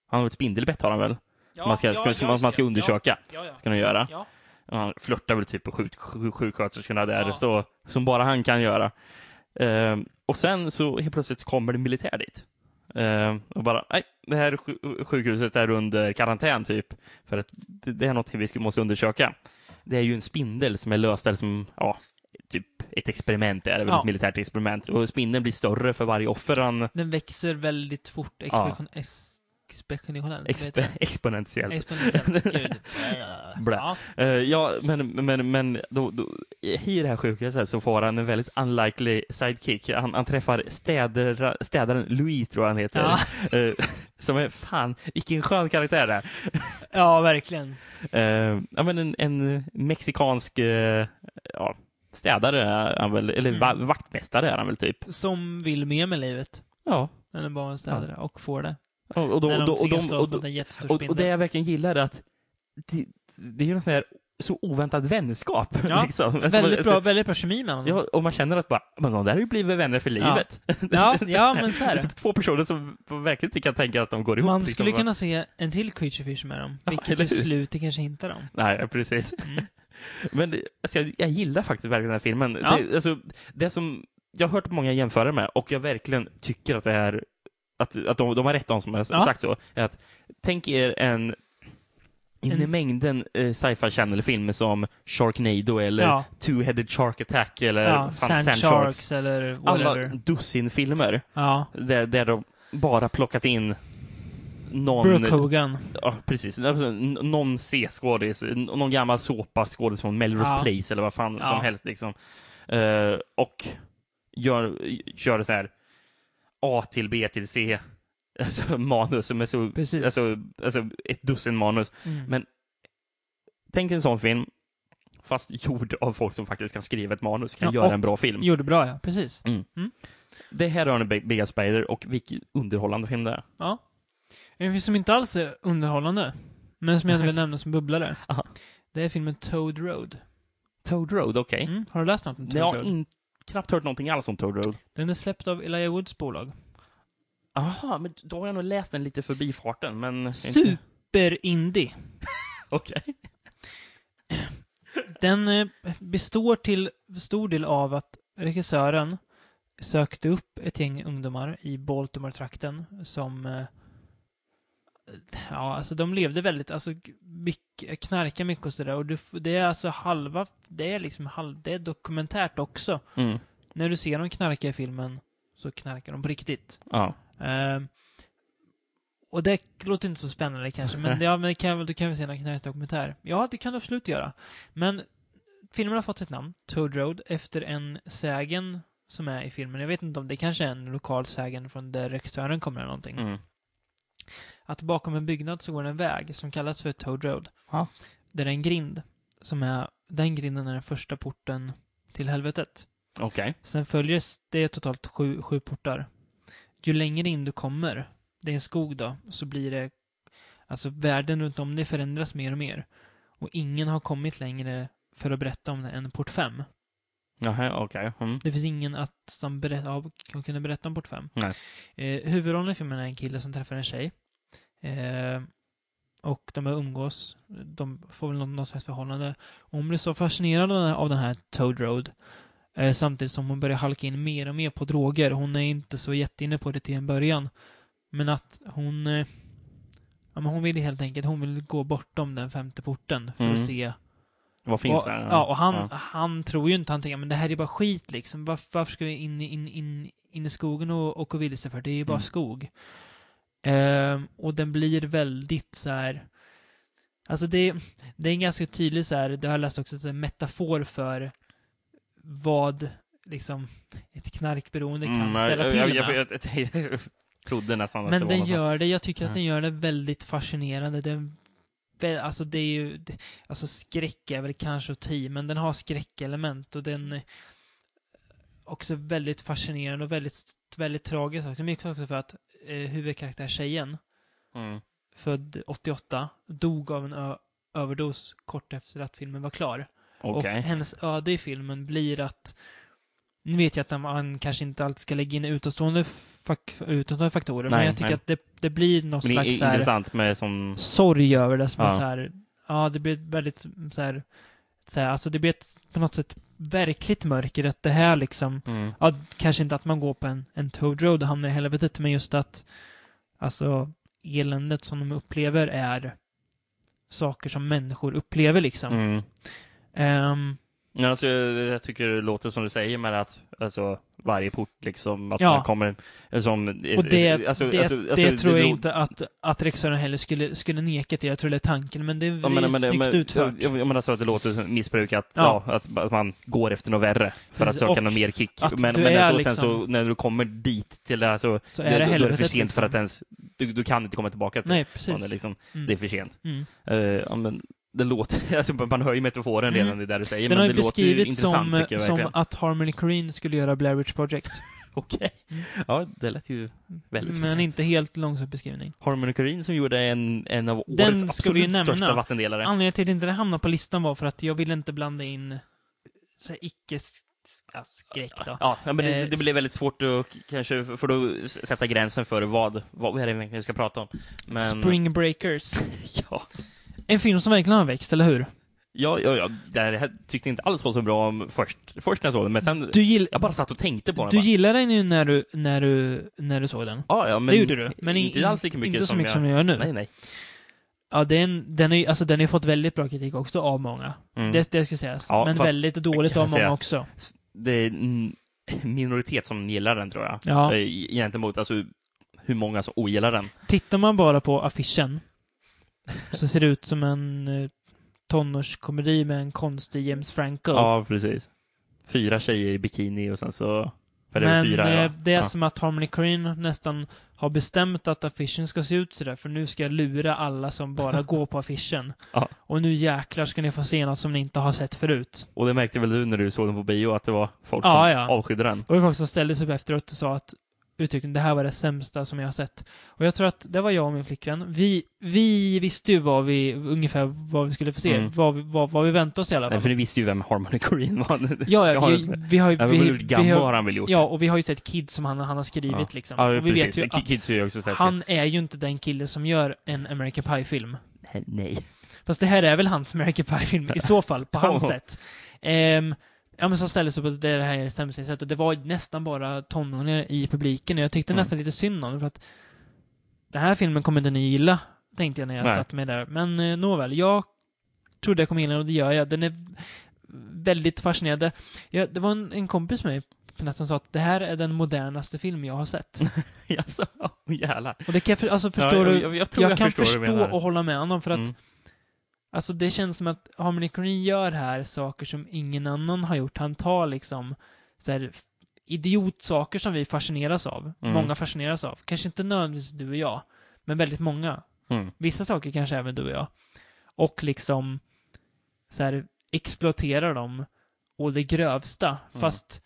[SPEAKER 5] Han har ett spindelbett har han väl?
[SPEAKER 4] Ja,
[SPEAKER 5] man ska, ska, som man- man ska undersöka.
[SPEAKER 4] Ja, ja,
[SPEAKER 5] Ska han göra.
[SPEAKER 4] ja.
[SPEAKER 5] Han flörtar väl typ på sjuk, sjuk, sjuksköterskorna där,
[SPEAKER 4] Ja.
[SPEAKER 5] så, som bara han kan göra. Ehm, och sen så helt plötsligt kommer det militär dit. Ehm, och bara, nej, det här sju- sjukhuset är under karantän typ. För att det det är något vi ska- måste undersöka. Det är ju en spindel som är löst, eller som, ja, typ ett experiment är det väl,
[SPEAKER 4] Ja.
[SPEAKER 5] ett militärt experiment. Och spindeln blir större för varje offer han
[SPEAKER 4] Den växer väldigt fort expansion, ex, expansionellt. vad heter
[SPEAKER 5] exp- exponentiellt.
[SPEAKER 4] det? Exponentiellt. Gud.
[SPEAKER 5] Blä.
[SPEAKER 4] Ja.
[SPEAKER 5] Eh, ja, men, men, men då, då, i det här sjukhuset så får han en väldigt unlikely sidekick. Han, han träffar städera, städaren Louis, tror jag han heter.
[SPEAKER 4] Ja.
[SPEAKER 5] Eh, som är, fan, vilken skön karaktär det är.
[SPEAKER 4] ja, verkligen.
[SPEAKER 5] Eh, ja, men en, en mexikansk eh, ja, städare är han väl, eller
[SPEAKER 4] Mm.
[SPEAKER 5] va, vaktmästare är han väl typ.
[SPEAKER 4] som vill med med livet.
[SPEAKER 5] Ja,
[SPEAKER 4] Eller bara en städare och får det.
[SPEAKER 5] och, och, då,
[SPEAKER 4] När de
[SPEAKER 5] och, då, och,
[SPEAKER 4] tvingas
[SPEAKER 5] de,
[SPEAKER 4] slåss
[SPEAKER 5] och,
[SPEAKER 4] mot
[SPEAKER 5] då-
[SPEAKER 4] en jättestor
[SPEAKER 5] och, och det
[SPEAKER 4] spindel.
[SPEAKER 5] jag verkligen gillar är att det, det är ju en sån här så oväntad vänskap.
[SPEAKER 4] Ja,
[SPEAKER 5] liksom.
[SPEAKER 4] Väldigt bra, väldigt bra kemi mellan dem.
[SPEAKER 5] Ja, och man känner att bara, men de där har ju blivit vänner för livet.
[SPEAKER 4] Ja, ja,
[SPEAKER 5] här-
[SPEAKER 4] men så är det.
[SPEAKER 5] typ Två personer som verkligen inte kan tänka att de går ihop.
[SPEAKER 4] Man
[SPEAKER 5] liksom.
[SPEAKER 4] skulle kunna se en till Creature Fish med dem,
[SPEAKER 5] Ja,
[SPEAKER 4] vilket
[SPEAKER 5] eller
[SPEAKER 4] ju
[SPEAKER 5] hur?
[SPEAKER 4] slutet kanske hintar om.
[SPEAKER 5] Nej, precis.
[SPEAKER 4] Mm.
[SPEAKER 5] Men det- alltså, jag, jag gillar faktiskt verkligen den här filmen.
[SPEAKER 4] Ja.
[SPEAKER 5] Det, alltså, det som jag har hört många jämföra med och jag verkligen tycker att det är att, att de, de har rätt, de som har s-
[SPEAKER 4] Ja.
[SPEAKER 5] sagt så. Är att, tänk er en in i
[SPEAKER 4] En-
[SPEAKER 5] mängden eh, sci-fi channel-film som Sharknado eller
[SPEAKER 4] Ja.
[SPEAKER 5] Two-Headed Shark Attack eller
[SPEAKER 4] Ja,
[SPEAKER 5] ja,
[SPEAKER 4] Sand, Sharks, eller
[SPEAKER 5] Alla
[SPEAKER 4] whatever.
[SPEAKER 5] dussin filmer
[SPEAKER 4] Ja.
[SPEAKER 5] där, där de bara plockat in någon,
[SPEAKER 4] Brooke Hogan.
[SPEAKER 5] ja, precis, Alltså, n- någon C-skådis, n- någon gammal såpa-skådis från Melrose
[SPEAKER 4] Ja.
[SPEAKER 5] Place eller vad fan
[SPEAKER 4] Ja.
[SPEAKER 5] som helst liksom. Eh, och gör, gör så här A till B till C alltså, manus som är så,
[SPEAKER 4] Precis.
[SPEAKER 5] alltså, alltså ett dussin manus.
[SPEAKER 4] Mm.
[SPEAKER 5] Men tänk en sån film fast gjord av folk som faktiskt kan skriva ett manus, kan
[SPEAKER 4] Ja,
[SPEAKER 5] göra
[SPEAKER 4] och-
[SPEAKER 5] en bra film.
[SPEAKER 4] Gjorde bra, ja. Precis.
[SPEAKER 5] Det här är en Big Big Spider och vilken underhållande film det är.
[SPEAKER 4] Ja. En film som inte alls är underhållande, men som jag vill nämna som bubblare.
[SPEAKER 5] Aha.
[SPEAKER 4] Det är filmen Toad Road.
[SPEAKER 5] Toad Road, okej.
[SPEAKER 4] Mm. Har du läst något om Toad
[SPEAKER 5] Jag har
[SPEAKER 4] Road?
[SPEAKER 5] in, knappt hört någonting alls om Toad Road.
[SPEAKER 4] Den är släppt av Elijah Woods bolag.
[SPEAKER 5] Aha, men då har jag nog läst den lite förbifarten, men...
[SPEAKER 4] Super-indie.
[SPEAKER 5] Okej.
[SPEAKER 4] Den eh, består till stor del av att regissören sökte upp ett gäng ungdomar i Baltimore-trakten som... eh, Ja, alltså de levde väldigt, alltså mycket, knarka mycket och sådär. Och du, f- det är alltså halva, det är liksom halv, det är dokumentärt också.
[SPEAKER 5] Mm.
[SPEAKER 4] När du ser dem knarka i filmen så knarkar de på riktigt.
[SPEAKER 5] Ja.
[SPEAKER 4] Ehm, och det låter inte så spännande kanske, men, det- ja, men det kan, väl- då kan vi se en knarkdokumentär. Ja, det kan du absolut göra. Men filmen har fått sitt namn, Toad Road, efter en sägen som är i filmen. Jag vet inte om det kanske är en lokal sägen från där regissören kommer eller någonting.
[SPEAKER 5] Mm.
[SPEAKER 4] Att bakom en byggnad så går det en väg som kallas för Toad Road.
[SPEAKER 5] Ja.
[SPEAKER 4] Där är en grind som är, den grinden är den första porten till helvetet.
[SPEAKER 5] Okej.
[SPEAKER 4] Sen följer, s- det är totalt sju, sju portar. Ju längre in du kommer, det är en skog då, så blir det, alltså världen runt om dig förändras mer och mer. Och ingen har kommit längre för att berätta om det än port 5.
[SPEAKER 5] Jaha, okej. Mm.
[SPEAKER 4] Det finns ingen att, som berätt, av, kan kunna berätta om port 5.
[SPEAKER 5] Nej.
[SPEAKER 4] Eh, huvudrollen i filmen är en kille som träffar en tjej. Eh, och de börjar umgås. De får väl något, något slags förhållande. Och hon blir så fascinerad av den här, av den här Toad Road. Eh, samtidigt som hon börjar halka in mer och mer på droger. Hon är inte så jätteinne på det till en början. Men att hon... Eh, ja, men hon vill helt enkelt hon vill gå bortom den femte porten för
[SPEAKER 5] Mm.
[SPEAKER 4] att se
[SPEAKER 5] Vad finns
[SPEAKER 4] och,
[SPEAKER 5] där?
[SPEAKER 4] Ja, och han,
[SPEAKER 5] Ja.
[SPEAKER 4] han tror ju inte, han tänker men det här är bara skit liksom. Varför, varför ska vi in, i- in, in, in i skogen och, och gå vilse för? Det är ju bara
[SPEAKER 5] Mm.
[SPEAKER 4] skog. Ehm, och den blir väldigt så här. Alltså det, det är en ganska tydlig så här, det har jag läst också, så här, metafor för vad liksom ett knarkberoende kan
[SPEAKER 5] Mm,
[SPEAKER 4] ställa
[SPEAKER 5] jag-
[SPEAKER 4] till
[SPEAKER 5] jag,
[SPEAKER 4] med.
[SPEAKER 5] jag, jag, jag, jag trodde nästan att det
[SPEAKER 4] Men
[SPEAKER 5] var
[SPEAKER 4] den
[SPEAKER 5] något
[SPEAKER 4] gör det, jag tycker att
[SPEAKER 5] Ja.
[SPEAKER 4] den gör det väldigt fascinerande. Den, vä- alltså det är ju, det- alltså skräck är väl kanske att ta i, men den har skräckelement och den är också väldigt fascinerande och väldigt, väldigt tragisk också. Mycket också för att eh, huvudkaraktär tjejen,
[SPEAKER 5] sånt. Mm.
[SPEAKER 4] född 88, dog av en ö- överdos kort efter att filmen var klar.
[SPEAKER 5] Okej.
[SPEAKER 4] Och hennes öde i filmen blir att nu vet jag att man kanske inte alltid ska lägga in utomstående, fak utomstående faktorer, men
[SPEAKER 5] Nej,
[SPEAKER 4] jag tycker
[SPEAKER 5] nej.
[SPEAKER 4] att det, det blir någon
[SPEAKER 5] Men det är
[SPEAKER 4] slags så här,
[SPEAKER 5] intressant med som...
[SPEAKER 4] sorg över det som är
[SPEAKER 5] Ja.
[SPEAKER 4] så här, ja, det blir ett väldigt så här, så här, alltså det blir ett, på något sätt verkligt mörker, att det här liksom,
[SPEAKER 5] Mm.
[SPEAKER 4] ja, kanske inte att man går på en, en toad road och hamnar i helvetet, men just att, alltså, eländet som de upplever är saker som människor upplever liksom.
[SPEAKER 5] Mm.
[SPEAKER 4] Ehm,
[SPEAKER 5] Men Alltså, jag jag tycker det låter som du säger med att alltså, varje port liksom, att
[SPEAKER 4] Ja.
[SPEAKER 5] man kommer som... alltså,
[SPEAKER 4] Och det, det, det tror jag inte att, att regissören heller skulle, skulle neka till. Jag tror det är tanken, men det är
[SPEAKER 5] Ja, men, men,
[SPEAKER 4] snyggt
[SPEAKER 5] men,
[SPEAKER 4] utfört.
[SPEAKER 5] Jag, jag, jag menar så att det låter som missbruk, att,
[SPEAKER 4] Ja.
[SPEAKER 5] ja. att, att man går efter något värre för att
[SPEAKER 4] Precis,
[SPEAKER 5] söka
[SPEAKER 4] och
[SPEAKER 5] någon mer kick.
[SPEAKER 4] att
[SPEAKER 5] Men,
[SPEAKER 4] du
[SPEAKER 5] men
[SPEAKER 4] är
[SPEAKER 5] så,
[SPEAKER 4] liksom-
[SPEAKER 5] sen så när du kommer dit till det här så,
[SPEAKER 4] så
[SPEAKER 5] då-
[SPEAKER 4] är det
[SPEAKER 5] då är det för
[SPEAKER 4] helvetet. liksom.
[SPEAKER 5] sent för att ens, du, du kan inte komma tillbaka till
[SPEAKER 4] Nej,
[SPEAKER 5] det. Det,
[SPEAKER 4] precis.
[SPEAKER 5] liksom,
[SPEAKER 4] Mm.
[SPEAKER 5] det är för sent.
[SPEAKER 4] Mm.
[SPEAKER 5] Eh, ja, men, det låter, alltså, man hör ju metaforen
[SPEAKER 4] Mm.
[SPEAKER 5] redan i det du säger,
[SPEAKER 4] Den har
[SPEAKER 5] men
[SPEAKER 4] ju
[SPEAKER 5] det låter ju
[SPEAKER 4] beskrivits
[SPEAKER 5] intressant
[SPEAKER 4] som,
[SPEAKER 5] tycker jag
[SPEAKER 4] som
[SPEAKER 5] verkligen.
[SPEAKER 4] att Harmony Korine skulle göra Blair Witch Project.
[SPEAKER 5] Okej. Ja, det lät ju väldigt
[SPEAKER 4] men
[SPEAKER 5] speciellt.
[SPEAKER 4] inte helt långsam beskrivning.
[SPEAKER 5] Harmony Corinne som gjorde en, en av
[SPEAKER 4] Den
[SPEAKER 5] årets
[SPEAKER 4] ska vi ju
[SPEAKER 5] absolut största
[SPEAKER 4] nämna.
[SPEAKER 5] vattendelare.
[SPEAKER 4] Anledningen till att inte det hamnade på listan var för att jag ville inte blanda in så här icke-skräck då.
[SPEAKER 5] Ja, men det,
[SPEAKER 4] Eh,
[SPEAKER 5] det blir väldigt svårt att k- kanske f- för då s- sätta gränsen för vad, vad är det egentligen vi ska prata om. Men,
[SPEAKER 4] Spring Breakers.
[SPEAKER 5] Ja,
[SPEAKER 4] En film som verkligen har växt, eller hur?
[SPEAKER 5] Ja, ja, ja, det här tyckte jag inte alls var så bra om först, först när jag såg den, men sen...
[SPEAKER 4] Du, gill,
[SPEAKER 5] jag bara satt och tänkte på den.
[SPEAKER 4] du
[SPEAKER 5] bara,
[SPEAKER 4] gillar den ju när du, när du, när du såg den.
[SPEAKER 5] ja, ja, men,
[SPEAKER 4] det gjorde du. Men
[SPEAKER 5] inte
[SPEAKER 4] in-
[SPEAKER 5] alls lika mycket
[SPEAKER 4] inte så
[SPEAKER 5] som
[SPEAKER 4] mycket
[SPEAKER 5] jag...
[SPEAKER 4] som du gör nu.
[SPEAKER 5] Nej, nej.
[SPEAKER 4] Ja, den, den, är, alltså, den har ju fått väldigt bra kritik också av många.
[SPEAKER 5] Mm.
[SPEAKER 4] Det, det ska sägas.
[SPEAKER 5] Ja,
[SPEAKER 4] men
[SPEAKER 5] fast-
[SPEAKER 4] väldigt dåligt
[SPEAKER 5] kan
[SPEAKER 4] av
[SPEAKER 5] jag
[SPEAKER 4] många
[SPEAKER 5] säga.
[SPEAKER 4] också.
[SPEAKER 5] S- det är en minoritet som gillar den, tror jag.
[SPEAKER 4] Ja.
[SPEAKER 5] Eh, Gentemot alltså, hur många som ogillar den.
[SPEAKER 4] Tittar man bara på affischen så ser det ut som en eh, tonårskomedi med en konstig James Franco.
[SPEAKER 5] Ja, precis. Fyra tjejer i bikini och sen så... För det är
[SPEAKER 4] Men
[SPEAKER 5] väl fyra,
[SPEAKER 4] det,
[SPEAKER 5] ja.
[SPEAKER 4] det är
[SPEAKER 5] ja.
[SPEAKER 4] som att Harmony Korine nästan har bestämt att affischen ska se ut sådär, för nu ska jag lura alla som bara går på affischen.
[SPEAKER 5] Ja.
[SPEAKER 4] Och nu jäklar ska ni få se något som ni inte har sett förut.
[SPEAKER 5] Och det märkte väl du när du såg den på bio, att det var folk
[SPEAKER 4] Ja,
[SPEAKER 5] som
[SPEAKER 4] ja.
[SPEAKER 5] avskydde den?
[SPEAKER 4] Och det var folk som ställde sig upp efteråt och sa att uttryckligen, det här var det sämsta som jag har sett. Och jag tror att det var jag och min flickvän. Vi, vi visste ju vad vi, ungefär vad vi skulle få se,
[SPEAKER 5] Mm.
[SPEAKER 4] vad, vi, vad, vad vi väntade oss i alla
[SPEAKER 5] Nej,
[SPEAKER 4] fall.
[SPEAKER 5] för ni visste ju vem Harmony Korine var.
[SPEAKER 4] Ja,
[SPEAKER 5] Jag
[SPEAKER 4] ja
[SPEAKER 5] har
[SPEAKER 4] vi,
[SPEAKER 5] inte-
[SPEAKER 4] vi har ju...
[SPEAKER 5] Han har
[SPEAKER 4] vi-
[SPEAKER 5] väl gjort
[SPEAKER 4] vi
[SPEAKER 5] Gamma
[SPEAKER 4] har-
[SPEAKER 5] har han väl gjort?
[SPEAKER 4] Ja, och vi har ju sett Kid som han, han har skrivit
[SPEAKER 5] Ja.
[SPEAKER 4] liksom.
[SPEAKER 5] Ja,
[SPEAKER 4] och vi
[SPEAKER 5] precis.
[SPEAKER 4] vet ju
[SPEAKER 5] Ki-
[SPEAKER 4] att
[SPEAKER 5] Kids har ju också sett
[SPEAKER 4] han är ju inte den killen som gör en American Pie-film.
[SPEAKER 5] det. Nej.
[SPEAKER 4] Fast det här är väl hans American Pie-film i så fall, på hans
[SPEAKER 5] Ja.
[SPEAKER 4] sätt. Ehm, ja, men som ställde sig på att det här är det sämsta jag sett. Och det var nästan bara tonåringar i publiken. Och jag tyckte
[SPEAKER 5] Mm.
[SPEAKER 4] nästan lite synd om det, för att den här filmen kommer inte ni gilla, tänkte jag när jag
[SPEAKER 5] Nej.
[SPEAKER 4] satt mig där. Men eh, nåväl, jag trodde jag kommer gilla den och det gör jag. Den är väldigt fascinerande. Jag, det var en, en kompis med mig på natten som sa att det här är den modernaste film jag har sett.
[SPEAKER 5] Jaså? Alltså, Åh, jävlar.
[SPEAKER 4] Och det kan jag, för, alltså
[SPEAKER 5] Ja,
[SPEAKER 4] förstår
[SPEAKER 5] jag-
[SPEAKER 4] du?
[SPEAKER 5] jag-
[SPEAKER 4] Jag,
[SPEAKER 5] jag tror jag
[SPEAKER 4] kan
[SPEAKER 5] förstår vad du
[SPEAKER 4] förstå
[SPEAKER 5] menar.
[SPEAKER 4] och hålla med honom för att
[SPEAKER 5] Mm.
[SPEAKER 4] Alltså det känns som att Harmony Korine gör här saker som ingen annan har gjort. Han tar liksom så här, f- idiotsaker som vi fascineras av.
[SPEAKER 5] Mm.
[SPEAKER 4] Många fascineras av. Kanske inte nödvändigtvis du och jag, men väldigt många.
[SPEAKER 5] Mm.
[SPEAKER 4] Vissa saker kanske även du och jag. Och liksom så här exploaterar dem å det grövsta.
[SPEAKER 5] Mm.
[SPEAKER 4] Fast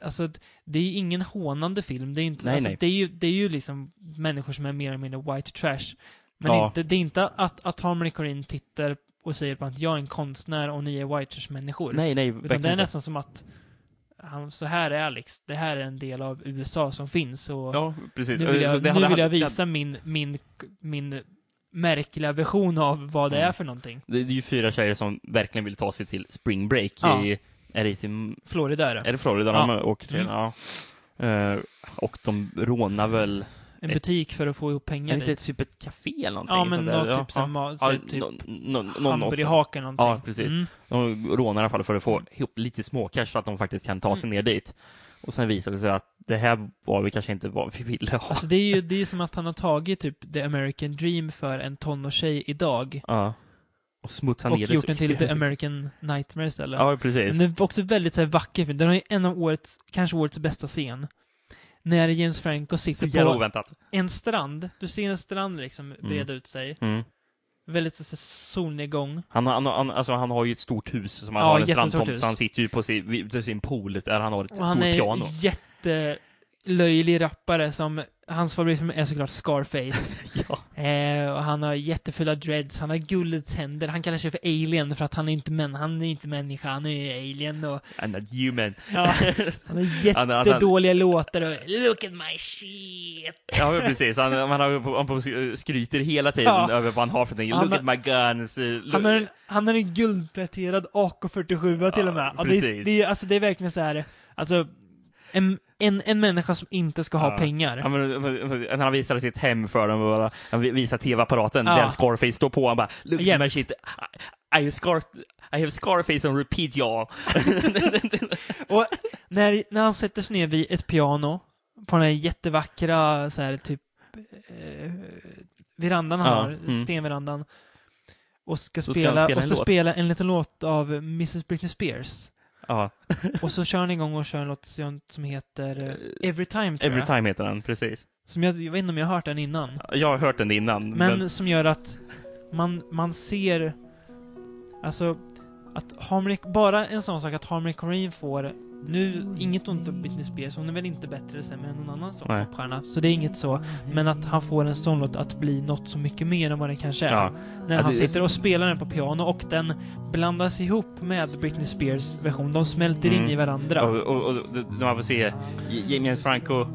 [SPEAKER 4] alltså det är ju ingen hånande film. Det är, inte,
[SPEAKER 5] Nej,
[SPEAKER 4] alltså,
[SPEAKER 5] nej.
[SPEAKER 4] Det är, ju, det är ju liksom människor som är mer eller mindre white trash. Men
[SPEAKER 5] Ja.
[SPEAKER 4] inte, det är inte att, att Harmony Korine tittar och säger på att jag är en konstnär och ni är white trash-människor.
[SPEAKER 5] Nej, nej,
[SPEAKER 4] Utan det
[SPEAKER 5] verkligen
[SPEAKER 4] är
[SPEAKER 5] inte.
[SPEAKER 4] nästan som att han, så här är Alex, det här är en del av USA som finns och
[SPEAKER 5] Ja, precis.
[SPEAKER 4] nu vill
[SPEAKER 5] Så
[SPEAKER 4] jag,
[SPEAKER 5] det
[SPEAKER 4] nu
[SPEAKER 5] hade-
[SPEAKER 4] vill jag
[SPEAKER 5] det-
[SPEAKER 4] visa min, min, min märkliga version av vad det
[SPEAKER 5] Mm.
[SPEAKER 4] är för någonting.
[SPEAKER 5] Det är ju fyra tjejer som verkligen vill ta sig till spring break
[SPEAKER 4] Ja.
[SPEAKER 5] i... Är det, till,
[SPEAKER 4] Florida är det.
[SPEAKER 5] är det Florida
[SPEAKER 4] Ja.
[SPEAKER 5] de åker till?
[SPEAKER 4] Mm.
[SPEAKER 5] Ja. Eh, och de rånar väl...
[SPEAKER 4] En butik för att få ihop
[SPEAKER 5] Är
[SPEAKER 4] pengar
[SPEAKER 5] det
[SPEAKER 4] dit.
[SPEAKER 5] ett typ ett café eller någonting?
[SPEAKER 4] Ja, men
[SPEAKER 5] sånt där?
[SPEAKER 4] något typ
[SPEAKER 5] ja.
[SPEAKER 4] som ma-
[SPEAKER 5] Ja,
[SPEAKER 4] så typ
[SPEAKER 5] nå- nå- nå- någon-
[SPEAKER 4] hamburgerhake eller någonting.
[SPEAKER 5] Ja, precis.
[SPEAKER 4] Mm.
[SPEAKER 5] De rånar i alla fall för att få ihop lite småcash så att de faktiskt kan ta sig
[SPEAKER 4] Mm.
[SPEAKER 5] ner dit. Och sen visar det sig att det här var vi kanske inte vad vi ville ha.
[SPEAKER 4] Alltså det är ju det är som att han har tagit typ the American dream för en tonårstjej idag
[SPEAKER 5] ja. Och smutsar
[SPEAKER 4] och
[SPEAKER 5] ner
[SPEAKER 4] gjort den
[SPEAKER 5] så
[SPEAKER 4] till the
[SPEAKER 5] extremt.
[SPEAKER 4] American nightmare istället.
[SPEAKER 5] Ja,
[SPEAKER 4] Men
[SPEAKER 5] precis.
[SPEAKER 4] den är också väldigt så här, vacker film. Den har ju en av årets, kanske årets bästa scen. När James Franco
[SPEAKER 5] Så
[SPEAKER 4] sitter
[SPEAKER 5] jävla
[SPEAKER 4] på
[SPEAKER 5] oväntat.
[SPEAKER 4] en strand, du ser en strand liksom breda ut sig,
[SPEAKER 5] Mm.
[SPEAKER 4] väldigt så, så, solnedgång.
[SPEAKER 5] Han, har- han, har- han, alltså, han har ju ett stort hus som han
[SPEAKER 4] Ja,
[SPEAKER 5] har en
[SPEAKER 4] jättestort
[SPEAKER 5] strandtomt,
[SPEAKER 4] hus.
[SPEAKER 5] så han sitter ju på sin, vid sin pool där han har ett
[SPEAKER 4] Och han
[SPEAKER 5] stort
[SPEAKER 4] är
[SPEAKER 5] piano.
[SPEAKER 4] jättelöjlig rappare som, hans favoritfilm är såklart Scarface.
[SPEAKER 5] Ja.
[SPEAKER 4] eh, och han har jättefulla dreads, han har guldets händer, han kallar sig för alien för att han är inte, män, han är inte människa, han är ju alien och
[SPEAKER 5] And that human.
[SPEAKER 4] ja, han har
[SPEAKER 5] Han- han-
[SPEAKER 4] jättedåliga låtar och look at my shit.
[SPEAKER 5] Ja, precis. Han, han, har, han på, skryter hela tiden
[SPEAKER 4] Ja.
[SPEAKER 5] över vad han har för någonting.
[SPEAKER 4] Han-
[SPEAKER 5] Look at my guns. eh, look-
[SPEAKER 4] Han har en, han har en guldpläterad AK47 till och med. Ja, det, är,
[SPEAKER 5] precis.
[SPEAKER 4] det, är, alltså, det är verkligen så här, alltså, en, en, en människa som inte ska ha
[SPEAKER 5] Ja.
[SPEAKER 4] pengar.
[SPEAKER 5] Ja, men, men, men, han visade sitt hem för dem och bara, han vi- visade tv-apparaten
[SPEAKER 4] Ja.
[SPEAKER 5] där Scarface står på. Han bara “Look at
[SPEAKER 4] Jämt.
[SPEAKER 5] my shit, I, I, have scar, I have Scarface on repeat y'all”.
[SPEAKER 4] Och när, när han sätter sig ner vid ett piano på den här jättevackra så här, typ eh, verandan han
[SPEAKER 5] Ja,
[SPEAKER 4] har,
[SPEAKER 5] mm.
[SPEAKER 4] stenverandan. Och ska
[SPEAKER 5] Så ska
[SPEAKER 4] spela,
[SPEAKER 5] han spela
[SPEAKER 4] och
[SPEAKER 5] en
[SPEAKER 4] så
[SPEAKER 5] låt.
[SPEAKER 4] spela en liten låt av Mrs Britney Spears.
[SPEAKER 5] ja,
[SPEAKER 4] Och så kör han igång och kör en låt som heter eh, Every Time, tror
[SPEAKER 5] Every
[SPEAKER 4] jag.
[SPEAKER 5] time heter den, precis.
[SPEAKER 4] Som jag, jag vet inte om jag har hört den innan.
[SPEAKER 5] Jag har hört den innan.
[SPEAKER 4] Men,
[SPEAKER 5] Men,
[SPEAKER 4] som gör att man, man ser, alltså, att Harmony, bara en sån sak att Harmony Korine får, nu, inget ont om Britney Spears, hon är väl inte bättre eller sämre än någon annan sån
[SPEAKER 5] Nej.
[SPEAKER 4] popstjärna, så det är inget så, men att han får en sån låt att bli något så mycket mer än vad den kanske är.
[SPEAKER 5] ja.
[SPEAKER 4] När
[SPEAKER 5] Ja,
[SPEAKER 4] han
[SPEAKER 5] det-
[SPEAKER 4] sitter och spelar den på piano och den blandas ihop med Britney Spears version, de smälter in
[SPEAKER 5] Mm.
[SPEAKER 4] i varandra.
[SPEAKER 5] Och, och, och, när man får se J- James Franco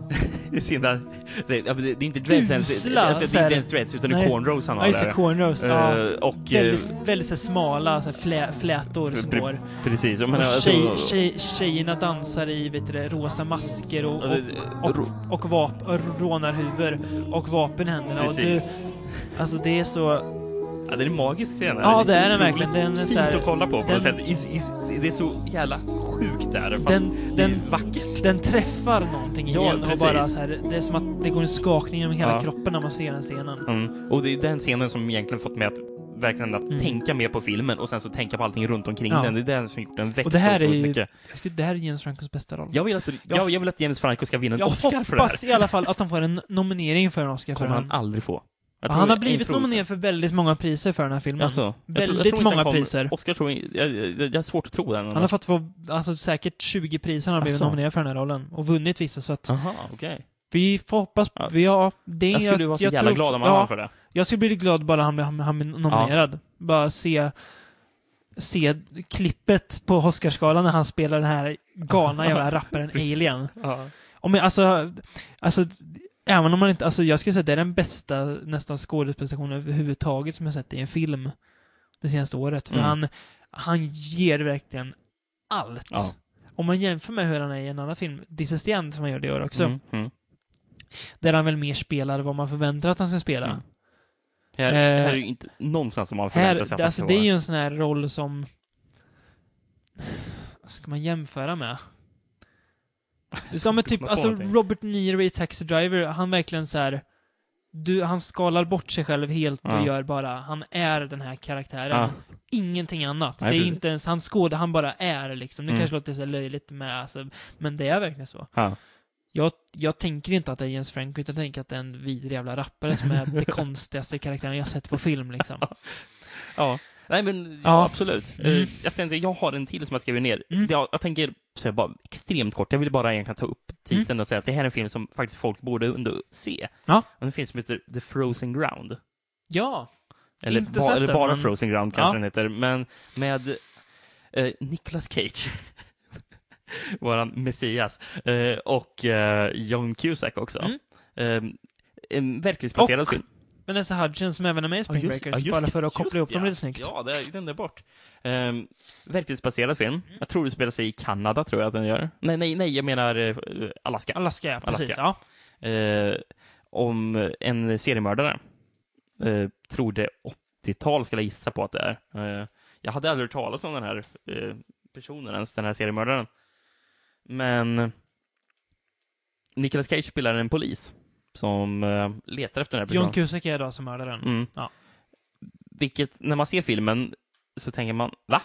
[SPEAKER 5] Det är synd att... Det är ja, men det- det är inte dreads ens.
[SPEAKER 4] Usla,
[SPEAKER 5] Alltså, det
[SPEAKER 4] så
[SPEAKER 5] är
[SPEAKER 4] här-
[SPEAKER 5] inte ens dreads, utan det är
[SPEAKER 4] Nej.
[SPEAKER 5] cornrows han
[SPEAKER 4] Ja,
[SPEAKER 5] har
[SPEAKER 4] just det.
[SPEAKER 5] där.
[SPEAKER 4] Cornrows. ja.
[SPEAKER 5] Eh, och... eh,
[SPEAKER 4] Väldigt, väldigt så här smala så här flä, flätor som
[SPEAKER 5] pre-
[SPEAKER 4] går.
[SPEAKER 5] eh, Precis. Jag
[SPEAKER 4] Och
[SPEAKER 5] menar,
[SPEAKER 4] tjej,
[SPEAKER 5] alltså-
[SPEAKER 4] tjej, tjejerna dansar i vet du, det, rosa masker och, och,
[SPEAKER 5] Alltså,
[SPEAKER 4] och, och, vap, och rånarhuvor och vapen i händerna. Och du,
[SPEAKER 5] Precis.
[SPEAKER 4] alltså det är så...
[SPEAKER 5] Ja, den är magisk scen.
[SPEAKER 4] Ja, det är den
[SPEAKER 5] otroligt
[SPEAKER 4] verkligen. Den är
[SPEAKER 5] fint
[SPEAKER 4] så här-
[SPEAKER 5] att kolla på på
[SPEAKER 4] den-
[SPEAKER 5] något sätt. Is, is, det är så jävla sjukt där. Fast
[SPEAKER 4] Den-
[SPEAKER 5] det är
[SPEAKER 4] den-
[SPEAKER 5] vackert.
[SPEAKER 4] Den träffar någonting
[SPEAKER 5] Ja,
[SPEAKER 4] igen och
[SPEAKER 5] precis.
[SPEAKER 4] bara så här, det är som att det går en skakning genom hela
[SPEAKER 5] Ja.
[SPEAKER 4] kroppen när man ser den scenen.
[SPEAKER 5] Mm. Och det är den scenen som egentligen fått mig att verkligen att
[SPEAKER 4] Mm.
[SPEAKER 5] tänka mer på filmen och sen så tänka på allting runt omkring
[SPEAKER 4] Ja.
[SPEAKER 5] den. Det är den som gjort den växt
[SPEAKER 4] Och det här
[SPEAKER 5] så
[SPEAKER 4] är
[SPEAKER 5] otroligt
[SPEAKER 4] ju-
[SPEAKER 5] mycket.
[SPEAKER 4] Jag skulle- Det här är James Francos bästa roll.
[SPEAKER 5] Jag vill, att, jag, jag vill att James Franco ska vinna en
[SPEAKER 4] Jag
[SPEAKER 5] Oscar för det här.
[SPEAKER 4] hoppas i alla fall att han får en nominering för en Oscar för
[SPEAKER 5] kommer han
[SPEAKER 4] den.
[SPEAKER 5] aldrig få. Jag
[SPEAKER 4] Ja,
[SPEAKER 5] tror-
[SPEAKER 4] Han har
[SPEAKER 5] jag
[SPEAKER 4] blivit
[SPEAKER 5] tror-
[SPEAKER 4] nominerad för väldigt många priser för den här filmen.
[SPEAKER 5] Alltså, jag tror- jag tror
[SPEAKER 4] Väldigt
[SPEAKER 5] inte han
[SPEAKER 4] många
[SPEAKER 5] kommer-
[SPEAKER 4] priser.
[SPEAKER 5] Oscar tror jag, jag, jag, jag har svårt att tro den.
[SPEAKER 4] Han har fått få, alltså, säkert 20 priser han har blivit
[SPEAKER 5] Alltså.
[SPEAKER 4] nominerad för den här rollen. Och vunnit vissa, så att
[SPEAKER 5] Aha, okej.
[SPEAKER 4] vi får hoppas...
[SPEAKER 5] Ja.
[SPEAKER 4] Vi har, det är-
[SPEAKER 5] Jag skulle vara så jävla
[SPEAKER 4] tror-
[SPEAKER 5] glad om han
[SPEAKER 4] ja,
[SPEAKER 5] vann för det.
[SPEAKER 4] Jag skulle bli glad bara han, han, han blir nominerad. Bara se, se klippet på Oscarsgalan när han spelar den här galna jävla rapparen
[SPEAKER 5] Precis.
[SPEAKER 4] Alien.
[SPEAKER 5] Ja.
[SPEAKER 4] Om jag, alltså, alltså, även om man inte, alltså jag skulle säga att det är den bästa nästan skådespelarstationen överhuvudtaget som jag sett i en film det senaste året. För
[SPEAKER 5] Mm.
[SPEAKER 4] han, han ger verkligen allt.
[SPEAKER 5] Ja.
[SPEAKER 4] Om man jämför med hur han är i en annan film, This is the End, som han gör det i år också,
[SPEAKER 5] Mm, mm.
[SPEAKER 4] där han väl mer spelar vad man förväntar att han ska spela.
[SPEAKER 5] Mm. Här,
[SPEAKER 4] Eh,
[SPEAKER 5] här är ju inte någonstans som man förväntar sig att
[SPEAKER 4] Här,
[SPEAKER 5] han
[SPEAKER 4] alltså,
[SPEAKER 5] ska
[SPEAKER 4] det är
[SPEAKER 5] vara.
[SPEAKER 4] ju en sån här roll som... Vad ska man jämföra med? Ja men typ,
[SPEAKER 5] komma på
[SPEAKER 4] alltså
[SPEAKER 5] någonting.
[SPEAKER 4] Robert Niro i Taxi Driver, han verkligen så här... Du, han skalar bort sig själv helt och
[SPEAKER 5] Ja.
[SPEAKER 4] gör bara, han är den här karaktären.
[SPEAKER 5] Ja.
[SPEAKER 4] Ingenting annat.
[SPEAKER 5] Nej,
[SPEAKER 4] det är
[SPEAKER 5] precis.
[SPEAKER 4] inte ens han skådar, han bara är liksom. Det
[SPEAKER 5] Mm.
[SPEAKER 4] kanske låter så här löjligt med, alltså, men det är verkligen så.
[SPEAKER 5] Ja.
[SPEAKER 4] Jag, jag tänker inte att det är Jens Franco, utan jag tänker att det är en vidrig jävla rappare som är den konstigaste karaktären jag sett på film liksom.
[SPEAKER 5] ja. Nej men ja.
[SPEAKER 4] Ja.
[SPEAKER 5] absolut.
[SPEAKER 4] Mm.
[SPEAKER 5] Eh, Jag, tänkte, jag har en till som jag skriver ner.
[SPEAKER 4] Mm.
[SPEAKER 5] Det- Jag, jag tänker så här, bara extremt kort. Jag ville bara egentligen ta upp titeln och säga att det här är en film som faktiskt folk borde ändå se.
[SPEAKER 4] Mm. Ja.
[SPEAKER 5] Och en film som heter The Frozen Ground.
[SPEAKER 4] Ja!
[SPEAKER 5] Eller,
[SPEAKER 4] Inte
[SPEAKER 5] ba,
[SPEAKER 4] sett
[SPEAKER 5] eller
[SPEAKER 4] den,
[SPEAKER 5] bara
[SPEAKER 4] men-
[SPEAKER 5] Frozen Ground kanske
[SPEAKER 4] Ja.
[SPEAKER 5] den heter. Men med eh, Nicolas Cage. Våran Messias. Eh, och eh, John Cusack också.
[SPEAKER 4] Mm.
[SPEAKER 5] Eh, en verklighetsbaserad
[SPEAKER 4] Och
[SPEAKER 5] film.
[SPEAKER 4] Vanessa Hudgens som även är med i Spring Breakers,
[SPEAKER 5] ja,
[SPEAKER 4] bara för att koppla
[SPEAKER 5] just
[SPEAKER 4] ihop dem
[SPEAKER 5] ja.
[SPEAKER 4] lite snyggt.
[SPEAKER 5] Ja, det glömde jag bort. Mm. Um, verklighetsbaserad film. Jag tror det spelar sig i Kanada, tror jag att den gör. Nej, nej, nej, jag menar eh, Alaska.
[SPEAKER 4] Alaska, ja, precis.
[SPEAKER 5] Alaska.
[SPEAKER 4] Ja.
[SPEAKER 5] Eh, om en seriemördare. Eh, tror det 80-tal skulle jag gissa på att det är. Eh, jag hade aldrig hört talas om den här eh, personen ens, den här seriemördaren. Men Nicolas Cage spelar en polis som eh, letar efter den här personen.
[SPEAKER 4] John Cusack är då som mördaren.
[SPEAKER 5] Mm.
[SPEAKER 4] Ja.
[SPEAKER 5] Vilket, när man ser filmen så tänker man, va?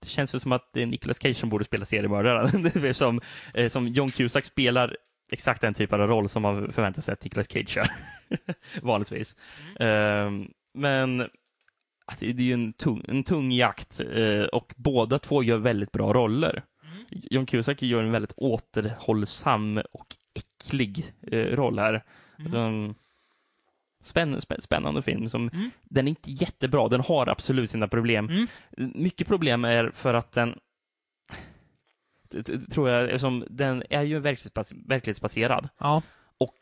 [SPEAKER 5] Det känns ju som att det är Nicolas Cage som borde spela seriemördaren. Det är som, eh, som John Cusack spelar exakt den typen av roll som man förväntar sig att Nicolas Cage gör. Vanligtvis. Ehm, men alltså, det är ju en tung, en tung jakt eh, och båda två gör väldigt bra roller. John Cusack gör en väldigt återhållsam och äcklig eh, roll här. Alltså, en spänn, spänn, spännande film. Som,
[SPEAKER 4] Mm.
[SPEAKER 5] Den är inte jättebra, den har absolut sina problem.
[SPEAKER 4] Mm.
[SPEAKER 5] Mycket problem är för att den t- t- tror jag, eftersom den är ju verklighetsbas- verklighetsbaserad
[SPEAKER 4] Ja,
[SPEAKER 5] och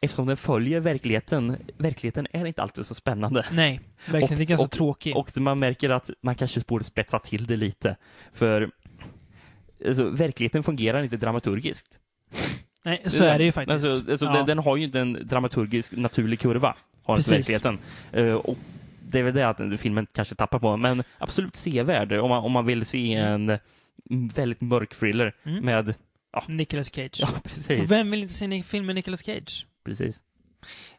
[SPEAKER 5] eftersom den följer verkligheten, verkligheten är inte alltid så spännande.
[SPEAKER 4] nej. Verkligen,
[SPEAKER 5] Och-
[SPEAKER 4] det är ganska
[SPEAKER 5] och-
[SPEAKER 4] tråkigt.
[SPEAKER 5] Och man märker att man kanske borde spetsa till det lite. För alltså, verkligheten fungerar inte dramaturgiskt.
[SPEAKER 4] nej, så är det ju faktiskt.
[SPEAKER 5] Alltså, alltså,
[SPEAKER 4] ja.
[SPEAKER 5] den, den har ju inte en dramaturgisk naturlig kurva, har inte
[SPEAKER 4] Precis.
[SPEAKER 5] verkligheten. Eh, och det är väl det att den- filmen kanske tappar på, men absolut sevärd om man, om man vill se en mm, väldigt mörk thriller
[SPEAKER 4] Mm.
[SPEAKER 5] med...
[SPEAKER 4] Nicolas Cage.
[SPEAKER 5] Ja, precis.
[SPEAKER 4] Och vem vill inte se en film med Nicolas Cage?
[SPEAKER 5] precis.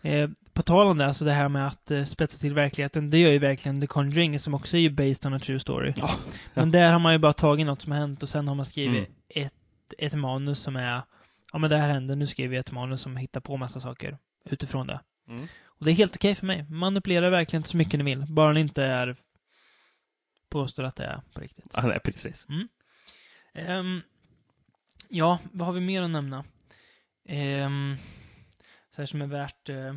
[SPEAKER 4] Eh, på tal om det, alltså det här med att eh, spetsa till verkligheten, det gör ju verkligen The Conjuring som också är ju based on a true story.
[SPEAKER 5] Ja.
[SPEAKER 4] Men där har man ju bara tagit något som har hänt och sen har man skrivit
[SPEAKER 5] Mm.
[SPEAKER 4] ett, ett manus som är, ja men det här hände, nu skriver jag ett manus som hittar på massa saker utifrån det.
[SPEAKER 5] Mm.
[SPEAKER 4] Och det är helt okej för mig. Manipulera verkligen så mycket ni vill, bara ni inte är påstår att det är på riktigt.
[SPEAKER 5] Ja, nej, precis.
[SPEAKER 4] Ehm, ja, vad har vi mer att nämna? Um, så här som är värt... eh,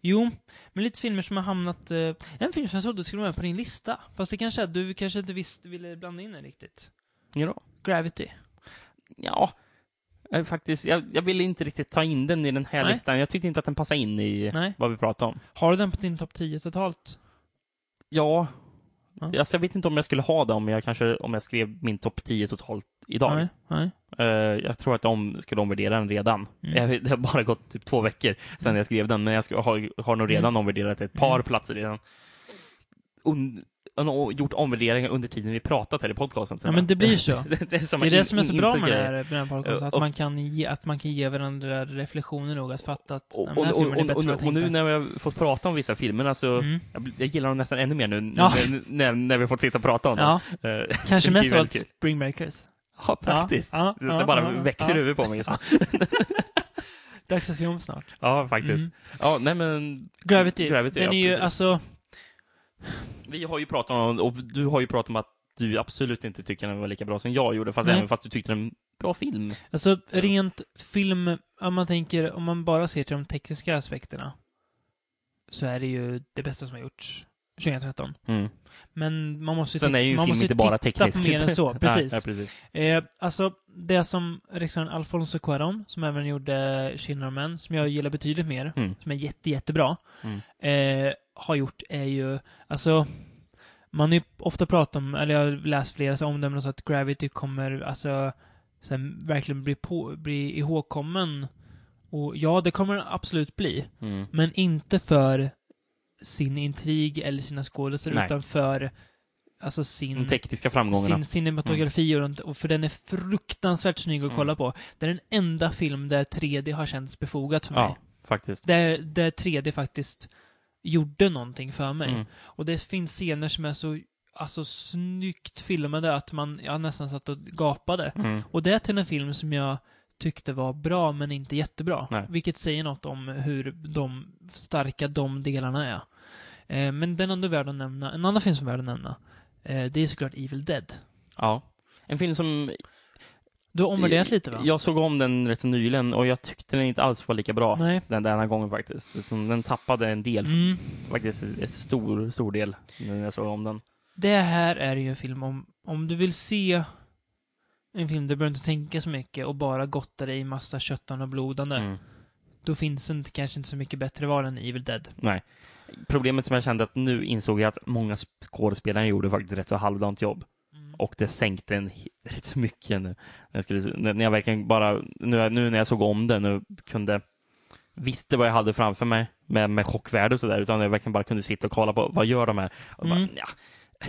[SPEAKER 4] jo, men lite filmer som har hamnat... eh, en film som jag trodde skulle vara med på din lista, fast det kanske är att du kanske inte visste, ville blanda in den riktigt.
[SPEAKER 5] Ja.
[SPEAKER 4] Gravity.
[SPEAKER 5] ja. Jag, är faktiskt, jag, jag ville inte riktigt ta in den i den här
[SPEAKER 4] Nej.
[SPEAKER 5] listan. Jag tyckte inte att den passade in i
[SPEAKER 4] Nej.
[SPEAKER 5] vad vi pratade om.
[SPEAKER 4] Har du den på din topp 10 totalt?
[SPEAKER 5] Ja.
[SPEAKER 4] Ja.
[SPEAKER 5] Alltså, jag vet inte om jag skulle ha det om jag, kanske, om jag skrev min topp 10 totalt idag.
[SPEAKER 4] Nej. Nej.
[SPEAKER 5] Eh, jag tror att de skulle omvärdera den redan.
[SPEAKER 4] Mm.
[SPEAKER 5] Jag, det har bara gått typ två veckor sedan jag skrev den, men jag ska, har, har nog
[SPEAKER 4] Mm.
[SPEAKER 5] redan omvärderat ett par platser redan. Und, och gjort omvärderingar under tiden vi pratat här i podcasten.
[SPEAKER 4] Ja, men det blir så.
[SPEAKER 5] det är, som
[SPEAKER 4] Det är
[SPEAKER 5] en
[SPEAKER 4] det som är så
[SPEAKER 5] in-
[SPEAKER 4] bra
[SPEAKER 5] insedd
[SPEAKER 4] med det
[SPEAKER 5] grej.
[SPEAKER 4] här, eh, med den här podcasten, att
[SPEAKER 5] Och-
[SPEAKER 4] man, kan ge, att man kan ge varandra reflektioner nog att fatta att
[SPEAKER 5] Och,
[SPEAKER 4] nej,
[SPEAKER 5] och,
[SPEAKER 4] men den här
[SPEAKER 5] och,
[SPEAKER 4] filmen är
[SPEAKER 5] och,
[SPEAKER 4] bättre än vad jag
[SPEAKER 5] och, och nu
[SPEAKER 4] tänkte.
[SPEAKER 5] när vi har fått prata om vissa filmer, alltså,
[SPEAKER 4] Mm.
[SPEAKER 5] jag, blir- jag gillar dem nästan ännu mer nu
[SPEAKER 4] Ja.
[SPEAKER 5] när, när, när vi har fått sitta och prata om
[SPEAKER 4] Ja,
[SPEAKER 5] dem. Eh,
[SPEAKER 4] kanske
[SPEAKER 5] det är
[SPEAKER 4] mest av allt
[SPEAKER 5] väldigt kul.
[SPEAKER 4] Spring Breakers.
[SPEAKER 5] ja, praktiskt.
[SPEAKER 4] ja,
[SPEAKER 5] det,
[SPEAKER 4] ja,
[SPEAKER 5] det bara
[SPEAKER 4] ja,
[SPEAKER 5] växer
[SPEAKER 4] ja.
[SPEAKER 5] i huvudet på mig just nu.
[SPEAKER 4] Dags att se om snart.
[SPEAKER 5] Ja, faktiskt.
[SPEAKER 4] Mm.
[SPEAKER 5] Ja, nej men...
[SPEAKER 4] Gravity, den
[SPEAKER 5] ja,
[SPEAKER 4] är ju
[SPEAKER 5] precis.
[SPEAKER 4] alltså...
[SPEAKER 5] Vi har ju pratat om, och du har ju pratat om att du absolut inte tycker den var lika bra som jag gjorde, fast
[SPEAKER 4] Nej.
[SPEAKER 5] även fast du tyckte den var en bra film.
[SPEAKER 4] Alltså rent film, om man tänker, om man bara ser till de tekniska aspekterna så är det ju det bästa som har gjorts 2013.
[SPEAKER 5] Mm.
[SPEAKER 4] Men man måste ju
[SPEAKER 5] Sen är
[SPEAKER 4] titta-
[SPEAKER 5] ju en
[SPEAKER 4] man
[SPEAKER 5] film
[SPEAKER 4] måste
[SPEAKER 5] inte bara
[SPEAKER 4] titta
[SPEAKER 5] teknisk.
[SPEAKER 4] på mer än så, precis.
[SPEAKER 5] ja, ja, precis.
[SPEAKER 4] Eh, alltså, det som regissören Alfonso Cuarón, som även gjorde Children of Men, som jag gillar betydligt mer,
[SPEAKER 5] Mm.
[SPEAKER 4] som är jätte, jättebra,
[SPEAKER 5] Mm.
[SPEAKER 4] eh, har gjort är ju, alltså, man har ju ofta pratat om, eller jag har läst flera så omdömen och så att Gravity kommer, alltså, sen verkligen bli, på, bli ihågkommen. Och ja, det kommer den absolut bli.
[SPEAKER 5] Mm.
[SPEAKER 4] Men inte för sin intrig eller sina skådespelare
[SPEAKER 5] Nej.
[SPEAKER 4] utan för, alltså sin
[SPEAKER 5] De tekniska framgångarna.
[SPEAKER 4] sin cinematografi och runt, och för den är fruktansvärt snygg att
[SPEAKER 5] Mm.
[SPEAKER 4] kolla på. Det är den enda film där 3D har känts befogat för mig.
[SPEAKER 5] ja, faktiskt.
[SPEAKER 4] Där, där 3D faktiskt gjorde någonting för mig.
[SPEAKER 5] Mm.
[SPEAKER 4] Och det finns scener som är så alltså, snyggt filmade att man jag nästan satt och gapade.
[SPEAKER 5] Mm.
[SPEAKER 4] Och det är till en film som jag tyckte var bra men inte jättebra.
[SPEAKER 5] Nej.
[SPEAKER 4] Vilket säger något om hur de starka de delarna är. Eh, men den är ändå värd att nämna. En annan film som är värd att nämna, eh, det är såklart Evil Dead.
[SPEAKER 5] Ja. En film som...
[SPEAKER 4] Du har omvärderat lite va?
[SPEAKER 5] Jag såg om den rätt så nyligen och jag tyckte den inte alls var lika bra
[SPEAKER 4] Nej.
[SPEAKER 5] den denna gången faktiskt. Utan den tappade en del,
[SPEAKER 4] Mm.
[SPEAKER 5] faktiskt en stor, stor del, när jag såg om den.
[SPEAKER 4] Det här är ju en film om, om du vill se en film där du behöver inte tänka så mycket och bara gotta dig i massa köttan och blodande.
[SPEAKER 5] Mm.
[SPEAKER 4] Då finns det inte, kanske inte så mycket bättre val än Evil Dead.
[SPEAKER 5] Nej. Problemet som jag kände att nu insåg jag att många skådespelare gjorde faktiskt rätt så halvdant jobb.
[SPEAKER 4] Mm.
[SPEAKER 5] Och det sänkte en he- rätt så mycket nu. När jag, skulle, när när jag verkligen bara, nu, nu när jag såg om den och kunde visste vad jag hade framför mig med, med chockvärde och sådär, utan jag verkligen bara kunde sitta och kolla på vad gör de här? Och bara,
[SPEAKER 4] Mm.
[SPEAKER 5] ja,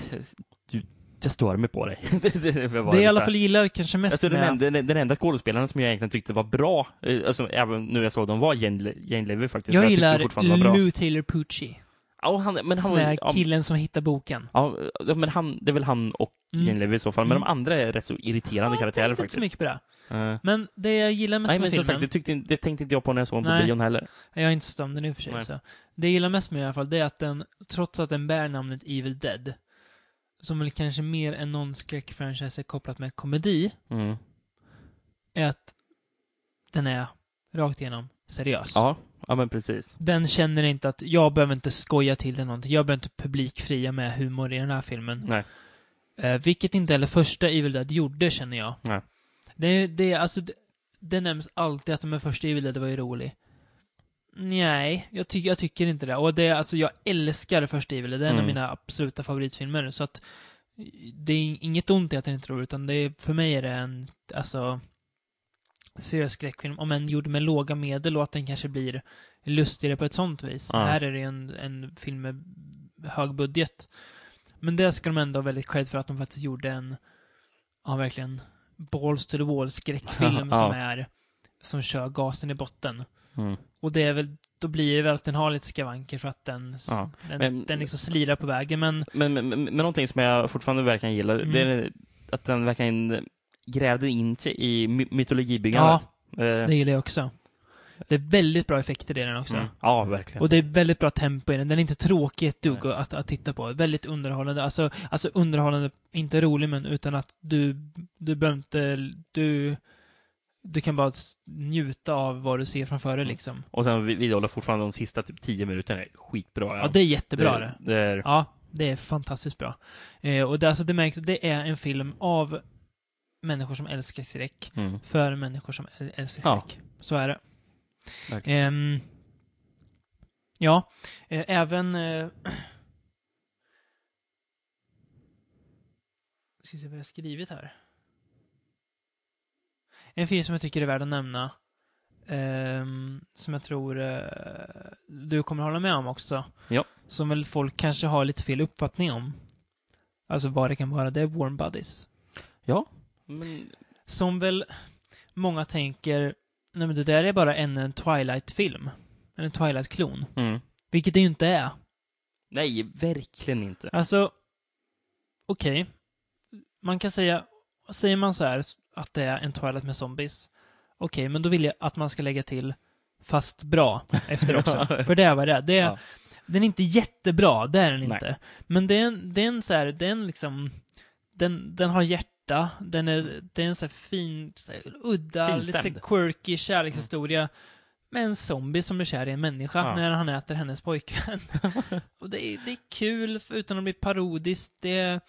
[SPEAKER 5] du, jag stör mig på dig. det, det, det, var
[SPEAKER 4] Det jag i
[SPEAKER 5] så
[SPEAKER 4] alla
[SPEAKER 5] här.
[SPEAKER 4] fall gillar kanske mest
[SPEAKER 5] Alltså, den,
[SPEAKER 4] med...
[SPEAKER 5] enda, den, den enda skådespelaren som jag egentligen tyckte var bra, eh, alltså, även nu jag såg dem var Jane, Le- Jane Levy faktiskt. men
[SPEAKER 4] jag
[SPEAKER 5] tyckte
[SPEAKER 4] gillar
[SPEAKER 5] fortfarande var bra.
[SPEAKER 4] Lou Taylor Pucci.
[SPEAKER 5] Ja, han, men han,
[SPEAKER 4] Som är
[SPEAKER 5] ja,
[SPEAKER 4] killen som hittar boken.
[SPEAKER 5] Ja, ja, men han, det är väl han och
[SPEAKER 4] Mm.
[SPEAKER 5] Jane Levy i så fall. Men de andra är rätt så irriterande
[SPEAKER 4] Jag
[SPEAKER 5] karaktärer
[SPEAKER 4] tänkte inte så
[SPEAKER 5] faktiskt.
[SPEAKER 4] mycket på det.
[SPEAKER 5] Eh,
[SPEAKER 4] Men det jag gillar mest
[SPEAKER 5] Nej, men
[SPEAKER 4] med
[SPEAKER 5] som
[SPEAKER 4] filmen...
[SPEAKER 5] sagt, det, tyckte, inte- det tänkte inte jag på när jag såg den på
[SPEAKER 4] Nej.
[SPEAKER 5] bion heller.
[SPEAKER 4] Jag är inte sett om den i och för sig.
[SPEAKER 5] Nej.
[SPEAKER 4] Så. Det jag gillar mest med den i alla fall, det är att den, trots att den bär namnet Evil Dead, som väl kanske mer än någon skräckfranchise är kopplat med komedi,
[SPEAKER 5] Mm.
[SPEAKER 4] är att den är rakt igenom seriös.
[SPEAKER 5] Ja, ja, men precis.
[SPEAKER 4] Den känner inte att jag behöver inte skoja till det någonting. Jag behöver inte publikfria med humor i den här filmen.
[SPEAKER 5] Nej.
[SPEAKER 4] Eh, vilket inte heller första Evil Dead gjorde, känner jag.
[SPEAKER 5] Nej.
[SPEAKER 4] Det, det, är alltså, det, det nämns alltid att de första Evil Dead var ju rolig. Nej, jag, ty, jag tycker inte det. Och det, är- alltså, jag älskar första Evil Dead. Det är en av
[SPEAKER 5] Mm.
[SPEAKER 4] mina absoluta favoritfilmer. Så att det är inget ont i att den inte är rolig, utan det är, för mig är det en, alltså, seriös skräckfilm. Om en gjord med låga medel och att den kanske blir lustigare på ett sånt vis.
[SPEAKER 5] Ja.
[SPEAKER 4] Här är det en, en film med hög budget. Men det ska de ändå ha väldigt cred för att de faktiskt gjorde en, ja verkligen, balls to the wall skräckfilm
[SPEAKER 5] Ja.
[SPEAKER 4] som är, som kör gasen i botten.
[SPEAKER 5] Mm.
[SPEAKER 4] Och det är väl, då blir det väl att den har lite skavanker för att den, s-
[SPEAKER 5] Ja.
[SPEAKER 4] den,
[SPEAKER 5] Men-
[SPEAKER 4] den liksom slirar på vägen. Men
[SPEAKER 5] Men, men, men men någonting som jag fortfarande verkligen gillar,
[SPEAKER 4] Mm.
[SPEAKER 5] det är att den verkligen grävde in sig i my- mytologibyggandet. Eh, Ja,
[SPEAKER 4] det gillar jag också. Det är väldigt bra effekter i den också.
[SPEAKER 5] mm. ja verkligen.
[SPEAKER 4] Och det är väldigt bra tempo i den. Den är inte tråkig ett dugg
[SPEAKER 5] Nej.
[SPEAKER 4] att, att titta på. Väldigt underhållande. Alltså, alltså underhållande, inte rolig men utan att du, du behöver inte, du, du kan bara s- njuta av vad du ser framför dig
[SPEAKER 5] Mm.
[SPEAKER 4] liksom.
[SPEAKER 5] Och sen vi- vidhåller fortfarande de sista typ tio minuterna är skitbra.
[SPEAKER 4] Ja, det är jättebra det.
[SPEAKER 5] det är,
[SPEAKER 4] Ja, det är fantastiskt bra. Eh, och det, alltså, det märks, det är en film av människor som älskar skräck
[SPEAKER 5] Mm.
[SPEAKER 4] för människor som äl- älskar
[SPEAKER 5] Ja.
[SPEAKER 4] skräck. Så är det.
[SPEAKER 5] Verkligen.
[SPEAKER 4] Ehm, ja, eh, även... Eh, ska se vad jag har skrivit här. En film som jag tycker är värd att nämna. ehm, som jag tror eh, du kommer hålla med om också.
[SPEAKER 5] Ja.
[SPEAKER 4] Som väl folk kanske har lite fel uppfattning om. Alltså vad det kan vara. Det är Warm Buddies.
[SPEAKER 5] Ja. Men,
[SPEAKER 4] Som väl många tänker, nej men det där är bara ännu en Twilight-film. En Twilight-klon.
[SPEAKER 5] mm.
[SPEAKER 4] Vilket det ju inte är.
[SPEAKER 5] Nej, verkligen inte.
[SPEAKER 4] Alltså, okej. Man kan säga, säger man så här att det är en Twilight med zombies. Okej, men då vill jag att man ska lägga till fast bra efter också. För det är vad det är. Det är
[SPEAKER 5] Ja.
[SPEAKER 4] Den är inte jättebra, det är den
[SPEAKER 5] Nej.
[SPEAKER 4] inte. Men det är en, det är en så här, det är en liksom, den, den har hjärta, den är, det är en så här fin, så här, udda, lite så här
[SPEAKER 5] Finstämd. Mm.
[SPEAKER 4] quirky kärlekshistoria. Med en zombie som blir kär i en människa
[SPEAKER 5] Ja.
[SPEAKER 4] när han äter hennes pojkvän. Och det är, det är kul, för- utan att bli parodiskt. Det är,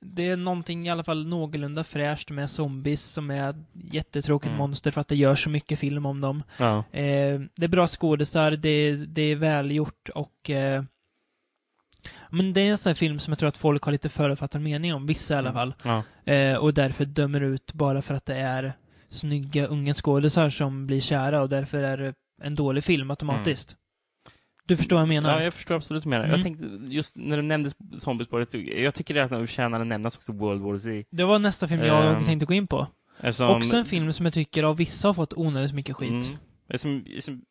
[SPEAKER 4] det är någonting i alla fall någorlunda fräscht med zombies som är jättetråkigt
[SPEAKER 5] Mm.
[SPEAKER 4] monster för att det görs så mycket film om dem.
[SPEAKER 5] Ja.
[SPEAKER 4] Eh, det är bra skådisar, det är, det är välgjort och... Eh, men det är en sån här film som jag tror att folk har lite förutfattad mening om, vissa i
[SPEAKER 5] Mm.
[SPEAKER 4] alla fall.
[SPEAKER 5] Ja.
[SPEAKER 4] Eh, och därför dömer ut bara för att det är snygga unga skådisar som blir kära och därför är det en dålig film automatiskt. Du förstår vad jag menar?
[SPEAKER 5] Mm. ja, jag förstår absolut vad du menar.
[SPEAKER 4] Mm.
[SPEAKER 5] Jag tänkte, just när du nämnde zombiespåret, så- jag tycker att den förtjänar att nämnas också, World War Z.
[SPEAKER 4] Det var nästa film jag
[SPEAKER 5] Ehm,
[SPEAKER 4] tänkte gå in på.
[SPEAKER 5] Eftersom,
[SPEAKER 4] Också en film som jag tycker av vissa har fått onödigt mycket skit.
[SPEAKER 5] Mm. Eftersom, eftersom,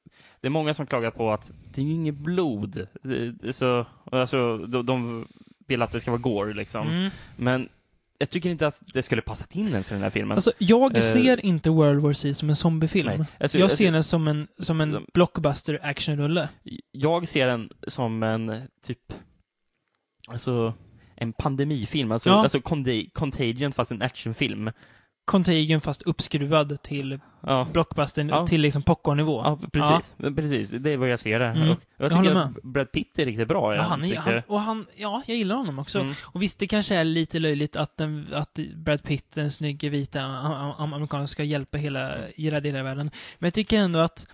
[SPEAKER 5] det är många som klagat på att det är ju inget blod. Det, det, så, alltså, de, de vill att det ska vara gore, liksom.
[SPEAKER 4] Mm.
[SPEAKER 5] Men jag tycker inte att det skulle passat in ens i den här filmen.
[SPEAKER 4] Alltså, jag
[SPEAKER 5] eh,
[SPEAKER 4] ser inte World War Z som en zombiefilm.
[SPEAKER 5] Nej. Alltså, Mm.
[SPEAKER 4] jag
[SPEAKER 5] alltså,
[SPEAKER 4] ser den som en, som en
[SPEAKER 5] de-
[SPEAKER 4] blockbuster actionrulle.
[SPEAKER 5] jag ser den som en eh, typ, alltså en pandemifilm, alltså,
[SPEAKER 4] Ja.
[SPEAKER 5] alltså Conta- Contagion fast en actionfilm.
[SPEAKER 4] Contagion fast uppskruvad till
[SPEAKER 5] Ja.
[SPEAKER 4] blockbustern,
[SPEAKER 5] Ja.
[SPEAKER 4] till liksom popcornnivå.
[SPEAKER 5] Ja, precis. Men precis. Det är vad jag ser där.
[SPEAKER 4] Mm.
[SPEAKER 5] Och
[SPEAKER 4] Jag
[SPEAKER 5] jag
[SPEAKER 4] håller
[SPEAKER 5] tycker
[SPEAKER 4] med.
[SPEAKER 5] att Brad Pitt är riktigt bra.
[SPEAKER 4] Ja,
[SPEAKER 5] Jag
[SPEAKER 4] han, är-
[SPEAKER 5] tycker,
[SPEAKER 4] han, och han, ja, jag gillar honom också.
[SPEAKER 5] Mm.
[SPEAKER 4] Och visst, det kanske är lite löjligt att, den, att Brad Pitt, den snygge vita am- am- amerikanen, ska hjälpa hela, hela delar av världen. Men jag tycker ändå att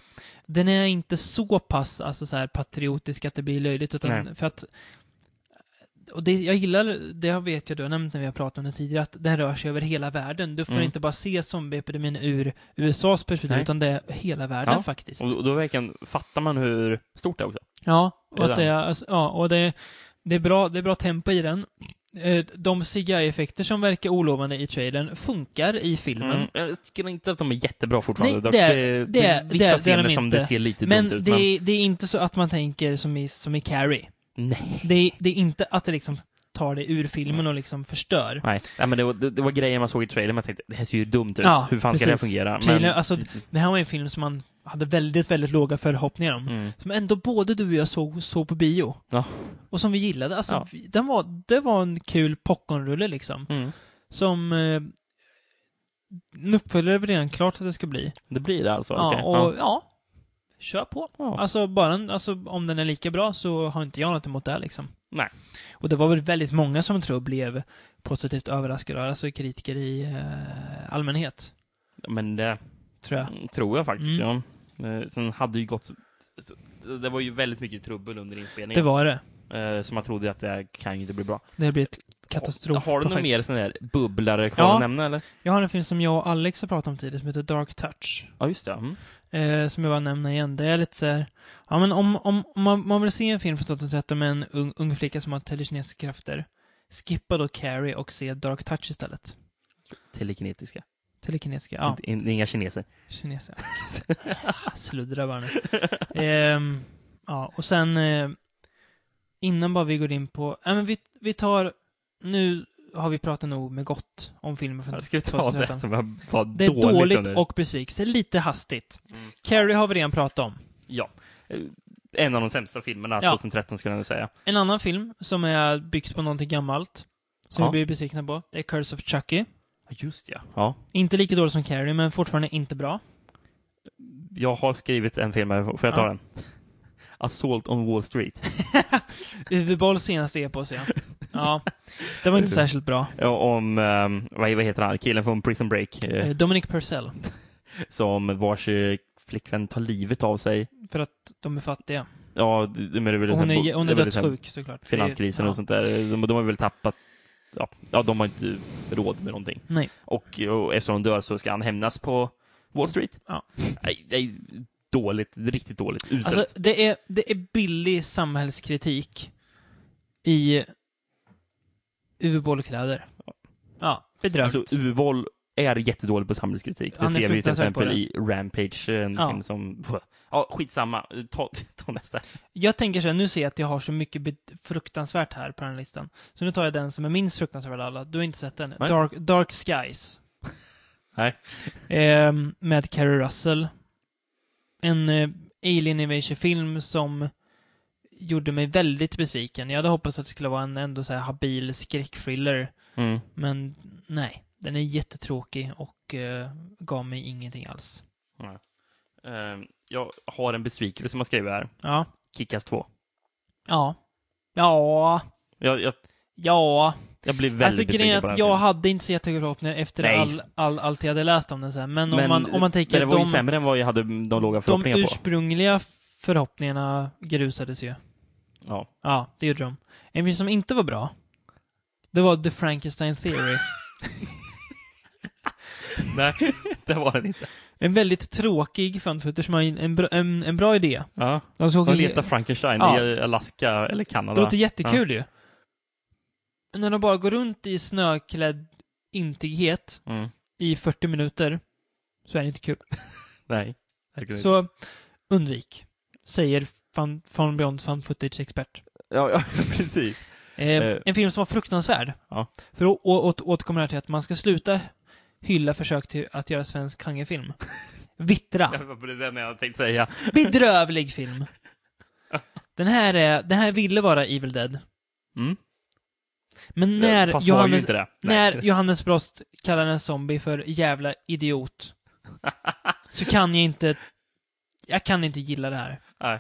[SPEAKER 4] den är inte så pass alltså, så här, patriotisk att det blir löjligt, utan
[SPEAKER 5] Nej.
[SPEAKER 4] för att och det, jag gillar, det vet jag du har nämnt när vi har pratat om det tidigare, att den rör sig över hela världen. Du får
[SPEAKER 5] Mm.
[SPEAKER 4] inte bara se zombieepidemin ur USAs perspektiv,
[SPEAKER 5] Nej.
[SPEAKER 4] utan det är hela världen
[SPEAKER 5] Ja.
[SPEAKER 4] faktiskt.
[SPEAKER 5] Och då verkligen fattar man hur stort det är också.
[SPEAKER 4] Ja, och,
[SPEAKER 5] Är det
[SPEAKER 4] att det är, alltså, ja, och det, det, är bra, det är bra tempo i den. Eh, De CGI-effekter som verkar olovande i trailern funkar i filmen.
[SPEAKER 5] Mm. Jag tycker inte att de är jättebra fortfarande.
[SPEAKER 4] Nej,
[SPEAKER 5] dock.
[SPEAKER 4] det är- det är- det
[SPEAKER 5] vissa
[SPEAKER 4] är de
[SPEAKER 5] scener som
[SPEAKER 4] inte.
[SPEAKER 5] det ser lite
[SPEAKER 4] men
[SPEAKER 5] dumt ut.
[SPEAKER 4] det, är, det är inte så att man tänker som i, som i Carrie.
[SPEAKER 5] Nej.
[SPEAKER 4] Det är, det är inte att det liksom tar det ur filmen och liksom förstör.
[SPEAKER 5] Nej, Nej, men det var, det, det var grejer man såg i trailern. Man tänkte, det här ser ju dumt ut.
[SPEAKER 4] Ja,
[SPEAKER 5] Hur fan ska det här
[SPEAKER 4] precis.
[SPEAKER 5] fungera? Men,
[SPEAKER 4] Trailern, alltså, det här var en film som man hade väldigt, väldigt låga förhoppningar om.
[SPEAKER 5] mm.
[SPEAKER 4] Som ändå både du och jag såg, såg på bio.
[SPEAKER 5] Ja.
[SPEAKER 4] Och som vi gillade. Alltså,
[SPEAKER 5] Ja.
[SPEAKER 4] vi- den var, det var en kul popcornrulle liksom.
[SPEAKER 5] Mm.
[SPEAKER 4] Som... Eh, en uppföljare är väl redan klart att det ska bli.
[SPEAKER 5] Det blir det alltså?
[SPEAKER 4] Ja,
[SPEAKER 5] okej.
[SPEAKER 4] och ja. Kör på.
[SPEAKER 5] Ja.
[SPEAKER 4] Alltså, bara en, alltså, om den är lika bra så har inte jag något emot det liksom.
[SPEAKER 5] Nej.
[SPEAKER 4] Och det var väl väldigt många som jag tror blev positivt överraskade, alltså kritiker i eh, allmänhet,
[SPEAKER 5] Men det
[SPEAKER 4] tror jag.
[SPEAKER 5] tror jag faktiskt,
[SPEAKER 4] Mm.
[SPEAKER 5] ja. Eh, Sen hade ju gått... så- Det var ju väldigt mycket trubbel under
[SPEAKER 4] Det
[SPEAKER 5] inspelningen.
[SPEAKER 4] var det.
[SPEAKER 5] eh, Så man trodde ju att det här kan ju inte bli bra.
[SPEAKER 4] Det blir ett katastrofprojekt.
[SPEAKER 5] Har du något mer sån där bubblare kvar
[SPEAKER 4] Ja.
[SPEAKER 5] att nämna eller?
[SPEAKER 4] Jag har en film som jag och Alex har pratat om tidigare som heter Dark Touch.
[SPEAKER 5] Ja, just det. Mm.
[SPEAKER 4] eh, som jag bara nämner igen, det är lite så här, ja men om, om, om man, man vill se en film från 2013 med en ung, ung flicka som har telekinesiska krafter, skippa då Carrie och se Dark Touch istället.
[SPEAKER 5] Telekinetiska.
[SPEAKER 4] Telekinesiska, ja,
[SPEAKER 5] Inte- in- Inga kineser.
[SPEAKER 4] kinesiska. Sluddra bara nu. Ehm, ja, och sen, eh, innan bara vi går in på, ja men vi, vi tar, nu har vi pratat nog med gott om filmer från
[SPEAKER 5] Jag ska ta det
[SPEAKER 4] 2013.
[SPEAKER 5] som var, var
[SPEAKER 4] Det är
[SPEAKER 5] dåligt,
[SPEAKER 4] dåligt
[SPEAKER 5] under-
[SPEAKER 4] och besvikelse, lite hastigt.
[SPEAKER 5] Mm.
[SPEAKER 4] Carrie har vi redan pratat om.
[SPEAKER 5] Ja. Eh, En av de sämsta filmerna
[SPEAKER 4] Ja.
[SPEAKER 5] 2013 skulle jag nog säga.
[SPEAKER 4] En annan film som är byggt på någonting gammalt, som vi
[SPEAKER 5] Ja.
[SPEAKER 4] blir besvikna på, det är Curse of Chucky.
[SPEAKER 5] Ja, Just ja. ja.
[SPEAKER 4] Inte lika dålig som Carrie, men fortfarande inte bra.
[SPEAKER 5] Jag har skrivit en film här, får jag ta
[SPEAKER 4] Ja.
[SPEAKER 5] den? Assault on Wall Street.
[SPEAKER 4] Uwe Bolls senaste epos, ja. Ja. Det var inte särskilt bra.
[SPEAKER 5] Om, ehm, vad vad heter han, killen från Prison Break eh,
[SPEAKER 4] Eh, Dominic Purcell.
[SPEAKER 5] som vars eh, flickvän tar livet av sig.
[SPEAKER 4] För att de är fattiga.
[SPEAKER 5] Ja, det- det- men det är väl
[SPEAKER 4] Och hon
[SPEAKER 5] liksom-
[SPEAKER 4] är, hon
[SPEAKER 5] det
[SPEAKER 4] är
[SPEAKER 5] är väl liksom
[SPEAKER 4] dödssjuk såklart. För det är-
[SPEAKER 5] Finanskrisen
[SPEAKER 4] ja.
[SPEAKER 5] och sånt där. De, de har väl tappat Ja, ja, de har inte råd med någonting.
[SPEAKER 4] Nej.
[SPEAKER 5] Och, och eftersom de dör så ska han hämnas på Wall Street.
[SPEAKER 4] Ja.
[SPEAKER 5] Nej, nej, dåligt. Riktigt dåligt. Uselt.
[SPEAKER 4] Alltså, det är, det är billig samhällskritik i ubålkläder. Ja, bedrövligt.
[SPEAKER 5] Alltså, Uvoll är jättedålig på samhällskritik. Det
[SPEAKER 4] Han är
[SPEAKER 5] ser vi ju till
[SPEAKER 4] fruktansvärt på
[SPEAKER 5] exempel i Rampage, en
[SPEAKER 4] Ja.
[SPEAKER 5] film som... Ja, skitsamma. Ta, ta nästa.
[SPEAKER 4] Jag tänker så här, nu ser jag att jag har så mycket be- fruktansvärt här på den här listan. Så nu tar jag den som är minst fruktansvärd av alla. Du har inte sett den.
[SPEAKER 5] Nej.
[SPEAKER 4] Dark, Dark Skies.
[SPEAKER 5] Nej.
[SPEAKER 4] Ehm, med Carrie Russell. En eh, Alien Invasion-film som gjorde mig väldigt besviken. Jag hade hoppats att det skulle vara en ändå så här habil skräckfriller.
[SPEAKER 5] Mm.
[SPEAKER 4] Men nej, den är jättetråkig och eh, gav mig ingenting alls.
[SPEAKER 5] Eh, jag har en besvikelse som jag skriver här.
[SPEAKER 4] Ja.
[SPEAKER 5] Kickass 2.
[SPEAKER 4] Ja. Ja.
[SPEAKER 5] Jag, jag,
[SPEAKER 4] Ja.
[SPEAKER 5] jag blir väldigt
[SPEAKER 4] alltså grejen är
[SPEAKER 5] besviken på den
[SPEAKER 4] att
[SPEAKER 5] filmen.
[SPEAKER 4] jag hade inte så jättehöga förhoppningar efter
[SPEAKER 5] Nej.
[SPEAKER 4] all, all, allt jag hade läst om den sen. Men, om man, om man tänker
[SPEAKER 5] men det var ju
[SPEAKER 4] att
[SPEAKER 5] sämre än vad jag hade de låga
[SPEAKER 4] de, de
[SPEAKER 5] förhoppningarna på.
[SPEAKER 4] ursprungliga förhoppningarna grusades ju.
[SPEAKER 5] Ja.
[SPEAKER 4] Ja, det gjorde de. En film som inte var bra, det var The Frankenstein Theory.
[SPEAKER 5] Nej, det var den inte.
[SPEAKER 4] en väldigt tråkig fun footage som har en, en, bra- en, en bra idé.
[SPEAKER 5] Ja.
[SPEAKER 4] De ska åka
[SPEAKER 5] De
[SPEAKER 4] in-
[SPEAKER 5] letar Frankenstein
[SPEAKER 4] Ja.
[SPEAKER 5] i Alaska eller
[SPEAKER 4] Det
[SPEAKER 5] Kanada.
[SPEAKER 4] låter jättekul ju. När de bara går runt i snöklädd intighet
[SPEAKER 5] Mm.
[SPEAKER 4] i 40 minuter, så är det inte kul.
[SPEAKER 5] Nej. Herregud.
[SPEAKER 4] Så undvik, säger fan, fan Beyond Fan Footage-expert.
[SPEAKER 5] Ja, ja, precis.
[SPEAKER 4] Eh,
[SPEAKER 5] Eh.
[SPEAKER 4] En film som var fruktansvärd.
[SPEAKER 5] Ja.
[SPEAKER 4] För att å- åt, återkomma här till att man ska sluta hylla försök till att göra svensk genrefilm. Vittra.
[SPEAKER 5] Det var den jag tänkte säga.
[SPEAKER 4] Bedrövlig film. Den här, är, den här ville vara Evil Dead.
[SPEAKER 5] Mm.
[SPEAKER 4] Men när
[SPEAKER 5] Fast var ju
[SPEAKER 4] Johannes,
[SPEAKER 5] inte det. Nej.
[SPEAKER 4] när Johannes Brost kallar en zombie för jävla idiot så kan jag inte, jag kan inte gilla det här.
[SPEAKER 5] Nej.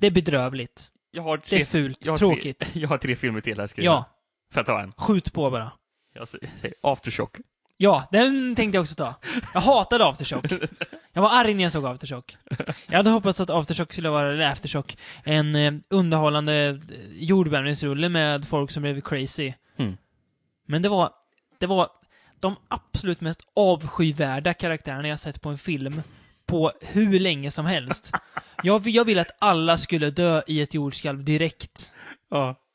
[SPEAKER 4] Det är bedrövligt.
[SPEAKER 5] Jag har tre,
[SPEAKER 4] Det är fult.
[SPEAKER 5] jag har
[SPEAKER 4] Tråkigt.
[SPEAKER 5] Tre, jag har tre filmer till här skrivna.
[SPEAKER 4] Ja,
[SPEAKER 5] Får jag ta en?
[SPEAKER 4] skjut på bara.
[SPEAKER 5] Jag säger Aftershock.
[SPEAKER 4] Ja, den tänkte jag också ta. Jag hatade Aftershock. Jag var arg när jag såg Aftershock. Jag hade hoppats att Aftershock skulle vara, eller Aftershock, en eh, underhållande eh, jordbävningsrulle med folk som blev crazy.
[SPEAKER 5] Mm.
[SPEAKER 4] Men det var, det var de absolut mest avskyvärda karaktärerna jag sett på en film på hur länge som helst. Jag, jag ville att alla skulle dö i ett jordskalv direkt.
[SPEAKER 5] Ja.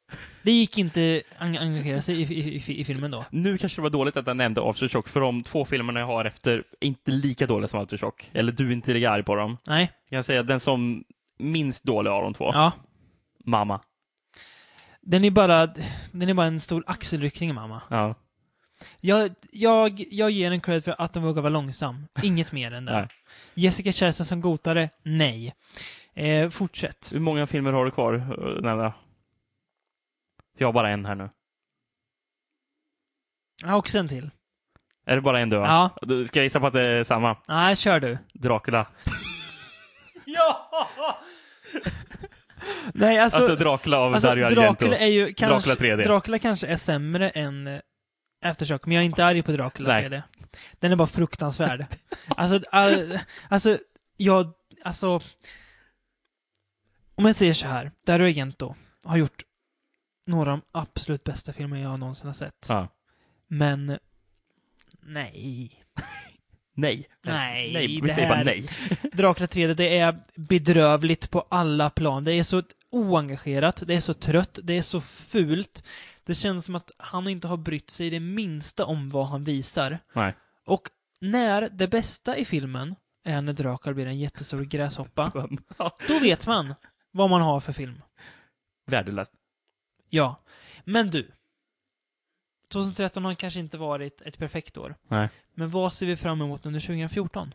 [SPEAKER 4] Det gick inte en- engagera sig i, i, i, i filmen då.
[SPEAKER 5] Nu kanske det var dåligt att jag nämnde Aftershock, för de två filmerna jag har efter är inte lika dåliga som Aftershock. Eller du är inte lika arg på dem.
[SPEAKER 4] Nej.
[SPEAKER 5] Jag kan säga att den som minst dålig av de två,
[SPEAKER 4] Ja.
[SPEAKER 5] Mamma.
[SPEAKER 4] Den är bara, den är bara en stor axelryckning, mamma.
[SPEAKER 5] Ja.
[SPEAKER 4] Jag, jag, jag ger den cred för att den vågar vara långsam. Inget mer än det.
[SPEAKER 5] Nej.
[SPEAKER 4] Jessica Chastain som gotare? Nej. Eh, fortsätt.
[SPEAKER 5] Hur många filmer har du kvar, eh, Nelda? Jag har bara en här nu.
[SPEAKER 4] Ja, och sen till.
[SPEAKER 5] Är det bara en du har?
[SPEAKER 4] Ja.
[SPEAKER 5] Du- Ska jag gissa på att det är samma?
[SPEAKER 4] Nej, kör du.
[SPEAKER 5] Dracula.
[SPEAKER 4] Alltså, Ja! Nej, alltså...
[SPEAKER 5] Alltså Dracula av
[SPEAKER 4] alltså,
[SPEAKER 5] Dario Argento.
[SPEAKER 4] Dracula är ju kanske...
[SPEAKER 5] Dracula 3D.
[SPEAKER 4] Dracula kanske är sämre än eh, Aftershock, men jag är inte arg på Dracula
[SPEAKER 5] Nej.
[SPEAKER 4] 3D. Den är bara fruktansvärd. alltså, all, alltså, jag... Alltså... Om jag säger så här, Dario Argento har gjort några av de absolut bästa filmer jag någonsin har sett.
[SPEAKER 5] Ja.
[SPEAKER 4] Men... Nej.
[SPEAKER 5] Nej.
[SPEAKER 4] Nej,
[SPEAKER 5] Nej,
[SPEAKER 4] det
[SPEAKER 5] vi säger bara
[SPEAKER 4] här-
[SPEAKER 5] nej.
[SPEAKER 4] Dracula 3D, det är bedrövligt på alla plan. Det är så oengagerat, det är så trött, det är så fult. Det känns som att han inte har brytt sig det minsta om vad han visar.
[SPEAKER 5] Nej.
[SPEAKER 4] Och när det bästa i filmen är när Dracula blir en jättestor gräshoppa, då vet man vad man har för film.
[SPEAKER 5] Värdelöst.
[SPEAKER 4] Ja. Men du. 2013 har kanske inte varit ett perfekt år.
[SPEAKER 5] Nej.
[SPEAKER 4] Men vad ser vi fram emot under 2014?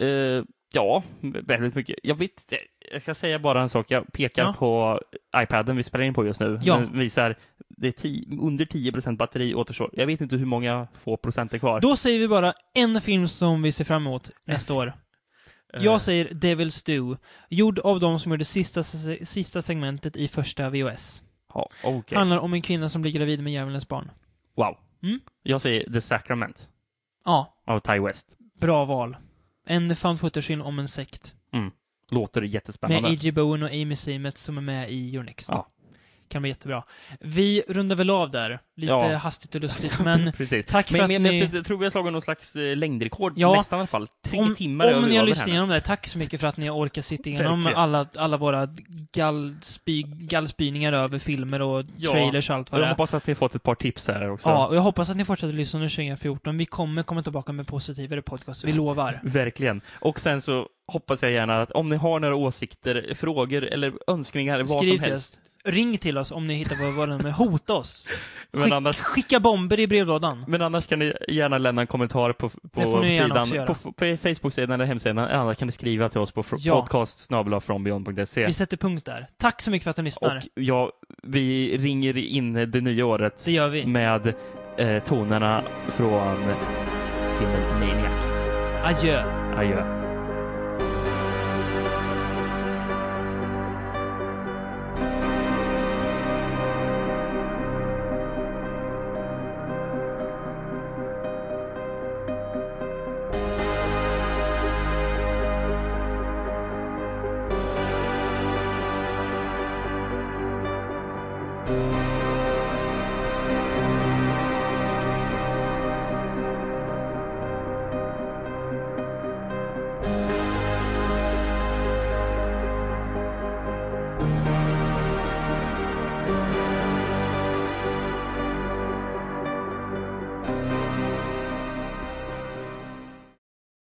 [SPEAKER 5] Eh, ja, väldigt mycket. Jag vet inte. Jag ska säga bara en sak. Jag pekar
[SPEAKER 4] Ja.
[SPEAKER 5] på iPaden vi spelar in på just nu.
[SPEAKER 4] Ja.
[SPEAKER 5] Den visar det är ti- under 10 batteri återstår. Jag vet inte hur många få procent är kvar.
[SPEAKER 4] Då säger vi bara en film som vi ser fram emot nästa år.
[SPEAKER 5] Eh,
[SPEAKER 4] Jag säger Devil's Due, gjord av de som gjorde sista, se- sista segmentet i första VOS.
[SPEAKER 5] Ja, okej.
[SPEAKER 4] Handlar om en kvinna som blir gravid med djävulens barn.
[SPEAKER 5] Wow.
[SPEAKER 4] Mm.
[SPEAKER 5] Jag säger The Sacrament
[SPEAKER 4] Ja,
[SPEAKER 5] av Ty West.
[SPEAKER 4] bra val. En found footage-film om en sekt.
[SPEAKER 5] Låter
[SPEAKER 4] Med
[SPEAKER 5] jättespännande.
[SPEAKER 4] A.G. Bowen och Amy Seymet som är med i Your Next.
[SPEAKER 5] Ja.
[SPEAKER 4] Kan bli jättebra. Vi rundar väl av där. Lite
[SPEAKER 5] Ja.
[SPEAKER 4] hastigt och lustigt, men
[SPEAKER 5] Precis.
[SPEAKER 4] Tack
[SPEAKER 5] men,
[SPEAKER 4] för att
[SPEAKER 5] men,
[SPEAKER 4] ni-
[SPEAKER 5] Jag tror- tror vi har slagit någon slags eh, längdrekord
[SPEAKER 4] Ja.
[SPEAKER 5] nästan i alla fall. Tre
[SPEAKER 4] om,
[SPEAKER 5] timmar är
[SPEAKER 4] om
[SPEAKER 5] vi
[SPEAKER 4] ni har
[SPEAKER 5] över
[SPEAKER 4] lyssnat
[SPEAKER 5] här nu.
[SPEAKER 4] igenom det här, tack så mycket för att ni har orkat sitta igenom
[SPEAKER 5] Verkligen.
[SPEAKER 4] alla, alla våra gallspy, gallspyningar över filmer och
[SPEAKER 5] Ja.
[SPEAKER 4] trailers och allt vad
[SPEAKER 5] Och
[SPEAKER 4] det
[SPEAKER 5] Jag
[SPEAKER 4] är.
[SPEAKER 5] hoppas att ni har fått ett par tips här också.
[SPEAKER 4] Ja, och jag hoppas att ni fortsätter lyssna under 2014. Vi kommer komma tillbaka med positivare podcast, vi lovar.
[SPEAKER 5] Verkligen. Och sen så hoppas jag gärna att om ni har några åsikter, frågor eller önskningar, vad
[SPEAKER 4] Skriv
[SPEAKER 5] som
[SPEAKER 4] till
[SPEAKER 5] helst.
[SPEAKER 4] oss. Ring till oss om ni hittar på våra nummer. Hota oss.
[SPEAKER 5] Men
[SPEAKER 4] Skick,
[SPEAKER 5] annars,
[SPEAKER 4] Skicka bomber i brevlådan.
[SPEAKER 5] men annars kan ni gärna lämna en kommentar på,
[SPEAKER 4] Det får
[SPEAKER 5] på,
[SPEAKER 4] ni gärna
[SPEAKER 5] sidan,
[SPEAKER 4] också göra.
[SPEAKER 5] på, på Facebook-sidan eller hemsidan. Eller Annars kan ni skriva till oss på fr-
[SPEAKER 4] Ja.
[SPEAKER 5] podcast.frombeyond.se.
[SPEAKER 4] Vi sätter punkt där. Tack så mycket för att ni lyssnar.
[SPEAKER 5] Och ja, vi ringer in det nya året
[SPEAKER 4] Det gör vi.
[SPEAKER 5] med eh, tonerna från filmen Maniac.
[SPEAKER 4] Adjö.
[SPEAKER 5] Adjö.